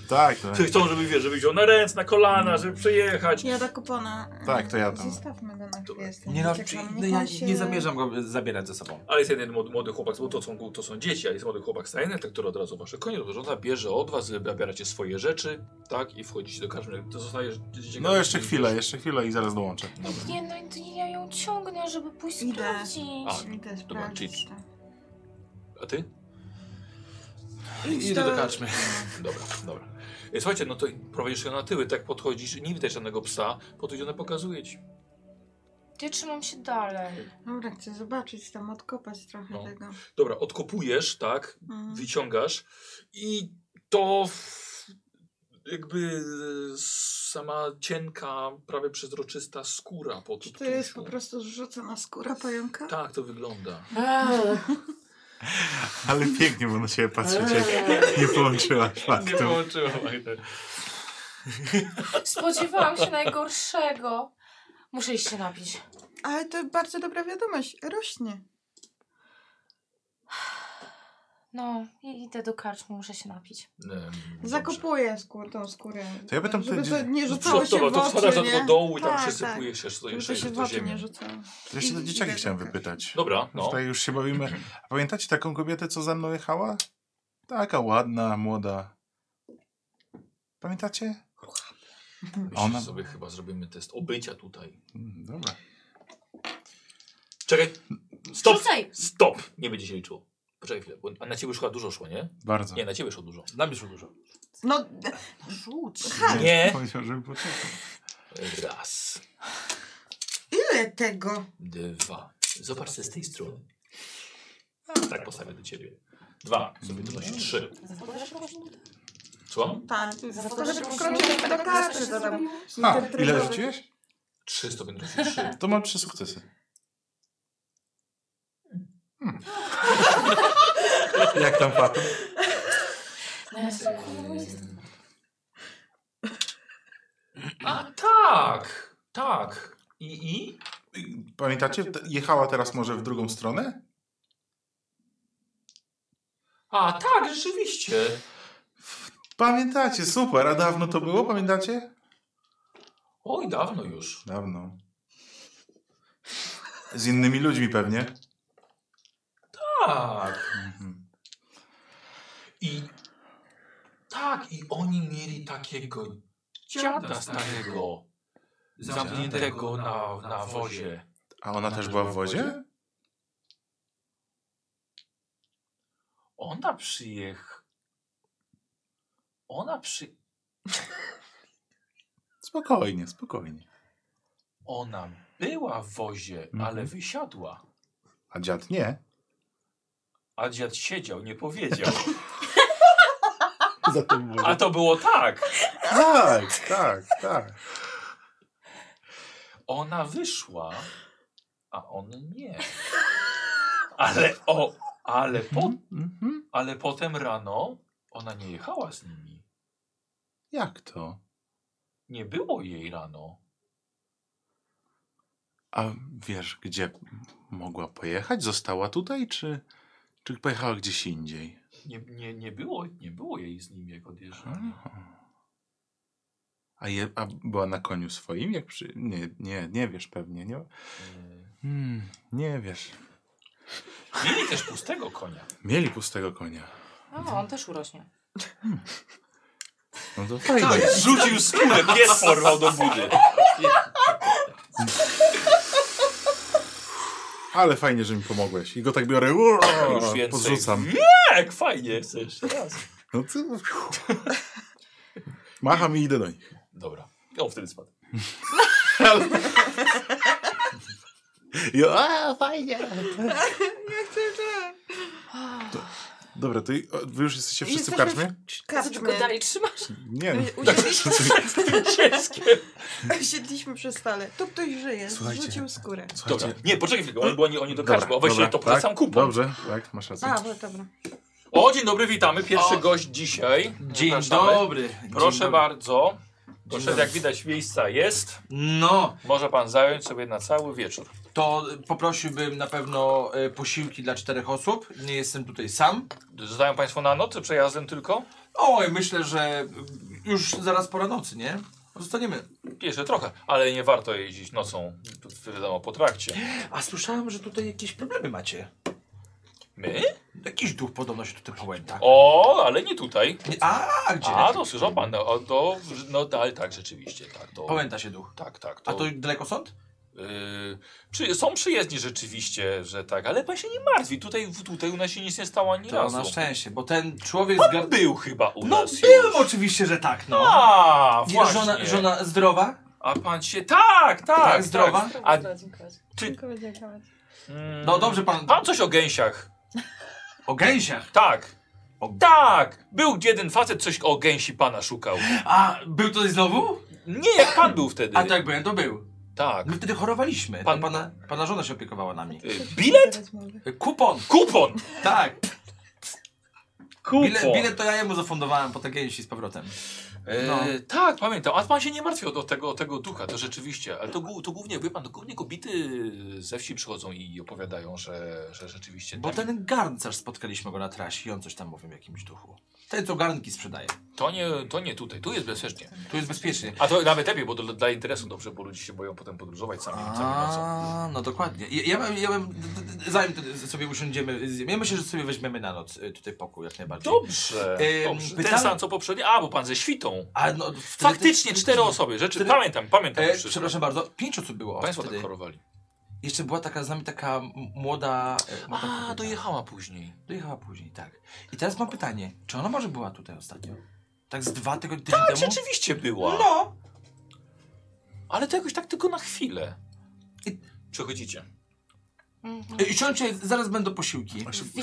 Speaker 4: Tak, tak.
Speaker 1: Chcą, żeby wiesz, żeby wziął na ręce, na
Speaker 4: Mm.
Speaker 1: kolana, żeby przejechać.
Speaker 5: Ja do kupona.
Speaker 4: Tak, to ja tam.
Speaker 5: Zostawmy go na chwilę. z tym
Speaker 2: Nie, no,
Speaker 5: uciekaniem.
Speaker 2: no,
Speaker 5: Niech
Speaker 2: ja
Speaker 5: on się-
Speaker 2: nie zamierzam go zabierać ze sobą.
Speaker 1: Ale jest jeden młody- młody chłopak, bo to są, to są dzieci, ale jest młody chłopak z Tajnetek, który od razu wasze konie rozrządza, bierze od was, zabieracie swoje rzeczy, tak, i wchodzicie do każdego. To zostajesz dzieciaka.
Speaker 4: No jeszcze chwilę, jeszcze chwilę i zaraz dołączę.
Speaker 3: Nie, no i to nie, ja ją ciągnę, żeby pójść
Speaker 5: Idę.
Speaker 3: sprawdzić.
Speaker 1: A,
Speaker 5: Idę
Speaker 1: czyli-
Speaker 5: sprawdzić. tak.
Speaker 1: A ty?
Speaker 5: Idź
Speaker 2: Idę do kaczmy.
Speaker 1: Dobra, dobra. E, Słuchajcie, no to prowadzisz ją na tyły, tak podchodzisz, nie widać żadnego psa, podchodzi ona pokazuje ci.
Speaker 3: Ja trzymam się dalej.
Speaker 5: Dobra, chcę zobaczyć tam, odkopać trochę
Speaker 1: No.
Speaker 5: tego.
Speaker 1: Dobra, odkopujesz, tak,
Speaker 5: Mm.
Speaker 1: wyciągasz i to w- jakby e, sama cienka, prawie przezroczysta skóra pod
Speaker 5: Czy to jest po
Speaker 1: tusiu.
Speaker 5: prostu zrzucona skóra pająka?
Speaker 1: Tak to wygląda.
Speaker 4: Ale pięknie, bo na siebie patrzycie. Eee. Nie połączyłaś faktu.
Speaker 2: połączyłam.
Speaker 3: Spodziewałam się najgorszego. Muszę iść się napić.
Speaker 5: Ale to bardzo dobra wiadomość, rośnie.
Speaker 3: No, i idę do karczmy, muszę się napić.
Speaker 1: Em,
Speaker 5: Zakopuję skór, tą skórę.
Speaker 4: To ja by tam
Speaker 5: żeby
Speaker 4: powiedział-
Speaker 5: to nie
Speaker 1: dobrze.
Speaker 5: rzucało się
Speaker 1: Dobra,
Speaker 5: w
Speaker 1: No to wpadasz
Speaker 5: oczy,
Speaker 1: do do
Speaker 5: nie?
Speaker 1: dołu i tam
Speaker 5: Tak,
Speaker 1: przesypujesz się,
Speaker 5: Żeby
Speaker 1: jeszcze
Speaker 5: to się
Speaker 1: jeszcze
Speaker 5: w
Speaker 1: do
Speaker 5: oczy
Speaker 1: ziemi.
Speaker 5: nie rzucało.
Speaker 4: Ja się do
Speaker 5: I-
Speaker 4: dzieciaki
Speaker 5: i-
Speaker 4: chciałem wypytać.
Speaker 1: Dobra,
Speaker 4: No.
Speaker 1: no.
Speaker 4: Tutaj już się bawimy. A pamiętacie taką kobietę, co za mną jechała? Taka ładna, młoda. Pamiętacie?
Speaker 1: Ona...
Speaker 4: Ona-
Speaker 1: sobie chyba zrobimy test obycia tutaj.
Speaker 4: Mm, Dobra.
Speaker 1: Czekaj. Stop!
Speaker 3: Rzucaj!
Speaker 1: Stop! Nie będzie się liczyło. Poczekaj chwilę, bo a na ciebie już chyba dużo szło, nie?
Speaker 4: Bardzo.
Speaker 1: Nie, na ciebie szło dużo.
Speaker 2: Dla Tak. mnie szło dużo.
Speaker 5: No, d- rzuć.
Speaker 1: Nie.
Speaker 4: Powiedział, żeby poczekał.
Speaker 1: Raz,
Speaker 5: Ile tego?
Speaker 1: dwa. Zobacz se z tej strony. Tak postawię do ciebie. Dwa, sobie to nosi trzy. Słucham?
Speaker 5: Tak,
Speaker 3: Za to,
Speaker 5: to, że
Speaker 3: że
Speaker 5: wkroczyliśmy do karty. to tam-
Speaker 4: A,
Speaker 5: ten
Speaker 4: No, ile
Speaker 5: tryb-
Speaker 4: rzuciłeś?
Speaker 1: Trzy stopień nosi trzy.
Speaker 4: To mam trzy sukcesy. Hmm. Jak tam patrz?
Speaker 1: A tak! Tak. I, i?
Speaker 4: Pamiętacie? Te- Jechała teraz może w drugą stronę?
Speaker 1: A tak, rzeczywiście.
Speaker 4: Pamiętacie, super. A dawno to było, pamiętacie?
Speaker 1: Oj, dawno już.
Speaker 4: Dawno. Z innymi ludźmi pewnie.
Speaker 1: Tak.
Speaker 4: Mhm.
Speaker 1: I tak, i oni mieli takiego dziada starego, zamkniętego na, na wozie.
Speaker 4: A ona też była w wodzie?
Speaker 1: Ona przyjech... Ona przy...
Speaker 4: Spokojnie, spokojnie.
Speaker 1: Ona była w wozie,
Speaker 4: Mhm.
Speaker 1: ale wysiadła.
Speaker 4: A dziad nie.
Speaker 1: A dziad siedział, nie powiedział.
Speaker 4: Za to było.
Speaker 1: A to było tak.
Speaker 4: Tak, tak, tak.
Speaker 1: Ona wyszła, a on nie. Ale o... Ale, po,
Speaker 4: Mhm.
Speaker 1: ale potem rano ona nie jechała z nimi.
Speaker 4: Jak to?
Speaker 1: Nie było jej rano.
Speaker 4: A wiesz, gdzie mogła pojechać? Została tutaj, czy, czy pojechała gdzieś indziej?
Speaker 1: Nie, nie, nie, było, nie było jej z nimi, jak odjeżdżali.
Speaker 4: A, je, a była na koniu swoim? Jak przy... nie, nie, nie wiesz pewnie, nie?
Speaker 1: Yy,
Speaker 4: Hmm, nie wiesz.
Speaker 1: E, Mieli też pustego konia.
Speaker 4: Mieli pustego konia.
Speaker 3: A, on też urośnie.
Speaker 4: No to fajnie.
Speaker 1: Rzucił skórę, pies porwał do budy.
Speaker 4: Ale fajnie, że mi pomogłeś. I go tak biorę, ua,
Speaker 1: Już więcej.
Speaker 4: podrzucam.
Speaker 1: Tak, fajnie. Chcesz raz.
Speaker 4: No to... Macham i idę do nich.
Speaker 1: Dobra. On wtedy spadł.
Speaker 4: I, a, fajnie.
Speaker 5: Ja tak chcę, że...
Speaker 4: Dobra, to i- o, wy już jesteście wszyscy w
Speaker 5: Jesteśmy
Speaker 4: karczmie?
Speaker 5: w Tak.
Speaker 3: Co ty go
Speaker 5: Karczmie.
Speaker 3: dalej trzymasz?
Speaker 4: Nie. no.
Speaker 5: Usiedliśmy,
Speaker 1: Dzieckiem.
Speaker 5: usiedliśmy przy stole. Tu ktoś żyje,
Speaker 4: Słuchajcie.
Speaker 5: zrzucił skórę.
Speaker 1: Dobra.
Speaker 4: Słuchajcie.
Speaker 1: Nie, poczekaj chwilę, oni, bo oni, oni do karczmy. O, weź się to
Speaker 4: tak,
Speaker 1: tak, sam kupon.
Speaker 4: Dobrze, tak, masz rację.
Speaker 5: A, bo dobra.
Speaker 1: O, dzień dobry, witamy. Pierwszy
Speaker 2: O.
Speaker 1: gość dzisiaj.
Speaker 2: Dzień
Speaker 1: Zapraszamy.
Speaker 2: dobry. Dzień
Speaker 1: Proszę
Speaker 2: dobry.
Speaker 1: bardzo. Proszę,
Speaker 2: dobry.
Speaker 1: jak widać, miejsca jest.
Speaker 2: No,
Speaker 1: Może pan zająć sobie na cały wieczór.
Speaker 2: to poprosiłbym na pewno e, posiłki dla czterech osób. Nie jestem tutaj sam.
Speaker 1: Zostają Państwo na noc przejazdem tylko?
Speaker 2: Oj, myślę, że już zaraz pora nocy, nie? Zostaniemy.
Speaker 1: Jeszcze trochę, ale nie warto jeździć nocą, tu wiadomo, po trakcie.
Speaker 2: A słyszałem, że tutaj jakieś problemy macie.
Speaker 1: My?
Speaker 2: Jakiś duch podobno się tutaj pałęta.
Speaker 1: O, ale nie tutaj.
Speaker 2: Nie- A, gdzie?
Speaker 1: A, to słyszał Pan, no, o, to, no ale tak, rzeczywiście, tak, to...
Speaker 2: Pałęta się duch.
Speaker 1: Tak, tak, to...
Speaker 2: A to daleko sąd?
Speaker 1: y, przy, są przyjezdni rzeczywiście, że tak, ale Pan się nie martwi, tutaj, tutaj u nas się nic nie stało ani
Speaker 2: To
Speaker 1: razu.
Speaker 2: na szczęście, bo ten człowiek z
Speaker 1: Pan
Speaker 2: gar-
Speaker 1: był chyba u
Speaker 2: No
Speaker 1: nas
Speaker 2: był
Speaker 1: już.
Speaker 2: oczywiście, że tak, no.
Speaker 1: A,
Speaker 2: Nie,
Speaker 1: właśnie.
Speaker 2: Żona, żona zdrowa?
Speaker 1: A Pan się... Tak, tak, tak.
Speaker 2: zdrowa?
Speaker 1: A,
Speaker 5: dziękować.
Speaker 1: Czy-
Speaker 5: Dziękować, dziękować.
Speaker 1: mm,
Speaker 2: No dobrze pan...
Speaker 1: Pan coś o gęsiach.
Speaker 2: O gęsiach.
Speaker 1: Tak.
Speaker 2: O-
Speaker 1: Tak! Był jeden facet, coś o gęsi pana szukał.
Speaker 2: A, był tutaj znowu?
Speaker 1: Nie, jak pan był wtedy.
Speaker 2: A tak byłem, to był.
Speaker 1: tak.
Speaker 2: My wtedy chorowaliśmy.
Speaker 1: Pan-
Speaker 2: Pan... Pana, pana żona się opiekowała nami.
Speaker 1: Y, Bilet?
Speaker 2: Kupon,
Speaker 1: Kupon!
Speaker 2: tak.
Speaker 1: Kupon!
Speaker 2: Bilet, bilet to ja jemu zafundowałem po takiej z powrotem.
Speaker 1: E,
Speaker 2: No.
Speaker 1: Tak, pamiętam. A pan się nie martwi o, o, tego, o tego ducha, to rzeczywiście. Ale to, gó- to głównie, wie pan, to głównie kobiety ze wsi przychodzą i opowiadają, że, że rzeczywiście tak.
Speaker 2: Bo tak-
Speaker 1: tam-
Speaker 2: ten garncarz spotkaliśmy go na trasie i on coś tam mówił w jakimś duchu. Ten co garnki sprzedaje.
Speaker 1: to, nie, to nie tutaj, tu jest bezpiecznie.
Speaker 2: Tu jest bezpiecznie.
Speaker 1: A to nawet lepiej, bo dla, dla interesu dobrze, bo ludzie się boją potem podróżować sami, sami nocą.
Speaker 2: A, no dokładnie. Ja, ja, bym- ja bym, d- d- d- zanim t- sobie usiądziemy, z- ja myślę, że sobie weźmiemy na noc y, tutaj pokój jak najbardziej.
Speaker 1: Dobrze,
Speaker 2: Ym,
Speaker 1: dobrze. Ten
Speaker 2: pytałem-
Speaker 1: sam co poprzedni. A, bo pan ze świtą.
Speaker 2: A no, wtedy-
Speaker 1: Faktycznie, cztery osoby. Rzeczy,
Speaker 2: wtedy-
Speaker 1: pamiętam, pamiętam.
Speaker 2: E,
Speaker 1: wszystko.
Speaker 2: przepraszam bardzo, pięć osób było
Speaker 1: Państwo
Speaker 2: wtedy.
Speaker 1: tak chorowali.
Speaker 2: Jeszcze była taka z nami taka m- młoda... e, młoda
Speaker 1: A,
Speaker 2: kobieta.
Speaker 1: dojechała później.
Speaker 2: Dojechała później, tak. I teraz mam pytanie, czy ona może była tutaj ostatnio? Tak z dwa tygodnie tydzień
Speaker 1: Tak,
Speaker 2: temu?
Speaker 1: rzeczywiście była.
Speaker 2: No!
Speaker 1: Ale to jakoś tak tylko na chwilę.
Speaker 2: I-
Speaker 1: Przechodzicie.
Speaker 3: Mhm.
Speaker 2: Y, Siądźcie, zaraz będą posiłki.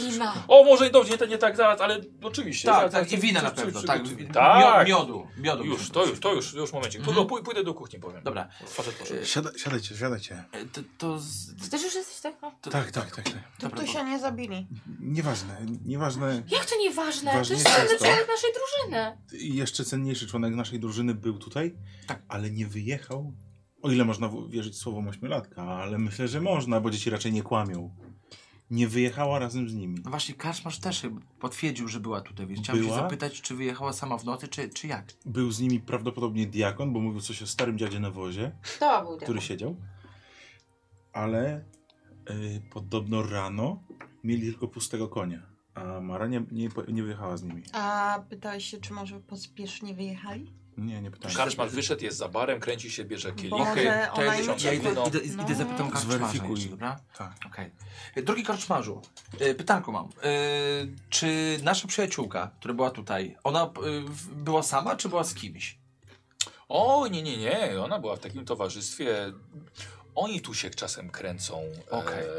Speaker 3: Wina.
Speaker 1: O, może i dobrze, nie, to nie tak zaraz, ale oczywiście.
Speaker 2: Tak,
Speaker 1: zaraz,
Speaker 2: tak, i
Speaker 1: zaraz,
Speaker 2: wina na
Speaker 1: zaraz,
Speaker 2: pewno,
Speaker 1: zaraz,
Speaker 2: tak.
Speaker 1: zaraz,
Speaker 2: Mio-
Speaker 1: Tak,
Speaker 2: Miodu, miodu.
Speaker 1: już,
Speaker 2: musimy
Speaker 1: to już,
Speaker 2: prosić.
Speaker 1: to już, już momencik.
Speaker 2: Mhm.
Speaker 1: Pójdę, pójdę do kuchni, powiem.
Speaker 2: Dobra,
Speaker 1: Facet poszedł.
Speaker 4: Siada, siadajcie, siadajcie.
Speaker 2: e, to, to, z-
Speaker 3: Ty też już jesteś tak? No.
Speaker 2: to...
Speaker 4: Tak, tak, tak. tak.
Speaker 5: Tu,
Speaker 2: Dobra,
Speaker 5: tu się nie zabili.
Speaker 4: Nieważne, nieważne.
Speaker 3: Jak to nieważne? To jest
Speaker 4: Ważniejsze
Speaker 3: cenny
Speaker 4: jest to-
Speaker 3: członek naszej drużyny.
Speaker 4: I Jeszcze cenniejszy członek naszej drużyny był tutaj,
Speaker 2: Tak.
Speaker 4: ale nie wyjechał. O ile można w- wierzyć słowom ośmiolatka, ale myślę, że można, bo dzieci raczej nie kłamią. Nie wyjechała razem z nimi.
Speaker 2: No właśnie, karczmarz też chyba potwierdził, że była tutaj, więc chciałem
Speaker 4: Była?
Speaker 2: się zapytać, czy wyjechała sama w nocy, czy, czy jak?
Speaker 4: Był z nimi prawdopodobnie diakon, bo mówił coś o starym dziadzie na wozie,
Speaker 3: To był
Speaker 4: który siedział. Ale y, podobno rano mieli tylko pustego konia, a Mara nie, nie, po- nie wyjechała z nimi.
Speaker 5: A pytałeś się, czy może pospiesznie wyjechali?
Speaker 4: Nie, nie
Speaker 2: E,
Speaker 4: pytałem.
Speaker 1: Karczmar wyszedł, jest za barem, kręci się, bierze kielich.
Speaker 5: Boże,
Speaker 2: Okej, to
Speaker 5: ona
Speaker 2: ja,
Speaker 5: im
Speaker 2: ja, ja idę,
Speaker 1: uciekła.
Speaker 2: idę, idę zapytam
Speaker 4: No.
Speaker 2: karczmarza
Speaker 4: Zweryfikuj.
Speaker 2: jeszcze, dobra?
Speaker 4: Tak.
Speaker 2: Okej. E, Drogi karczmarzu, e, pytanko mam. E, Czy nasza przyjaciółka, która była tutaj, ona e, w- była sama, czy była z kimś?
Speaker 1: O, nie, nie, nie, ona była w takim towarzystwie. Oni tu się czasem kręcą.
Speaker 2: Okej.
Speaker 1: E,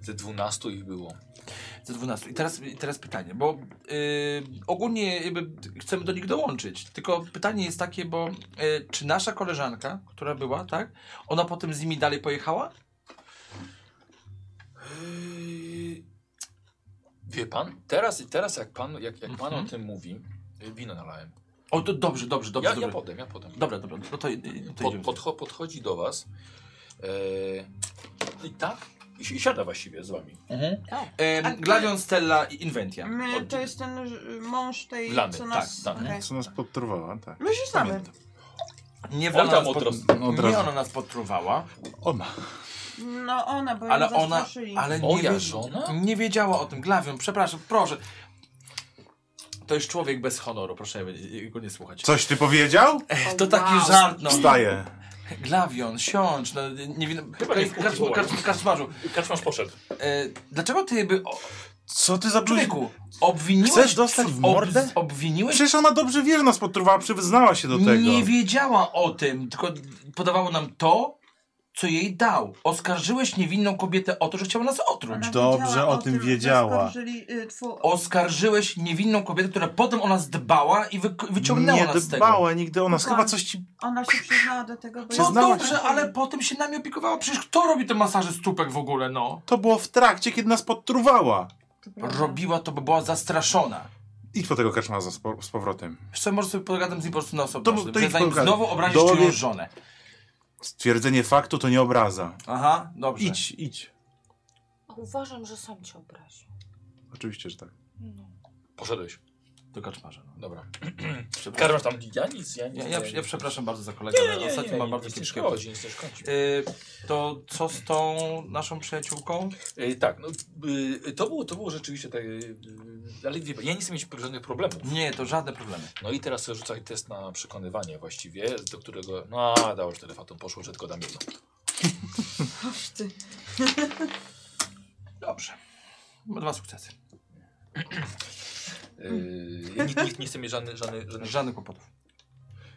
Speaker 1: ze dwunastu ich było.
Speaker 2: Ze 12. I teraz, i teraz pytanie, bo y, ogólnie jakby chcemy do nich dołączyć. Tylko pytanie jest takie, bo y, czy nasza koleżanka, która była, tak? Ona potem z nimi dalej pojechała?
Speaker 1: Yy, Wie pan, teraz, teraz jak pan, jak, jak pan
Speaker 2: Mhm.
Speaker 1: o tym mówi, y, wino nalałem.
Speaker 2: O, to dobrze, dobrze, dobrze.
Speaker 1: ja,
Speaker 2: dobrze.
Speaker 1: ja potem, ja potem.
Speaker 2: Dobra, dobra, no to, y, no to
Speaker 1: Pod,
Speaker 2: idziemy.
Speaker 1: podcho, podchodzi do was yy, i tak, i si- siada właściwie z wami.
Speaker 2: Mhm.
Speaker 3: O.
Speaker 2: Em,
Speaker 5: A ty-
Speaker 2: Gladion, Stella i Inventia.
Speaker 5: My,
Speaker 1: Od-
Speaker 5: to jest ten ż- mąż tej,
Speaker 1: Lany,
Speaker 5: co nas...
Speaker 1: tak, tak.
Speaker 5: okej.
Speaker 4: Co nas podtorwała, tak.
Speaker 5: My się znamy.
Speaker 4: Pamiętam.
Speaker 2: Nie
Speaker 1: On
Speaker 2: ona,
Speaker 1: tam
Speaker 2: nas pod... no,
Speaker 1: odrost...
Speaker 4: Od
Speaker 2: nie
Speaker 4: razu.
Speaker 2: ona nas potruwała,
Speaker 4: Ona.
Speaker 5: No ona, bo
Speaker 2: ale
Speaker 5: ją
Speaker 2: ona...
Speaker 5: zastraszyli.
Speaker 2: Ale nie,
Speaker 1: Moja
Speaker 2: wie-
Speaker 1: żona?
Speaker 2: nie wiedziała o tym. Glawion, przepraszam, proszę. To jest człowiek bez honoru, proszę y, go nie słuchać.
Speaker 4: Coś ty powiedział?
Speaker 2: Ech, to taki
Speaker 3: Wow.
Speaker 2: żart, no.
Speaker 4: Wstaję.
Speaker 2: Glawion, siądź, no nie wiem.
Speaker 1: Chyba nie wkurzył,
Speaker 2: karczm-
Speaker 1: Łaja.
Speaker 2: karczm- Karczmarzu,
Speaker 1: Kaczmarz poszedł.
Speaker 2: e, dlaczego ty by. O,
Speaker 4: Co ty za człowiek?
Speaker 2: człowieku, obwiniłeś.
Speaker 4: Chcesz dostać w mordę?
Speaker 2: Ob, obwiniłeś.
Speaker 4: No Przecież ona dobrze wie, że nas podtruwała, przyznała się do tego.
Speaker 2: Nie wiedziała o tym, tylko podawało nam to, co jej dał. Oskarżyłeś niewinną kobietę o to, że chciała nas otruć.
Speaker 5: Ona
Speaker 4: Dobrze
Speaker 5: wiedziała
Speaker 4: o tym wiedziała.
Speaker 5: Zaskarżyli, y, twu,
Speaker 2: Oskarżyłeś niewinną kobietę, która potem o nas dbała i wy, wyciągnęła
Speaker 4: Nie
Speaker 2: nas z tego.
Speaker 4: dbała nigdy o nas.
Speaker 5: Kocham.
Speaker 4: Chyba coś ci...
Speaker 5: ona się przyznała do tego, bo...
Speaker 2: No
Speaker 5: ja-
Speaker 4: Przyznała
Speaker 2: dobrze, ale potem się nami opiekowała. Przecież kto robi te masaże stópek w ogóle, no?
Speaker 4: To było w trakcie, kiedy nas podtruwała.
Speaker 5: Mhm.
Speaker 2: Robiła to, bo była zastraszona.
Speaker 4: Idź po tego karczma za- z po- z powrotem.
Speaker 2: Wiesz co, może sobie pogadam z nim po prostu na osobno,
Speaker 4: To- to
Speaker 2: żeby
Speaker 4: idź
Speaker 2: zanim
Speaker 4: pogadaj.
Speaker 2: znowu obrazisz
Speaker 4: Dowie-
Speaker 2: czyjąś żonę.
Speaker 4: Stwierdzenie faktu to nie obraza.
Speaker 2: Aha, dobrze.
Speaker 4: Idź, idź.
Speaker 3: Uważam, że sam cię obraził.
Speaker 4: Oczywiście, że tak.
Speaker 3: No,
Speaker 1: Poszedłeś.
Speaker 2: Do kaczmarza. No.
Speaker 1: Dobra.
Speaker 2: Przepraszam.
Speaker 1: Karmasz tam. Ja nic, ja nic.
Speaker 2: Ja, ja, ja przepraszam bardzo za kolegę, ale ostatnio mam bardzo
Speaker 1: nic nie
Speaker 2: kiepskie
Speaker 1: szkodzi, nic nie szkodzi.
Speaker 2: Y, To co z tą naszą przyjaciółką?
Speaker 1: Y, tak, no y, to, było, to było rzeczywiście tak. y, y, ale wie, pan, ja nie chcę mieć żadnych problemów.
Speaker 2: Nie, to żadne problemy.
Speaker 1: No i teraz sobie rzucaj test na przekonywanie właściwie, do którego. No, a, dało, że telefatom poszło, że tylko dam jedno.
Speaker 5: Aż ty.
Speaker 2: Dobrze. Ma Dwa sukcesy.
Speaker 1: Yy, ja nie, nie, nie chcę mieć żadnych. Żadny, żadny,
Speaker 2: Żadnych kłopotów.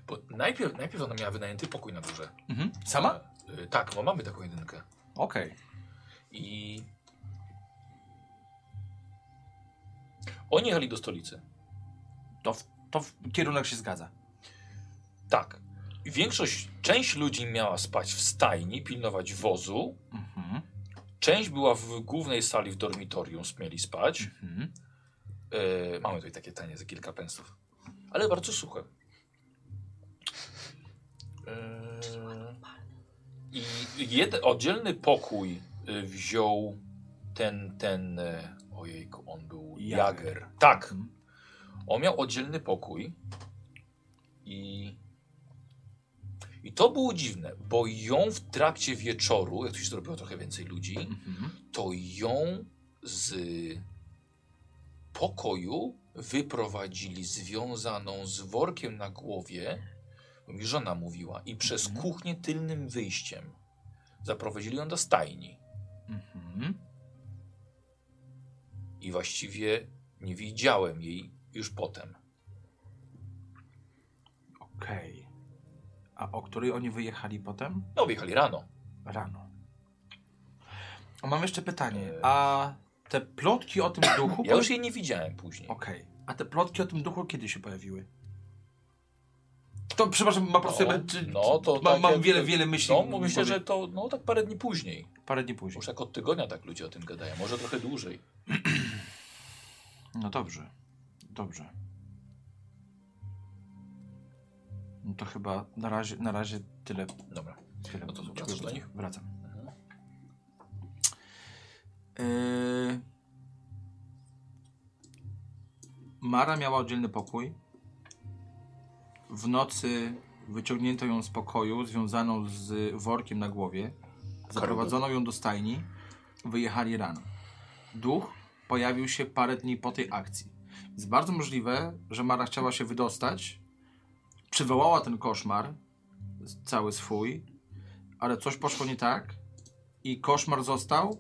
Speaker 1: bo najpierw, najpierw ona miała wynajęty pokój na górze.
Speaker 2: Mhm. Sama?
Speaker 1: Y, tak, bo mamy taką jedynkę.
Speaker 2: Okej.
Speaker 1: I. Oni jechali do stolicy.
Speaker 2: To, w- to w kierunek się zgadza.
Speaker 1: Tak. I Większość, część ludzi miała spać w stajni, pilnować wozu.
Speaker 2: Mhm.
Speaker 1: Część była w głównej sali w dormitorium, mieli spać.
Speaker 2: Mhm.
Speaker 1: E, mamy tutaj takie tanie za kilka pensów. Ale bardzo suche. E, I jeden oddzielny pokój e, wziął ten, ten, e, ojejku, on był
Speaker 2: Jager.
Speaker 1: Jager. Tak.
Speaker 2: Mhm.
Speaker 1: On miał oddzielny pokój i i to było dziwne, bo ją w trakcie wieczoru, jak tu się zrobiło trochę więcej ludzi,
Speaker 2: Mhm.
Speaker 1: to ją z pokoju wyprowadzili związaną z workiem na głowie, bo mi żona mówiła, i przez
Speaker 2: Mhm.
Speaker 1: kuchnię tylnym wyjściem zaprowadzili ją do stajni.
Speaker 2: Mhm.
Speaker 1: I właściwie nie widziałem jej już potem.
Speaker 2: Okej. A o której oni wyjechali potem?
Speaker 1: No, wyjechali rano.
Speaker 2: Rano. A mam jeszcze pytanie. A te plotki o tym duchu...
Speaker 1: Eee. Ja już jej nie widziałem później.
Speaker 2: Okej. A te plotki o tym duchu kiedy się pojawiły? To, przepraszam, ma po prostu...
Speaker 1: No,
Speaker 2: jakby- czy-
Speaker 1: no, to
Speaker 2: ma,
Speaker 1: tak
Speaker 2: mam
Speaker 1: jak-
Speaker 2: wiele, wiele myśli.
Speaker 1: No,
Speaker 2: w
Speaker 1: bo myślę,
Speaker 2: głowie.
Speaker 1: że to no, tak parę dni później.
Speaker 2: Parę dni później.
Speaker 1: Może tak od tygodnia tak ludzie o tym gadają, może trochę dłużej.
Speaker 2: No dobrze, dobrze. No to chyba na razie, na razie tyle.
Speaker 1: Dobra.
Speaker 2: tyle
Speaker 1: No to
Speaker 2: Dziękuję
Speaker 1: wracasz do
Speaker 2: bardzo.
Speaker 1: nich?
Speaker 2: Wracam.
Speaker 1: Mhm.
Speaker 2: Yy... Mara miała oddzielny pokój. W nocy wyciągnięto ją z pokoju, związaną z workiem na głowie. Zaprowadzono ją do stajni. Wyjechali rano. Duch pojawił się parę dni po tej akcji. Jest bardzo możliwe, że Mara chciała się wydostać, przywołała ten koszmar, cały swój, ale coś poszło nie tak i koszmar został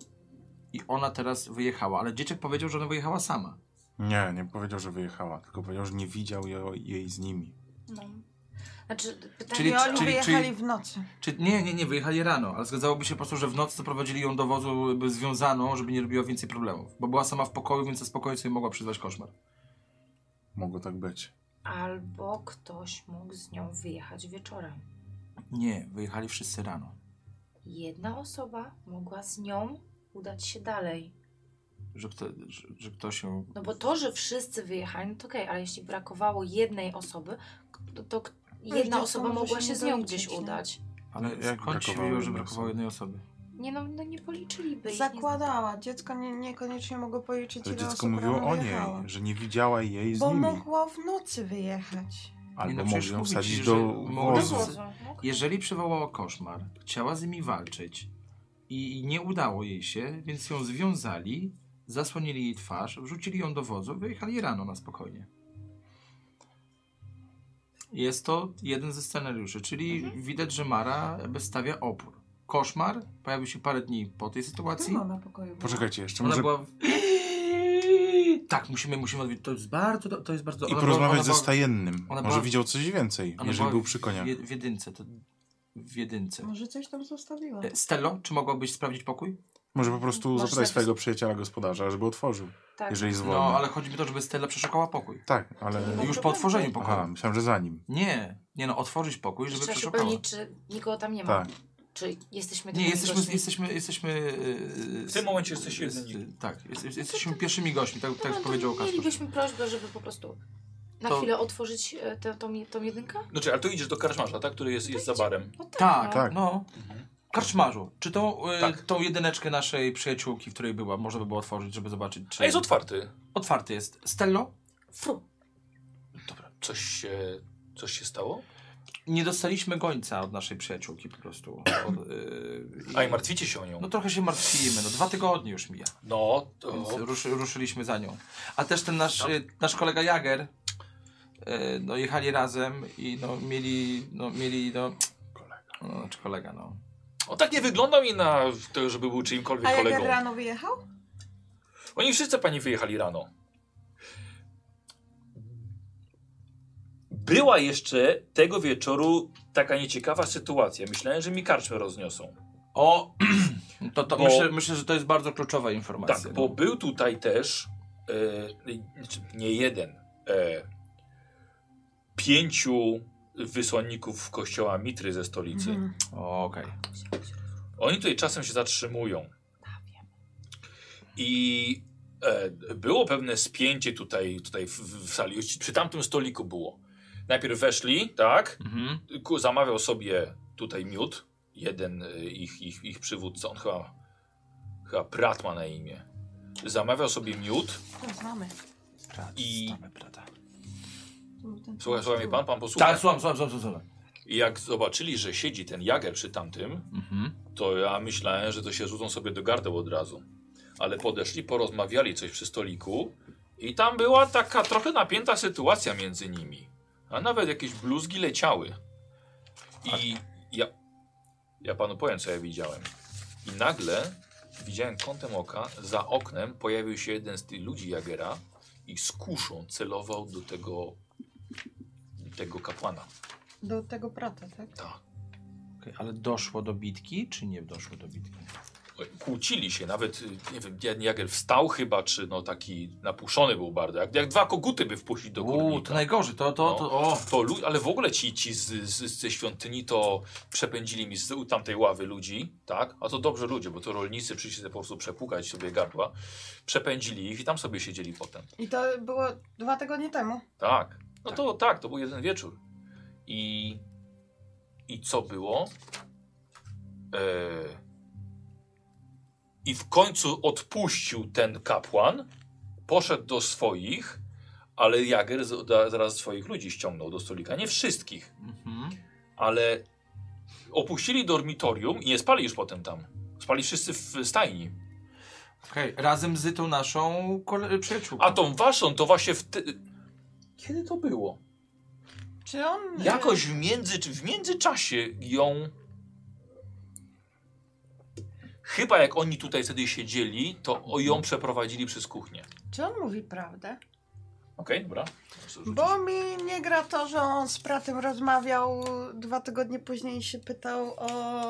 Speaker 2: i ona teraz wyjechała. Ale dzieciak powiedział, że ona wyjechała sama.
Speaker 4: Nie, nie powiedział, że wyjechała, tylko powiedział, że nie widział jej, jej z nimi.
Speaker 3: No. Znaczy, pytanie
Speaker 2: Czyli-
Speaker 5: I oni
Speaker 2: czyli-
Speaker 5: wyjechali
Speaker 2: czyli-
Speaker 5: w nocy.
Speaker 2: Czy nie, nie, nie, wyjechali rano, ale zgadzałoby się po prostu, że w nocy prowadzili ją do wozu jakby związaną, żeby nie robiła więcej problemów. Bo była sama w pokoju, więc ze spokoju sobie mogła przyzwać koszmar.
Speaker 4: Mogło tak być.
Speaker 3: Albo ktoś mógł z nią wyjechać wieczorem.
Speaker 2: Nie, wyjechali wszyscy rano.
Speaker 3: Jedna osoba mogła z nią udać się dalej.
Speaker 2: Że, kto, że, że ktoś się.
Speaker 3: No bo to, że wszyscy wyjechali, no to okej, ale jeśli brakowało jednej osoby, k- to, to k- jedna
Speaker 5: dziecko
Speaker 3: osoba
Speaker 5: może
Speaker 3: mogła
Speaker 5: tak się
Speaker 3: się
Speaker 5: nie
Speaker 3: z nią
Speaker 5: doliczyć,
Speaker 3: gdzieś
Speaker 5: nie?
Speaker 3: udać.
Speaker 2: Ale
Speaker 4: Jak
Speaker 2: skąd się
Speaker 4: brakowało
Speaker 2: wiedział, że
Speaker 4: jednej
Speaker 2: brakowało
Speaker 4: osoby?
Speaker 2: jednej osoby?
Speaker 3: Nie no, no nie policzyliby. ich,
Speaker 5: Zakładała. Dziecko nie, niekoniecznie mogło policzyć,
Speaker 4: Ale
Speaker 5: ile
Speaker 4: dziecko
Speaker 5: osób
Speaker 4: mówiło
Speaker 5: rano
Speaker 4: o niej,
Speaker 5: wyjechało.
Speaker 4: że nie widziała jej z
Speaker 5: Bo
Speaker 4: nimi.
Speaker 5: mogło w nocy wyjechać.
Speaker 2: Nie, no
Speaker 4: Albo
Speaker 2: przecież
Speaker 4: mogli ją
Speaker 2: mówi ci,
Speaker 4: wsadzić
Speaker 2: że
Speaker 4: do
Speaker 2: mogło-
Speaker 3: Nie
Speaker 4: wozu.
Speaker 2: Jezu.
Speaker 3: zna- Boże, okej.
Speaker 2: No, Jeżeli przywołała koszmar, chciała z nimi walczyć i i nie udało jej się, więc ją związali, zasłonili jej twarz, wrzucili ją do wozu, wyjechali rano na spokojnie. Jest to jeden ze scenariuszy, czyli widać, że Mara jakby stawia opór. Koszmar pojawił się parę dni po tej sytuacji.
Speaker 5: Czemu na pokoju była?
Speaker 4: Poczekajcie, jeszcze
Speaker 2: Ona
Speaker 4: może
Speaker 2: była. W... Tak, musimy, musimy odwiedzić. To jest bardzo. do- To jest bardzo.
Speaker 4: i
Speaker 2: ona
Speaker 4: porozmawiać
Speaker 2: była- ona
Speaker 4: ze
Speaker 2: była-
Speaker 4: stajennym.
Speaker 2: ona
Speaker 4: Może
Speaker 2: była-
Speaker 4: widział coś więcej,
Speaker 2: ona
Speaker 4: jeżeli
Speaker 2: była
Speaker 4: był przy koniach.
Speaker 2: W, jed- w jedynce. To... W jedynce.
Speaker 5: Może coś tam zostawiła.
Speaker 2: E, Stello, czy mogłabyś sprawdzić pokój?
Speaker 4: Może po prostu
Speaker 3: Może
Speaker 4: zapytać
Speaker 3: zapis-
Speaker 4: swojego przyjaciela gospodarza, żeby otworzył,
Speaker 3: Tak.
Speaker 4: jeżeli jest wolny.
Speaker 2: No, ale chodzi mi o to, żeby Stella przeszukała pokój.
Speaker 4: Tak, ale...
Speaker 5: No
Speaker 2: Już
Speaker 5: to
Speaker 2: po
Speaker 5: tak,
Speaker 2: otworzeniu
Speaker 5: tak.
Speaker 2: pokoju.
Speaker 4: Aha, myślałem, że za nim.
Speaker 2: Nie, nie no, otworzyć pokój, żeby
Speaker 3: Trzeba się
Speaker 2: przeszukała.
Speaker 3: upewnić, czy nikogo tam nie ma.
Speaker 4: Tak.
Speaker 3: Czy jesteśmy
Speaker 2: Nie,
Speaker 3: tylko
Speaker 2: jesteśmy,
Speaker 3: widocznie?
Speaker 2: jesteśmy, jesteśmy... yy,
Speaker 1: W tym momencie jesteś
Speaker 2: z-
Speaker 1: jedyni.
Speaker 2: z- Tak, jest, jest- jesteśmy pierwszymi gośćmi, tak,
Speaker 3: No,
Speaker 2: tak
Speaker 3: no, to
Speaker 2: powiedział Kasper.
Speaker 3: Mielibyśmy prośbę, żeby po prostu Na
Speaker 2: To-
Speaker 3: chwilę otworzyć e, tę tą, tą jedynkę?
Speaker 1: Znaczy, ale tu idziesz do karczmarza, tak? Który jest, jest za barem.
Speaker 3: No tak.
Speaker 2: Tak,
Speaker 3: no.
Speaker 4: tak.
Speaker 2: no. Karczmarzu, czy tą, y,
Speaker 1: Tak.
Speaker 2: tą jedyneczkę naszej przyjaciółki, w której była, można by było otworzyć, żeby zobaczyć, czy...
Speaker 1: A jest otwarty.
Speaker 2: Otwarty jest. Stello,
Speaker 3: Fru.
Speaker 1: Dobra, coś się, coś się stało?
Speaker 2: nie dostaliśmy gońca od naszej przyjaciółki po prostu. Od, y, i-
Speaker 1: A i martwicie się o nią.
Speaker 2: No trochę się martwimy, no dwa tygodnie już mija,
Speaker 1: No,
Speaker 2: więc
Speaker 1: to...
Speaker 2: ruszy, ruszyliśmy za nią. A też ten nasz, y, nasz kolega Jager, y, no jechali razem i no mieli, no mieli, no... Kolega. No, czy kolega, no.
Speaker 1: On tak nie wyglądał i na to, żeby był
Speaker 5: A
Speaker 1: czyimkolwiek
Speaker 5: jak
Speaker 1: kolegą.
Speaker 5: rano wyjechał?
Speaker 1: Oni wszyscy pani wyjechali rano. Była jeszcze tego wieczoru taka nieciekawa sytuacja. Myślałem, że mi karczmy rozniosą.
Speaker 2: O! To, to
Speaker 1: Bo-
Speaker 2: myślę, myślę, że to jest bardzo kluczowa informacja.
Speaker 1: Tak,
Speaker 2: no.
Speaker 1: bo był tutaj też e, znaczy nie jeden, e, pięciu wysłanników kościoła Mitry ze stolicy.
Speaker 5: Mhm.
Speaker 2: O, Okej.
Speaker 1: Oni tutaj czasem się zatrzymują. I e, było pewne spięcie tutaj, tutaj w, w sali. Już Przy tamtym stoliku było. Najpierw weszli, tak?
Speaker 2: Mhm.
Speaker 1: Ku- Zamawiał sobie tutaj miód. Jeden y, ich, ich, ich przywódca, on chyba, chyba Prat ma na imię. Zamawiał sobie miód.
Speaker 5: To znamy.
Speaker 1: I-
Speaker 2: Znamy brata.
Speaker 1: Słuchaj, słuchaj mnie pan, pan posłucha.
Speaker 2: Tak, słucham, słucham, słucham, słucham.
Speaker 1: I jak zobaczyli, że siedzi ten Jager przy tamtym,
Speaker 2: Mhm.
Speaker 1: to ja myślałem, że to się rzucą sobie do gardeł od razu. Ale podeszli, porozmawiali coś przy stoliku i tam była taka trochę napięta sytuacja między nimi. A nawet jakieś bluzgi leciały. I ja, ja panu powiem, co ja widziałem. I nagle widziałem kątem oka, za oknem pojawił się jeden z tych ludzi Jagera i z kuszą celował do tego, tego kapłana.
Speaker 5: Do tego prata, tak?
Speaker 1: Tak.
Speaker 2: Okej, ale doszło do bitki, czy nie doszło do bitki?
Speaker 1: kłócili się, nawet y, nie wiem, Jan Jager wstał chyba, czy no taki napuszony był bardzo, jak, jak dwa koguty by wpuścić do
Speaker 2: Uuu,
Speaker 1: górnika. No.
Speaker 2: to najgorzej, to, to, to, o.
Speaker 1: to lu- ale w ogóle ci, ci z, z, ze świątyni to przepędzili mi z tamtej ławy ludzi, tak? A to dobrze ludzie, bo to rolnicy przyszli sobie po prostu przepukać sobie gardła. Przepędzili ich i tam sobie siedzieli potem.
Speaker 5: I to było dwa tygodnie temu.
Speaker 1: Tak. No to tak, to był jeden wieczór. I, i co było? E, I w końcu odpuścił ten kapłan, poszedł do swoich, ale Jager z- da- zaraz swoich ludzi ściągnął do stolika. Nie wszystkich,
Speaker 2: Mhm.
Speaker 1: ale opuścili dormitorium i nie spali już potem tam. Spali wszyscy w stajni.
Speaker 2: Okej, razem z tą naszą kole- przyjaciółką.
Speaker 1: A tą waszą to właśnie wtedy. Kiedy to było?
Speaker 5: Czy on...
Speaker 1: Jakoś w, między, w międzyczasie ją. Chyba jak oni tutaj wtedy siedzieli, to o- ją przeprowadzili przez kuchnię.
Speaker 5: Czy on mówi prawdę?
Speaker 1: Okej, dobra.
Speaker 5: Bo mi nie gra to, że on z pratem rozmawiał dwa tygodnie później i się pytał o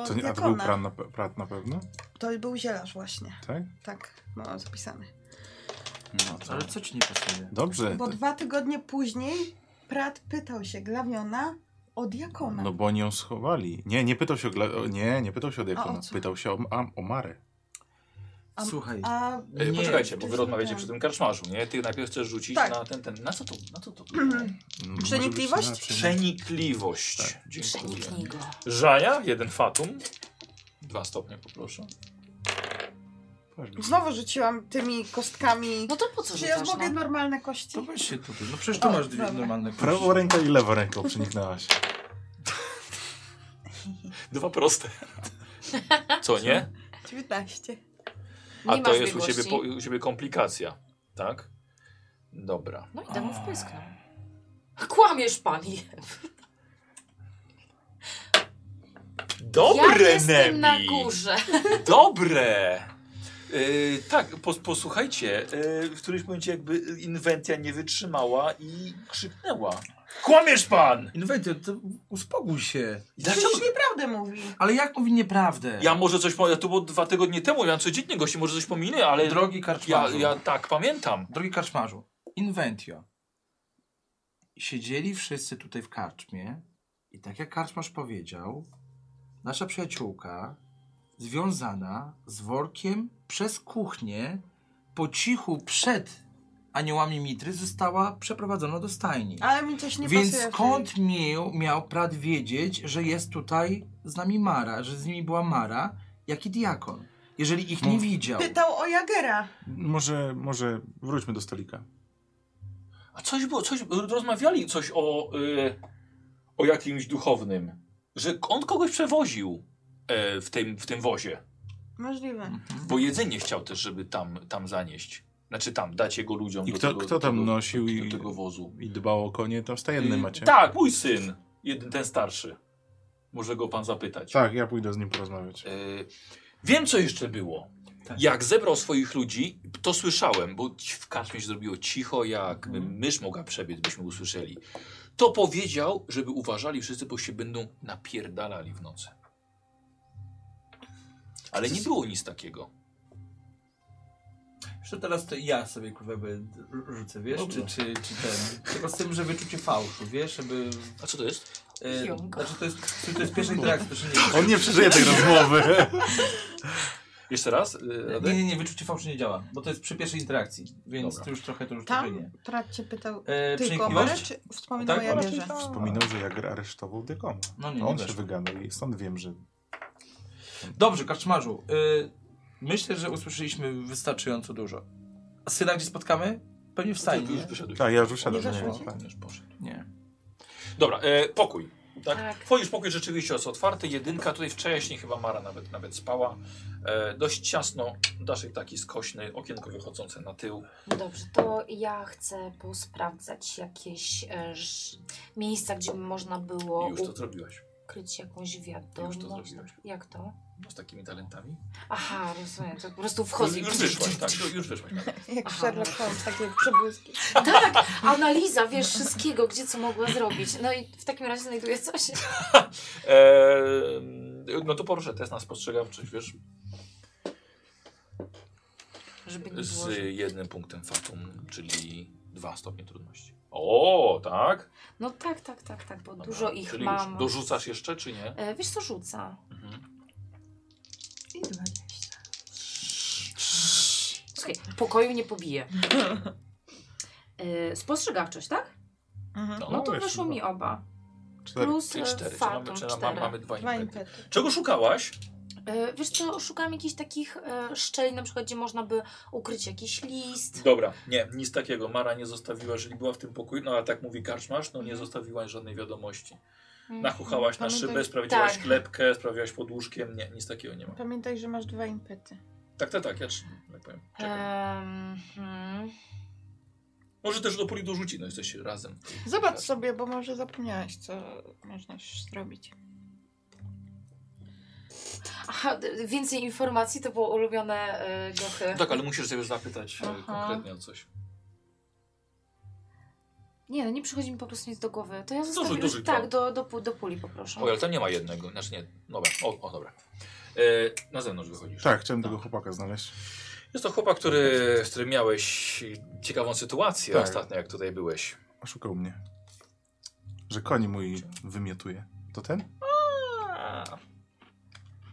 Speaker 4: To nie, a to był
Speaker 5: diakona.
Speaker 4: pran na, pe- prat na pewno?
Speaker 5: To był zielarz właśnie.
Speaker 4: Tak?
Speaker 5: Tak, mam zapisane.
Speaker 4: No to...
Speaker 2: Ale co ci nie pasuje?
Speaker 4: Dobrze.
Speaker 2: tak.
Speaker 5: Bo dwa tygodnie później prat pytał się Glawiona o diakona.
Speaker 4: No bo oni ją schowali. Nie, nie pytał się o, gla... o- nie, nie pytał się o diakona.
Speaker 5: o co?
Speaker 4: Pytał się o, a, o Marę. Mm,
Speaker 5: A-
Speaker 2: Słuchaj,
Speaker 5: A
Speaker 1: E,
Speaker 2: nie,
Speaker 1: poczekajcie, bo wy
Speaker 5: wcześniej
Speaker 1: rozmawiacie
Speaker 5: ten.
Speaker 1: przy tym karczmarzu, nie? Ty najpierw chcesz rzucić
Speaker 5: Tak.
Speaker 1: na ten, ten. Na co to? Na co to? było?
Speaker 3: Mhm.
Speaker 4: No, może być
Speaker 5: Przenikliwość?
Speaker 4: inaczej.
Speaker 1: Przenikliwość.
Speaker 4: Tak.
Speaker 1: Dziękuję.
Speaker 3: Przeniknij go.
Speaker 1: Żaja, jeden fatum. Dwa stopnie poproszę.
Speaker 5: Znowu rzuciłam tymi kostkami.
Speaker 3: No to po co
Speaker 5: Czy ja
Speaker 3: rzucasz,
Speaker 5: mogę
Speaker 3: no?
Speaker 5: normalne
Speaker 2: to
Speaker 5: kości?
Speaker 2: weź się tutaj. No przecież tu
Speaker 5: O,
Speaker 2: masz dwie
Speaker 5: dobra.
Speaker 2: normalne kości.
Speaker 4: Prawą ręką i lewą ręką przeniknęłaś.
Speaker 1: Dwa proste. Co nie?
Speaker 5: 19.
Speaker 1: A
Speaker 3: No Nie
Speaker 1: to
Speaker 3: masz
Speaker 1: jest u
Speaker 3: biegłości.
Speaker 1: ciebie, po, u ciebie komplikacja, tak? Dobra.
Speaker 3: No i temu wpysknął. Kłamiesz pani.
Speaker 1: Dobre,
Speaker 3: ja jestem na
Speaker 1: Nemi!
Speaker 3: górze.
Speaker 1: Dobre! Yy, tak, pos, posłuchajcie, yy, w którymś momencie jakby inwentia nie wytrzymała i krzyknęła. Kłamiesz pan!
Speaker 2: Inwejty, No to uspokój się.
Speaker 1: Dlaczego?
Speaker 5: Przecież nieprawdę mówi.
Speaker 2: Ale jak mówi nieprawdę?
Speaker 1: Ja może coś, pom- ja to było dwa tygodnie temu, ja codziennie gości, może coś pominę, ale
Speaker 2: Drogi
Speaker 1: ja,
Speaker 2: karczmarzu.
Speaker 1: ja tak pamiętam.
Speaker 2: Drogi karczmarzu, inventio. Siedzieli wszyscy tutaj w karczmie i tak jak karczmarz powiedział, nasza przyjaciółka związana z workiem przez kuchnię po cichu przed aniołami Mitry została przeprowadzona do stajni.
Speaker 5: Ale mi coś nie
Speaker 2: Więc
Speaker 5: pasuje. w tej-
Speaker 2: skąd miał, miał Prat wiedzieć, że jest tutaj z nami Mara, że z nimi była Mara, jak i diakon, jeżeli ich nie
Speaker 4: No.
Speaker 2: widział?
Speaker 5: Pytał o Jagera.
Speaker 4: Może, może wróćmy do stolika.
Speaker 1: A coś było, coś, rozmawiali coś o, y, o jakimś duchownym, że on kogoś przewoził e, w, tym, w tym wozie,
Speaker 5: Możliwe.
Speaker 2: Mm,
Speaker 1: bo jedzenie chciał też, żeby tam, tam zanieść. Znaczy tam, dać jego ludziom
Speaker 4: I
Speaker 1: do
Speaker 4: kto-
Speaker 1: tego,
Speaker 4: kto
Speaker 1: do
Speaker 4: tam
Speaker 1: tego,
Speaker 4: nosił
Speaker 1: do,
Speaker 4: i-
Speaker 1: do tego wozu.
Speaker 4: I dbało o konie, to stajenny
Speaker 1: Y,
Speaker 4: macie.
Speaker 1: Tak, mój syn, jeden ten starszy. Może go pan zapytać.
Speaker 4: Tak, ja pójdę z nim porozmawiać.
Speaker 1: Y, wiem, co jeszcze było.
Speaker 4: Tak.
Speaker 1: Jak zebrał swoich ludzi, to słyszałem, bo ci- w karczmie się zrobiło cicho, jak
Speaker 4: Mhm.
Speaker 1: mysz mogła przebiec, byśmy usłyszeli. To powiedział, żeby uważali wszyscy, bo się będą napierdalali w nocy. Ale nie było nic takiego.
Speaker 2: Jeszcze teraz to ja sobie kurwa będę r- rzucę, wiesz,
Speaker 1: Dobra.
Speaker 2: czy, czy, czy ten. Tylko z tym, że wyczucie fałszu, wiesz, żeby...
Speaker 1: A co to jest?
Speaker 2: E,
Speaker 3: Jąg.
Speaker 2: znaczy to jest, to jest pierwsza interakcja, proszę nie...
Speaker 4: No. On nie przeżyje tej rozmowy.
Speaker 1: Jeszcze raz? y,
Speaker 2: Nie,
Speaker 1: Radek?
Speaker 2: nie, nie, wyczucie fałszu nie działa, bo to jest przy pierwszej interakcji, więc
Speaker 1: Dobra.
Speaker 2: to już trochę, to już trochę
Speaker 5: Tam
Speaker 2: nie.
Speaker 5: Prat cię pytał
Speaker 2: E,
Speaker 5: tylko o
Speaker 2: przenikliwość?
Speaker 5: Marę, czy wspominał
Speaker 2: Tak,
Speaker 5: o
Speaker 2: ale
Speaker 5: Jagerze?
Speaker 4: Wspominał, że Jager aresztował Dykoma.
Speaker 2: No nie,
Speaker 4: No,
Speaker 2: nie
Speaker 4: on się
Speaker 2: weszło.
Speaker 4: wygadał i stąd wiem, że...
Speaker 2: Dobrze, Kaczmarzu. Y, myślę, że usłyszeliśmy wystarczająco dużo. A syna gdzie spotkamy? Pewnie w
Speaker 1: Ty
Speaker 2: stajni.
Speaker 1: już
Speaker 2: nie?
Speaker 1: wyszedłeś.
Speaker 4: Tak, ja już usiadłem.
Speaker 5: Nie weszło
Speaker 4: no,
Speaker 5: ci?
Speaker 4: tak.
Speaker 1: Już poszedł.
Speaker 2: Nie.
Speaker 1: Dobra, e, pokój. Tak?
Speaker 3: Tak.
Speaker 1: Twój pokój rzeczywiście jest otwarty. Jedynka tutaj wcześniej chyba Mara nawet, nawet spała. E, dość ciasno, daszek taki skośny, okienko wychodzące na tył.
Speaker 3: No Dobrze, to ja chcę posprawdzać jakieś e, ż- miejsca, gdzie by można było
Speaker 1: I już to zrobiłaś.
Speaker 3: ukryć jakąś
Speaker 1: Już to
Speaker 3: wiadomość.
Speaker 1: zrobiłaś.
Speaker 3: Jak to?
Speaker 1: No, z takimi talentami.
Speaker 3: Aha, rozumiem, to po prostu
Speaker 1: Już,
Speaker 3: wchodzi.
Speaker 1: już wyszłaś, tak, ju- już wyszłaś. Tak.
Speaker 5: Jak
Speaker 3: Aha. no.
Speaker 5: Sherlock Holmes, takie przebłyski.
Speaker 3: Tak, analiza, wiesz, wszystkiego, gdzie co mogła zrobić. No i w takim razie znajduję coś.
Speaker 1: Ehm, E, no to proszę, test na spostrzegawczość, wiesz,
Speaker 3: Żeby nie było,
Speaker 1: z
Speaker 3: że...
Speaker 1: jednym punktem fatum, czyli dwa stopnie trudności. O, tak?
Speaker 3: No tak, tak, tak, tak, bo
Speaker 1: Dobra,
Speaker 3: dużo ich
Speaker 1: czyli
Speaker 3: mam.
Speaker 1: Już dorzucasz jeszcze, czy nie? Mhm.
Speaker 3: E, wiesz co, rzuca.
Speaker 5: I 20.
Speaker 3: Słuchaj, pokoju nie pobije. E, spostrzegawczość, tak?
Speaker 5: Mhm.
Speaker 3: No to
Speaker 4: wiesz,
Speaker 3: weszło
Speaker 4: no.
Speaker 3: mi oba.
Speaker 4: Cztery.
Speaker 3: Plus
Speaker 1: Czyli
Speaker 3: e,
Speaker 1: cztery. Czy mamy,
Speaker 3: fatum
Speaker 1: czy
Speaker 3: cztery.
Speaker 1: mamy, mamy dwa
Speaker 5: Dwa
Speaker 1: impety?
Speaker 5: impety.
Speaker 1: Czego szukałaś?
Speaker 3: E, Wiesz co, szukam jakichś takich e, szczelin, na przykład, gdzie można by ukryć jakiś list.
Speaker 1: Dobra, nie, nic takiego. Mara nie zostawiła, jeżeli była w tym pokoju, no ale tak mówi karczmasz, no
Speaker 3: Mhm.
Speaker 1: nie zostawiłaś żadnej wiadomości. Nachuchałaś na
Speaker 5: Pamiętaj-
Speaker 1: szybę, sprawdziłaś
Speaker 3: tak.
Speaker 1: klepkę, sprawdziłaś pod łóżkiem, nie, nic takiego nie ma.
Speaker 5: Pamiętaj, że masz dwa impety.
Speaker 1: Tak, tak, tak, ja trz- tak powiem, czekam.
Speaker 3: E. Em, hmm.
Speaker 1: Może też do puli dorzuci, no jesteście razem.
Speaker 5: Zobacz sobie, bo może zapomniałaś, co można już zrobić.
Speaker 3: Aha, d- więcej informacji to było ulubione e, gochy.
Speaker 1: Tak, ale musisz sobie zapytać e,
Speaker 3: Aha.
Speaker 1: konkretnie o coś.
Speaker 3: Nie, no nie przychodzi mi po prostu nic do głowy. To ja
Speaker 1: Dorzuć,
Speaker 3: zostawię
Speaker 1: dorzuć,
Speaker 3: już, tak,
Speaker 1: tak.
Speaker 3: do, do, pu- do puli poproszę.
Speaker 1: Oj, ale tam nie ma jednego, znaczy nie, dobra, o, o dobra. E, na zewnątrz wychodzisz.
Speaker 4: Tak, chciałem tego chłopaka znaleźć.
Speaker 1: Jest to chłopak, który, z którym miałeś ciekawą sytuację
Speaker 4: Tak.
Speaker 1: ostatnio, jak tutaj byłeś.
Speaker 4: Oszukał mnie. Że koń mój wymiotuje. To ten?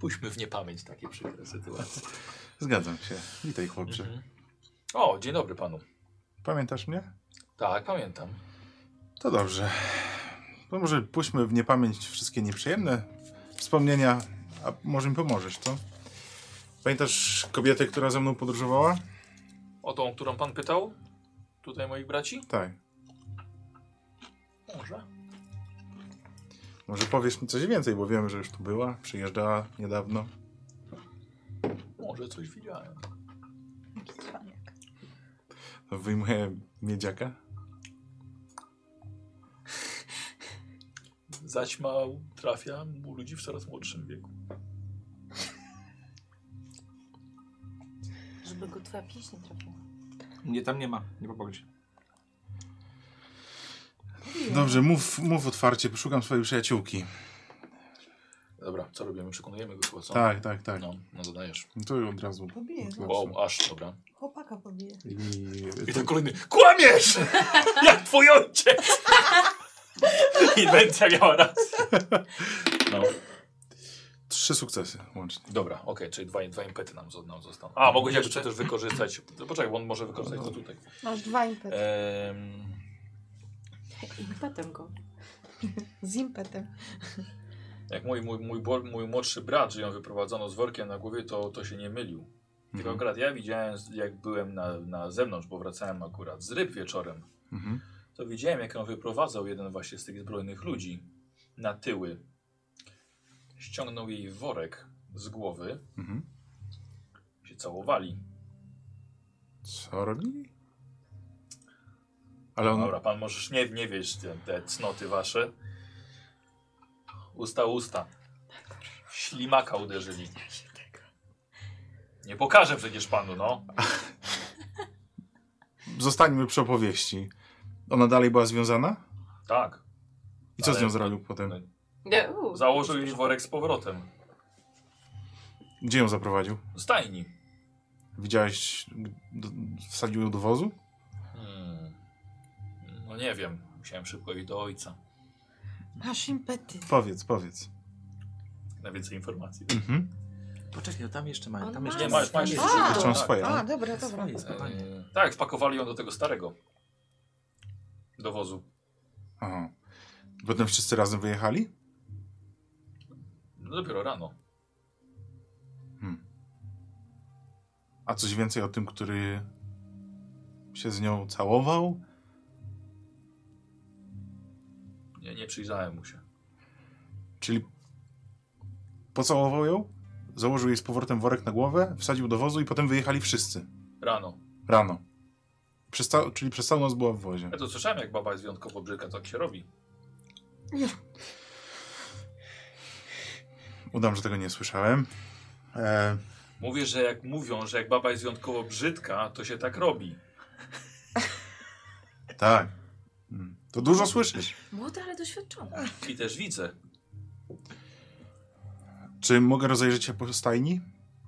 Speaker 1: Puśćmy w niepamięć takie przykre sytuacje.
Speaker 4: Zgadzam się. Witaj, chłopcze.
Speaker 1: Mhm. O, dzień dobry panu.
Speaker 4: Pamiętasz mnie?
Speaker 1: Tak, pamiętam.
Speaker 4: To dobrze. To może puśćmy w niepamięć wszystkie nieprzyjemne wspomnienia, a może mi pomożesz, co? Pamiętasz kobietę, która ze mną podróżowała?
Speaker 1: O tą, którą pan pytał? Tutaj moich braci?
Speaker 4: Tak.
Speaker 1: Może.
Speaker 4: Może powiesz mi coś więcej, bo wiemy, że już tu była, przyjeżdżała niedawno.
Speaker 1: Może coś widziałem.
Speaker 5: Jaki cwaniak.
Speaker 4: To Wyjmuję miedziaka.
Speaker 1: Zaćmał, trafia u ludzi w coraz młodszym wieku.
Speaker 3: Żeby go twoja pieśń nie trafiła.
Speaker 2: Nie, tam nie ma. Nie popogli się.
Speaker 4: Dobrze, mów, mów otwarcie, szukam swojej przyjaciółki.
Speaker 1: Dobra, co robimy? Przekonujemy go chyba, co?
Speaker 4: Tak, tak, tak.
Speaker 1: No, no dodajesz.
Speaker 4: No To od razu.
Speaker 5: Pobiję,
Speaker 4: Od
Speaker 5: no.
Speaker 4: razu.
Speaker 1: Wow, aż, dobra.
Speaker 5: Chłopaka pobiję.
Speaker 4: I,
Speaker 1: I ten kolejny, kłamiesz! Jak twój ojciec! Inwencja miała rację. No.
Speaker 4: Trzy sukcesy łącznie.
Speaker 1: Dobra, okej, czyli dwa, dwa impety nam, zo- nam zostaną. A, mogę jeszcze też wykorzystać. No, poczekaj, bo on może wykorzystać to tutaj.
Speaker 5: Masz dwa impety.
Speaker 1: Ehm,
Speaker 6: Impetem go.
Speaker 5: Z impetem.
Speaker 1: jak mój, mój, mój, bo- mój młodszy brat, że ją wyprowadzono z workiem na głowie, to, to się nie mylił. Tylko
Speaker 4: Mhm.
Speaker 1: akurat ja widziałem, jak byłem na, na zewnątrz, bo wracałem akurat z ryb wieczorem,
Speaker 4: Mhm.
Speaker 1: to widziałem, jak on wyprowadzał jeden właśnie z tych zbrojnych ludzi na tyły. Ściągnął jej worek z głowy,
Speaker 4: Mhm.
Speaker 1: się całowali.
Speaker 4: Co robili? Ale on...
Speaker 1: Dobra, pan możesz nie, nie wiesz te, te cnoty wasze. Usta, usta. Ślimaka uderzyli. Nie pokażę przecież panu, no.
Speaker 4: Zostańmy przy opowieści. Ona dalej była związana?
Speaker 1: Tak.
Speaker 4: I co z
Speaker 1: Ale-
Speaker 4: nią zrobił potem?
Speaker 6: Nie, u,
Speaker 1: Założył jej worek z powrotem.
Speaker 4: Gdzie ją zaprowadził?
Speaker 1: Do Stajni.
Speaker 4: Widziałeś... g- Do, wsadził ją do wozu?
Speaker 1: Hmm. No nie wiem. Musiałem szybko iść do ojca.
Speaker 5: Masz impety.
Speaker 4: Powiedz, powiedz.
Speaker 1: Na więcej informacji.
Speaker 4: Mhm.
Speaker 2: Poczekaj, no tam jeszcze mają.
Speaker 6: On
Speaker 2: Tam
Speaker 6: ma-
Speaker 2: jeszcze
Speaker 1: Nie, masz, masz.
Speaker 2: Tam
Speaker 5: A,
Speaker 4: Jeszcze mam swoje.
Speaker 5: A, dobra,
Speaker 2: jest
Speaker 5: dobra.
Speaker 2: swoje, spokojnie.
Speaker 1: Eee, tak, wpakowali ją do tego starego. Do wozu.
Speaker 4: Aha. Potem wszyscy razem wyjechali?
Speaker 1: No dopiero rano.
Speaker 4: A coś więcej o tym, który się z nią całował?
Speaker 1: Nie, nie przyjrzałem mu się.
Speaker 4: Czyli pocałował ją, założył jej z powrotem worek na głowę, wsadził do wozu i potem wyjechali wszyscy.
Speaker 1: Rano.
Speaker 4: Rano. Przez ca- czyli przez całą noc była w wozie.
Speaker 1: Ja to słyszałem, jak baba jest wyjątkowo brzydka, tak się robi.
Speaker 4: Udam, że tego nie słyszałem. E,
Speaker 1: Mówię, że jak mówią, że jak baba jest wyjątkowo brzydka, to się tak robi.
Speaker 4: tak. Mm. To dużo słyszysz.
Speaker 6: Młoda, ale doświadczona.
Speaker 1: I też widzę.
Speaker 4: Czy mogę rozejrzeć się po stajni?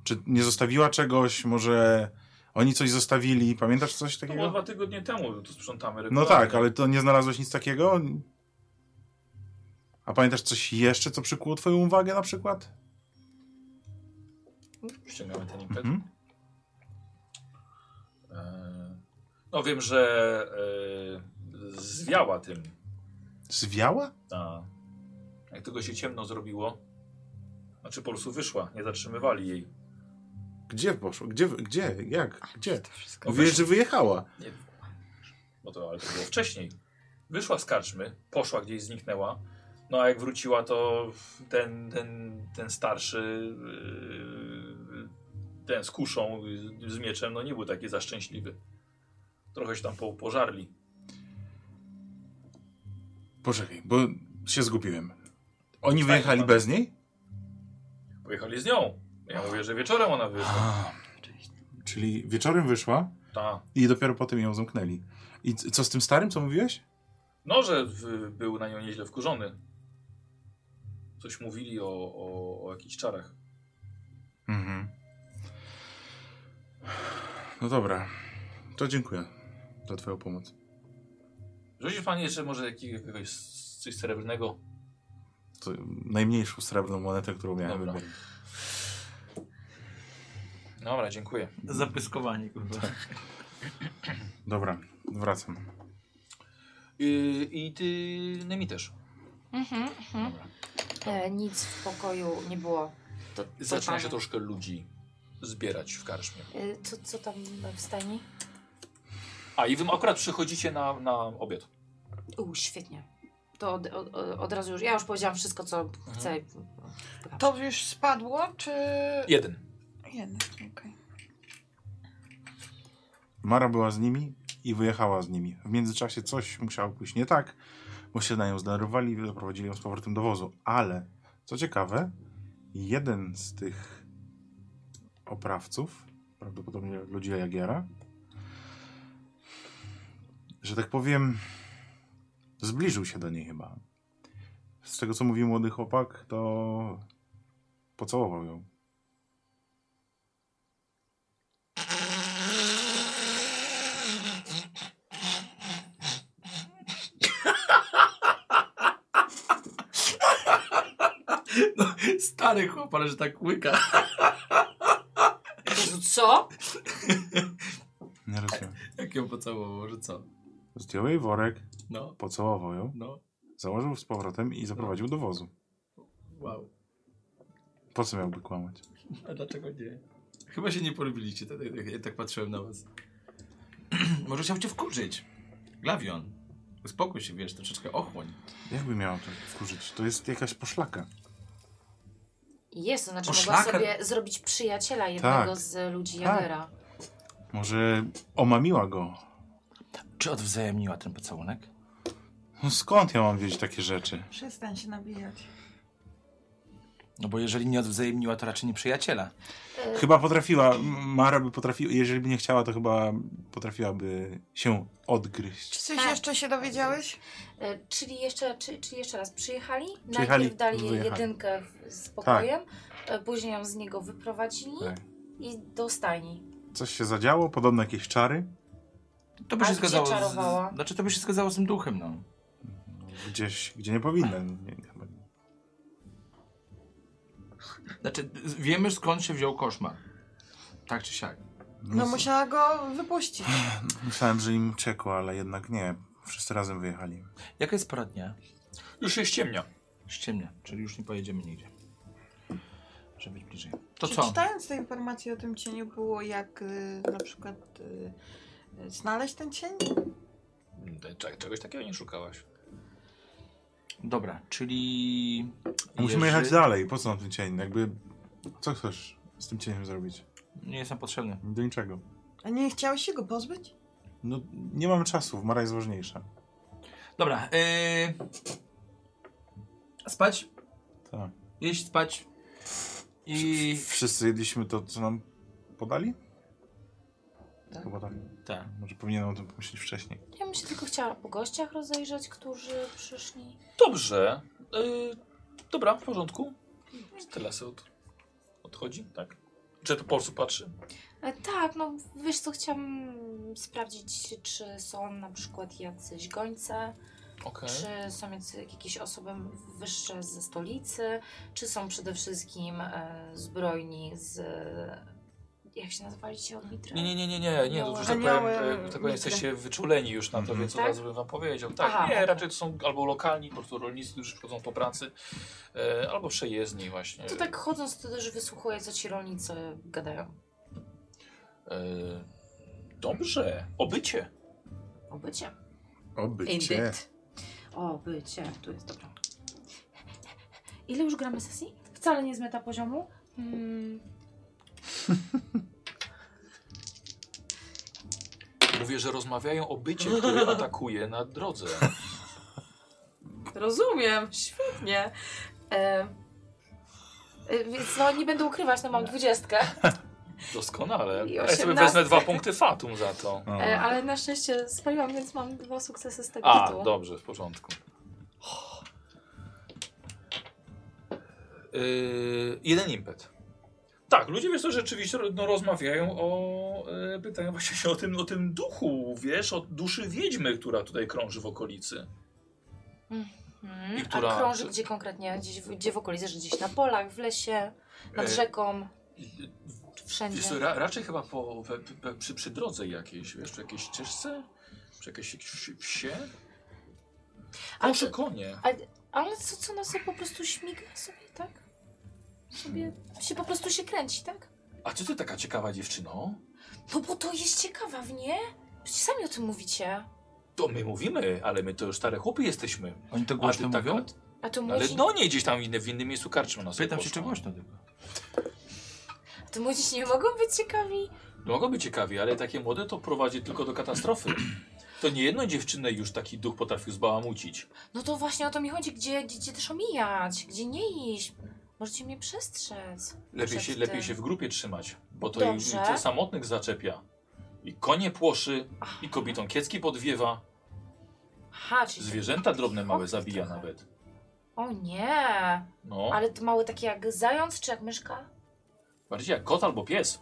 Speaker 4: Czy nie zostawiła czegoś? Może oni coś zostawili? Pamiętasz coś
Speaker 1: To było
Speaker 4: takiego?
Speaker 1: dwa tygodnie temu, tu sprzątamy
Speaker 4: No
Speaker 1: regularnie.
Speaker 4: tak, ale to nie znalazłeś nic takiego? A pamiętasz coś jeszcze, co przykuło twoją uwagę na przykład?
Speaker 1: Ściągamy ten impet.
Speaker 4: Mhm.
Speaker 1: E, No wiem, że e, zwiała tym.
Speaker 4: Zwiała?
Speaker 1: A, jak tego się ciemno zrobiło, znaczy po prostu wyszła, nie zatrzymywali jej.
Speaker 4: Gdzie poszło? Gdzie? Gdzie? Jak? Gdzie?
Speaker 1: No
Speaker 4: Mówiłeś, że wyjechała.
Speaker 1: Nie. No to ale to było wcześniej. Wyszła z karczmy, poszła gdzieś, zniknęła. No a jak wróciła, to ten, ten, ten starszy, yy, ten z kuszą, yy, z mieczem, no nie był taki zaszczęśliwy. Trochę się tam po- pożarli.
Speaker 4: Poczekaj, bo się zgubiłem. Oni wyjechali
Speaker 1: tak.
Speaker 4: bez niej?
Speaker 1: Pojechali z nią. Ja mówię, że wieczorem ona wyszła.
Speaker 4: A, czyli wieczorem wyszła
Speaker 1: Ta.
Speaker 4: i dopiero potem ją zamknęli. I c- co z tym starym, co mówiłeś?
Speaker 1: No, że w, był na nią nieźle wkurzony. Coś mówili o, o, o jakichś czarach.
Speaker 4: Mhm. No dobra, to dziękuję za twoją pomoc.
Speaker 1: Rzucisz pan jeszcze może jakiego- jakiegoś coś srebrnego?
Speaker 4: To najmniejszą srebrną monetę, którą miałem.
Speaker 1: Dobra. Dobra, dziękuję.
Speaker 2: Zapyskowanie, E, kurwa.
Speaker 4: Dobra, wracam.
Speaker 1: I, Yy, i ty Nemi też.
Speaker 3: Mhm, mhm.
Speaker 1: Dobra.
Speaker 3: E, nic w pokoju nie było. To, to
Speaker 1: Zaczyna
Speaker 3: tam-
Speaker 1: się troszkę ludzi zbierać w karczmie.
Speaker 3: E, co, co tam w stajni?
Speaker 1: A i wy akurat przychodzicie na, na obiad.
Speaker 3: U, świetnie. To od, od, od razu już, ja już powiedziałam wszystko, co
Speaker 4: Mhm.
Speaker 3: chcę.
Speaker 5: To już spadło, czy...
Speaker 1: Jeden.
Speaker 5: Jednak, okej.
Speaker 4: Mara była z nimi i wyjechała z nimi. W międzyczasie coś musiało pójść nie tak, bo się na nią zdenerwowali i doprowadzili ją z powrotem do wozu. Ale, co ciekawe, jeden z tych oprawców, prawdopodobnie ludzi Jagiera, że tak powiem, zbliżył się do niej chyba. Z tego, co mówił młody chłopak, to pocałował ją.
Speaker 7: No,
Speaker 2: Stary chłop, ale że tak łyka.
Speaker 3: Jezu, co?
Speaker 4: Nie rozumiem.
Speaker 2: Jak ją pocałował, że co?
Speaker 4: Zdjął jej worek,
Speaker 2: No,
Speaker 4: pocałował ją,
Speaker 2: no,
Speaker 4: założył z powrotem i zaprowadził do wozu.
Speaker 2: wow.
Speaker 4: Po co miałby kłamać?
Speaker 2: A dlaczego nie? Chyba się nie polubiliście, tak, tak, ja tak patrzyłem na was. Może chciał cię wkurzyć. Glawion. Uspokój się, wiesz, troszeczkę ochłoń.
Speaker 4: Jakby miał to wkurzyć? To jest jakaś poszlaka.
Speaker 3: Jest, to znaczy
Speaker 2: Bo
Speaker 3: mogła
Speaker 2: szlak-
Speaker 3: sobie zrobić przyjaciela jednego
Speaker 4: Tak.
Speaker 3: z ludzi
Speaker 4: Tak.
Speaker 3: Jagera.
Speaker 4: Może omamiła go.
Speaker 2: Czy odwzajemniła ten pocałunek?
Speaker 4: No skąd ja mam wiedzieć takie rzeczy?
Speaker 5: Przestań się nabijać.
Speaker 2: No bo jeżeli nie odwzajemniła, to raczej nie przyjaciela.
Speaker 4: Chyba potrafiła, M- Mara by potrafiła, jeżeli by nie chciała, to chyba potrafiłaby się odgryźć.
Speaker 5: Czy coś jeszcze się dowiedziałeś?
Speaker 3: E, Czyli jeszcze, czy, czyli jeszcze raz przyjechali,
Speaker 4: Przyjechali,
Speaker 3: najpierw dali jej
Speaker 4: wyjechali.
Speaker 3: jedynkę w- z pokojem, e, później ją z niego wyprowadzili
Speaker 4: Tak.
Speaker 3: i do stajni.
Speaker 4: Coś się zadziało, podobno jakieś czary.
Speaker 2: To by
Speaker 3: A
Speaker 2: się
Speaker 3: gdzie
Speaker 2: zgadzało.
Speaker 3: czarowała?
Speaker 2: Z, znaczy, to by się zgadzało z tym duchem, no.
Speaker 4: Gdzieś, gdzie nie powinna. Nie, nie, chyba nie.
Speaker 2: Znaczy, z- wiemy skąd się wziął koszmar. Tak czy siak.
Speaker 5: No musiała go wypuścić.
Speaker 4: Myślałem, że im czekło, ale jednak nie. Wszyscy razem wyjechali.
Speaker 2: Jaka jest pora dnia?
Speaker 1: Już się ściemnia.
Speaker 2: Już ciemnia, czyli już nie pojedziemy nigdzie. Żeby być bliżej. To
Speaker 5: Czy
Speaker 2: co?
Speaker 5: Czytając te informacje o tym cieniu było jak y, na przykład y, y, znaleźć ten cień?
Speaker 1: Cze- Mm, Czegoś takiego nie szukałaś.
Speaker 2: Dobra, czyli.
Speaker 4: Musimy
Speaker 2: Jerzy-
Speaker 4: jechać dalej. Po co nam ten cień? Jakby, co chcesz z tym cieniem zrobić?
Speaker 2: Nie jest nam potrzebny.
Speaker 4: Do niczego.
Speaker 5: A nie chciałeś się go pozbyć?
Speaker 4: No, nie mamy czasu. Mara jest ważniejsza.
Speaker 2: Dobra, yy... spać,
Speaker 4: Tak.
Speaker 2: jeść, spać. I.
Speaker 4: Wszyscy jedliśmy to, co nam podali? Chyba tak.
Speaker 2: Tak.
Speaker 4: Może powinienem o tym pomyśleć wcześniej.
Speaker 3: Ja bym się tylko chciała po gościach rozejrzeć, którzy przyszli.
Speaker 1: Dobrze. Y, dobra, w porządku. Telesy od, odchodzi, tak? Czy to po prostu patrzy?
Speaker 3: E, Tak, no wiesz co, chciałam sprawdzić, czy są na przykład jacyś gońce,
Speaker 1: Okej.
Speaker 3: czy są jacy- jakieś osoby wyższe ze stolicy, czy są przede wszystkim e, zbrojni z... Jak się nazywali ci od Mitry?
Speaker 1: Nie, nie, nie, nie, nie, nie, to, że tak powiem,
Speaker 5: Anioły,
Speaker 1: e, że tak powiem,
Speaker 5: mitry.
Speaker 1: jesteście wyczuleni już na to,
Speaker 4: Mhm.
Speaker 1: więc od
Speaker 3: Tak?
Speaker 1: razu bym wam powiedział. Tak,
Speaker 3: Aha.
Speaker 1: nie, raczej to są albo lokalni, po prostu rolnicy, którzy przychodzą po pracy, e, albo przejezdni właśnie.
Speaker 3: To tak chodząc, to też wysłuchuję, co ci rolnicy gadają.
Speaker 1: E, dobrze, obycie.
Speaker 3: O bycie.
Speaker 4: Obycie.
Speaker 3: O bycie, tu jest dobra. Ile już gramy sesji? Wcale nie z meta poziomu. Hmm,
Speaker 1: Mówię, że rozmawiają o bycie, który atakuje na drodze.
Speaker 3: rozumiem, świetnie. E, e, więc no nie będę ukrywać, no mam dwudziestkę,
Speaker 1: Doskonale.
Speaker 3: I
Speaker 1: Ja sobie
Speaker 3: osiemnastkę.
Speaker 1: wezmę dwa punkty fatum za to.
Speaker 4: O,
Speaker 3: e, ale na szczęście spaliłam, więc mam dwa sukcesy z tego
Speaker 1: A,
Speaker 3: tytułu.
Speaker 1: dobrze, w porządku. Yy, jeden impet. Tak, ludzie wiesz, to rzeczywiście no, rozmawiają o. Yy, pytają właśnie się o tym, o tym duchu, wiesz, o duszy wiedźmy, która tutaj krąży w okolicy.
Speaker 3: Mhm.
Speaker 1: I która-
Speaker 3: A krąży gdzie konkretnie? Gdzieś, w- gdzie w okolicy? Że gdzieś na polach, w lesie, nad
Speaker 1: E,
Speaker 3: rzeką,
Speaker 1: Yy,
Speaker 3: czy wszędzie?
Speaker 1: Wiesz, co, ra, raczej chyba po, we, we, przy, przy drodze jakiejś, wiesz, przy jakiejś ścieżce? Przy jakiejś wsi- wsie?
Speaker 3: Ale
Speaker 1: Może
Speaker 3: to-
Speaker 1: konie.
Speaker 3: Ale co, co nas po prostu śmiga sobie, tak? Sobie, się po prostu się kręci, tak?
Speaker 1: A co ty taka ciekawa dziewczyno?
Speaker 3: No bo to jest ciekawa w nie? Przecież sami o tym mówicie.
Speaker 1: To my mówimy, ale my to już stare chłopy jesteśmy.
Speaker 2: Oni to
Speaker 1: A
Speaker 2: głośno
Speaker 1: ty tak,
Speaker 2: mówią?
Speaker 3: A to
Speaker 1: Ale
Speaker 3: młodzi,
Speaker 1: no nie gdzieś tam inny, w innym miejscu karczmy nas.
Speaker 2: Pytam się, czy głośno tylko.
Speaker 3: a to młodzi nie mogą być ciekawi.
Speaker 1: Mogą być ciekawi, ale takie młode to prowadzi tylko do katastrofy. To nie jedną dziewczynę już taki duch potrafił zbałamucić.
Speaker 3: No to właśnie o to mi chodzi, gdzie, gdzie, gdzie też omijać, gdzie nie iść. Możecie mnie przestrzec.
Speaker 1: Lepiej się,
Speaker 3: Przed
Speaker 1: lepiej
Speaker 3: tym.
Speaker 1: się w grupie trzymać, bo to
Speaker 3: Dobrze.
Speaker 1: i, i samotnych zaczepia. I konie płoszy, i kobietom kiecki podwiewa,
Speaker 3: Aha, czyli...
Speaker 1: zwierzęta drobne małe zabija nawet.
Speaker 3: O nie!
Speaker 1: No,
Speaker 3: Ale to małe takie jak zając czy jak myszka?
Speaker 1: bardziej jak kot albo pies.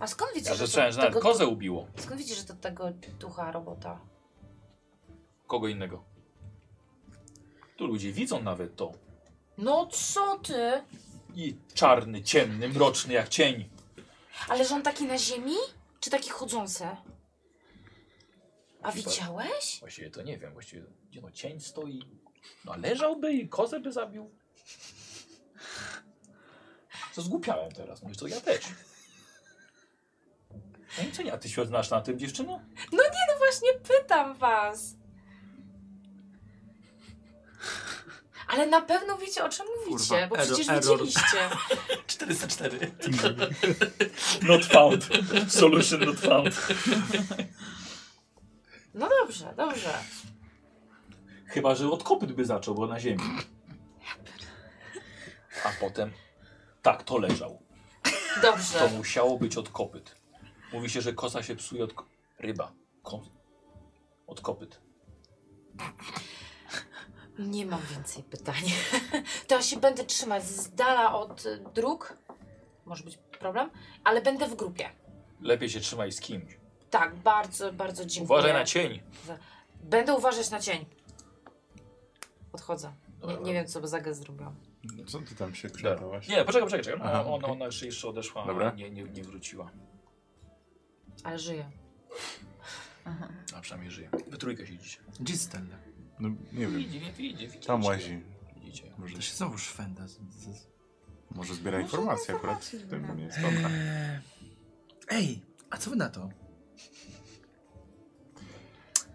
Speaker 3: A skąd wiecie,
Speaker 1: Ja
Speaker 3: że
Speaker 1: zacząłem,
Speaker 3: to,
Speaker 1: że nawet
Speaker 3: tego,
Speaker 1: kozę ubiło.
Speaker 3: skąd wiecie, że to tego ducha robota?
Speaker 1: Kogo innego. Tu ludzie widzą nawet to.
Speaker 6: No co ty?
Speaker 1: I czarny, ciemny, mroczny jak cień.
Speaker 3: Ale że on taki na ziemi? Czy taki chodzący? A widziałeś?
Speaker 1: Właściwie to nie wiem, właściwie gdzie no cień stoi. No leżałby i kozę by zabił. Co zgłupiałem teraz, no i co ja też. No i co nie, a ty się znasz na tym dziewczyno?
Speaker 3: No właśnie pytam was. Ale na pewno wiecie o czym mówicie,
Speaker 2: Kurwa,
Speaker 3: bo
Speaker 2: ero-
Speaker 3: przecież
Speaker 2: error.
Speaker 3: widzieliście.
Speaker 2: 404.
Speaker 1: Not found. Solution not found.
Speaker 3: No dobrze, dobrze.
Speaker 1: Chyba, że od kopyt by zaczął, bo na ziemi. A potem tak to leżał. To
Speaker 3: Dobrze.
Speaker 1: musiało być od kopyt. Mówi się, że kosa się psuje od ko- ryba. Ko od kopyt.
Speaker 3: Nie mam więcej pytań. To ja się będę trzymać z dala od y, dróg. Może być problem, ale będę w grupie.
Speaker 1: Lepiej się trzymaj z kimś.
Speaker 3: Tak, bardzo, bardzo dziękuję.
Speaker 1: Uważaj na cień.
Speaker 3: Będę uważać na cień. Odchodzę. Nie,
Speaker 1: Dobra.
Speaker 3: nie wiem, co by za gest zrobiłam.
Speaker 4: Co ty tam się krzykałaś?
Speaker 1: Tak. Nie, poczekaj, poczekaj, czekaj. Ona,
Speaker 4: Aha,
Speaker 1: ona,
Speaker 4: okej.
Speaker 1: ona jeszcze, jeszcze odeszła,
Speaker 4: Dobra.
Speaker 1: Nie, nie, nie wróciła.
Speaker 3: Ale żyję.
Speaker 1: A przynajmniej żyje. Wy trójkę siedzicie.
Speaker 2: Gistel.
Speaker 4: No, nie wiem.
Speaker 1: Widzi, wie- widzi, widzi.
Speaker 4: Tam łazi.
Speaker 1: Widzicie.
Speaker 4: Może,
Speaker 2: To się znowu szwenda. z- z- z-
Speaker 4: może zbiera informacje akurat. W tym nie jest dobra.
Speaker 2: Eee, Ej, a co wy na to?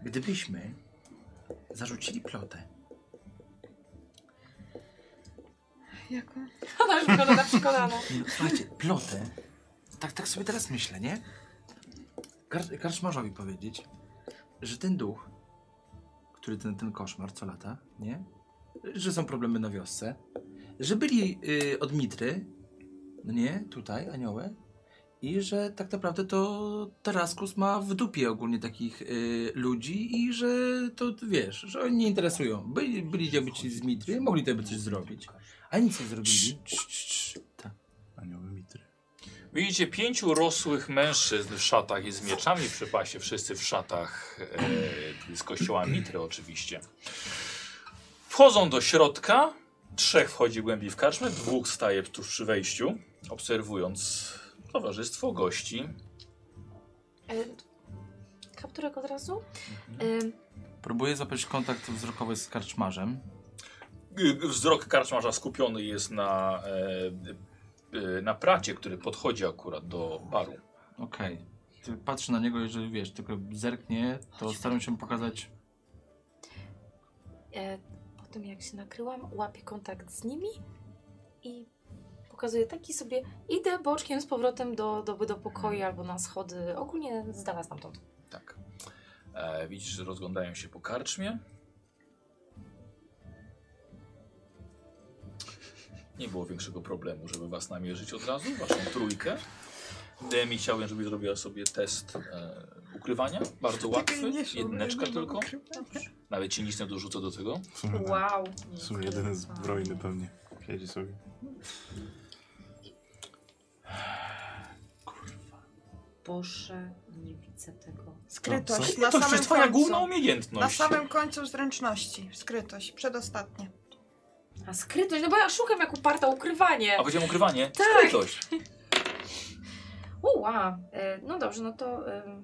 Speaker 2: Gdybyśmy zarzucili plotę.
Speaker 5: Jako?
Speaker 3: Ona już wygląda na przekonaną.
Speaker 2: Nie, no, Słuchajcie, plotę. Tak, tak sobie teraz myślę, nie? Kar- karczmarzowi powiedzieć, że ten duch, który ten, ten koszmar co lata, nie? Że są problemy na wiosce, że byli y, od Mitry, no nie, tutaj, anioły, i że tak naprawdę to Taraskus ma w dupie ogólnie takich y, ludzi i że to wiesz, że oni nie interesują. Byli, byli dziewici z Mitry, mogli to by coś zrobić, a nic nie zrobili. Tak.
Speaker 4: Anioły mitry.
Speaker 1: Widzicie pięciu rosłych mężczyzn w szatach i z mieczami przy pasie, wszyscy w szatach e, z kościoła Mitry oczywiście. Wchodzą do środka, trzech wchodzi głębiej w karczmę, dwóch staje tuż przy wejściu, obserwując towarzystwo gości.
Speaker 3: Y, Kapturek od razu? Y,
Speaker 2: Próbuję zapewnić kontakt wzrokowy z karczmarzem.
Speaker 1: G- g- Wzrok karczmarza skupiony jest na, e, e, na pracie, który podchodzi akurat do baru.
Speaker 2: Okej. Ty- Patrzę na niego, jeżeli wiesz, tylko zerknie, to staram się pokazać.
Speaker 3: e, po tym jak się nakryłam, łapię kontakt z nimi i pokazuję taki sobie, idę boczkiem z powrotem do, do, do pokoju albo na schody, ogólnie z dala stamtąd.
Speaker 1: Tak. E, widzisz, że rozglądają się po karczmie. Nie było większego problemu, żeby was namierzyć od razu, waszą trójkę. Demi chciałbym, żebyś zrobiła sobie test e, ukrywania. Bardzo łatwy. Jedneczka tylko. Nawet ci nic nie dorzucę do tego.
Speaker 4: W sumie, wow.
Speaker 6: Wow.
Speaker 4: w sumie jeden jest zbrojny pewnie. Siedzi sobie.
Speaker 3: Boże, nie widzę tego.
Speaker 5: Skrytość.
Speaker 1: To
Speaker 5: No, na
Speaker 1: jest
Speaker 5: samym
Speaker 1: twoja
Speaker 5: końcu.
Speaker 1: główna
Speaker 5: Na
Speaker 1: umiejętność.
Speaker 5: samym końcu zręczności. Skrytość. Przedostatnie.
Speaker 3: A skrytość, no bo ja szukam jak uparta ukrywanie.
Speaker 1: A powiedziałem ukrywanie?
Speaker 3: Tak.
Speaker 1: Skrytość.
Speaker 3: Uła, e, no dobrze, no to e,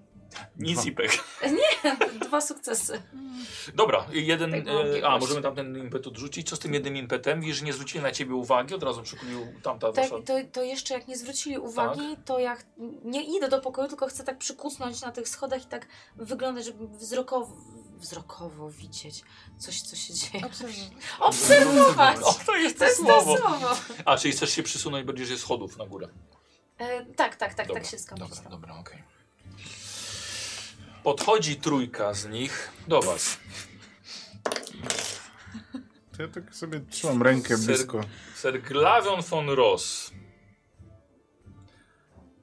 Speaker 1: Nic
Speaker 4: Dwa.
Speaker 1: i pech.
Speaker 3: dwa sukcesy.
Speaker 5: Mm,
Speaker 1: Dobra, i jeden.
Speaker 3: Tak, mam
Speaker 1: E, a,
Speaker 3: jakiegoś.
Speaker 1: możemy tamten impet odrzucić. Co z tym jednym impetem? Widzisz, że nie zwrócili na ciebie uwagi, od razu przykunił tamta
Speaker 3: Tak,
Speaker 1: wasza.
Speaker 3: to, to jeszcze jak nie zwrócili uwagi,
Speaker 1: Tak.
Speaker 3: to ja ch- nie idę do pokoju, tylko chcę tak przykucnąć na tych schodach i tak wyglądać, żeby wzrokowo, wzrokowo widzieć coś, co się dzieje.
Speaker 5: Obserwuję.
Speaker 3: Obserwować!
Speaker 1: O, to jest
Speaker 3: To jest to słowo.
Speaker 1: A, czyli chcesz się przysunąć, będziesz je schodów na górę.
Speaker 3: E, tak, tak, tak,
Speaker 1: Dobra,
Speaker 3: tak się skończy.
Speaker 1: Dobra, dobra, okej. Podchodzi trójka z nich do was.
Speaker 4: To ja tak sobie trzymam rękę
Speaker 1: Ser-
Speaker 4: blisko.
Speaker 1: Sir Glavion von Ross.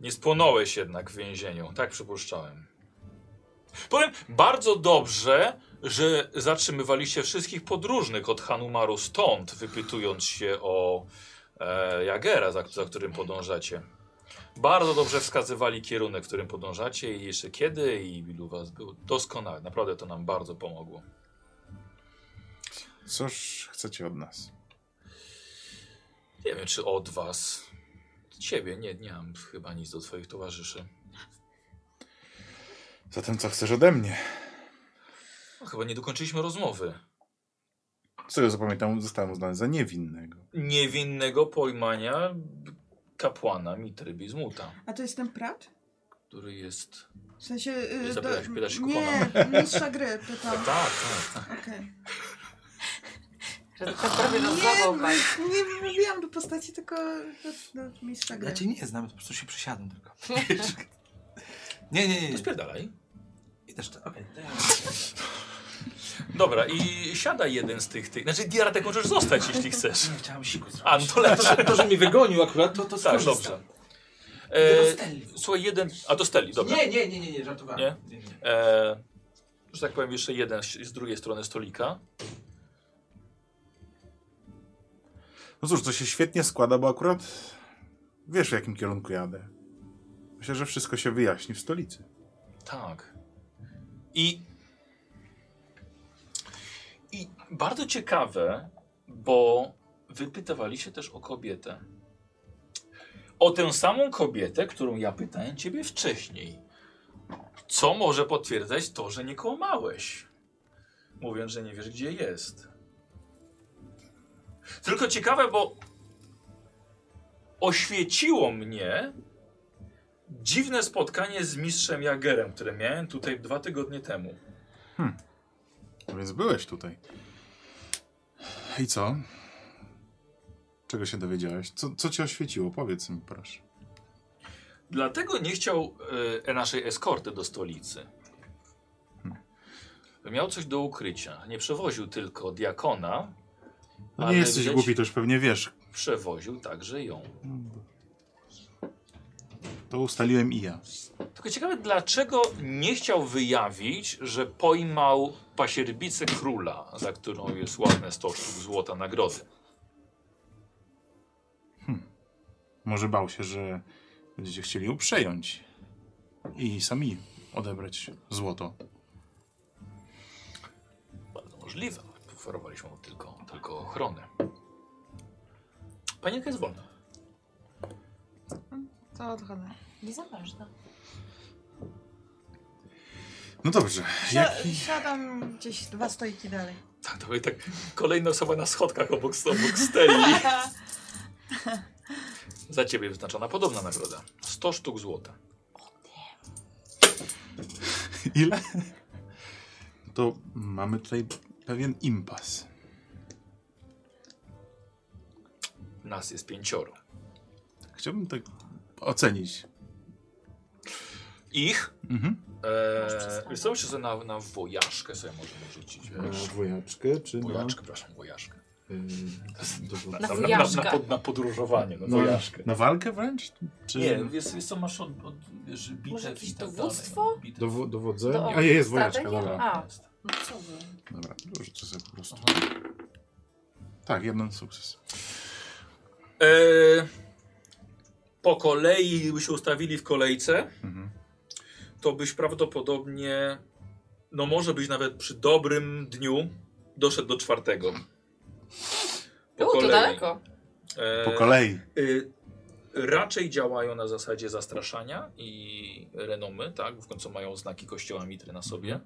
Speaker 1: Nie spłonąłeś jednak w więzieniu, tak przypuszczałem. Powiem bardzo dobrze, że zatrzymywaliście wszystkich podróżnych od Hanumaru stąd, wypytując się o e, Jagera, za, za którym podążacie. Bardzo dobrze wskazywali kierunek, w którym podążacie i jeszcze kiedy i ilu was było. Doskonale, naprawdę to nam bardzo pomogło.
Speaker 4: Cóż chcecie od nas?
Speaker 1: Nie wiem, czy od was. Ciebie, nie, nie mam chyba nic do twoich towarzyszy.
Speaker 4: Zatem co chcesz ode mnie?
Speaker 1: No, chyba nie dokończyliśmy rozmowy.
Speaker 4: Co ja zapamiętam, zostałem uznany za niewinnego.
Speaker 1: Niewinnego pojmania kapłana Mitrybi z Muta,
Speaker 5: A to jest ten prat?
Speaker 1: który jest...
Speaker 5: W sensie... y,
Speaker 1: Zapytać, pytasz
Speaker 5: nie, mistrza gry
Speaker 1: Tak,
Speaker 5: pytam.
Speaker 1: tak, tak.
Speaker 5: Okej.
Speaker 14: Że to prawie
Speaker 5: Nie, no,
Speaker 14: rozdawał pan.
Speaker 1: no.
Speaker 5: nie mówiłam do postaci, tylko do, do mistrza gry.
Speaker 2: Ja
Speaker 1: Znaczy-
Speaker 2: cię nie znam, po prostu się przysiadłem tylko. Wiesz? nie, nie, nie.
Speaker 1: To
Speaker 2: nie.
Speaker 1: spierdalaj.
Speaker 2: I też tak. okej.
Speaker 1: Dobra, i siada jeden z tych... tych... Znaczy, Diara, tak możesz zostać, jeśli chcesz.
Speaker 2: Nie chciałem siku zrobić.
Speaker 1: A, no to lepsze.
Speaker 2: To, że mi wygonił akurat, to, to
Speaker 1: Tak,
Speaker 2: skorzystam. Yy,
Speaker 1: dobrze.
Speaker 2: Do
Speaker 1: E,
Speaker 2: Steli.
Speaker 1: słuchaj, jeden... A, do Steli, dobra.
Speaker 2: Nie, nie, nie, nie, nie, żartowałem.
Speaker 1: Nie?
Speaker 2: Nie, nie.
Speaker 1: E, że tak powiem, jeszcze jeden z z drugiej strony stolika.
Speaker 4: No cóż, to się świetnie składa, bo akurat wiesz w jakim kierunku jadę. Myślę, że wszystko się wyjaśni w stolicy.
Speaker 1: Tak. I, I bardzo ciekawe, bo wypytywali się też o kobietę. O tę samą kobietę, którą ja pytałem ciebie wcześniej. Co może potwierdzać to, że nie kłamałeś? Mówiąc, że nie wiesz, gdzie jest. Tylko ciekawe, bo oświeciło mnie, dziwne spotkanie z mistrzem Jagerem, które miałem tutaj dwa tygodnie temu.
Speaker 4: No więc byłeś tutaj. I co? Czego się dowiedziałeś? Co, co cię oświeciło? Powiedz mi, proszę.
Speaker 1: Dlatego nie chciał e, naszej eskorty do stolicy. Hmm. Miał coś do ukrycia. Nie przewoził tylko diakona,
Speaker 4: No nie
Speaker 1: Ale
Speaker 4: jesteś
Speaker 1: widać-
Speaker 4: głupi, to już pewnie wiesz.
Speaker 1: przewoził także ją.
Speaker 4: To ustaliłem i ja.
Speaker 1: Tylko ciekawe, dlaczego nie chciał wyjawić, że pojmał pasierbicę króla, za którą jest ładne 100 sztuk złota nagrody.
Speaker 4: Może bał się, że będziecie chcieli ją przejąć i sami odebrać złoto.
Speaker 1: Bardzo możliwe. Oferowaliśmy mu tylko, tylko ochronę. Panienka jest wolna.
Speaker 5: To odchodzę.
Speaker 3: Nie zamężna.
Speaker 4: No dobrze.
Speaker 5: Si- siadam gdzieś dwa stoiki dalej.
Speaker 1: Tak, to i tak kolejna osoba na schodkach obok, obok steli. Za ciebie wyznaczona podobna nagroda. 100 sztuk złota.
Speaker 4: Ile? To mamy tutaj pewien impas.
Speaker 1: Nas jest pięcioro.
Speaker 4: Chciałbym tak ocenić.
Speaker 1: Ich?
Speaker 4: Mhm.
Speaker 1: Eee, wiesz co, myślę, że na, na wojażkę sobie możemy rzucić. Wiesz?
Speaker 4: Wojaczkę e, czy e,
Speaker 1: Wojaczkę, przepraszam, wojażkę.
Speaker 4: na...
Speaker 3: Na
Speaker 1: na, na,
Speaker 3: fujażka.
Speaker 1: pod, na podróżowanie, no,
Speaker 4: No, Znaczy,
Speaker 1: wojażkę.
Speaker 4: na walkę wręcz? Czy...
Speaker 1: Nie, wiesz, wiesz co, masz od, od wiesz, bitew
Speaker 3: Może jakieś
Speaker 1: i tak
Speaker 3: dowództwo?
Speaker 1: dalej. Bitew.
Speaker 4: Dowo- dowodzenie?
Speaker 3: Do-
Speaker 4: A jest
Speaker 3: statek?
Speaker 4: wojaczka, dobra.
Speaker 3: A, no co wy?
Speaker 4: Dobra, rzucę sobie po prostu.
Speaker 1: Aha.
Speaker 4: Tak, jeden sukces.
Speaker 1: Eee, po kolei, gdybyśmy ustawili w kolejce,
Speaker 4: Mhm.
Speaker 1: to byś prawdopodobnie, no może byś nawet przy dobrym dniu doszedł do czwartego. Po
Speaker 3: U, to daleko.
Speaker 1: Eee,
Speaker 4: Po kolei.
Speaker 1: y, raczej działają na zasadzie zastraszania i renomy, tak? Bo w końcu mają znaki kościoła mitry na sobie.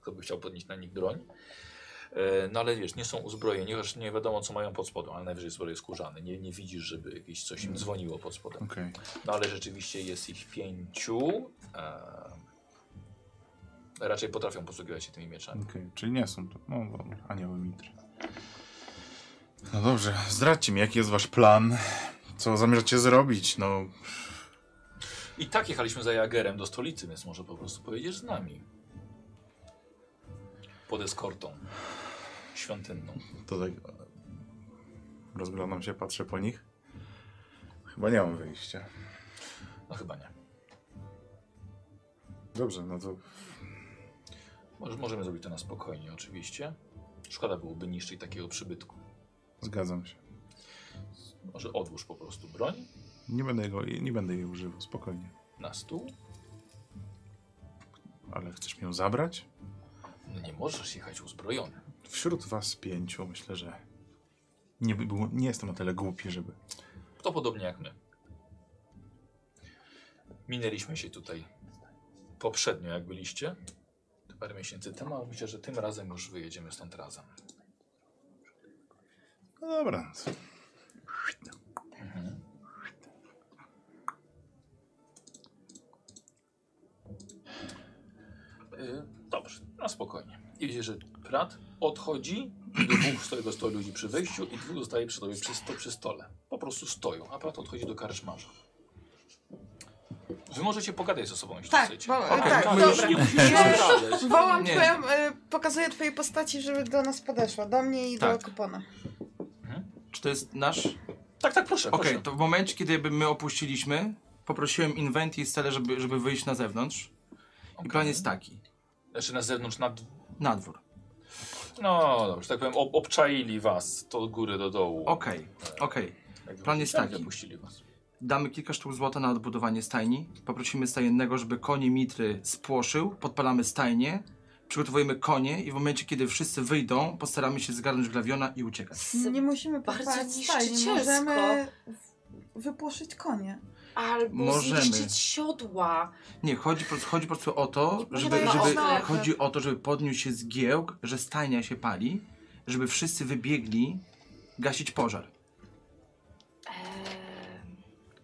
Speaker 1: Kto by chciał podnieść na nich broń. E, No ale wiesz, nie są uzbrojeni, chociaż nie wiadomo co mają pod spodem, ale najwyżej zbroje skórzane. Nie, nie widzisz, żeby jakieś coś im dzwoniło pod spodem.
Speaker 4: Okej.
Speaker 1: No ale rzeczywiście jest ich pięciu. E, raczej potrafią posługiwać się tymi mieczami.
Speaker 4: okej. Czyli nie są to. No dobra, anioły mitry. No dobrze, zdradźcie mi, jaki jest wasz plan. Co zamierzacie zrobić? No,
Speaker 1: I tak jechaliśmy za Jagerem do stolicy, więc może po prostu pojedziesz z nami. Pod eskortą świątynną.
Speaker 4: to tak... Rozglądam się, patrzę po nich. Chyba nie mam wyjścia.
Speaker 1: No chyba nie.
Speaker 4: Dobrze, no to
Speaker 1: Może, możemy zrobić to na spokojnie, oczywiście. Szkoda byłoby niszczyć takiego przybytku.
Speaker 4: zgadzam się.
Speaker 1: Może odłóż po prostu broń
Speaker 4: Nie będę, jego, nie będę jej używał, spokojnie.
Speaker 1: na stół.
Speaker 4: Ale chcesz mi ją zabrać?
Speaker 1: No nie możesz jechać uzbrojony.
Speaker 4: Wśród was pięciu myślę, że Nie, by było, nie jestem na tyle głupi, żeby...
Speaker 1: To podobnie jak my. Minęliśmy się tutaj poprzednio, jak byliście. To Parę miesięcy temu, ale myślę, że tym razem już wyjedziemy stąd razem.
Speaker 4: No dobra.
Speaker 1: Y, Dobrze, na spokojnie. I widzisz, że Prat odchodzi, i dwóch stoi do sto ludzi przy wejściu i dwóch zostaje przy tobie przy, sto, przy stole. Po prostu stoją, a Prat odchodzi do karczmarza. Wy możecie pogadać ze sobą, jeśli
Speaker 5: Tak,
Speaker 1: chcecie.
Speaker 5: bo-
Speaker 1: Okej, tak,
Speaker 5: tak, dobra.
Speaker 1: już nie musisz
Speaker 5: Ja już-
Speaker 1: rozprawiać.
Speaker 5: Wołam
Speaker 2: Nie.
Speaker 5: twoją, y, pokazuję twojej postaci, żeby do nas podeszła. Do mnie i
Speaker 1: Tak.
Speaker 5: do kupona.
Speaker 2: Czy to jest nasz?
Speaker 1: Tak, tak, proszę,
Speaker 2: Okej,
Speaker 1: proszę.
Speaker 2: to w momencie, kiedy by my opuściliśmy, poprosiłem Inventi i Stele, żeby, żeby wyjść na zewnątrz. I plan jest taki.
Speaker 1: Znaczy na zewnątrz, na... d-
Speaker 2: Na dwór.
Speaker 1: No dobrze, tak powiem, ob obczaili was to od góry do dołu.
Speaker 2: Okej, okej.
Speaker 1: Jakby
Speaker 2: plan jest
Speaker 1: tak,
Speaker 2: taki.
Speaker 1: Dopuścili was.
Speaker 2: Damy kilka sztuk złota na odbudowanie stajni. Poprosimy stajennego, żeby konie Mitry spłoszył. Podpalamy stajnie. Przygotowujemy konie i w momencie, kiedy wszyscy wyjdą, postaramy się zgarnąć glawiona i uciekać.
Speaker 5: Nie musimy
Speaker 3: bardzo
Speaker 5: podpalać stajni,
Speaker 3: niszczycielsko.
Speaker 5: możemy w- wypłoszyć konie.
Speaker 3: Albo
Speaker 2: Możemy.
Speaker 3: zniszczyć siodła.
Speaker 2: Nie, chodzi, po- chodzi po prostu o to,
Speaker 5: Może
Speaker 2: żeby,
Speaker 5: dajmy
Speaker 2: żeby,
Speaker 5: oznaki.
Speaker 2: chodzi o to, żeby podniósł się zgiełk, że stajnia się pali, żeby wszyscy wybiegli gasić pożar.
Speaker 3: Eee...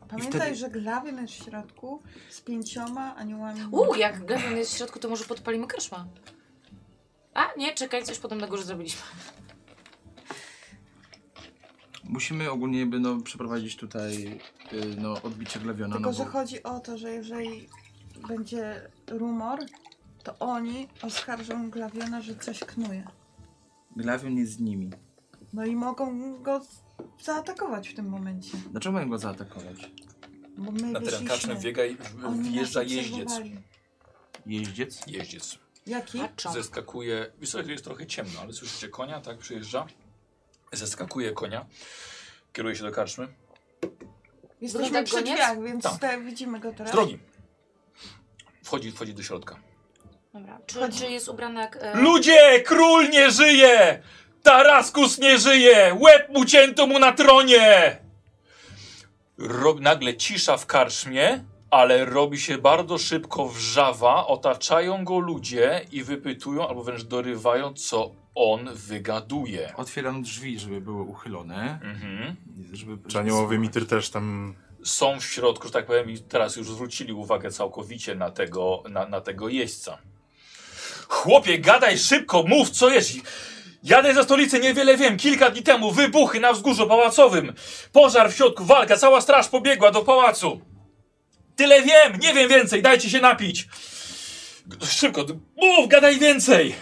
Speaker 5: Pamiętaj,
Speaker 2: wtedy-
Speaker 5: że glawion jest w środku z pięcioma aniołami.
Speaker 3: U, jak Gavin jest w środku, to może podpalimy kreszma. A, nie, czekaj, coś podobnego już zrobiliśmy.
Speaker 2: Musimy ogólnie jakby, no, przeprowadzić tutaj y, no, odbicie glawiona.
Speaker 5: Tylko,
Speaker 2: No,
Speaker 5: że
Speaker 2: bo...
Speaker 5: chodzi o to, że jeżeli będzie rumor, to oni oskarżą glawiona, że coś knuje.
Speaker 2: Glawion jest z nimi.
Speaker 5: No i mogą go zaatakować w tym momencie.
Speaker 2: Dlaczego mają go zaatakować?
Speaker 5: Bo my
Speaker 1: Na teren kaczny
Speaker 5: wyszliśmy.
Speaker 1: biega i
Speaker 5: Oni nas
Speaker 1: wjeżdża jeździec.
Speaker 5: obserwowali.
Speaker 2: Jeździec?
Speaker 1: Jeździec.
Speaker 5: Jaki?
Speaker 3: Patrzą.
Speaker 1: Zeskakuje. Wiesz, co, jest trochę ciemno, ale słyszycie konia, tak przyjeżdża. Zeskakuje konia. Kieruje się do karczmy.
Speaker 5: Jesteśmy
Speaker 3: Wygląda
Speaker 5: przy
Speaker 3: goniec?
Speaker 5: drzwiach, więc
Speaker 1: Tak.
Speaker 5: tutaj widzimy go
Speaker 1: Z
Speaker 5: teraz.
Speaker 1: drogi. Wchodzi, wchodzi do środka.
Speaker 3: Dobra. Czy, czy jest ubrana jak... E...
Speaker 1: Ludzie! Król nie żyje! Taraskus nie żyje! Łeb mu cięto mu na tronie! Rob, nagle cisza w karczmie, ale robi się bardzo szybko wrzawa. Otaczają go ludzie i wypytują, albo wręcz dorywają, co on wygaduje.
Speaker 2: Otwieram drzwi, żeby były uchylone.
Speaker 1: Mhm.
Speaker 2: Żeby,
Speaker 4: Czy aniołowy mitr też tam...
Speaker 1: są w środku, że tak powiem, i teraz już zwrócili uwagę całkowicie na tego, na, na tego jeźdźca. Chłopie, gadaj szybko, mów, co jest. Jadę ze stolicy, niewiele wiem. Kilka dni temu wybuchy na wzgórzu pałacowym. Pożar w środku, walka, cała straż pobiegła do pałacu. Tyle wiem, nie wiem więcej, dajcie się napić. G- Szybko, d- mów, gadaj więcej.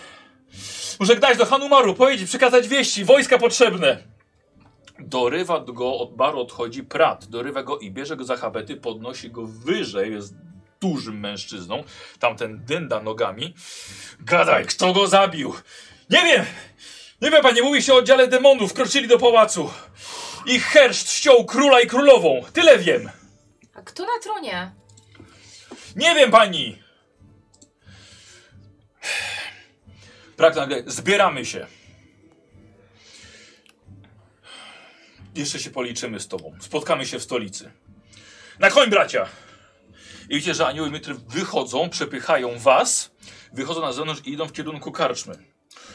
Speaker 1: Muszę dać do Hanumaru, powiedzieć, przekazać wieści, wojska potrzebne. Dorywa go, od baru odchodzi prat, dorywa go i bierze go za habety, podnosi go wyżej, jest dużym mężczyzną, tamten dynda nogami. Gadaj, kto go zabił? Nie wiem! Nie wiem, panie, mówi się o oddziale demonów, kroczyli do pałacu. Ich herszt ściął króla i królową, tyle wiem.
Speaker 3: A kto na tronie?
Speaker 1: Nie wiem, pani! Prak nagle, zbieramy się. Jeszcze się policzymy z tobą. Spotkamy się w stolicy. Na koń, bracia! I widzicie, że anioły mitry wychodzą, przepychają was, wychodzą na zewnątrz i idą w kierunku karczmy.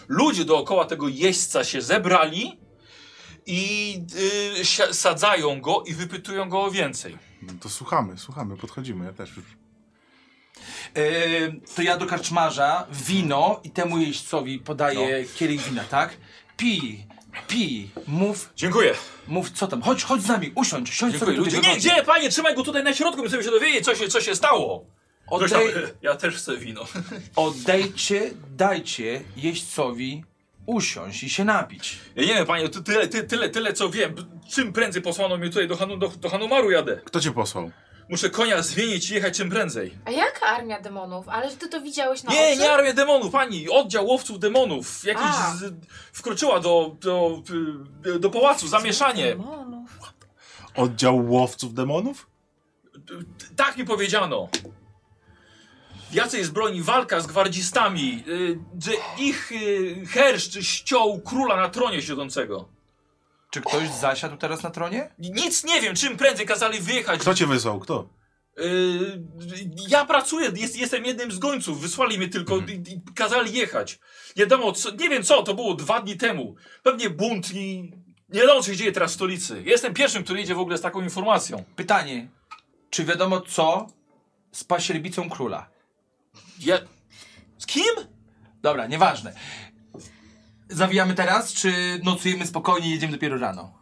Speaker 1: Ludzie dookoła tego jeźdźca się zebrali i yy, si- sadzają go i wypytują go o więcej.
Speaker 4: No to słuchamy, słuchamy, podchodzimy, ja też już.
Speaker 2: Yy, to ja do karczmarza wino i temu jeźdźcowi podaję
Speaker 1: No.
Speaker 2: kielich wina, tak? Pij, pij, mów,
Speaker 1: Dziękuję.
Speaker 2: mów co tam. Chodź, chodź z nami, usiądź, siądź
Speaker 1: Dziękuję.
Speaker 2: sobie
Speaker 1: Ludzie, no.
Speaker 2: tutaj
Speaker 1: nie,
Speaker 2: wygodnie.
Speaker 1: gdzie, panie, trzymaj go tutaj na środku, by sobie się dowiedzieć, co się, co się stało. Ktoś tam,
Speaker 2: Odej,
Speaker 1: ja też chcę wino.
Speaker 2: oddejcie, dajcie jeźdźcowi usiąść i się napić.
Speaker 1: Ja nie wiem, panie, ty, tyle, ty, tyle, tyle, co wiem. Czym prędzej posłano mnie tutaj do, Hanu, do, do Hanumaru jadę.
Speaker 4: Kto cię posłał?
Speaker 1: Muszę konia zmienić i jechać czym prędzej.
Speaker 3: A jaka armia demonów? Ale ty to widziałeś na
Speaker 1: nie,
Speaker 3: oczy?
Speaker 1: nie armię demonów, pani. Oddział łowców demonów. Jakiś
Speaker 3: A.
Speaker 1: z, wkroczyła do, do, y, do pałacu, zamieszanie.
Speaker 5: Demonów.
Speaker 4: Oddział łowców demonów?
Speaker 1: Tak mi powiedziano. Jacej z broni walka z gwardzistami, y, że ich y, herszcz ściął króla na tronie siedzącego.
Speaker 2: Czy ktoś zasiadł teraz na tronie?
Speaker 1: Nic nie wiem, czym prędzej kazali wyjechać.
Speaker 4: Kto cię wysłał? Kto?
Speaker 1: Yy, ja pracuję, jest, jestem jednym z gońców. Wysłali mnie tylko, i, i kazali jechać. Nie wiadomo, co, nie wiem co, to było dwa dni temu. Pewnie bunt i nie wiadomo, co się dzieje teraz w stolicy. Jestem pierwszym, który idzie w ogóle z taką informacją.
Speaker 2: Pytanie. Czy wiadomo co z pasierbicą króla?
Speaker 1: Ja... Z kim?
Speaker 2: Dobra, nieważne. Zawijamy teraz, czy nocujemy spokojnie i jedziemy dopiero rano?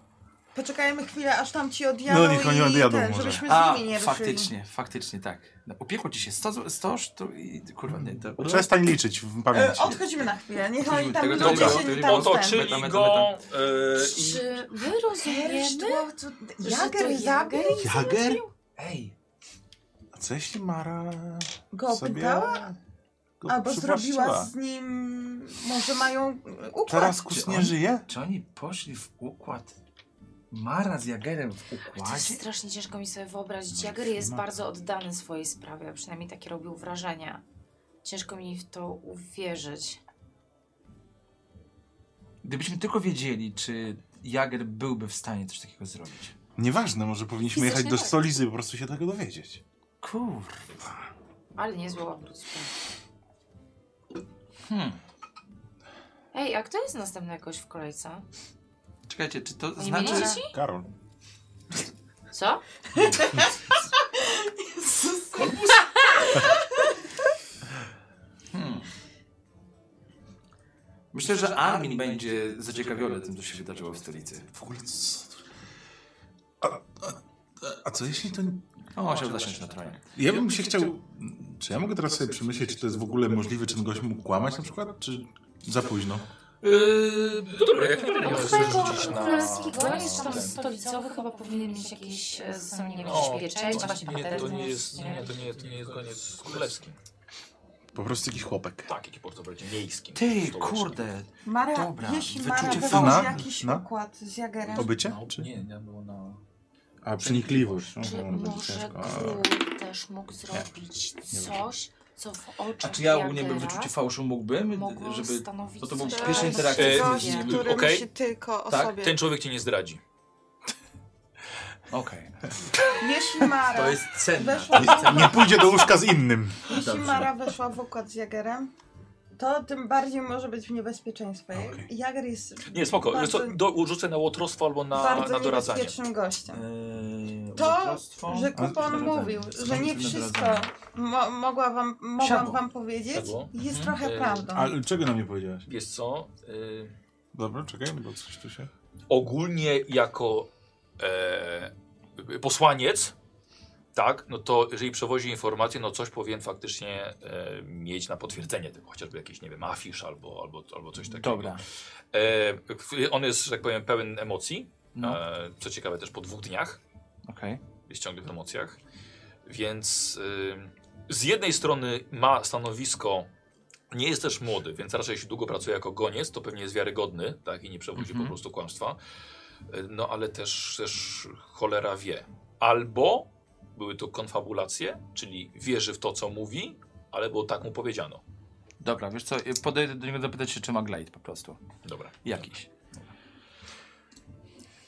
Speaker 5: Poczekajmy chwilę, aż tam ci odjadą
Speaker 4: No, niech oni
Speaker 5: i
Speaker 4: odjadą
Speaker 5: ten,
Speaker 4: może.
Speaker 5: żebyśmy z
Speaker 2: A,
Speaker 5: nimi nie ruszyli.
Speaker 2: faktycznie, faktycznie tak. No, Upiekło ci się 100, 100 to i kurwa nie, to...
Speaker 4: Przestań liczyć w
Speaker 5: E,
Speaker 4: pamięci.
Speaker 5: odchodzimy na chwilę, niech oni tam
Speaker 2: Tego
Speaker 5: ludzie
Speaker 2: to nie było,
Speaker 5: się
Speaker 2: tego nie
Speaker 5: tam
Speaker 2: było.
Speaker 5: ten-
Speaker 1: Otoczyli
Speaker 2: Meta, meta,
Speaker 1: go yy, i...
Speaker 3: Czy my rozumiemy?
Speaker 15: Hersztło,
Speaker 3: że
Speaker 5: Jager,
Speaker 3: to
Speaker 5: Jager?
Speaker 4: Jager? Ej. A co jeśli Mara
Speaker 5: Go
Speaker 4: sobie
Speaker 5: pytała?
Speaker 4: go
Speaker 5: Albo zrobiła
Speaker 4: przywłaszczyła?
Speaker 5: z nim... Może mają układ.
Speaker 4: Teraz
Speaker 2: Czy
Speaker 4: kus
Speaker 2: on-
Speaker 4: nie żyje?
Speaker 2: Czy oni poszli w układ Mara z Jagerem w
Speaker 3: To jest
Speaker 2: układzie?
Speaker 3: strasznie ciężko mi sobie wyobrazić. Jager jest bardzo oddany swojej sprawie, a przynajmniej takie robił wrażenie. Ciężko mi w to uwierzyć.
Speaker 2: Gdybyśmy tylko wiedzieli, czy Jager byłby w stanie coś takiego zrobić.
Speaker 4: Nieważne, może powinniśmy jechać do
Speaker 3: Fizycznie tak.
Speaker 4: stolicy i po prostu się tego dowiedzieć.
Speaker 2: Kur...
Speaker 3: Ale nie zła obrót. spraw.
Speaker 2: Hmm.
Speaker 3: Ej, a kto jest następny jakoś w kolejce?
Speaker 2: Czekajcie, czy to
Speaker 3: Oni
Speaker 2: znaczy...
Speaker 3: mieli dzieci?
Speaker 4: Karol.
Speaker 3: Co?
Speaker 2: Hmm. Myślę, że Armin będzie zaciekawiony tym, co się wydarzyło w stolicy.
Speaker 4: W ogóle co... A, a, a co jeśli to...
Speaker 2: O, chciał zasiąść na tronie.
Speaker 4: Ja bym się chciał... Czy ja mogę teraz sobie przemyśleć, czy to jest w ogóle możliwe, czy ten gość mógł kłamać na przykład, czy za późno?
Speaker 1: Yy, no dobra, jak najbardziej
Speaker 3: Od
Speaker 1: możesz
Speaker 3: twojego
Speaker 1: rzucić na...
Speaker 3: królewskiego
Speaker 15: na-
Speaker 3: jest tam
Speaker 15: ten.
Speaker 3: stolicowy, chyba powinien mieć jakieś, e, sam nie wiem,
Speaker 1: O,
Speaker 3: jakieś pieczęć,
Speaker 1: właśnie nie, to nie jest,
Speaker 3: nie?
Speaker 1: nie, to nie, to nie jest koniec z królewskim.
Speaker 4: Po prostu jakiś chłopek.
Speaker 1: Tak, jaki portobelcie miejskim.
Speaker 2: Ty,
Speaker 1: stołecznym.
Speaker 2: kurde,
Speaker 5: Mara,
Speaker 2: Dobra,
Speaker 5: jeśli Mara
Speaker 2: wyczucie
Speaker 5: wywróci
Speaker 4: fałszu.
Speaker 5: jakiś
Speaker 4: Na?
Speaker 5: układ z Jagerem...
Speaker 4: Obycie?
Speaker 1: No,
Speaker 4: Czy...
Speaker 1: nie, nie było na...
Speaker 4: A, przenikliwość.
Speaker 3: Czy
Speaker 4: Aha, no będzie
Speaker 3: może
Speaker 4: ciężko. A,
Speaker 3: król też mógł zrobić coś, co w
Speaker 2: A
Speaker 3: oczach
Speaker 2: czy ja ogólnie bym
Speaker 3: Jagera
Speaker 2: wyczucie fałszu mógłbym,
Speaker 3: mogło
Speaker 2: żeby...
Speaker 3: stanowić
Speaker 2: to to był
Speaker 3: coś
Speaker 2: pierwszy
Speaker 3: bardzo
Speaker 2: interakcja z
Speaker 3: ciekawego?
Speaker 5: Gość,
Speaker 2: nim.
Speaker 5: który
Speaker 1: Okej.
Speaker 5: myśli tylko o
Speaker 2: Tak,
Speaker 5: sobie.
Speaker 1: Ten człowiek cię nie zdradzi.
Speaker 2: Okej,
Speaker 5: E, Jeśli Mara...
Speaker 2: to jest cenne.
Speaker 5: Weszła w układ-
Speaker 4: Nie pójdzie do łóżka z innym.
Speaker 5: Jeśli Mara weszła w układ z Jagerem, to tym bardziej może być w niebezpieczeństwie.
Speaker 4: Okej.
Speaker 5: Jager jest
Speaker 1: Nie, spoko. Wiesz
Speaker 5: Bardzo-
Speaker 1: co, do, rzucę na łotrostwo albo na,
Speaker 5: bardzo
Speaker 1: na doradzanie.
Speaker 5: niebezpiecznym
Speaker 2: E,
Speaker 5: gościem.
Speaker 2: Eee,
Speaker 5: To,
Speaker 2: łotrostwo?
Speaker 5: Że
Speaker 4: doradzanie.
Speaker 5: kupon mówił, że nie
Speaker 2: Skończymy
Speaker 5: wszystko
Speaker 2: doradzanie.
Speaker 5: mo mogła wam, mogłam
Speaker 2: Siadło.
Speaker 5: wam powiedzieć
Speaker 1: Siadło.
Speaker 5: jest
Speaker 2: Mhm.
Speaker 5: trochę
Speaker 1: E,
Speaker 5: prawdą.
Speaker 4: Ale czego nam nie powiedziałaś?
Speaker 1: Wiesz co, y,
Speaker 4: Dobra, czekaj, bo coś tu się...
Speaker 1: ogólnie jako e, posłaniec, tak, no to jeżeli przewozi informacje, no coś powinien faktycznie e, mieć na potwierdzenie tego, chociażby jakiś, nie wiem, afisz albo, albo, albo coś
Speaker 5: Mhm.
Speaker 1: takiego.
Speaker 2: Dobra.
Speaker 1: E, on jest, że tak powiem, pełen emocji,
Speaker 2: No,
Speaker 1: e, co ciekawe też po dwóch dniach.
Speaker 2: okej.
Speaker 1: jest ciągle w emocjach. Więc y, z jednej strony ma stanowisko, nie jest też młody, więc raczej jeśli długo pracuje jako goniec, to pewnie jest wiarygodny tak, i nie przewodzi
Speaker 2: Mhm.
Speaker 1: po prostu kłamstwa. Y, No ale też, też cholera wie. Albo były to konfabulacje, czyli wierzy w to, co mówi, ale było tak mu powiedziano.
Speaker 2: Dobra, wiesz co, podejdę do niego zapytać się, czy ma glide po prostu.
Speaker 1: Dobra.
Speaker 2: Jakiś.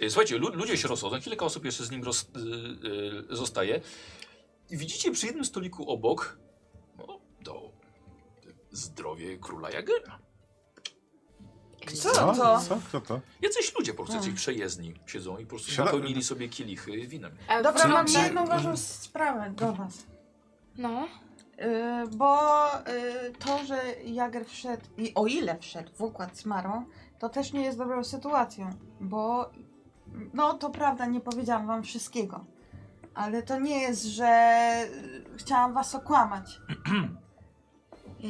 Speaker 1: Y, Słuchajcie, lu- ludzie się rozchodzą, kilka osób jeszcze z nim roz, y, y, zostaje. I widzicie przy jednym stoliku obok no, to zdrowie króla Jagera.
Speaker 5: Co to?
Speaker 4: Co? Kto to?
Speaker 1: Jacyś ludzie po prostu,
Speaker 5: Hmm.
Speaker 1: jacyś
Speaker 3: Tak.
Speaker 1: przejezdni siedzą i po prostu
Speaker 4: Siada-
Speaker 1: napełnili sobie kielichy winem.
Speaker 3: E,
Speaker 5: Dobra,
Speaker 3: czy-
Speaker 5: mam
Speaker 3: czy-
Speaker 5: jedną ważną sprawę do was.
Speaker 3: No,
Speaker 5: Yy, bo yy, to, że Jager wszedł i o ile wszedł w układ z Marą, to też nie jest dobrą sytuacją, bo no to prawda, nie powiedziałam wam wszystkiego. Ale to nie jest, że yy, chciałam was okłamać. Yy,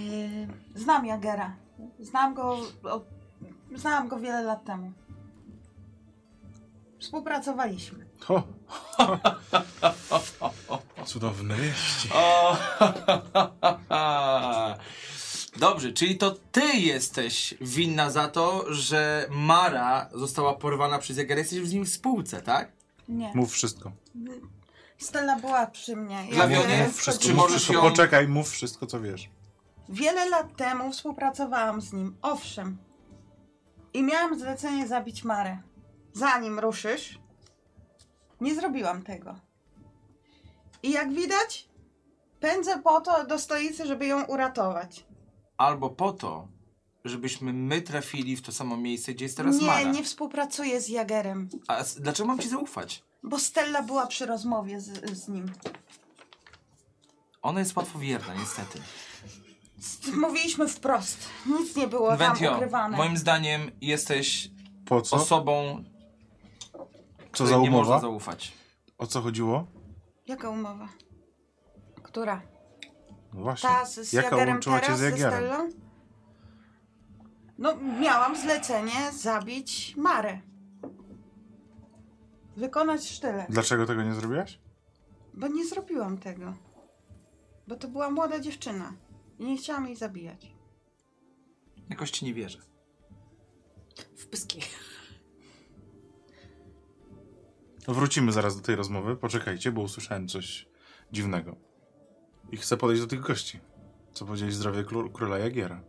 Speaker 5: znam Jagera. Znam go. Od, znałam go wiele lat temu. Współpracowaliśmy.
Speaker 4: Ho. Cudowne wieści.
Speaker 2: O, Dobrze, czyli to ty jesteś winna za to, że Mara została porwana przez Jagera. Jesteś z nim w spółce, tak?
Speaker 5: Nie.
Speaker 4: Mów wszystko.
Speaker 5: Stella była przy mnie.
Speaker 2: Dla
Speaker 5: Jager
Speaker 2: mnie
Speaker 4: Mów wszystko.
Speaker 2: Czy
Speaker 4: mów
Speaker 2: możesz
Speaker 4: wszystko.
Speaker 2: ją-
Speaker 4: Poczekaj, mów wszystko, co wiesz.
Speaker 5: Wiele lat temu współpracowałam z nim, owszem. I miałam zlecenie zabić Marę. zanim ruszysz, nie zrobiłam tego. I jak widać, pędzę po to do stolicy, żeby ją uratować.
Speaker 2: Albo po to, żebyśmy my trafili w to samo miejsce, gdzie jest teraz
Speaker 5: nie,
Speaker 2: Mara.
Speaker 5: nie współpracuję z Jagerem,
Speaker 2: A s- dlaczego mam ci zaufać?
Speaker 5: bo Stella była przy rozmowie z, z nim.
Speaker 2: Ona jest łatwowierna, niestety.
Speaker 5: Mówiliśmy wprost, nic nie było tam
Speaker 2: Wentio,
Speaker 5: ukrywane.
Speaker 2: moim zdaniem jesteś
Speaker 4: Po co?
Speaker 2: osobą,
Speaker 4: Co za
Speaker 2: której nie można
Speaker 4: umowa?
Speaker 2: zaufać.
Speaker 4: O co chodziło?
Speaker 5: Jaka umowa? Która?
Speaker 4: No właśnie.
Speaker 5: Ta z, z
Speaker 4: Jaka
Speaker 5: Jagerem
Speaker 4: łączyła cię
Speaker 5: teraz,
Speaker 4: z
Speaker 5: ze
Speaker 4: Jagerem?
Speaker 5: Stellą? No, miałam zlecenie zabić Marę. Wykonać sztylet.
Speaker 4: Dlaczego tego nie zrobiłaś?
Speaker 5: Bo nie zrobiłam tego. Bo to była młoda dziewczyna. I nie chciałam jej zabijać.
Speaker 2: Jakoś ci nie wierzę.
Speaker 3: W pyski.
Speaker 4: No Wrócimy zaraz do tej rozmowy. Poczekajcie, bo usłyszałem coś dziwnego. I chcę podejść do tych gości. Co powiedzieli zdrowie kró- króla Jagiera.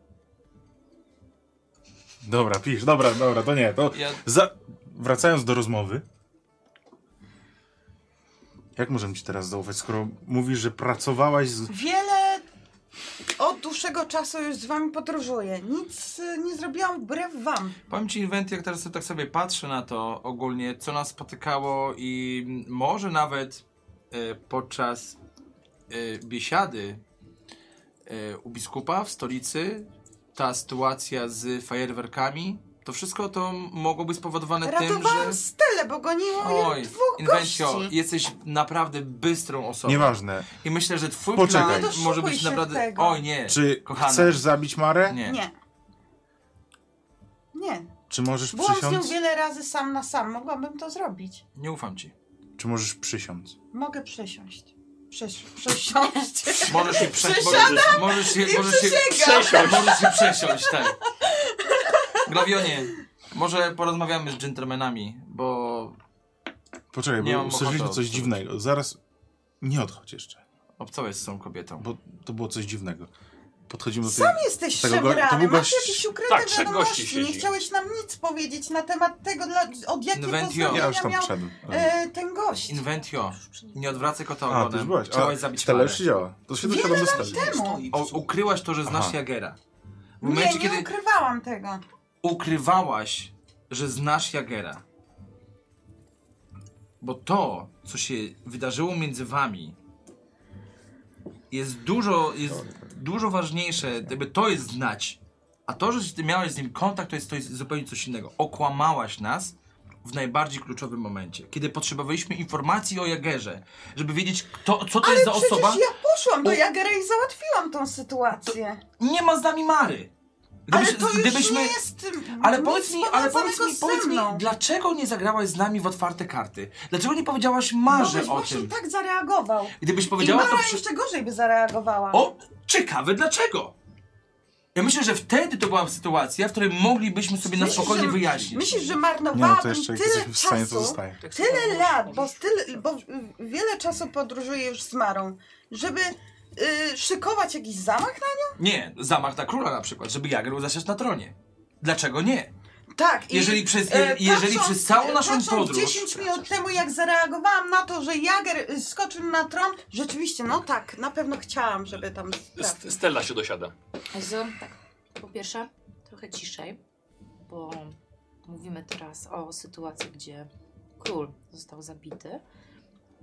Speaker 4: Dobra, pisz, dobra, dobra, to nie. To
Speaker 2: Ja-
Speaker 4: za... Wracając do rozmowy. Jak możemy ci teraz zaufać, skoro mówisz, że pracowałaś z...
Speaker 5: Wiele od dłuższego czasu już z wami podróżuję. Nic y, nie zrobiłam wbrew wam.
Speaker 2: Powiem ci, Inwenty, jak teraz tak sobie patrzę na to ogólnie, co nas spotykało i może nawet e, podczas e, biesiady e, u biskupa w stolicy, ta sytuacja z fajerwerkami, to wszystko to mogło być spowodowane tym,
Speaker 5: Ratowałam
Speaker 2: że...
Speaker 5: Stelę, bo goniło ją
Speaker 2: Oj,
Speaker 5: No dwóch
Speaker 2: Inwentio,
Speaker 5: gości.
Speaker 2: jesteś naprawdę bystrą osobą.
Speaker 4: Nieważne.
Speaker 2: I myślę, że twój
Speaker 4: Poczekaj.
Speaker 2: plan
Speaker 4: Nie
Speaker 2: może
Speaker 5: doszukuj
Speaker 2: być
Speaker 5: No się
Speaker 2: naprawdę...
Speaker 5: tego.
Speaker 2: Oj, nie.
Speaker 4: Czy
Speaker 2: kochana.
Speaker 4: chcesz zabić Marę?
Speaker 2: Nie.
Speaker 5: Nie. Nie.
Speaker 4: Czy możesz
Speaker 5: Byłam z nią
Speaker 4: przysiąc?
Speaker 5: wiele razy sam na sam. Mogłabym to zrobić.
Speaker 2: Nie ufam ci.
Speaker 4: Czy możesz przysiąc?
Speaker 5: Mogę przesiąść. Przesz przesiąść.
Speaker 2: Możesz się przesiąść. Możesz, możesz się, możesz się przesiąść. Możesz się przesiąść, tak. Glawionie, może porozmawiamy z dżentelmenami, bo
Speaker 4: Poczekaj,
Speaker 2: Nie
Speaker 4: bo
Speaker 2: mam
Speaker 4: usłyszeliśmy
Speaker 2: ochoty
Speaker 4: coś
Speaker 2: odsuwać.
Speaker 4: dziwnego. Zaraz. Nie odchodź jeszcze,
Speaker 2: obcałeś z tą kobietą.
Speaker 4: bo to było coś dziwnego. Podchodzimy do tej...
Speaker 5: Sam jesteś
Speaker 4: No tego go- to
Speaker 5: szebrany,
Speaker 4: był
Speaker 5: masz
Speaker 4: gość-
Speaker 5: jakieś ukryte
Speaker 7: Tak, trzech gości
Speaker 5: wiadomości. Nie
Speaker 7: siedzi.
Speaker 5: chciałeś nam nic powiedzieć na temat tego, dla, od jakiego
Speaker 2: Inventio.
Speaker 4: Ja
Speaker 5: poznania
Speaker 4: już tam
Speaker 5: miał
Speaker 4: wszedłem.
Speaker 5: e, ten gość.
Speaker 2: Inventio, nie odwracaj kota
Speaker 4: A, ty już
Speaker 2: ogonem.
Speaker 4: byłaś.
Speaker 2: Chciałaś
Speaker 4: A,
Speaker 2: zabić
Speaker 4: Stella
Speaker 2: Marę.
Speaker 4: już siedziała. To się
Speaker 5: Wiele
Speaker 4: dopiero
Speaker 5: lat
Speaker 4: dostali. no,
Speaker 1: No
Speaker 5: Temu.
Speaker 2: O, ukryłaś to, że znasz
Speaker 4: Aha.
Speaker 2: Jagera. W
Speaker 5: Nie,
Speaker 2: momencie,
Speaker 5: nie
Speaker 2: kiedy
Speaker 5: ukrywałam tego.
Speaker 2: ukrywałaś, że znasz Jagera, bo to, co się wydarzyło między wami, jest dużo, jest dużo ważniejsze, jakby to jest znać. A to, że ty miałeś z nim kontakt, to jest, to jest zupełnie coś innego. Okłamałaś nas w najbardziej kluczowym momencie, kiedy potrzebowaliśmy informacji o Jagerze, żeby wiedzieć, kto, co to
Speaker 5: Ale
Speaker 2: jest za
Speaker 5: przecież
Speaker 2: osoba.
Speaker 5: ja poszłam do
Speaker 2: U-
Speaker 5: Jagera i załatwiłam tą sytuację.
Speaker 2: Nie ma z nami Mary.
Speaker 5: ale
Speaker 2: Gdybyś-
Speaker 5: to już
Speaker 2: gdybyśmy-
Speaker 5: nie jest mm,
Speaker 2: Ale
Speaker 5: nic
Speaker 2: powiedz mi, ale powiedz mi,
Speaker 5: powiązanego
Speaker 2: powiedz
Speaker 5: ze
Speaker 2: mi,
Speaker 5: mną.
Speaker 2: dlaczego nie zagrałaś z nami w otwarte karty? Dlaczego nie powiedziałaś
Speaker 5: Bo byś
Speaker 2: Marze o
Speaker 5: No właśnie
Speaker 2: tym?
Speaker 5: tak zareagował.
Speaker 2: Gdybyś
Speaker 5: I
Speaker 2: powiedziała to
Speaker 5: Mara
Speaker 2: przy...
Speaker 5: jeszcze gorzej by zareagowała.
Speaker 2: O, ciekawe, dlaczego? Ja myślę, że wtedy to była sytuacja, w której moglibyśmy sobie na
Speaker 5: Myślisz,
Speaker 2: spokojnie
Speaker 5: że-
Speaker 2: wyjaśnić.
Speaker 5: Myślisz, że
Speaker 4: Nie, no
Speaker 5: marnowałabym
Speaker 4: to jeszcze jak
Speaker 5: tyle
Speaker 4: jesteśmy w stanie, to
Speaker 5: czasu,
Speaker 4: zostaje.
Speaker 5: tyle lat, bo, tyle, bo wiele czasu podróżuję już z Marą, żeby y, szykować jakiś zamach na
Speaker 2: Nie, zamach na króla na przykład, żeby Jager był zasiadł na tronie. Dlaczego nie?
Speaker 5: Tak. i,
Speaker 2: Jeżeli przez- y, jeżeli przez całą naszą
Speaker 5: patrząc
Speaker 2: podróż-
Speaker 5: 10 minut temu, jak zareagowałam na to, że Jager y, skoczył na tron, rzeczywiście, no tak, na pewno chciałam, żeby tam... trafił.
Speaker 7: St- Stella się dosiada.
Speaker 3: Ezo, tak. Po pierwsze, trochę ciszej, bo mówimy teraz o sytuacji, gdzie król został zabity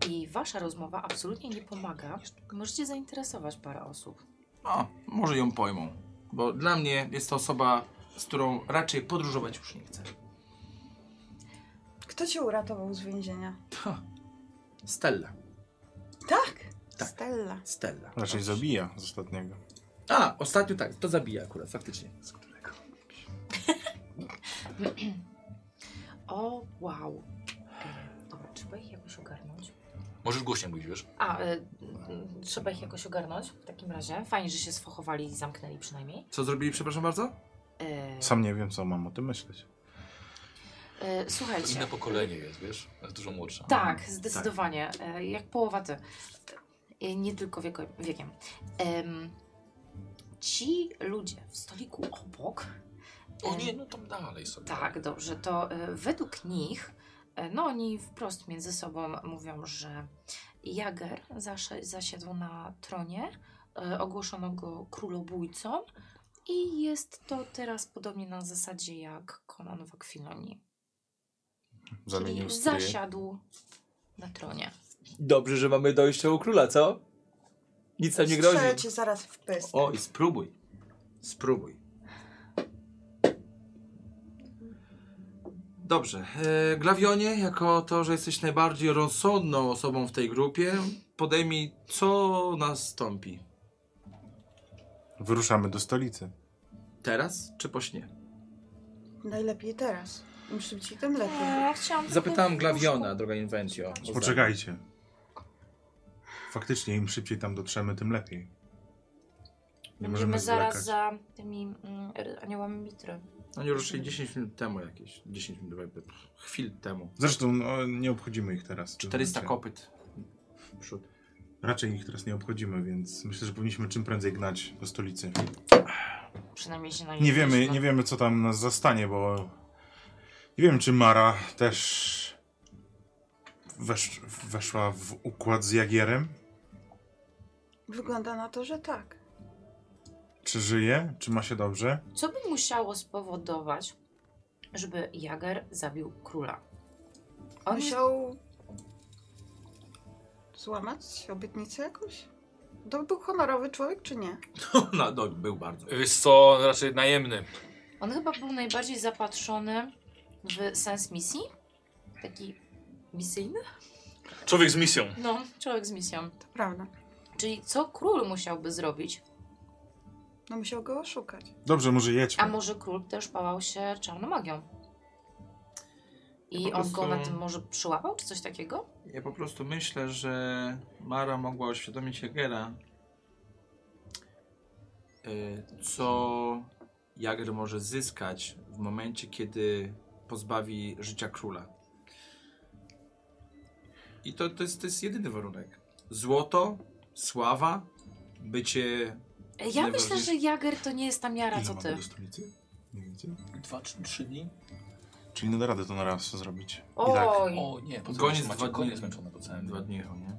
Speaker 3: i wasza rozmowa absolutnie nie pomaga. Możecie zainteresować parę osób.
Speaker 2: No, może ją pojmą. Bo dla mnie jest to osoba, z którą raczej podróżować już nie chcę.
Speaker 5: Kto cię uratował z więzienia?
Speaker 2: Ha. Stella.
Speaker 5: Tak,
Speaker 2: Tak.
Speaker 5: Stella.
Speaker 2: Stella.
Speaker 4: Raczej zabija z ostatniego.
Speaker 2: A, ostatnio tak, to zabija akurat, faktycznie.
Speaker 3: O, wow. E, Dobra, trzeba ich jakoś ogarnąć.
Speaker 7: Możesz głośniej mówić, wiesz?
Speaker 3: A, y, y, trzeba ich jakoś ogarnąć w takim razie. Fajnie, że się sfochowali i zamknęli przynajmniej.
Speaker 2: Co zrobili, przepraszam bardzo?
Speaker 3: E,
Speaker 4: Sam nie wiem, co mam o tym myśleć.
Speaker 3: e,
Speaker 7: To inne
Speaker 3: słuchajcie.
Speaker 7: pokolenie jest, wiesz? Jest dużo młodsza.
Speaker 3: Tak, zdecydowanie. E, jak połowa ty. E, nie tylko wieko, wiekiem. Em, ci ludzie w stoliku obok
Speaker 1: O nie, no tam dalej sobie.
Speaker 3: Tak, dobrze. To y, według nich, y, no oni wprost między sobą mówią, że Jager zasze- zasiadł na tronie, y, ogłoszono go królobójcą i jest to teraz podobnie na zasadzie jak Konan w Akwilonii.
Speaker 4: Zamienił
Speaker 3: Czyli
Speaker 4: stryje.
Speaker 3: zasiadł na tronie.
Speaker 2: Dobrze, że mamy dojście u króla, co? Nic tam nie grozi.
Speaker 5: Strzelę cię zaraz w pysk.
Speaker 2: O, i spróbuj. Spróbuj. Dobrze. E, Glawionie, jako to, że jesteś najbardziej rozsądną osobą w tej grupie, podejmij, co nastąpi.
Speaker 4: Wyruszamy do stolicy.
Speaker 2: Teraz czy po śnie?
Speaker 5: Najlepiej teraz. Im szybciej, tym lepiej.
Speaker 3: Ja chciałam tylko-
Speaker 2: Zapytałam Glawiona, droga Inwencjo. o zdanie.
Speaker 4: Poczekajcie. Faktycznie, im szybciej tam dotrzemy, tym lepiej. Nie
Speaker 3: Będziemy
Speaker 4: możemy
Speaker 3: zaraz
Speaker 4: zaraz
Speaker 3: za tymi mm, aniołami mitry.
Speaker 2: Oni ruszyli 10 minut temu jakieś. 10 minut, jakby, pff, chwil temu.
Speaker 4: Zresztą no, nie obchodzimy ich teraz.
Speaker 2: 400
Speaker 4: Znaczy,
Speaker 2: kopyt. Przód.
Speaker 4: Raczej ich teraz nie obchodzimy, więc myślę, że powinniśmy czym prędzej gnać do stolicy.
Speaker 3: Przynajmniej się na tak.
Speaker 4: Nie wiemy, nie wiemy co tam nas zastanie, bo nie wiem czy Mara też wesz, weszła w układ z Jagierem.
Speaker 5: Wygląda na to, że tak.
Speaker 4: Czy żyje? Czy ma się dobrze?
Speaker 3: Co by musiało spowodować, żeby Jager zabił króla? On jest
Speaker 5: Musiał złamać obietnicę jakąś? To był honorowy człowiek, czy nie?
Speaker 2: No, no, był bardzo.
Speaker 1: Wiesz co, raczej najemny.
Speaker 3: On chyba był najbardziej zapatrzony w sens misji. Taki misyjny?
Speaker 1: Człowiek z misją.
Speaker 3: No, człowiek z misją.
Speaker 5: To prawda.
Speaker 3: Czyli co król musiałby zrobić?
Speaker 5: No musiał go oszukać.
Speaker 4: Dobrze, może
Speaker 3: A
Speaker 4: jedźmy.
Speaker 3: może król też pałał się czarną magią? I
Speaker 2: Po
Speaker 3: on go
Speaker 2: prostu-
Speaker 3: na tym może przyłapał, czy coś takiego?
Speaker 2: Ja po prostu myślę, że Mara mogła oświadomić Jagera, y, co Jager może zyskać w momencie, kiedy pozbawi życia króla. I to, to, jest, to jest jedyny warunek. Złoto, sława, bycie...
Speaker 3: E, Ja myślę,
Speaker 2: Najważniejsze-
Speaker 3: że Jager to nie jest ta miara,
Speaker 4: Ile
Speaker 3: co
Speaker 4: mamy
Speaker 3: ty.
Speaker 4: do stolicy? Nie wiecie?
Speaker 7: Dwa czy trzy dni?
Speaker 4: Czyli nie da rady to na raz zrobić. I tak.
Speaker 3: Oj,
Speaker 1: O nie, po
Speaker 2: Koniec
Speaker 1: co
Speaker 2: dwa
Speaker 1: macie
Speaker 2: dni.
Speaker 1: konie zmęczone po całym
Speaker 2: Dwa
Speaker 1: dniu.
Speaker 2: dni, o nie?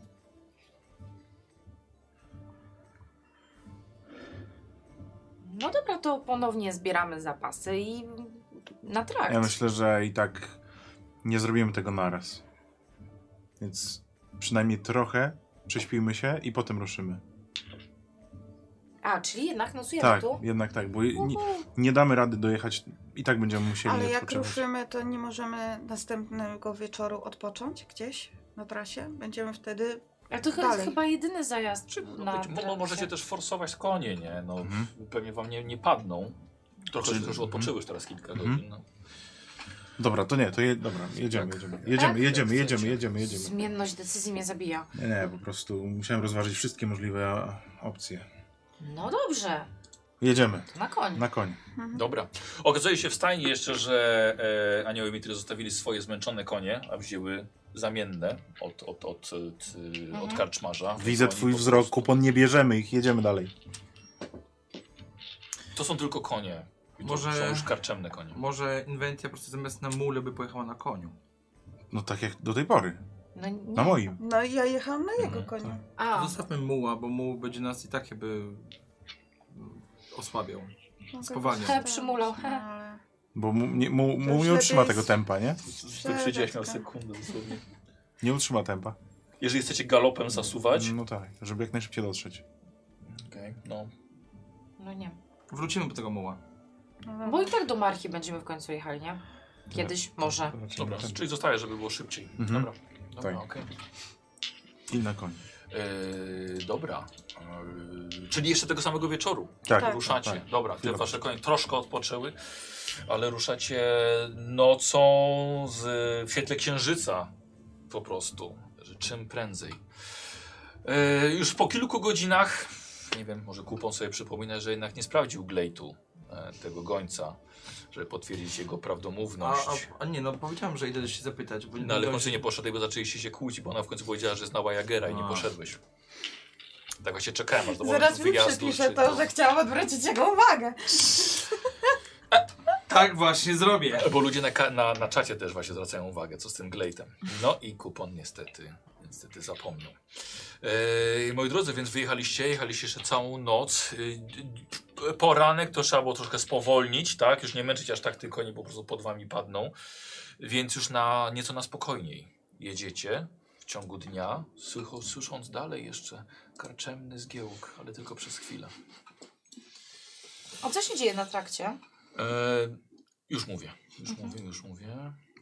Speaker 3: no dobra, to ponownie zbieramy zapasy i na trakt.
Speaker 4: Ja myślę, że i tak nie zrobimy tego naraz. Więc przynajmniej trochę prześpijmy się i potem ruszymy.
Speaker 3: A, czyli jednak nocujemy
Speaker 4: tak,
Speaker 3: tu?
Speaker 4: jednak tak, bo nie, nie damy rady dojechać. I tak będziemy musieli
Speaker 5: Ale jak
Speaker 4: odpoczywać.
Speaker 5: ruszymy, to nie możemy następnego wieczoru odpocząć gdzieś na trasie? Będziemy wtedy...
Speaker 3: Ale to chyba,
Speaker 5: Dalej.
Speaker 3: chyba jedyny zajazd
Speaker 1: Czy, no,
Speaker 3: na
Speaker 1: być, mo- mo-
Speaker 3: trakcie.
Speaker 1: możecie też forsować konie, nie? No,
Speaker 4: Mhm.
Speaker 1: Pewnie wam nie, nie padną. Trochę
Speaker 4: Czy-
Speaker 1: Czy... już odpoczyły już teraz kilka
Speaker 4: Mhm.
Speaker 1: godzin. No.
Speaker 4: Dobra, to nie, to je, dobra, jedziemy, jedziemy, jedziemy,
Speaker 3: Tak?
Speaker 4: jedziemy,
Speaker 1: Jak
Speaker 4: jedziemy,
Speaker 1: chcecie.
Speaker 4: jedziemy, jedziemy.
Speaker 3: Zmienność decyzji mnie zabija.
Speaker 4: Nie, nie, po prostu musiałem rozważyć wszystkie możliwe opcje.
Speaker 3: No dobrze,
Speaker 4: Jedziemy,
Speaker 3: to na koń.
Speaker 4: na koń.
Speaker 1: Dobra. Okazuje się w stajni jeszcze, że e, anioły mitry zostawili swoje zmęczone konie, a wzięły zamienne od, od, od, od, y, od
Speaker 3: Mhm.
Speaker 1: karczmarza.
Speaker 4: Widzę
Speaker 1: Oni
Speaker 4: twój
Speaker 1: po
Speaker 4: wzrok,
Speaker 1: prostu-
Speaker 4: kupon nie bierzemy ich, jedziemy dalej.
Speaker 1: To są tylko konie. I to
Speaker 2: Może-
Speaker 1: są już karczemne konie.
Speaker 2: Może Inwentia po prostu zamiast na mule by pojechała na koniu.
Speaker 4: No tak jak do tej pory,
Speaker 3: No, nie.
Speaker 4: na moim.
Speaker 5: No i ja jechałam na jego
Speaker 1: Mhm,
Speaker 4: tak.
Speaker 5: koniu.
Speaker 3: A,
Speaker 2: Zostawmy muła, bo muł będzie nas i tak jakby mm, osłabiał.
Speaker 5: Mogę
Speaker 2: Spowalniam.
Speaker 5: zostawić,
Speaker 3: He, przymulał, he.
Speaker 5: no ale-
Speaker 4: Bo mu nie, mu,
Speaker 5: już
Speaker 4: mu nie
Speaker 5: lepiej
Speaker 4: utrzyma
Speaker 5: jest-
Speaker 4: tego tempa, nie?
Speaker 1: Ty przyjdziesz miał
Speaker 5: Przelecka.
Speaker 1: sekundę dosłownie.
Speaker 4: Nie utrzyma tempa.
Speaker 1: Jeżeli chcecie galopem zasuwać.
Speaker 4: No tak, żeby jak najszybciej dotrzeć.
Speaker 1: Okej, no.
Speaker 3: no nie.
Speaker 2: Wrócimy po tego muła.
Speaker 5: No
Speaker 3: Bo
Speaker 5: dobra.
Speaker 3: i tak do Marchi będziemy w końcu jechali, nie? Kiedyś
Speaker 4: Tak.
Speaker 3: może.
Speaker 4: Zobaczymy
Speaker 1: Dobra,
Speaker 4: ten-
Speaker 1: czyli zostaje, żeby było szybciej.
Speaker 4: Mhm.
Speaker 1: Dobra. Dobra,
Speaker 4: Tak.
Speaker 1: okej.
Speaker 4: I na koń.
Speaker 1: Yy, dobra. Yy, czyli jeszcze tego samego wieczoru.
Speaker 4: Tak,
Speaker 5: Tak.
Speaker 1: Ruszacie.
Speaker 4: tak.
Speaker 1: Dobra, te
Speaker 4: Chwila.
Speaker 1: wasze konie troszkę odpoczęły, ale ruszacie nocą z, w świetle księżyca po prostu. Że Czym prędzej. E, już po kilku godzinach, nie wiem, może kupon sobie przypomina, że jednak nie sprawdził Glejtu, e, tego gońca, żeby potwierdzić jego
Speaker 2: A,
Speaker 1: prawdomówność.
Speaker 2: a, a nie, no powiedziałem, że idę się zapytać, bo
Speaker 1: No ale w końcu nie poszedłeś, bo zaczęliście się kłócić, bo ona w końcu powiedziała, że znała Jagera i nie
Speaker 2: A.
Speaker 1: poszedłeś. Tak właśnie czekałem aż do
Speaker 5: Zaraz
Speaker 1: momentu
Speaker 5: mi
Speaker 1: wyjazdu.
Speaker 5: przepisze
Speaker 1: czy
Speaker 5: to, że chciałam odwrócić jego uwagę.
Speaker 2: Tak właśnie zrobię.
Speaker 1: Bo ludzie na, ka- na, na czacie też właśnie zwracają uwagę, co z tym glejtem. No i kupon niestety, niestety zapomniał. Eee, moi drodzy, więc wyjechaliście, jechaliście jeszcze całą noc. Eee, d- d- poranek to trzeba było troszkę spowolnić, tak? Już nie męczyć aż tak, tylko oni po prostu pod wami padną. Więc już na nieco na spokojniej jedziecie w ciągu dnia, słycho, słysząc dalej jeszcze karczemny zgiełk, ale tylko przez chwilę.
Speaker 6: O co się dzieje na trakcie?
Speaker 1: Eee, już mówię, już mówię, już mówię.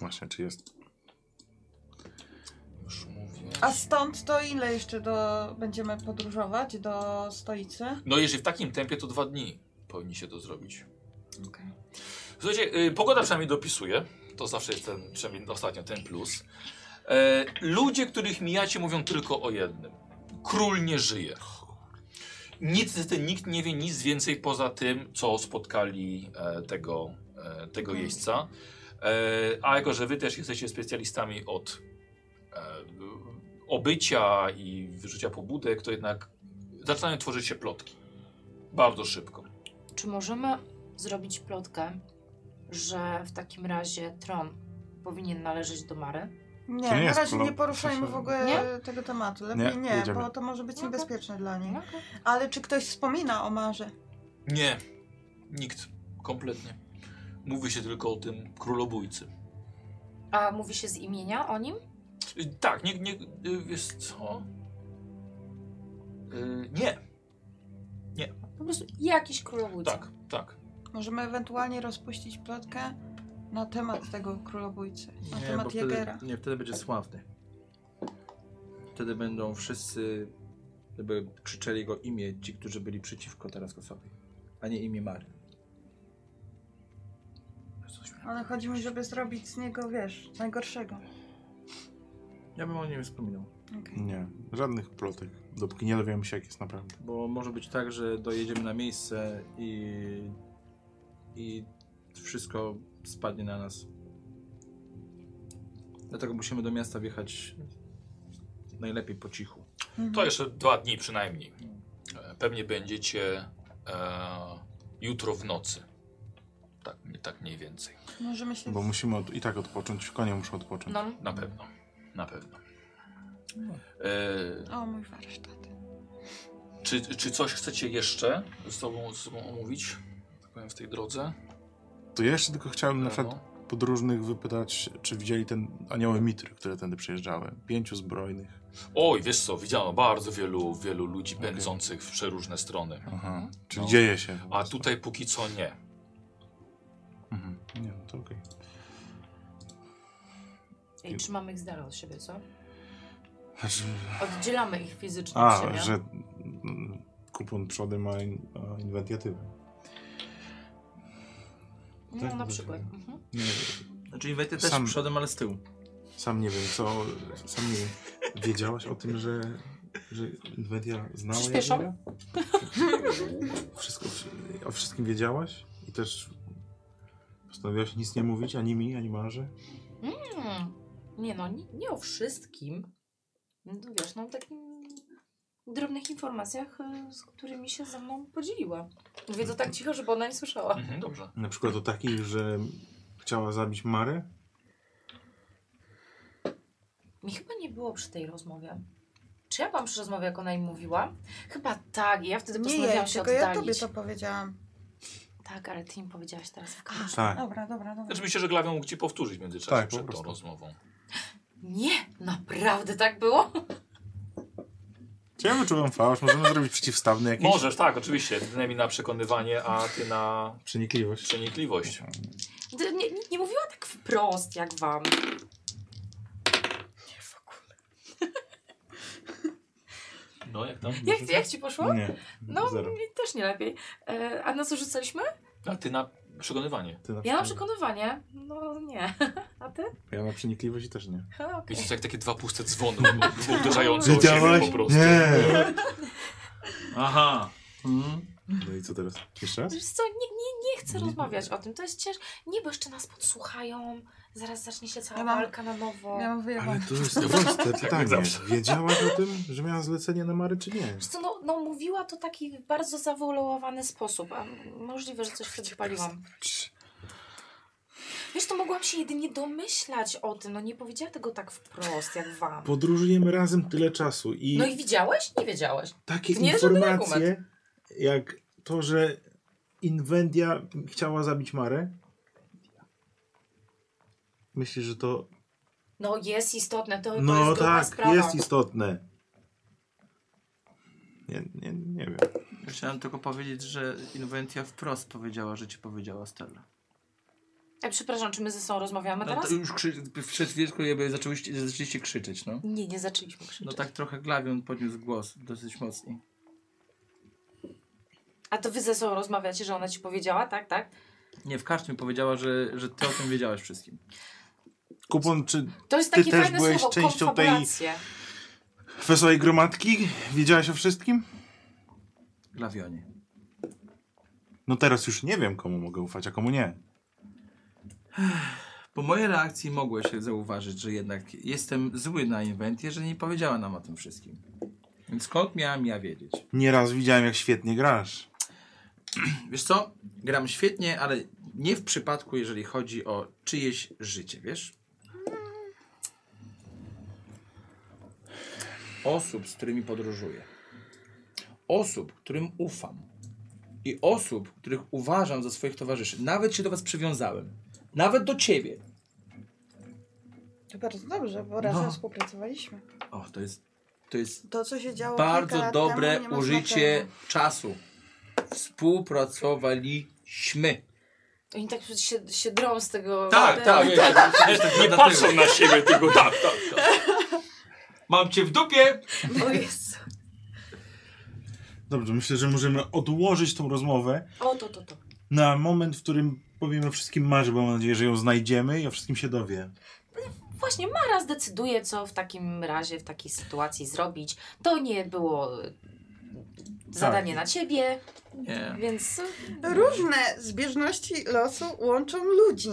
Speaker 4: Właśnie, czy jest.
Speaker 1: Już mówię.
Speaker 5: A stąd to ile jeszcze do... będziemy podróżować do stolicy?
Speaker 1: No jeżeli w takim tempie, to dwa dni powinni się to zrobić. Słuchajcie, y, pogoda przynajmniej dopisuje. To zawsze jest ten, przynajmniej ostatnio ten plus. E, ludzie, których mijacie, mówią tylko o jednym. Król nie żyje. Nic, niestety nikt nie wie nic więcej poza tym, co spotkali e, tego, e, tego jeźdźca. E, a jako, że wy też jesteście specjalistami od e, obycia i wyrzucia pobudek, to jednak zaczynają tworzyć się plotki. Bardzo szybko.
Speaker 3: Czy możemy zrobić plotkę, że w takim razie tron powinien należeć do Mary?
Speaker 5: Nie,
Speaker 4: To nie
Speaker 5: na
Speaker 4: jest
Speaker 5: razie
Speaker 4: problem.
Speaker 5: nie poruszajmy w ogóle
Speaker 3: Nie?
Speaker 5: tego tematu. Lepiej
Speaker 4: Nie,
Speaker 5: nie,
Speaker 4: jedziemy.
Speaker 5: bo to może być
Speaker 3: Okej.
Speaker 5: niebezpieczne dla niej.
Speaker 3: Okej.
Speaker 5: Ale czy ktoś wspomina o Marze?
Speaker 1: Nie, nikt. Kompletnie. Mówi się tylko o tym królobójcy.
Speaker 3: A mówi się z imienia o nim?
Speaker 1: Y, Tak, nie, nie, y, wiesz co? Y, nie,
Speaker 3: Po prostu jakiś królobójca.
Speaker 1: tak, tak.
Speaker 5: Możemy ewentualnie rozpuścić plotkę na temat tego królobójcy, na
Speaker 2: bo
Speaker 5: temat
Speaker 2: wtedy,
Speaker 5: Jagera.
Speaker 2: nie, wtedy będzie sławny. Wtedy będą wszyscy jakby krzyczeli jego imię, ci, którzy byli przeciwko teraz go sobie, a nie imię Mary.
Speaker 5: Ale chodzi mi, żeby zrobić z niego, wiesz, najgorszego.
Speaker 2: Ja bym o nim wspominał,
Speaker 5: Okej.
Speaker 4: Nie, żadnych plotek. Dopóki nie dowiemy się, jak jest naprawdę.
Speaker 2: bo może być tak, że dojedziemy na miejsce i, i wszystko spadnie na nas. Dlatego musimy do miasta wjechać najlepiej po cichu.
Speaker 5: Mhm.
Speaker 1: To jeszcze dwa dni przynajmniej. E, Pewnie będziecie e, jutro w nocy. Tak, tak mniej więcej.
Speaker 5: Możemy się...
Speaker 4: Bo musimy od, i tak odpocząć, konie muszą odpocząć.
Speaker 3: No,
Speaker 1: Na pewno, na pewno. E,
Speaker 5: O, mój warsztat.
Speaker 1: Czy, czy coś chcecie jeszcze z tobą, z tobą omówić? Tak powiem, w tej drodze?
Speaker 4: To ja jeszcze tylko chciałem na
Speaker 1: Prawo.
Speaker 4: przykład podróżnych wypytać, czy widzieli ten anioły mitry, które tędy przyjeżdżały. Pięciu zbrojnych.
Speaker 1: Oj, wiesz co, widziano bardzo wielu, wielu ludzi pędzących w przeróżne strony.
Speaker 4: Aha. Czyli
Speaker 1: No.
Speaker 4: dzieje się. po
Speaker 1: A
Speaker 4: prostu.
Speaker 1: tutaj póki co nie.
Speaker 4: Mhm. Nie, no to okej.
Speaker 3: i trzymamy ich z dala od siebie, co?
Speaker 4: Znaczy,
Speaker 3: Oddzielamy ich fizycznie od
Speaker 4: a,
Speaker 3: siebie.
Speaker 4: że mm, kupon przody ma in, a inwentjatywę.
Speaker 3: No,
Speaker 4: tak,
Speaker 3: na
Speaker 4: bo-
Speaker 3: przykład. Mhm.
Speaker 4: Nie,
Speaker 2: Znaczy Iwety
Speaker 4: też
Speaker 2: też
Speaker 4: Sam-
Speaker 2: przodem, ale z tyłu.
Speaker 4: sam nie wiem, co... Sam nie wiem. Wiedziałaś o tym, że, że Inwentia znała
Speaker 3: Przyspieszam.
Speaker 4: Jagera? Wszystko, o wszystkim wiedziałaś? I też postanowiłaś nic nie mówić ani mi, ani Marze?
Speaker 3: Hmm. Nie no, nie, nie o wszystkim. No, to wiesz, no o takich drobnych informacjach, y, z którymi się ze mną podzieliła. Mówię to tak
Speaker 4: Mhm.
Speaker 3: cicho, żeby ona nie słyszała.
Speaker 1: Mhm, dobrze.
Speaker 4: Na przykład o takich, że chciała zabić Marę?
Speaker 3: Mi chyba nie było przy tej rozmowie. Czy ja byłam przy rozmowie, jak ona im mówiła? Chyba tak, i ja wtedy
Speaker 5: Nie
Speaker 3: postanowiłam
Speaker 5: jej,
Speaker 3: się
Speaker 5: tylko ja tobie
Speaker 3: oddalić.
Speaker 5: to powiedziałam.
Speaker 3: Tak, ale ty im powiedziałaś teraz. w kamerze.
Speaker 4: Tak.
Speaker 5: Dobra, dobra, dobra.
Speaker 1: Znaczy myślę, że Glawią mógł ci powtórzyć w międzyczasie
Speaker 4: Tak, po
Speaker 1: przed tą
Speaker 4: prostu.
Speaker 1: rozmową.
Speaker 3: Nie, naprawdę tak było?
Speaker 4: Ciebie czułem fałsz, możemy zrobić przeciwstawny jakiś?
Speaker 1: Możesz, tak, oczywiście. Ty najmniej na przekonywanie, a ty na
Speaker 4: Przenikliwość.
Speaker 1: przenikliwość.
Speaker 3: Ty Nie, nie, nie mówiła tak wprost jak wam.
Speaker 1: No jak tam?
Speaker 3: Jak, jak ci poszło?
Speaker 4: Nie,
Speaker 3: No,
Speaker 4: zero.
Speaker 3: mi też nie lepiej. E, a na co rzucaliśmy?
Speaker 1: A ty na przekonywanie.
Speaker 4: Ty na
Speaker 3: Ja na
Speaker 4: przykład-
Speaker 3: przekonywanie. No nie. A ty?
Speaker 4: Ja na przenikliwość i też nie.
Speaker 3: Ha, okej.
Speaker 1: Wiecie, jak takie dwa puste dzwony u- u- uderzające o siebie
Speaker 4: Wiedziałaś?
Speaker 1: po prostu.
Speaker 4: Nie!
Speaker 2: Aha. Mhm.
Speaker 4: No i co teraz? Jeszcze raz?
Speaker 3: Wiesz co, nie, nie, nie chcę rozmawiać o tym. To jest ciężkie. Nie, bo jeszcze nas podsłuchają. Zaraz zacznie się cała
Speaker 5: Ja mam-
Speaker 3: walka na nowo.
Speaker 5: Miałam
Speaker 4: Ale
Speaker 5: wyjebane.
Speaker 4: to jest proste pytanie.
Speaker 1: zawsze.
Speaker 4: Wiedziałaś o tym, że miała zlecenie na Mary, czy nie?
Speaker 3: Wiesz co, no, no mówiła to taki bardzo zawolowany sposób. A możliwe, że coś wtedy paliłam. Wiesz, to mogłam się jedynie domyślać o tym. No nie powiedziała tego tak wprost, jak wam.
Speaker 16: Podróżujemy razem tyle czasu i
Speaker 3: No i widziałeś? Nie wiedziałeś.
Speaker 16: takie
Speaker 3: to nie jest żaden
Speaker 16: informacje, jak to, że Inwendia chciała zabić Marę. Myślisz, że to.
Speaker 3: No jest istotne, to, to
Speaker 16: No
Speaker 3: jest
Speaker 16: tak,
Speaker 3: sprawa.
Speaker 16: jest istotne. Nie, nie, nie wiem.
Speaker 2: Chciałem tylko powiedzieć, że Inventia wprost powiedziała, że ci powiedziała Stella.
Speaker 3: Ej, przepraszam, czy my ze sobą rozmawiamy
Speaker 2: No
Speaker 3: teraz?
Speaker 2: to już krzy... przed chwilką jakby zaczęłyście, zaczęliście krzyczeć, no.
Speaker 3: Nie, nie zaczęliśmy krzyczeć.
Speaker 2: No tak trochę Glawion podniósł głos dosyć mocniej.
Speaker 3: A to wy ze sobą rozmawiacie, że ona ci powiedziała, tak, tak?
Speaker 2: Nie, w każdym powiedziała, że, że ty o tym wiedziałeś wszystkim.
Speaker 4: Kupon, czy
Speaker 3: To jest
Speaker 4: Ty
Speaker 3: takie
Speaker 4: też
Speaker 3: fajne
Speaker 4: byłeś
Speaker 3: słowo,
Speaker 4: częścią tej-
Speaker 3: konfabulacje.
Speaker 4: wesołej gromadki? Wiedziałaś o wszystkim?
Speaker 2: Glawionie.
Speaker 4: No teraz już nie wiem, komu mogę ufać, a komu nie.
Speaker 2: Po mojej reakcji mogłeś zauważyć, że jednak jestem zły na Inventię, że nie powiedziała nam o tym wszystkim. Więc skąd miałam ja wiedzieć?
Speaker 4: Nieraz widziałem, jak świetnie grasz.
Speaker 2: Wiesz co? Gram świetnie, ale nie w przypadku, jeżeli chodzi o czyjeś życie, wiesz? Osób, z którymi podróżuję. Osób, którym ufam. I osób, których uważam za swoich towarzyszy. Nawet się do was przywiązałem. Nawet do ciebie.
Speaker 5: To bardzo dobrze, bo razem
Speaker 2: No.
Speaker 5: współpracowaliśmy.
Speaker 2: O, to jest, to jest
Speaker 5: To, co się działo kilka
Speaker 2: bardzo
Speaker 5: lat
Speaker 2: dobre
Speaker 5: temu, nie ma
Speaker 2: użycie
Speaker 5: znaczenia.
Speaker 2: czasu. Współpracowaliśmy.
Speaker 3: Oni tak się, się drą z tego...
Speaker 2: Tak, tak, nie, nie, nie, nie patrzą
Speaker 1: na siebie tylko tak, tak, tak.
Speaker 2: Mam cię w dupie!
Speaker 3: O Jezu.
Speaker 16: Dobrze, myślę, że możemy odłożyć tą rozmowę
Speaker 3: O, to, to, to.
Speaker 16: na moment, w którym powiemy o wszystkim Marze, bo mam nadzieję, że ją znajdziemy i o wszystkim się dowie.
Speaker 3: Właśnie Mara zdecyduje, co w takim razie, w takiej sytuacji zrobić. To nie było
Speaker 4: Tak.
Speaker 3: e, zadanie na ciebie,
Speaker 2: Nie.
Speaker 3: więc... e,
Speaker 5: Różne zbieżności losu łączą ludzi.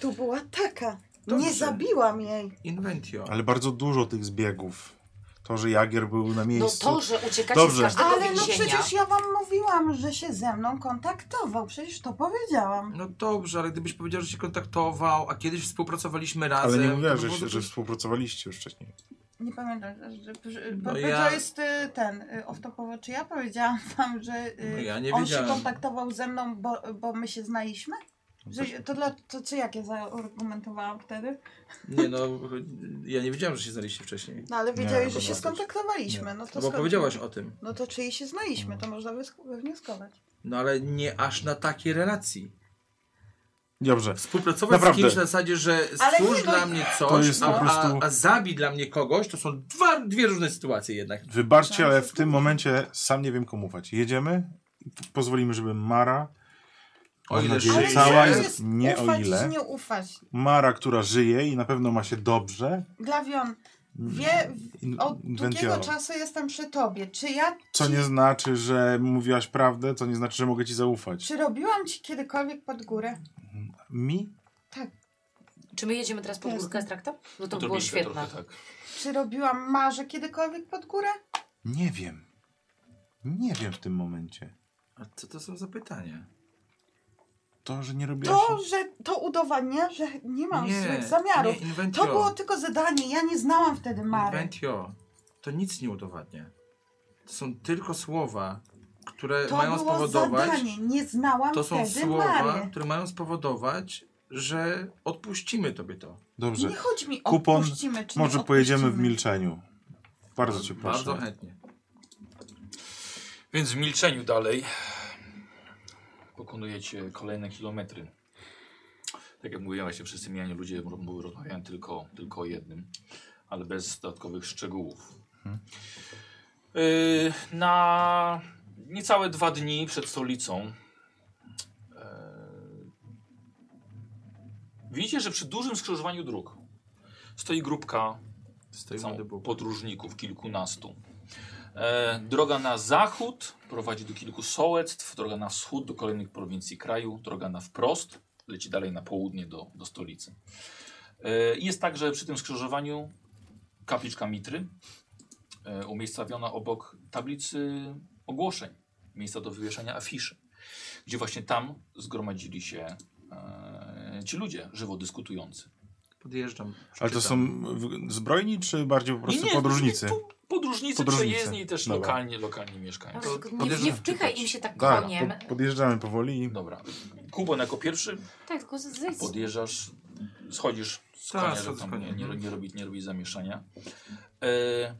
Speaker 5: Tu była taka.
Speaker 2: Dobrze.
Speaker 5: Nie zabiłam jej.
Speaker 2: Inventio.
Speaker 4: Ale bardzo dużo tych zbiegów. To, że Jagier był na
Speaker 3: No
Speaker 4: miejscu.
Speaker 3: to, że uciekacie
Speaker 4: Dobrze.
Speaker 3: z każdego
Speaker 5: Ale no
Speaker 3: więzienia.
Speaker 5: przecież ja wam mówiłam, że się ze mną kontaktował. Przecież to powiedziałam.
Speaker 2: No dobrze, ale gdybyś powiedział, że się kontaktował, a kiedyś współpracowaliśmy razem.
Speaker 4: Ale nie mówiła,
Speaker 2: to
Speaker 4: że,
Speaker 2: było
Speaker 4: się- że
Speaker 2: dobrze.
Speaker 4: współpracowaliście już wcześniej.
Speaker 5: Nie pamiętam. Że, że,
Speaker 2: No
Speaker 5: bo-
Speaker 2: ja-
Speaker 5: To jest y, ten y, off-topowo. Czy ja powiedziałam wam, że y,
Speaker 2: No ja nie
Speaker 5: on
Speaker 2: wiedziałem.
Speaker 5: się kontaktował ze mną, bo, bo my się znaliśmy? Że, to, dla, to czy jak ja zaargumentowałam wtedy?
Speaker 2: Nie no, ja nie wiedziałem, że się znaliście wcześniej.
Speaker 5: No ale
Speaker 4: Nie,
Speaker 5: wiedziałeś, że
Speaker 4: to
Speaker 5: się
Speaker 4: dosyć.
Speaker 5: skontaktowaliśmy. No to
Speaker 2: No bo
Speaker 5: skąd-
Speaker 2: powiedziałaś o tym.
Speaker 5: No to czyli się znaliśmy, to można wysk- wywnioskować.
Speaker 2: No ale nie aż na takiej relacji.
Speaker 4: Dobrze.
Speaker 2: Współpracować
Speaker 4: Naprawdę.
Speaker 2: z kimś na zasadzie, że
Speaker 5: Ale
Speaker 2: stwórz
Speaker 5: nie, no-
Speaker 2: dla mnie
Speaker 4: To
Speaker 2: coś,
Speaker 4: jest po
Speaker 2: a,
Speaker 4: prostu-
Speaker 2: a, a zabij dla mnie kogoś, to są dwa, dwie różne sytuacje jednak.
Speaker 4: Wybaczcie, ale w tym momencie sam nie wiem, komu ufać. Jedziemy. Pozwolimy, żeby Mara.
Speaker 2: O
Speaker 4: mam
Speaker 2: ile
Speaker 4: nadzieję,
Speaker 2: żyje.
Speaker 4: cała
Speaker 5: to
Speaker 2: jest-
Speaker 4: jest. Nie o
Speaker 5: ufać,
Speaker 4: ile.
Speaker 5: nie ufać.
Speaker 4: Mara, która żyje i na pewno ma się dobrze.
Speaker 5: Glawion, wie, w-
Speaker 4: in-
Speaker 5: od długiego
Speaker 4: inwencjora.
Speaker 5: czasu jestem przy tobie. Czy ja
Speaker 4: Mm, Co
Speaker 5: ci,
Speaker 4: nie znaczy, że mówiłaś prawdę, co nie znaczy, że mogę ci zaufać.
Speaker 5: czy robiłam ci kiedykolwiek pod górę?
Speaker 4: Mi?
Speaker 3: Czy my jedziemy teraz pod
Speaker 5: Jasne.
Speaker 3: górkę z traktem? Bo to było
Speaker 1: Odrobinkę
Speaker 3: świetne.
Speaker 1: trochę, tak.
Speaker 5: Czy robiłam Marze kiedykolwiek pod górę?
Speaker 4: Nie wiem. Nie wiem w tym momencie.
Speaker 2: A co to są za pytania?
Speaker 4: To, że nie robiłaś.
Speaker 5: To, że to udowadnia, że nie mam złych
Speaker 2: nie,
Speaker 5: zamiarów.
Speaker 2: Inventio.
Speaker 5: to było tylko zadanie, ja nie znałam wtedy Mary.
Speaker 2: Inventio, to nic nie udowadnia. To są tylko słowa, które
Speaker 5: To
Speaker 2: mają
Speaker 5: było
Speaker 2: spowodować.
Speaker 5: zadanie, nie znałam
Speaker 2: To są
Speaker 5: wtedy
Speaker 2: słowa,
Speaker 5: Mary.
Speaker 2: które mają spowodować, że odpuścimy tobie to.
Speaker 4: Dobrze.
Speaker 5: Nie chodzi mi o
Speaker 4: Kupon
Speaker 5: odpuścimy, czy nie
Speaker 4: Może pojedziemy w
Speaker 5: odpuścimy.
Speaker 4: milczeniu. Bardzo cię proszę.
Speaker 2: Bardzo chętnie.
Speaker 1: Więc w milczeniu dalej pokonujecie kolejne kilometry. Tak jak mówiłem, właśnie wszyscy mijani ludzie m- rozmawiają tylko, tylko o jednym, ale bez dodatkowych szczegółów. Yy, na niecałe dwa dni przed stolicą yy, widzicie, że przy dużym skrzyżowaniu dróg stoi grupka
Speaker 2: Stoimy do
Speaker 1: są
Speaker 2: boku.
Speaker 1: podróżników, kilkunastu. E, droga na zachód prowadzi do kilku sołectw, droga na wschód do kolejnych prowincji kraju, droga na wprost leci dalej na południe do, do stolicy. E, i jest tak, że przy tym skrzyżowaniu kapliczka Mitry e, umiejscowiona obok tablicy ogłoszeń, miejsca do wywieszania afiszy, gdzie właśnie tam zgromadzili się e, e, ci ludzie żywo dyskutujący.
Speaker 2: Podjeżdżam.
Speaker 4: Ale to są w- zbrojni, czy bardziej po prostu
Speaker 1: Nie, nie,
Speaker 4: podróżnicy?
Speaker 1: po- Podróżnicy,
Speaker 4: Podróżnicy.
Speaker 1: przejezdni i też
Speaker 4: Dobra.
Speaker 1: lokalni, lokalni mieszkańcy.
Speaker 3: Tylko Nie,
Speaker 2: podejrzewam,
Speaker 3: nie wpychaj im się tak
Speaker 4: Tak,
Speaker 3: koniem.
Speaker 4: po, podjeżdżamy powoli.
Speaker 1: Dobra. Kubon jako pierwszy
Speaker 3: Tak, tylko z- zejdź.
Speaker 1: podjeżdżasz, schodzisz z
Speaker 2: Tak,
Speaker 1: konia,
Speaker 2: schodzę
Speaker 1: żeby
Speaker 2: z
Speaker 1: tam
Speaker 2: konia.
Speaker 1: nie, nie, ro- nie, robić, nie robić zamieszania. E,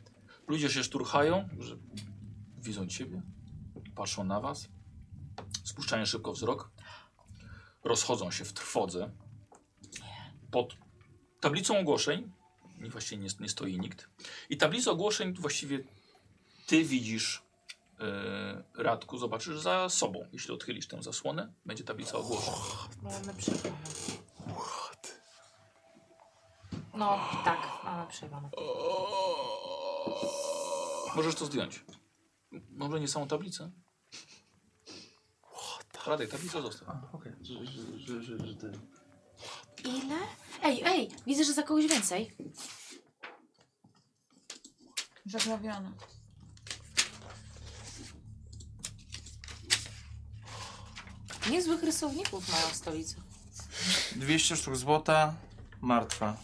Speaker 1: ludzie się szturchają, że widzą ciebie, patrzą na was, spuszczają szybko wzrok, rozchodzą się w trwodze. Pod tablicą ogłoszeń, nie, właściwie nie, nie stoi nikt, i tablica ogłoszeń właściwie ty widzisz e, Radku, zobaczysz za sobą. Jeśli odchylisz tę zasłonę, będzie tablica ogłoszeń.
Speaker 3: Mamy przerwane. No tak, mamy przerwane.
Speaker 1: Możesz to zdjąć. Może nie samą tablicę? Radek, tablica zostaw.
Speaker 2: Okej, że, że, że, że, że ten.
Speaker 3: Ile? Ej, ej, widzę, że za kogoś więcej.
Speaker 5: Zagrawiona.
Speaker 3: Niezłych rysowników mają w stolicy.
Speaker 2: 200 sztuk złota, martwa,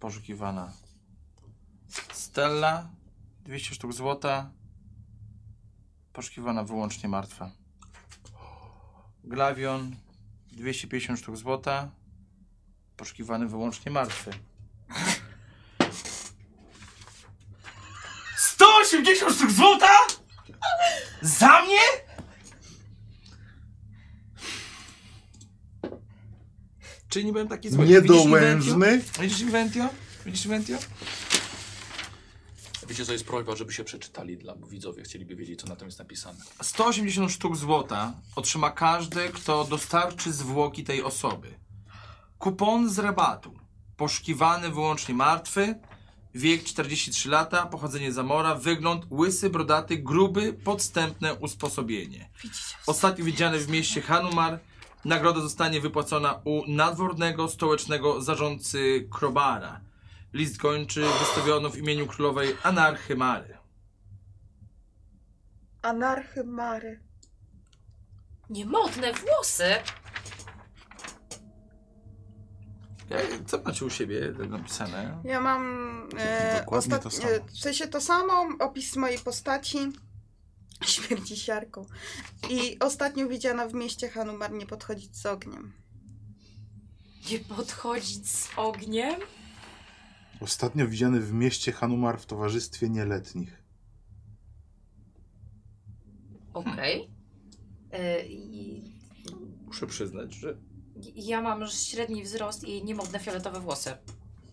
Speaker 2: poszukiwana. Stella, 200 sztuk złota, poszukiwana wyłącznie martwa. Glavion, 250 sztuk złota, poszukiwany wyłącznie martwy. 180 sztuk złota? Za mnie? Czyli nie byłem taki zły.
Speaker 12: Niedołężny.
Speaker 2: Widzisz Inventio? Widzisz Inventio?
Speaker 1: Wiecie, co jest prośba, żeby się przeczytali dla bo widzowie. Chcieliby wiedzieć, co na tym jest napisane.
Speaker 2: 180 sztuk złota otrzyma każdy, kto dostarczy zwłoki tej osoby. Kupon z rabatu. Poszukiwany wyłącznie martwy. Wiek 43 lata, pochodzenie Zamora, wygląd łysy, brodaty, gruby, podstępne usposobienie. Ostatnio widziany w mieście Hanumar. Nagroda zostanie wypłacona u nadwornego stołecznego zarządcy Krobara. List gończy wystawiono w imieniu królowej Anarchy Mary.
Speaker 5: Anarchy Mary.
Speaker 3: Niemodne włosy!
Speaker 2: Jak- Co macie u siebie napisane?
Speaker 5: Ja mam e,
Speaker 4: Dokładnie to
Speaker 5: ostatnio,
Speaker 4: samo.
Speaker 5: w sensie to samo, opis mojej postaci, śmierci siarką. I ostatnio widziana w mieście Hanumar nie podchodzić z ogniem.
Speaker 3: Nie podchodzić z ogniem?
Speaker 4: Ostatnio widziany w mieście Hanumar w towarzystwie nieletnich.
Speaker 3: Okej. Y, i-
Speaker 2: Muszę przyznać, że
Speaker 3: Ja mam średni wzrost i niemodne fioletowe włosy.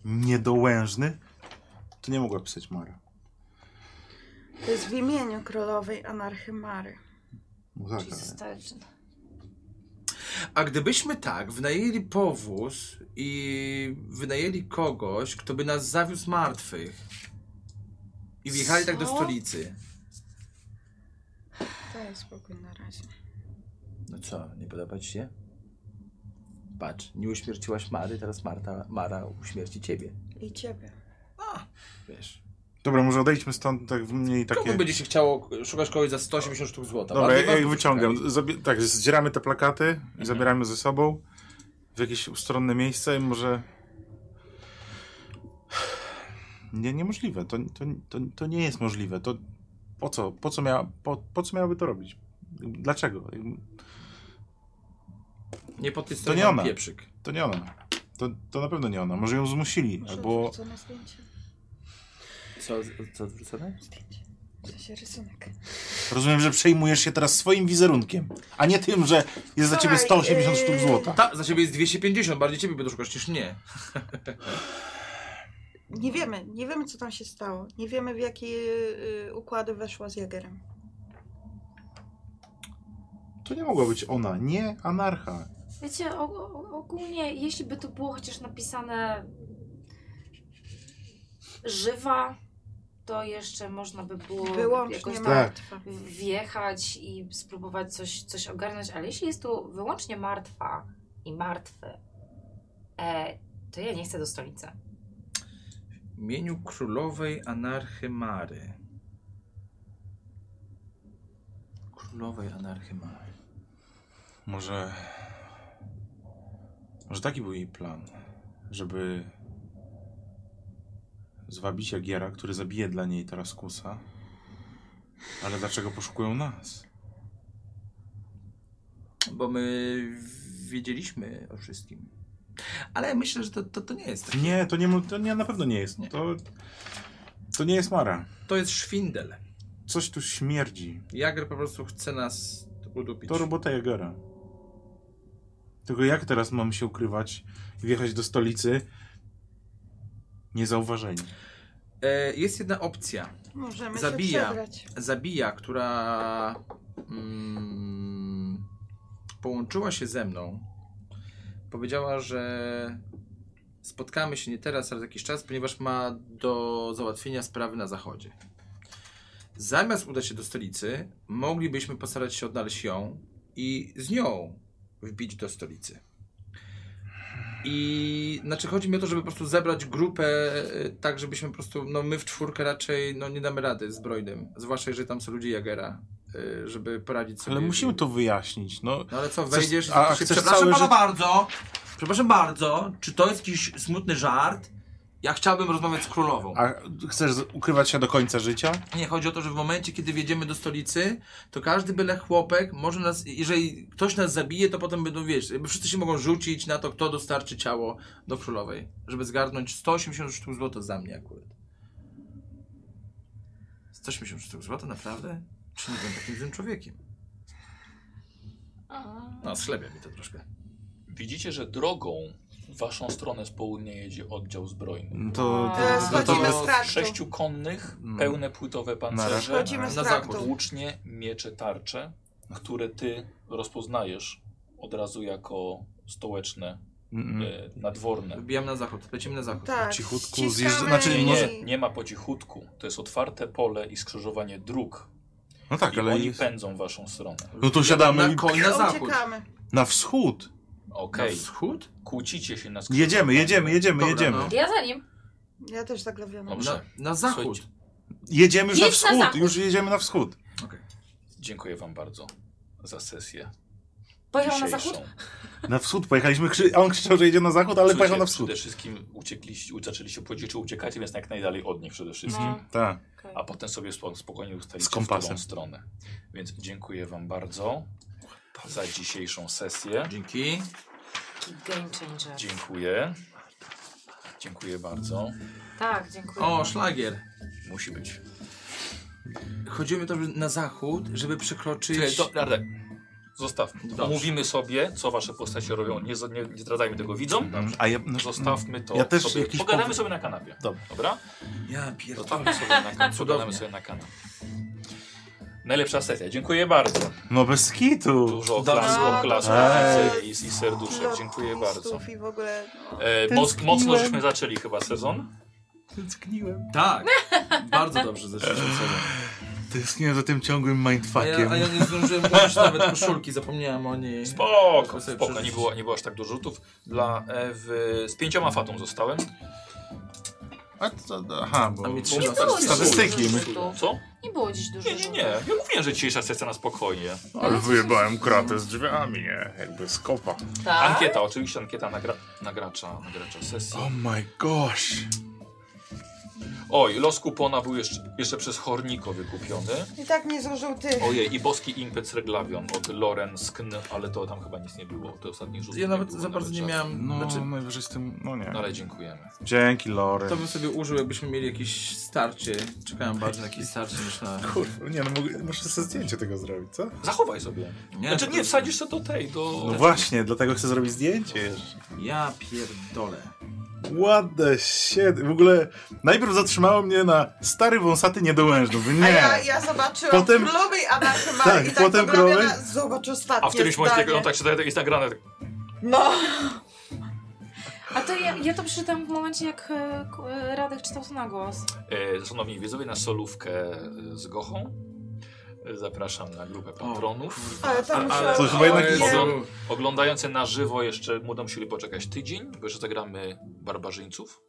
Speaker 4: Niedołężny? To nie mogła pisać Mara.
Speaker 5: To jest w imieniu królowej Anarchy Mary.
Speaker 4: No tak,
Speaker 3: Czyli
Speaker 4: ale...
Speaker 3: zostaje...
Speaker 2: A gdybyśmy tak wynajęli powóz i wynajęli kogoś, kto by nas zawiózł martwych i wjechali tak do
Speaker 3: Co?
Speaker 2: stolicy.
Speaker 5: Daj spokój na razie.
Speaker 2: No co, nie podoba ci się? Patrz, nie uśmierciłaś Mary, teraz Marta, Mara uśmierci ciebie.
Speaker 5: I ciebie.
Speaker 2: Wiesz.
Speaker 4: Dobra, może odejdźmy stąd tak w mniej takie...
Speaker 2: Komu będzie się chciało szukać kogoś za 180 sztuk złota?
Speaker 4: Dobra, Mhm.
Speaker 2: Bardziej
Speaker 4: ja, ja
Speaker 2: was
Speaker 4: ich
Speaker 2: by
Speaker 4: wyciągam.
Speaker 2: szukali.
Speaker 4: Zabie- tak, zdzieramy te plakaty i zabieramy ze sobą w jakieś ustronne miejsce i może... Nie, niemożliwe. To, to, to, to nie jest możliwe. To po co? Po co, mia- po, po co miałaby to robić? Dlaczego?
Speaker 2: Nie po tej stronie
Speaker 4: nie ona.
Speaker 2: pieprzyk.
Speaker 4: To nie ona. To, to na pewno nie ona. Może ją zmusili, albo...
Speaker 5: Co na zdjęcie?
Speaker 2: Co, co odwrócone?
Speaker 5: Zdjęcie. W sensie rysunek.
Speaker 4: Rozumiem, że przejmujesz się teraz swoim wizerunkiem, a nie tym, że jest za ciebie
Speaker 5: Słuchaj,
Speaker 4: 180
Speaker 5: yy,
Speaker 4: sztuk złota.
Speaker 2: Ta, za ciebie jest 250, bardziej ciebie będą szukać niż mnie.
Speaker 5: Nie wiemy, nie wiemy co tam się stało. Nie wiemy w jakie y, układy weszła z Jagerem.
Speaker 4: To nie mogła być ona, nie anarcha.
Speaker 3: Wiecie, og- og- ogólnie, jeśli by to było chociaż napisane żywa, to jeszcze można by było
Speaker 5: Wyłącznie
Speaker 3: jakoś
Speaker 5: martwa.
Speaker 3: wjechać i spróbować coś, coś ogarnąć, ale jeśli jest tu wyłącznie martwa i martwy, e, to ja nie chcę do stolicy.
Speaker 2: W imieniu królowej Anarchy Mary. Królowej Anarchy Mary.
Speaker 4: Może. Może taki był jej plan, żeby zwabić Jagiera, który zabije dla niej teraz kusa. Ale dlaczego poszukują nas?
Speaker 2: Bo my wiedzieliśmy o wszystkim. Ale myślę, że to, to, to nie jest. tak. takie-
Speaker 4: Nie, to nie, mu- to nie na pewno nie jest.
Speaker 2: Nie.
Speaker 4: To, to nie jest Mara.
Speaker 2: To jest szwindel.
Speaker 4: Coś tu śmierdzi.
Speaker 2: Jager po prostu chce nas udupić.
Speaker 4: To robota Jagera. Tylko jak teraz mam się ukrywać i wjechać do stolicy niezauważeni?
Speaker 2: E, jest jedna opcja.
Speaker 5: Możemy
Speaker 2: Zabija.
Speaker 5: się przebrać.
Speaker 2: Zabija, która mm, połączyła się ze mną, powiedziała, że spotkamy się nie teraz, ale za jakiś czas, ponieważ ma do załatwienia sprawy na zachodzie. Zamiast udać się do stolicy, moglibyśmy postarać się odnaleźć ją i z nią wbić do stolicy. I znaczy chodzi mi o to, żeby po prostu zebrać grupę y, tak, żebyśmy po prostu, no my w czwórkę raczej no nie damy rady zbrojnym, zwłaszcza jeżeli tam są ludzie Jagera, y, żeby poradzić sobie.
Speaker 4: Ale musimy to wyjaśnić. No,
Speaker 2: No ale co,
Speaker 4: Chcesz-
Speaker 2: wejdziesz i
Speaker 4: a,
Speaker 2: zobaczysz,
Speaker 4: chcesz
Speaker 2: przepraszam
Speaker 4: całe
Speaker 2: pana
Speaker 4: życie-
Speaker 2: bardzo, przepraszam bardzo, czy to jest jakiś smutny żart? Ja chciałbym rozmawiać z królową.
Speaker 4: a chcesz z- ukrywać się do końca życia?
Speaker 2: Nie, chodzi o to, że w momencie, kiedy wjedziemy do stolicy, to każdy byle chłopek może nas, jeżeli ktoś nas zabije, to potem będą, wiesz, jakby wszyscy się mogą rzucić na to, kto dostarczy ciało do królowej, żeby zgarnąć 180 sztuk złota za mnie akurat. 180 sztuk złota? Naprawdę? Czy nie byłem takim złym człowiekiem? No, schlebia mi to troszkę.
Speaker 1: Widzicie, że drogą w waszą stronę z południa jedzie oddział zbrojny.
Speaker 4: No To,
Speaker 3: A,
Speaker 4: to, to,
Speaker 5: schodzimy
Speaker 4: to,
Speaker 5: z traktu.
Speaker 1: Sześciu konnych,
Speaker 4: Mm.
Speaker 1: pełne płytowe pancerze,
Speaker 5: Schodzimy z
Speaker 2: Na
Speaker 5: traktu.
Speaker 2: zachód.
Speaker 1: włócznie, miecze, tarcze, które ty rozpoznajesz od razu jako stołeczne,
Speaker 4: Mm,
Speaker 1: e, nadworne.
Speaker 2: Wbijam na zachód, lecimy na zachód.
Speaker 5: Tak,
Speaker 4: Cichutku
Speaker 5: ściskamy
Speaker 4: zjeżdż- znaczy,
Speaker 5: i-
Speaker 1: Nie, nie ma po cichutku. To jest otwarte pole i skrzyżowanie dróg.
Speaker 4: No tak,
Speaker 1: I
Speaker 4: ale
Speaker 1: oni
Speaker 4: jest...
Speaker 1: pędzą w waszą stronę.
Speaker 4: No to siadamy
Speaker 2: Na
Speaker 4: i
Speaker 2: koń na zachód.
Speaker 5: Uciekamy.
Speaker 4: na wschód.
Speaker 2: Na
Speaker 1: Okej,
Speaker 2: wschód?
Speaker 1: No, kłócicie się na skrzyżowaniu.
Speaker 4: Jedziemy, jedziemy, jedziemy,
Speaker 2: Dobra,
Speaker 4: jedziemy.
Speaker 2: no.
Speaker 3: Ja za nim.
Speaker 5: Ja też tak zaglawiono.
Speaker 1: Dobrze.
Speaker 2: Na, na zachód.
Speaker 1: Słuchajcie.
Speaker 4: Jedziemy już na
Speaker 3: Jedź na
Speaker 4: wschód,
Speaker 3: zachód.
Speaker 4: już jedziemy na wschód.
Speaker 1: Dziękuję wam bardzo za sesję
Speaker 3: Pojechał na
Speaker 1: dzisiejszą.
Speaker 3: zachód?
Speaker 4: Na wschód pojechaliśmy, krzy... a on krzyczał, że jedzie na zachód, ale
Speaker 1: Słuchajcie,
Speaker 4: pojechał na wschód.
Speaker 1: Przede wszystkim uciekliście, u- zaczęliście płodzić, czy uciekacie, więc jak najdalej od nich przede wszystkim.
Speaker 3: No.
Speaker 4: Tak.
Speaker 1: A potem sobie spo- spokojnie ustalicie
Speaker 4: Z kompasem.
Speaker 1: w którą stronę. Więc dziękuję wam bardzo za dzisiejszą sesję.
Speaker 2: Dzięki.
Speaker 3: Taki Game changer.
Speaker 1: Dziękuję. Dziękuję bardzo.
Speaker 3: Tak, dziękuję.
Speaker 2: O, szlagier.
Speaker 1: Musi być.
Speaker 2: Chodzimy to na zachód, żeby przekroczyć.
Speaker 1: Czekaj, do, Darek, zostawmy.
Speaker 2: Dobrze.
Speaker 1: Mówimy sobie, co wasze postacie robią. Nie, z- nie, nie zdradzajmy tego widzom.
Speaker 4: A ja... no,
Speaker 1: Zostawmy to
Speaker 4: Ja też
Speaker 1: sobie.
Speaker 4: jakiś
Speaker 1: Pogadamy
Speaker 4: powód-
Speaker 1: sobie na kanapie.
Speaker 4: Dobra.
Speaker 1: Dobra?
Speaker 2: Ja pierdolę.
Speaker 1: Zostawmy sobie na kanapie. Pogadamy
Speaker 2: Cudownie.
Speaker 1: sobie na kanapie. Najlepsza sesja. Dziękuję bardzo.
Speaker 4: No bez kitu.
Speaker 1: Dużo
Speaker 2: Dobrze.
Speaker 1: oklasków,
Speaker 5: No,
Speaker 1: oklasków
Speaker 5: dobrze.
Speaker 1: i, i serduszek. Dziękuję bardzo.
Speaker 5: I w ogóle, no.
Speaker 1: E, moc, mocno żeśmy zaczęli chyba sezon.
Speaker 2: Tak. Bardzo dobrze zeszliśmy sobie.
Speaker 4: Tęskniłem za tym ciągłym
Speaker 2: A ja,
Speaker 4: mindfuckiem.
Speaker 2: a ja nie zdążyłem użyć nawet koszulki, zapomniałem o niej.
Speaker 1: Spoko,
Speaker 2: Muszę sobie
Speaker 1: spoko. Nie
Speaker 2: przeżyć.
Speaker 1: było, nie było aż tak dużo rzutów. Dla Ewy z pięcioma fatą zostałem.
Speaker 4: A to, aha, bo...
Speaker 2: A mi
Speaker 1: Nie
Speaker 2: trzy
Speaker 1: było
Speaker 2: razy.
Speaker 1: nic.
Speaker 4: Statystyki. my-
Speaker 1: Co?
Speaker 3: Nie było dziś dużo.
Speaker 1: Nie, nie, nie. Ja mówiłem, że dzisiejsza sesja na spokojnie.
Speaker 4: Ale wyjebałem kratę z drzwiami, nie? Jakby z kopa.
Speaker 3: Tak?
Speaker 1: Ankieta, oczywiście ankieta nagra nagracza, nagracza sesji.
Speaker 4: Oh my gosh.
Speaker 1: Oj, los kupona był jeszcze, jeszcze przez Horniko wykupiony.
Speaker 5: I tak nie zużył tych.
Speaker 1: Ojej, i boski impet z reglawion od Loren Skn, ale to tam chyba nic nie było. To ostatni rzut.
Speaker 2: Ja nawet
Speaker 1: było
Speaker 2: za bardzo nie
Speaker 1: żadnych.
Speaker 2: miałem.
Speaker 4: No,
Speaker 2: Znaczy,
Speaker 4: najwyżej z tym... No nie.
Speaker 1: No ale dziękujemy.
Speaker 4: Dzięki, Lory.
Speaker 2: to bym sobie użył, jakbyśmy mieli jakieś starcie. Czekałem bardziej na jakieś starcie niż na.
Speaker 4: Kurwa, nie no, mogę, muszę sobie zdjęcie tego zrobić, co?
Speaker 1: Zachowaj sobie.
Speaker 2: Nie,
Speaker 1: znaczy
Speaker 2: to-
Speaker 1: nie, wsadzisz się do tej, do...
Speaker 4: No właśnie, dlatego chcę zrobić zdjęcie.
Speaker 2: Ja pierdolę.
Speaker 4: What the shit. W ogóle najpierw zatrzymało mnie na stary wąsaty niedołężny. Mówię,
Speaker 5: A
Speaker 4: Nie.
Speaker 5: ja, ja zobaczyłem
Speaker 4: Potem-
Speaker 5: potem... królowej Anachyma
Speaker 4: Tak,
Speaker 5: i tak potem
Speaker 4: potem królowej.
Speaker 5: Zobacz ostatnie
Speaker 1: A w którymś momencie,
Speaker 5: zdanie.
Speaker 1: jak on tak czyta, jest nagrane. tak,
Speaker 5: No,
Speaker 3: A to ja, ja to przeczytam w momencie, jak e, k- e, Radek czytał to na głos.
Speaker 1: E, szanowni widzowie, na solówkę e, z Gochą. E, Zapraszam na grupę patronów.
Speaker 5: ale to
Speaker 2: Ale-
Speaker 5: musiało...
Speaker 4: to chyba jednak
Speaker 5: nie.
Speaker 1: Jezu. Oglądający na żywo jeszcze będą musieli poczekać tydzień, bo jeszcze zagramy barbarzyńców.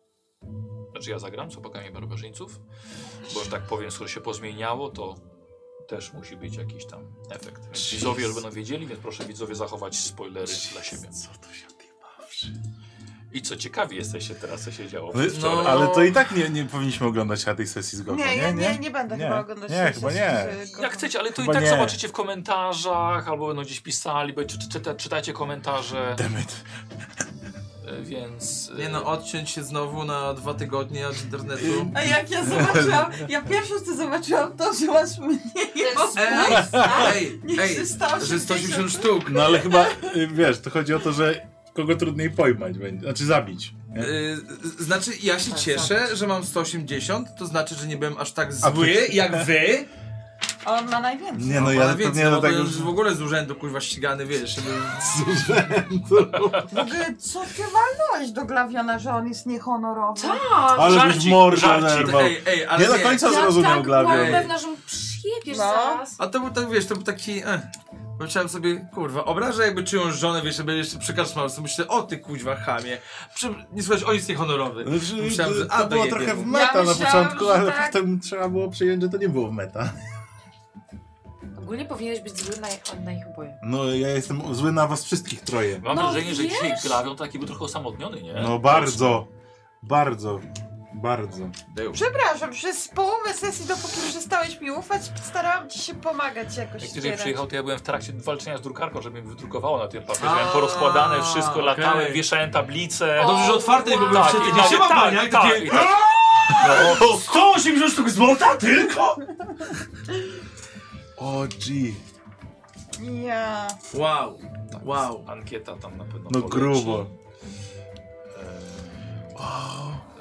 Speaker 1: Znaczy ja zagram z opakami barbarzyńców, bo że tak powiem, skoro się pozmieniało, to też musi być jakiś tam efekt. Więc widzowie już będą wiedzieli, więc proszę widzowie zachować spoilery dla siebie.
Speaker 4: Co tu się odjebało? rzeczy.
Speaker 1: I co ciekawi jesteście teraz, co się działo.
Speaker 4: Ale,
Speaker 2: No.
Speaker 4: ale to i tak nie, nie powinniśmy oglądać na tej sesji z Gogo,
Speaker 5: Nie,
Speaker 4: nie?
Speaker 5: ja nie, nie będę chyba oglądać.
Speaker 4: Nie,
Speaker 5: tej
Speaker 4: chyba
Speaker 5: sesji,
Speaker 4: nie.
Speaker 5: że go-
Speaker 1: Jak chcecie, ale to i
Speaker 4: Chyba
Speaker 1: tak
Speaker 4: nie.
Speaker 1: zobaczycie w komentarzach, albo będą gdzieś pisali, bo czy, czy, czyta- czytajcie komentarze,
Speaker 4: Damn it.
Speaker 1: y, więc... y,
Speaker 2: Nie no, odciąć się znowu na dwa tygodnie od internetu.
Speaker 5: A jak ja zobaczyłam, ja pierwsze co zobaczyłam to, że masz mniej osób
Speaker 2: Ej, ej, ej,
Speaker 5: niż 180.
Speaker 2: że 180 sztuk.
Speaker 4: No ale chyba, y, wiesz, to chodzi o to, że kogo trudniej pojmać będzie, znaczy zabić. Nie?
Speaker 2: Y, z- Znaczy, ja się cieszę, że mam 180, to znaczy, że nie byłem aż tak
Speaker 4: A
Speaker 2: zły
Speaker 4: ty-
Speaker 2: jak wy.
Speaker 5: A on ma najwięcej.
Speaker 4: Nie no,
Speaker 2: Ale
Speaker 4: ja
Speaker 2: więc,
Speaker 4: pewnie do
Speaker 2: no,
Speaker 4: tego...
Speaker 2: tego... w ogóle z urzędu kurwa ścigany, wiesz, żeby...
Speaker 5: W ogóle co ty walnąłeś do Glawiona, że on jest niehonorowy? Co?
Speaker 4: Ale byś
Speaker 1: żarcik,
Speaker 4: mordę
Speaker 1: żarcik.
Speaker 4: nerwał.
Speaker 2: Ej, ej, ale
Speaker 4: Nie do końca zrozumiał
Speaker 3: tak byłam
Speaker 4: Glawion.
Speaker 3: pewna, że mu przyjebiesz
Speaker 5: No.
Speaker 3: zaraz.
Speaker 2: A to był tak, wiesz, to był taki... Eh. Pomyślałem sobie, kurwa, obrażę jakby czyjąś żonę, wiesz, żeby jeszcze przekaczmał sobie, myślę, o ty kuźwa chamie, Przy... nie słuchaj, o jest niehonorowy.
Speaker 4: Znaczy,
Speaker 2: Myślałem, że-
Speaker 4: to,
Speaker 2: a,
Speaker 4: to było
Speaker 2: dojebie
Speaker 4: trochę
Speaker 2: mu.
Speaker 4: w
Speaker 2: Ja
Speaker 4: meta na
Speaker 3: myślałam,
Speaker 4: początku,
Speaker 3: że
Speaker 4: ale
Speaker 3: tak.
Speaker 4: potem trzeba było przyjąć, że to nie było w meta.
Speaker 6: Ogólnie powinieneś być zły na, na ich oboje.
Speaker 4: No ja jestem zły na was wszystkich troje.
Speaker 1: Mam
Speaker 3: No
Speaker 1: wrażenie, że
Speaker 3: wiesz?
Speaker 1: dzisiaj Glawion taki był trochę osamotniony, nie?
Speaker 4: No bardzo, bardzo, bardzo.
Speaker 1: Deus.
Speaker 5: Przepraszam, przez połowę sesji, dopóki przestałeś mi ufać, starałam ci się pomagać jakoś.
Speaker 1: Jak tutaj
Speaker 5: wspierać.
Speaker 1: przyjechał, to ja byłem w trakcie walczenia z drukarką, żeby mi wydrukowało na tym papierze.
Speaker 2: A,
Speaker 1: Miałem porozkładane wszystko,
Speaker 2: okej.
Speaker 1: latałem, wieszałem tablice.
Speaker 2: Dobrze, że otwartej, bo bym
Speaker 1: Tak,
Speaker 2: się
Speaker 1: i
Speaker 2: nie
Speaker 1: tak,
Speaker 2: siema
Speaker 1: tak,
Speaker 2: pania,
Speaker 1: tak,
Speaker 2: takie... No.
Speaker 1: i tak.
Speaker 4: O, 180 sztuk złota tylko? O G.
Speaker 5: Ja.
Speaker 2: Wow,
Speaker 1: Tak,
Speaker 2: wow.
Speaker 1: Ankieta tam na pewno
Speaker 4: No
Speaker 1: poleci.
Speaker 4: grubo. E,
Speaker 1: Eee,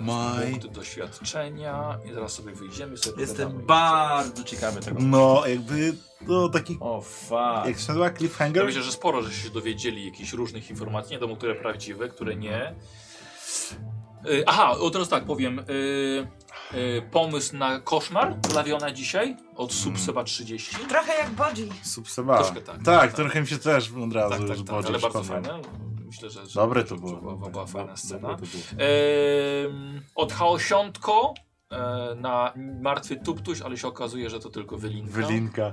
Speaker 4: my-
Speaker 1: Punkty doświadczenia i zaraz sobie wyjdziemy sobie
Speaker 2: Jestem
Speaker 1: pogadamy.
Speaker 2: bardzo ciekawy tego.
Speaker 4: No jakby to taki,
Speaker 2: O fuck.
Speaker 4: jak się nazywa,
Speaker 1: Ja
Speaker 4: cliffhanger?
Speaker 1: myślę, że sporo, że się dowiedzieli jakichś różnych informacji, nie wiadomo, które prawdziwe, które nie. Yy, aha, o teraz tak powiem. Yy, yy, pomysł na koszmar Lawiona dzisiaj od Subseba 30.
Speaker 5: Trochę jak Bodzi.
Speaker 4: Subsebała.
Speaker 1: Troszkę tak.
Speaker 4: tak,
Speaker 1: Tak.
Speaker 4: trochę mi się też od razu
Speaker 1: Tak, tak,
Speaker 4: już
Speaker 1: tak,
Speaker 4: bodził,
Speaker 1: ale bardzo
Speaker 4: szkoda.
Speaker 1: fajne. Myślę, że, że
Speaker 4: Dobre to
Speaker 1: że
Speaker 4: było.
Speaker 1: Była, była fajna scena.
Speaker 4: Dobre to było.
Speaker 1: Ehm, od chaosiątko e, na martwy tuptuś, ale się okazuje, że to tylko wylinka.
Speaker 4: Wylinka.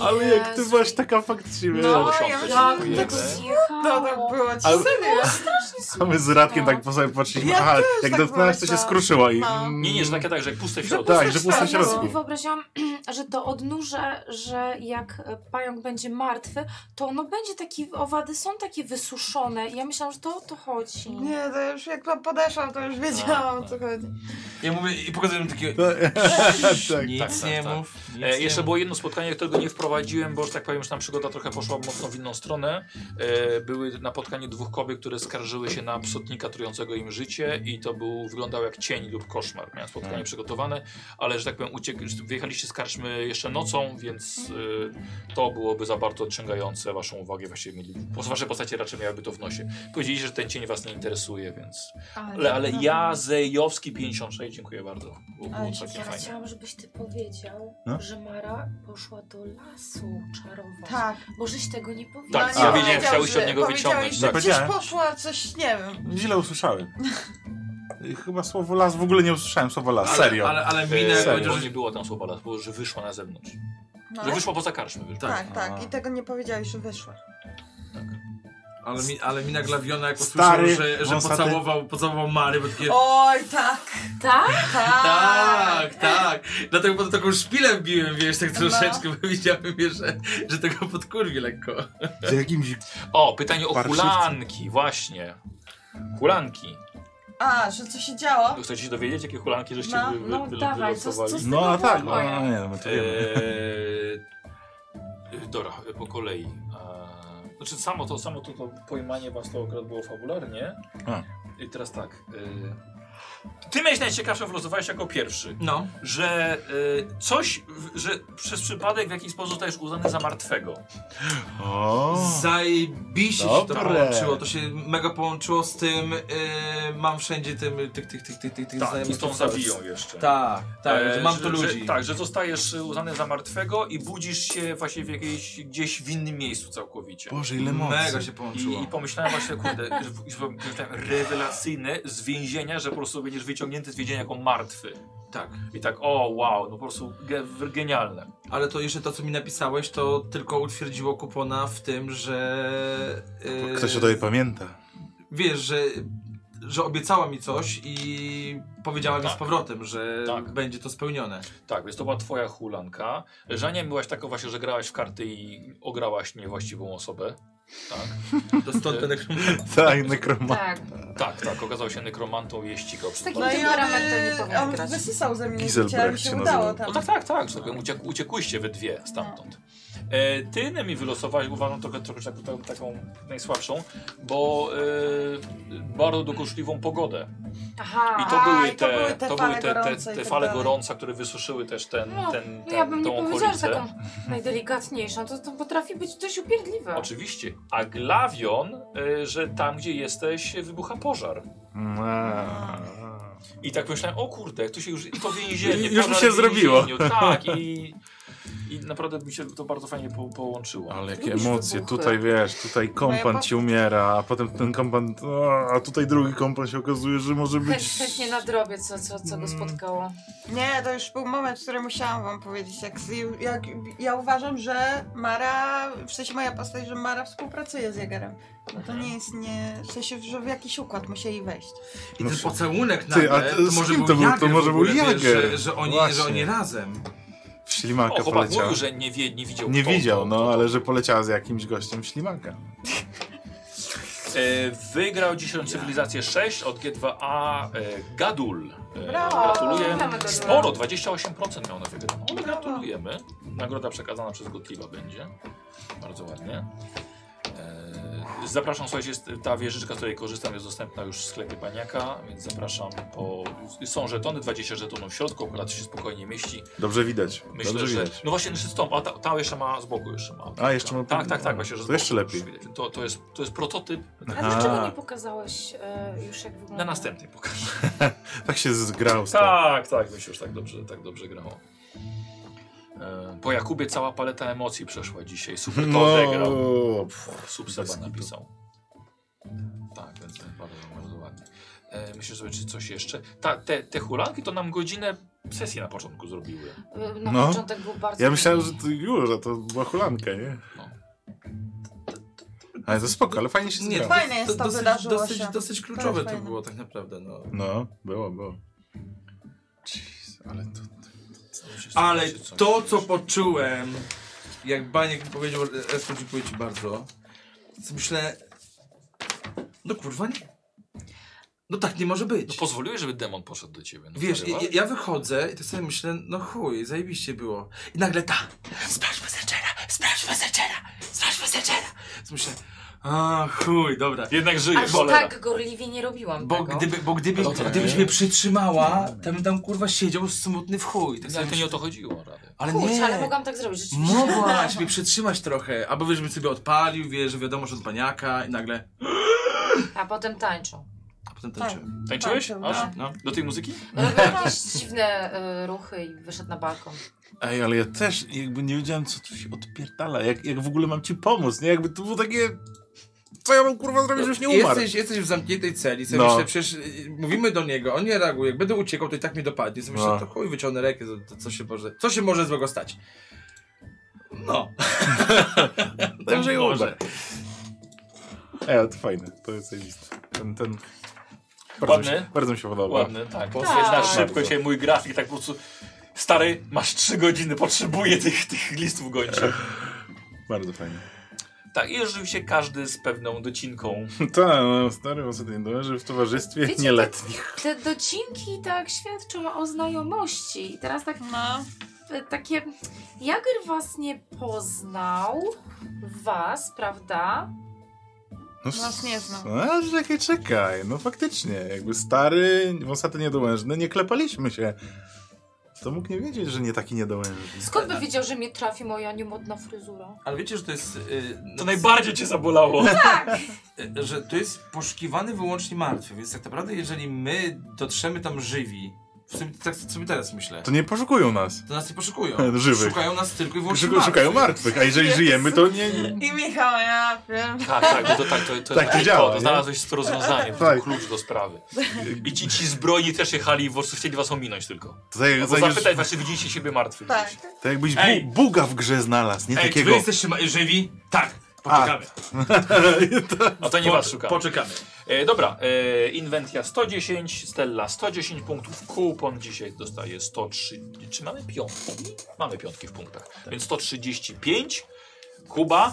Speaker 4: Ale jak ty
Speaker 3: Jezu.
Speaker 4: byłaś taka faktycznie,
Speaker 1: No,
Speaker 4: wiesz,
Speaker 1: ja
Speaker 5: ja
Speaker 1: myślałam,
Speaker 5: myślałam,
Speaker 1: że
Speaker 5: że
Speaker 1: tak
Speaker 5: tak
Speaker 3: zjechało.
Speaker 5: No tak było ci
Speaker 4: Ale-
Speaker 5: serio.
Speaker 4: a my z Radkiem tak po sobie patrzyliśmy,
Speaker 5: Ja
Speaker 4: aha,
Speaker 5: też
Speaker 4: jak
Speaker 5: tak
Speaker 4: dotknęłaś, to się
Speaker 5: pomyślałam.
Speaker 4: skruszyła i...
Speaker 5: No.
Speaker 1: Nie, nie, że takie tak, że jak puste w
Speaker 4: że
Speaker 1: środku.
Speaker 4: tak, że puste w
Speaker 3: Ja sobie
Speaker 4: środku.
Speaker 3: wyobraziłam, że to odnurze, że jak e, pająk będzie martwy, to ono będzie taki, owady są takie wysuszone. Ja myślałam, że to o to chodzi.
Speaker 5: Nie, to już jak tam podeszłam, to już wiedziałam o co chodzi.
Speaker 2: Ja mówię i pokazuję mu takie...
Speaker 4: tak.
Speaker 2: Nic
Speaker 1: tak,
Speaker 2: nie
Speaker 1: tak.
Speaker 2: mów. nic
Speaker 1: E,
Speaker 2: nie
Speaker 1: jeszcze
Speaker 2: mów.
Speaker 1: było jedno spotkanie, którego nie wprowadziłem, bo że tak powiem, że tam przygoda trochę poszła mocno w inną stronę. E, były napotkanie dwóch kobiet, które skarżyły się na psotnika trującego im życie i to był, wyglądał jak cień lub koszmar. Miałem spotkanie przygotowane, ale że tak powiem, uciek, wyjechaliście z karczmy jeszcze nocą, więc e, to byłoby za bardzo odciągające waszą uwagę. Właściwie mieli, po- wasze postacie raczej miałyby to w nosie. Powiedzieliście, że ten cień was nie interesuje, więc... Ale, ale ja, Zejowski 56, dziękuję bardzo. Było, było
Speaker 5: Ale się
Speaker 1: takie
Speaker 6: Ja
Speaker 1: fajne.
Speaker 6: chciałam, żebyś ty powiedział,
Speaker 4: No.
Speaker 6: że Mara poszła do lasu czarować.
Speaker 5: Tak.
Speaker 6: Bo żeś tego nie powiedział.
Speaker 1: Tak,
Speaker 5: No
Speaker 1: ja
Speaker 5: nie,
Speaker 1: wiedziałem,
Speaker 5: powiedział,
Speaker 1: chciałeś
Speaker 5: że-
Speaker 1: od niego
Speaker 5: powiedziałeś,
Speaker 1: wyciągnąć.
Speaker 5: że
Speaker 1: Tak.
Speaker 4: Powiedziałem.
Speaker 5: Gdzieś poszła coś, nie wiem.
Speaker 4: Źle usłyszałem. Chyba słowo las, w ogóle nie usłyszałem słowa las, serio.
Speaker 2: Ale, ale, ale minę
Speaker 1: Minę
Speaker 2: jak
Speaker 4: E, Serio.
Speaker 1: powiedział,
Speaker 2: powiedział,
Speaker 1: że
Speaker 2: że...
Speaker 1: nie było tam słowa las, było, że wyszła na zewnątrz.
Speaker 5: No,
Speaker 1: Że Tak. wyszła poza karczmę. Wyszła.
Speaker 5: tak,
Speaker 2: A.
Speaker 5: tak. I tego nie powiedziałeś, że wyszła.
Speaker 2: Ale, mi, ale mina glawiona jak usłyszał,
Speaker 4: Stary,
Speaker 2: że, że
Speaker 4: wąsaty-
Speaker 2: pocałował, pocałował Mary, bo takie...
Speaker 5: Oj, tak.
Speaker 3: Tak?
Speaker 5: Tak.
Speaker 2: Tak, tak. Dlatego pod taką szpilę wbiłem, wiesz, tak troszeczkę, bo widziałem, wiesz, że, że tego podkurwi lekko.
Speaker 4: Z jakimś...
Speaker 1: O, pytanie o
Speaker 4: Parszywcy.
Speaker 1: hulanki, właśnie. Hulanki.
Speaker 5: A, że co się działo?
Speaker 1: Chcecie się dowiedzieć, jakie hulanki żeście
Speaker 5: No,
Speaker 1: wy, wy,
Speaker 6: no
Speaker 1: wy,
Speaker 6: dawaj, co-
Speaker 1: wylosowali?
Speaker 6: co z-
Speaker 4: No a tak, no,
Speaker 6: Moje.
Speaker 4: no, nie, no my to
Speaker 1: E,
Speaker 4: wiemy.
Speaker 1: Eee, dobra, po kolei. Eee, znaczy samo to, samo to, to pojmanie was to akurat było fabularnie.
Speaker 4: A.
Speaker 1: I teraz tak. Eee, ty miałeś najciekawszą, wylosowałeś jako pierwszy.
Speaker 2: No.
Speaker 1: Że eee, coś, w, że przez przypadek w jakiś sposób zostajesz uznany za martwego.
Speaker 4: O,
Speaker 2: Zajebiście się to
Speaker 4: Dobre.
Speaker 2: połączyło. To się mega połączyło z tym, yy, mam wszędzie tym, tych, tych, tych, tych, tych, tych
Speaker 1: Tak, i
Speaker 2: znajomych
Speaker 1: z tą
Speaker 2: podstaw.
Speaker 1: zabiją jeszcze.
Speaker 2: Tak, tak,
Speaker 1: E,
Speaker 2: że mam
Speaker 1: że-
Speaker 2: tu ludzi.
Speaker 1: Że, tak, że zostajesz e, uznany za martwego i budzisz się właśnie w jakiejś, gdzieś w innym miejscu całkowicie.
Speaker 4: Boże, ile
Speaker 2: Mega
Speaker 4: mocy.
Speaker 2: się połączyło.
Speaker 1: I, I pomyślałem właśnie, kurde, r- r- pomyślałem, rewelacyjne z więzienia, że po prostu będziesz wyciągnięty z więzienia jako martwy.
Speaker 2: Tak.
Speaker 1: I tak, o wow, no po prostu ge, w- genialne.
Speaker 2: Ale to jeszcze to, co mi napisałeś, to tylko utwierdziło kupona w tym, że... yy,
Speaker 4: Ktoś o tobie pamięta.
Speaker 2: wiesz, że, że obiecała mi coś i powiedziała mi
Speaker 1: Tak.
Speaker 2: z powrotem, że
Speaker 1: Tak.
Speaker 2: będzie to spełnione.
Speaker 1: Tak, więc to była twoja hulanka. Żania byłaś taką właśnie, że grałaś w karty i ograłaś niewłaściwą osobę. Tak,
Speaker 2: To stąd ten
Speaker 4: Tak, nekroma.
Speaker 3: Tak.
Speaker 1: tak, tak. Okazał się nekromantą jeździka.
Speaker 3: Z takim
Speaker 5: No i
Speaker 3: temperamentem nie
Speaker 5: on,
Speaker 3: powinien
Speaker 5: on
Speaker 3: grać.
Speaker 5: wysysał ze mnie
Speaker 4: Giselbrecht
Speaker 5: życie, ale mi się
Speaker 4: się
Speaker 5: udało
Speaker 4: nazywał.
Speaker 5: tam.
Speaker 1: No tak, tak, tak. Sobie uciek, uciekłyście we dwie stamtąd. E, ty Nemi wylosowałaś, uważam, trochę, trochę tak, tak, taką najsłabszą, bo e, bardzo dokuczliwą pogodę.
Speaker 3: Aha.
Speaker 1: I to
Speaker 5: A,
Speaker 1: były
Speaker 5: i to były
Speaker 1: te,
Speaker 5: te
Speaker 1: to
Speaker 5: fale
Speaker 1: były te, te,
Speaker 5: gorące i
Speaker 1: te
Speaker 5: tak
Speaker 1: fale
Speaker 5: dalej.
Speaker 1: gorąca, które wysuszyły też ten,
Speaker 3: No,
Speaker 1: ten,
Speaker 3: No
Speaker 1: ten
Speaker 3: ja bym nie
Speaker 1: tą
Speaker 3: powiedziała, że
Speaker 1: okolicę.
Speaker 3: taką najdelikatniejszą. To, to potrafi być dość upierdliwe.
Speaker 1: Oczywiście. A Glawion, e, że tam gdzie jesteś wybucha pożar. No. I tak myślałem, o kurde, to się już, to więzienie.
Speaker 4: Już mi
Speaker 1: pożar
Speaker 4: się
Speaker 1: w
Speaker 4: zrobiło.
Speaker 1: więzieniu, Tak i, i naprawdę mi się to bardzo fajnie po, połączyło.
Speaker 4: Ale jakie
Speaker 3: Lubisz
Speaker 4: emocje,
Speaker 3: wybuchy.
Speaker 4: tutaj wiesz, tutaj kompan ci umiera, a potem ten kompan, o, a tutaj drugi kompan się okazuje, że może
Speaker 3: Chęć,
Speaker 4: być...
Speaker 3: chętnie nadrobię, co, co, co
Speaker 4: Mm.
Speaker 3: go spotkało.
Speaker 5: Nie, to już był moment, który musiałam wam powiedzieć. Jak, jak, ja uważam, że Mara, w sensie moja postać, że Mara współpracuje z Jagerem. No to nie jest nie... W sensie, że w jakiś układ musieli wejść.
Speaker 2: I
Speaker 4: No
Speaker 2: ten
Speaker 4: f-
Speaker 2: pocałunek
Speaker 4: Ty,
Speaker 2: nagle,
Speaker 4: a
Speaker 2: to,
Speaker 4: to z
Speaker 2: może
Speaker 4: kim
Speaker 2: był
Speaker 4: to był? To
Speaker 2: Jager
Speaker 4: może
Speaker 2: w
Speaker 4: był
Speaker 2: ogóle, wiesz,
Speaker 4: Jager.
Speaker 2: Że, że, oni,
Speaker 4: Właśnie.
Speaker 2: że oni razem.
Speaker 4: W
Speaker 1: O,
Speaker 4: ślimaka
Speaker 1: chłopak
Speaker 4: poleciała.
Speaker 1: mówił, że nie, wie, nie widział.
Speaker 4: Nie
Speaker 1: kto,
Speaker 4: widział,
Speaker 1: to,
Speaker 4: no,
Speaker 1: to, to.
Speaker 4: ale że poleciała z jakimś gościem ślimaka.
Speaker 1: E, wygrał dzisiaj Cywilizację 6 od G2A e, Gadul. E,
Speaker 5: Brawo!
Speaker 1: gratuluję.
Speaker 3: Witamy Gadula.
Speaker 1: Sporo, 28% miał na wygraną. Ale gratulujemy. Nagroda przekazana przez Gotliwa będzie. Bardzo ładnie. E, zapraszam, słuchajcie, jest ta wieżyczka, z której korzystam, jest dostępna już w sklepie Paniaka, więc zapraszam po... Są żetony, 20 żetonów w środku, akurat się spokojnie mieści.
Speaker 4: Dobrze widać,
Speaker 1: Myślę,
Speaker 4: dobrze
Speaker 1: że.
Speaker 4: widać.
Speaker 1: No właśnie, znaczy stąd, a ta, ta jeszcze ma z boku jeszcze ma.
Speaker 4: A, jeszcze ma-
Speaker 1: Tak, tak, tak, właśnie, że z boku
Speaker 4: To jeszcze lepiej.
Speaker 1: już widać. To, to, jest, to jest prototyp.
Speaker 3: A dlaczego nie pokazałeś e, już jak wygląda?
Speaker 1: Na następnej pokażę.
Speaker 4: Tak się zgrał z tym.
Speaker 1: Tak, tak, mi się już tak dobrze, tak dobrze grało. E, Po Jakubie cała paleta emocji przeszła dzisiaj. Super to
Speaker 4: No,
Speaker 1: odegrał.
Speaker 4: pff,
Speaker 1: Sub Seba
Speaker 4: bez kitu.
Speaker 1: napisał. Tak, więc to bardzo, bardzo ładnie. E, Myślę sobie, czy coś jeszcze. Ta, te, te hulanki to nam godzinę sesji na początku zrobiły.
Speaker 3: E, Na
Speaker 4: No.
Speaker 3: początek był bardzo.
Speaker 4: Ja myślałem, że
Speaker 3: miły.
Speaker 4: to już, że to była hulanka, nie?
Speaker 1: No.
Speaker 4: Ale to spoko, ale fajnie się
Speaker 2: Nie,
Speaker 4: zgrało.
Speaker 5: Fajne jest to,
Speaker 2: dosyć,
Speaker 5: wydarzyło
Speaker 2: dosyć,
Speaker 5: się.
Speaker 2: dosyć kluczowe to,
Speaker 5: fajne.
Speaker 2: było tak naprawdę. No.
Speaker 4: No, było, było. Jeez, ale to...
Speaker 2: Ale
Speaker 1: Czy coś
Speaker 2: to, co poczułem, jak Baniek mi powiedział, Esko, dziękuję ci bardzo, to myślę, no kurwa nie. No tak nie może
Speaker 1: No
Speaker 2: być.
Speaker 1: pozwoliłeś, żeby demon poszedł do ciebie. No,
Speaker 2: Wiesz, ja,
Speaker 1: zarywasz?
Speaker 2: ja wychodzę i tak sobie myślę, no chuj, zajebiście było. I nagle ta, sprawdź Messengera, sprawdź Messengera, sprawdź Messengera. To myślę, a chuj, dobra.
Speaker 1: Jednak żyje,
Speaker 3: Aż
Speaker 1: cholera.
Speaker 3: tak gorliwie nie robiłam
Speaker 2: Bo,
Speaker 3: tego.
Speaker 2: gdyby, bo gdyby,
Speaker 1: Okej.
Speaker 2: gdybyś mnie przytrzymała, to bym tam kurwa siedział smutny w chuj. Tak sobie
Speaker 1: No, Ale to nie
Speaker 2: myślę,
Speaker 1: o to chodziło, Rady.
Speaker 2: ale
Speaker 3: Kurczę,
Speaker 2: nie.
Speaker 3: ale mogłam tak zrobić rzeczywiście.
Speaker 2: Mogłaś mnie przytrzymać trochę, albo wiesz, bym sobie odpalił, wiesz, że wiadomo, że od baniaka i nagle...
Speaker 3: A potem tańczą.
Speaker 2: A potem tańczyłem.
Speaker 1: Tańczyłeś?
Speaker 4: Tak,
Speaker 5: Tańczył,
Speaker 1: Aż?
Speaker 5: no.
Speaker 2: No.
Speaker 1: Do tej muzyki?
Speaker 3: Robił jakieś dziwne e, ruchy i wyszedł na balkon.
Speaker 4: Ej, ale ja też jakby nie wiedziałem, co tu się odpierdala, jak, jak w ogóle mam ci pomóc, nie? Jakby to było takie... Co ja mam kurwa zrobić, żebyś nie umarł?
Speaker 2: Jesteś, jesteś w zamkniętej celi, sobie
Speaker 4: No.
Speaker 2: myślę, przecież y, mówimy do niego, on nie reaguje, jak będę uciekał, to i tak mnie dopadnie. Sobie myślę,
Speaker 4: No.
Speaker 2: to chuj, wyciągnę rękę, to, to co, się może, co się może złego stać? No.
Speaker 4: Dobrze i
Speaker 2: może.
Speaker 4: umarł. Ej, ale to fajne, to jest zajebiste. Ten, ten... Bardzo, mi
Speaker 1: Ładny?
Speaker 4: się, bardzo mi się podoba.
Speaker 1: Ładny, tak. Bo
Speaker 3: Tak.
Speaker 1: Znasz szybko
Speaker 4: Bardzo.
Speaker 1: dzisiaj mój grafik, tak po prostu. Stary, masz trzy godziny, potrzebuję tych, tych listów gończych.
Speaker 4: Bardzo fajnie.
Speaker 1: Tak, i rzeczywiście każdy z pewną docinką.
Speaker 4: Tak, no, stary ostatnio dąży w towarzystwie
Speaker 3: Wiecie,
Speaker 4: nieletnich.
Speaker 3: Te docinki tak świadczą o znajomości. I teraz tak
Speaker 5: No.
Speaker 3: e, takie. Jager was nie poznał. Was, prawda?
Speaker 4: No,
Speaker 5: Nas nie znam.
Speaker 4: A, czekaj, czekaj. No faktycznie, jakby stary, wąsaty niedołężny, nie klepaliśmy się. To mógł nie wiedzieć, że nie taki niedołężny.
Speaker 3: Skąd by wiedział, że mnie trafi moja niemodna fryzura?
Speaker 2: Ale wiecie, że to jest... y,
Speaker 1: To najbardziej cię zabolało.
Speaker 2: y, że to jest poszukiwany wyłącznie martwy, więc tak naprawdę jeżeli my dotrzemy tam żywi, w sumie tak sobie teraz myślę,
Speaker 4: To nie poszukują nas.
Speaker 2: to nas nie poszukują.
Speaker 4: Żywych.
Speaker 2: Szukają nas tylko i wyłącznie
Speaker 4: Szuka, szukają martwych, a jeżeli żyjemy, to nie...
Speaker 5: I Michał, ja wiem.
Speaker 1: Tak, tak, bo to tak to, to,
Speaker 4: Tak to
Speaker 1: to,
Speaker 4: działa,
Speaker 1: to
Speaker 4: nie?
Speaker 1: znalazłeś to rozwiązanie, to
Speaker 4: Tak.
Speaker 1: klucz do sprawy. I ci, ci zbrojni też jechali i po prostu chcieli was ominąć tylko.
Speaker 4: To tak,
Speaker 1: Albo
Speaker 4: jak- tak,
Speaker 1: zapytać was, czy widzieliście siebie martwych.
Speaker 5: Tak.
Speaker 4: to jakbyś
Speaker 2: Ej!
Speaker 4: bu, Buga w grze znalazł, nie
Speaker 2: Ej, czy
Speaker 4: takiego.
Speaker 2: wy jesteście ma- żywi? Tak.
Speaker 7: Poczekamy.
Speaker 1: No to nie was szukamy.
Speaker 7: Poczekamy.
Speaker 1: E, dobra, e, Inventia 110, Stella 110 punktów, Kupon dzisiaj dostaje 130. Czy mamy piątki? Mamy piątki w punktach, więc 135. Kuba,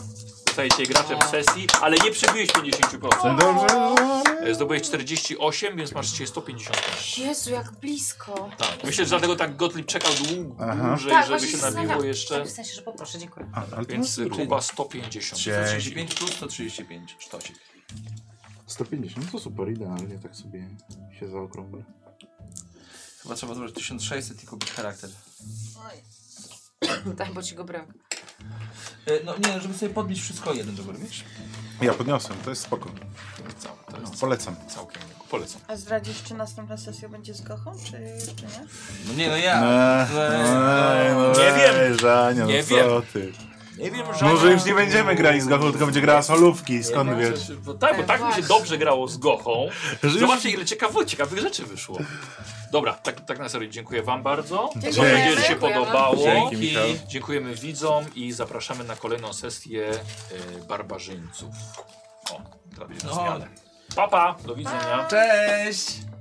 Speaker 1: stajecie graczem sesji, ale nie przebiłeś 50%.
Speaker 4: Dobrze.
Speaker 1: E, Zdobyłeś 48, więc masz dzisiaj 150.
Speaker 3: Jezu, jak blisko.
Speaker 1: Tak. Myślę, że dlatego tak Gottlieb czekał długo,
Speaker 4: Aha.
Speaker 1: dłużej,
Speaker 3: Tak,
Speaker 1: żeby
Speaker 3: właśnie
Speaker 1: się Tak.
Speaker 3: się
Speaker 1: nabiło
Speaker 3: zastanawiam.
Speaker 1: jeszcze.
Speaker 3: W sensie, że poproszę, dziękuję.
Speaker 4: A, ale to
Speaker 1: Więc
Speaker 4: jest...
Speaker 1: Kuba 150.
Speaker 4: Cie-
Speaker 2: 35 plus 135, sztosik.
Speaker 4: 150 to super, idealnie, tak sobie się zaokrąglę.
Speaker 2: Chyba trzeba zobaczyć 1600 i kupić charakter.
Speaker 3: Tak, bo ci go brak.
Speaker 2: E, no nie, żeby sobie podbić wszystko jeden do góry, wiesz?
Speaker 4: Ja podniosłem, to jest spoko.
Speaker 1: To jest
Speaker 4: Polecam.
Speaker 1: całkiem miło. Polecam.
Speaker 5: A zdradzisz, czy następna sesja będzie z Gochą, czy jeszcze nie?
Speaker 2: No nie, no ja.
Speaker 4: Eee, no
Speaker 1: Nie wiem.
Speaker 4: ej, Żania, no
Speaker 1: Nie
Speaker 4: co ty.
Speaker 1: Nie wiem,
Speaker 4: Może już nie będziemy grali z Gachą, tylko będzie grała solówki, skąd wiesz?
Speaker 1: Bo tak, bo tak mi się dobrze grało z Gochą. Zobaczcie, ile ciekawo, ciekawych rzeczy wyszło. Dobra, tak, tak na serio, dziękuję Wam bardzo. Mam
Speaker 4: Dziękujemy.
Speaker 1: nadzieję, że się
Speaker 3: Dziękujemy.
Speaker 1: podobało.
Speaker 4: Dzięki, Michał.
Speaker 1: Dziękujemy widzom i zapraszamy na kolejną sesję e, barbarzyńców. O, trafię na
Speaker 2: No.
Speaker 1: zmianę. Pa, pa, do widzenia.
Speaker 2: Cześć!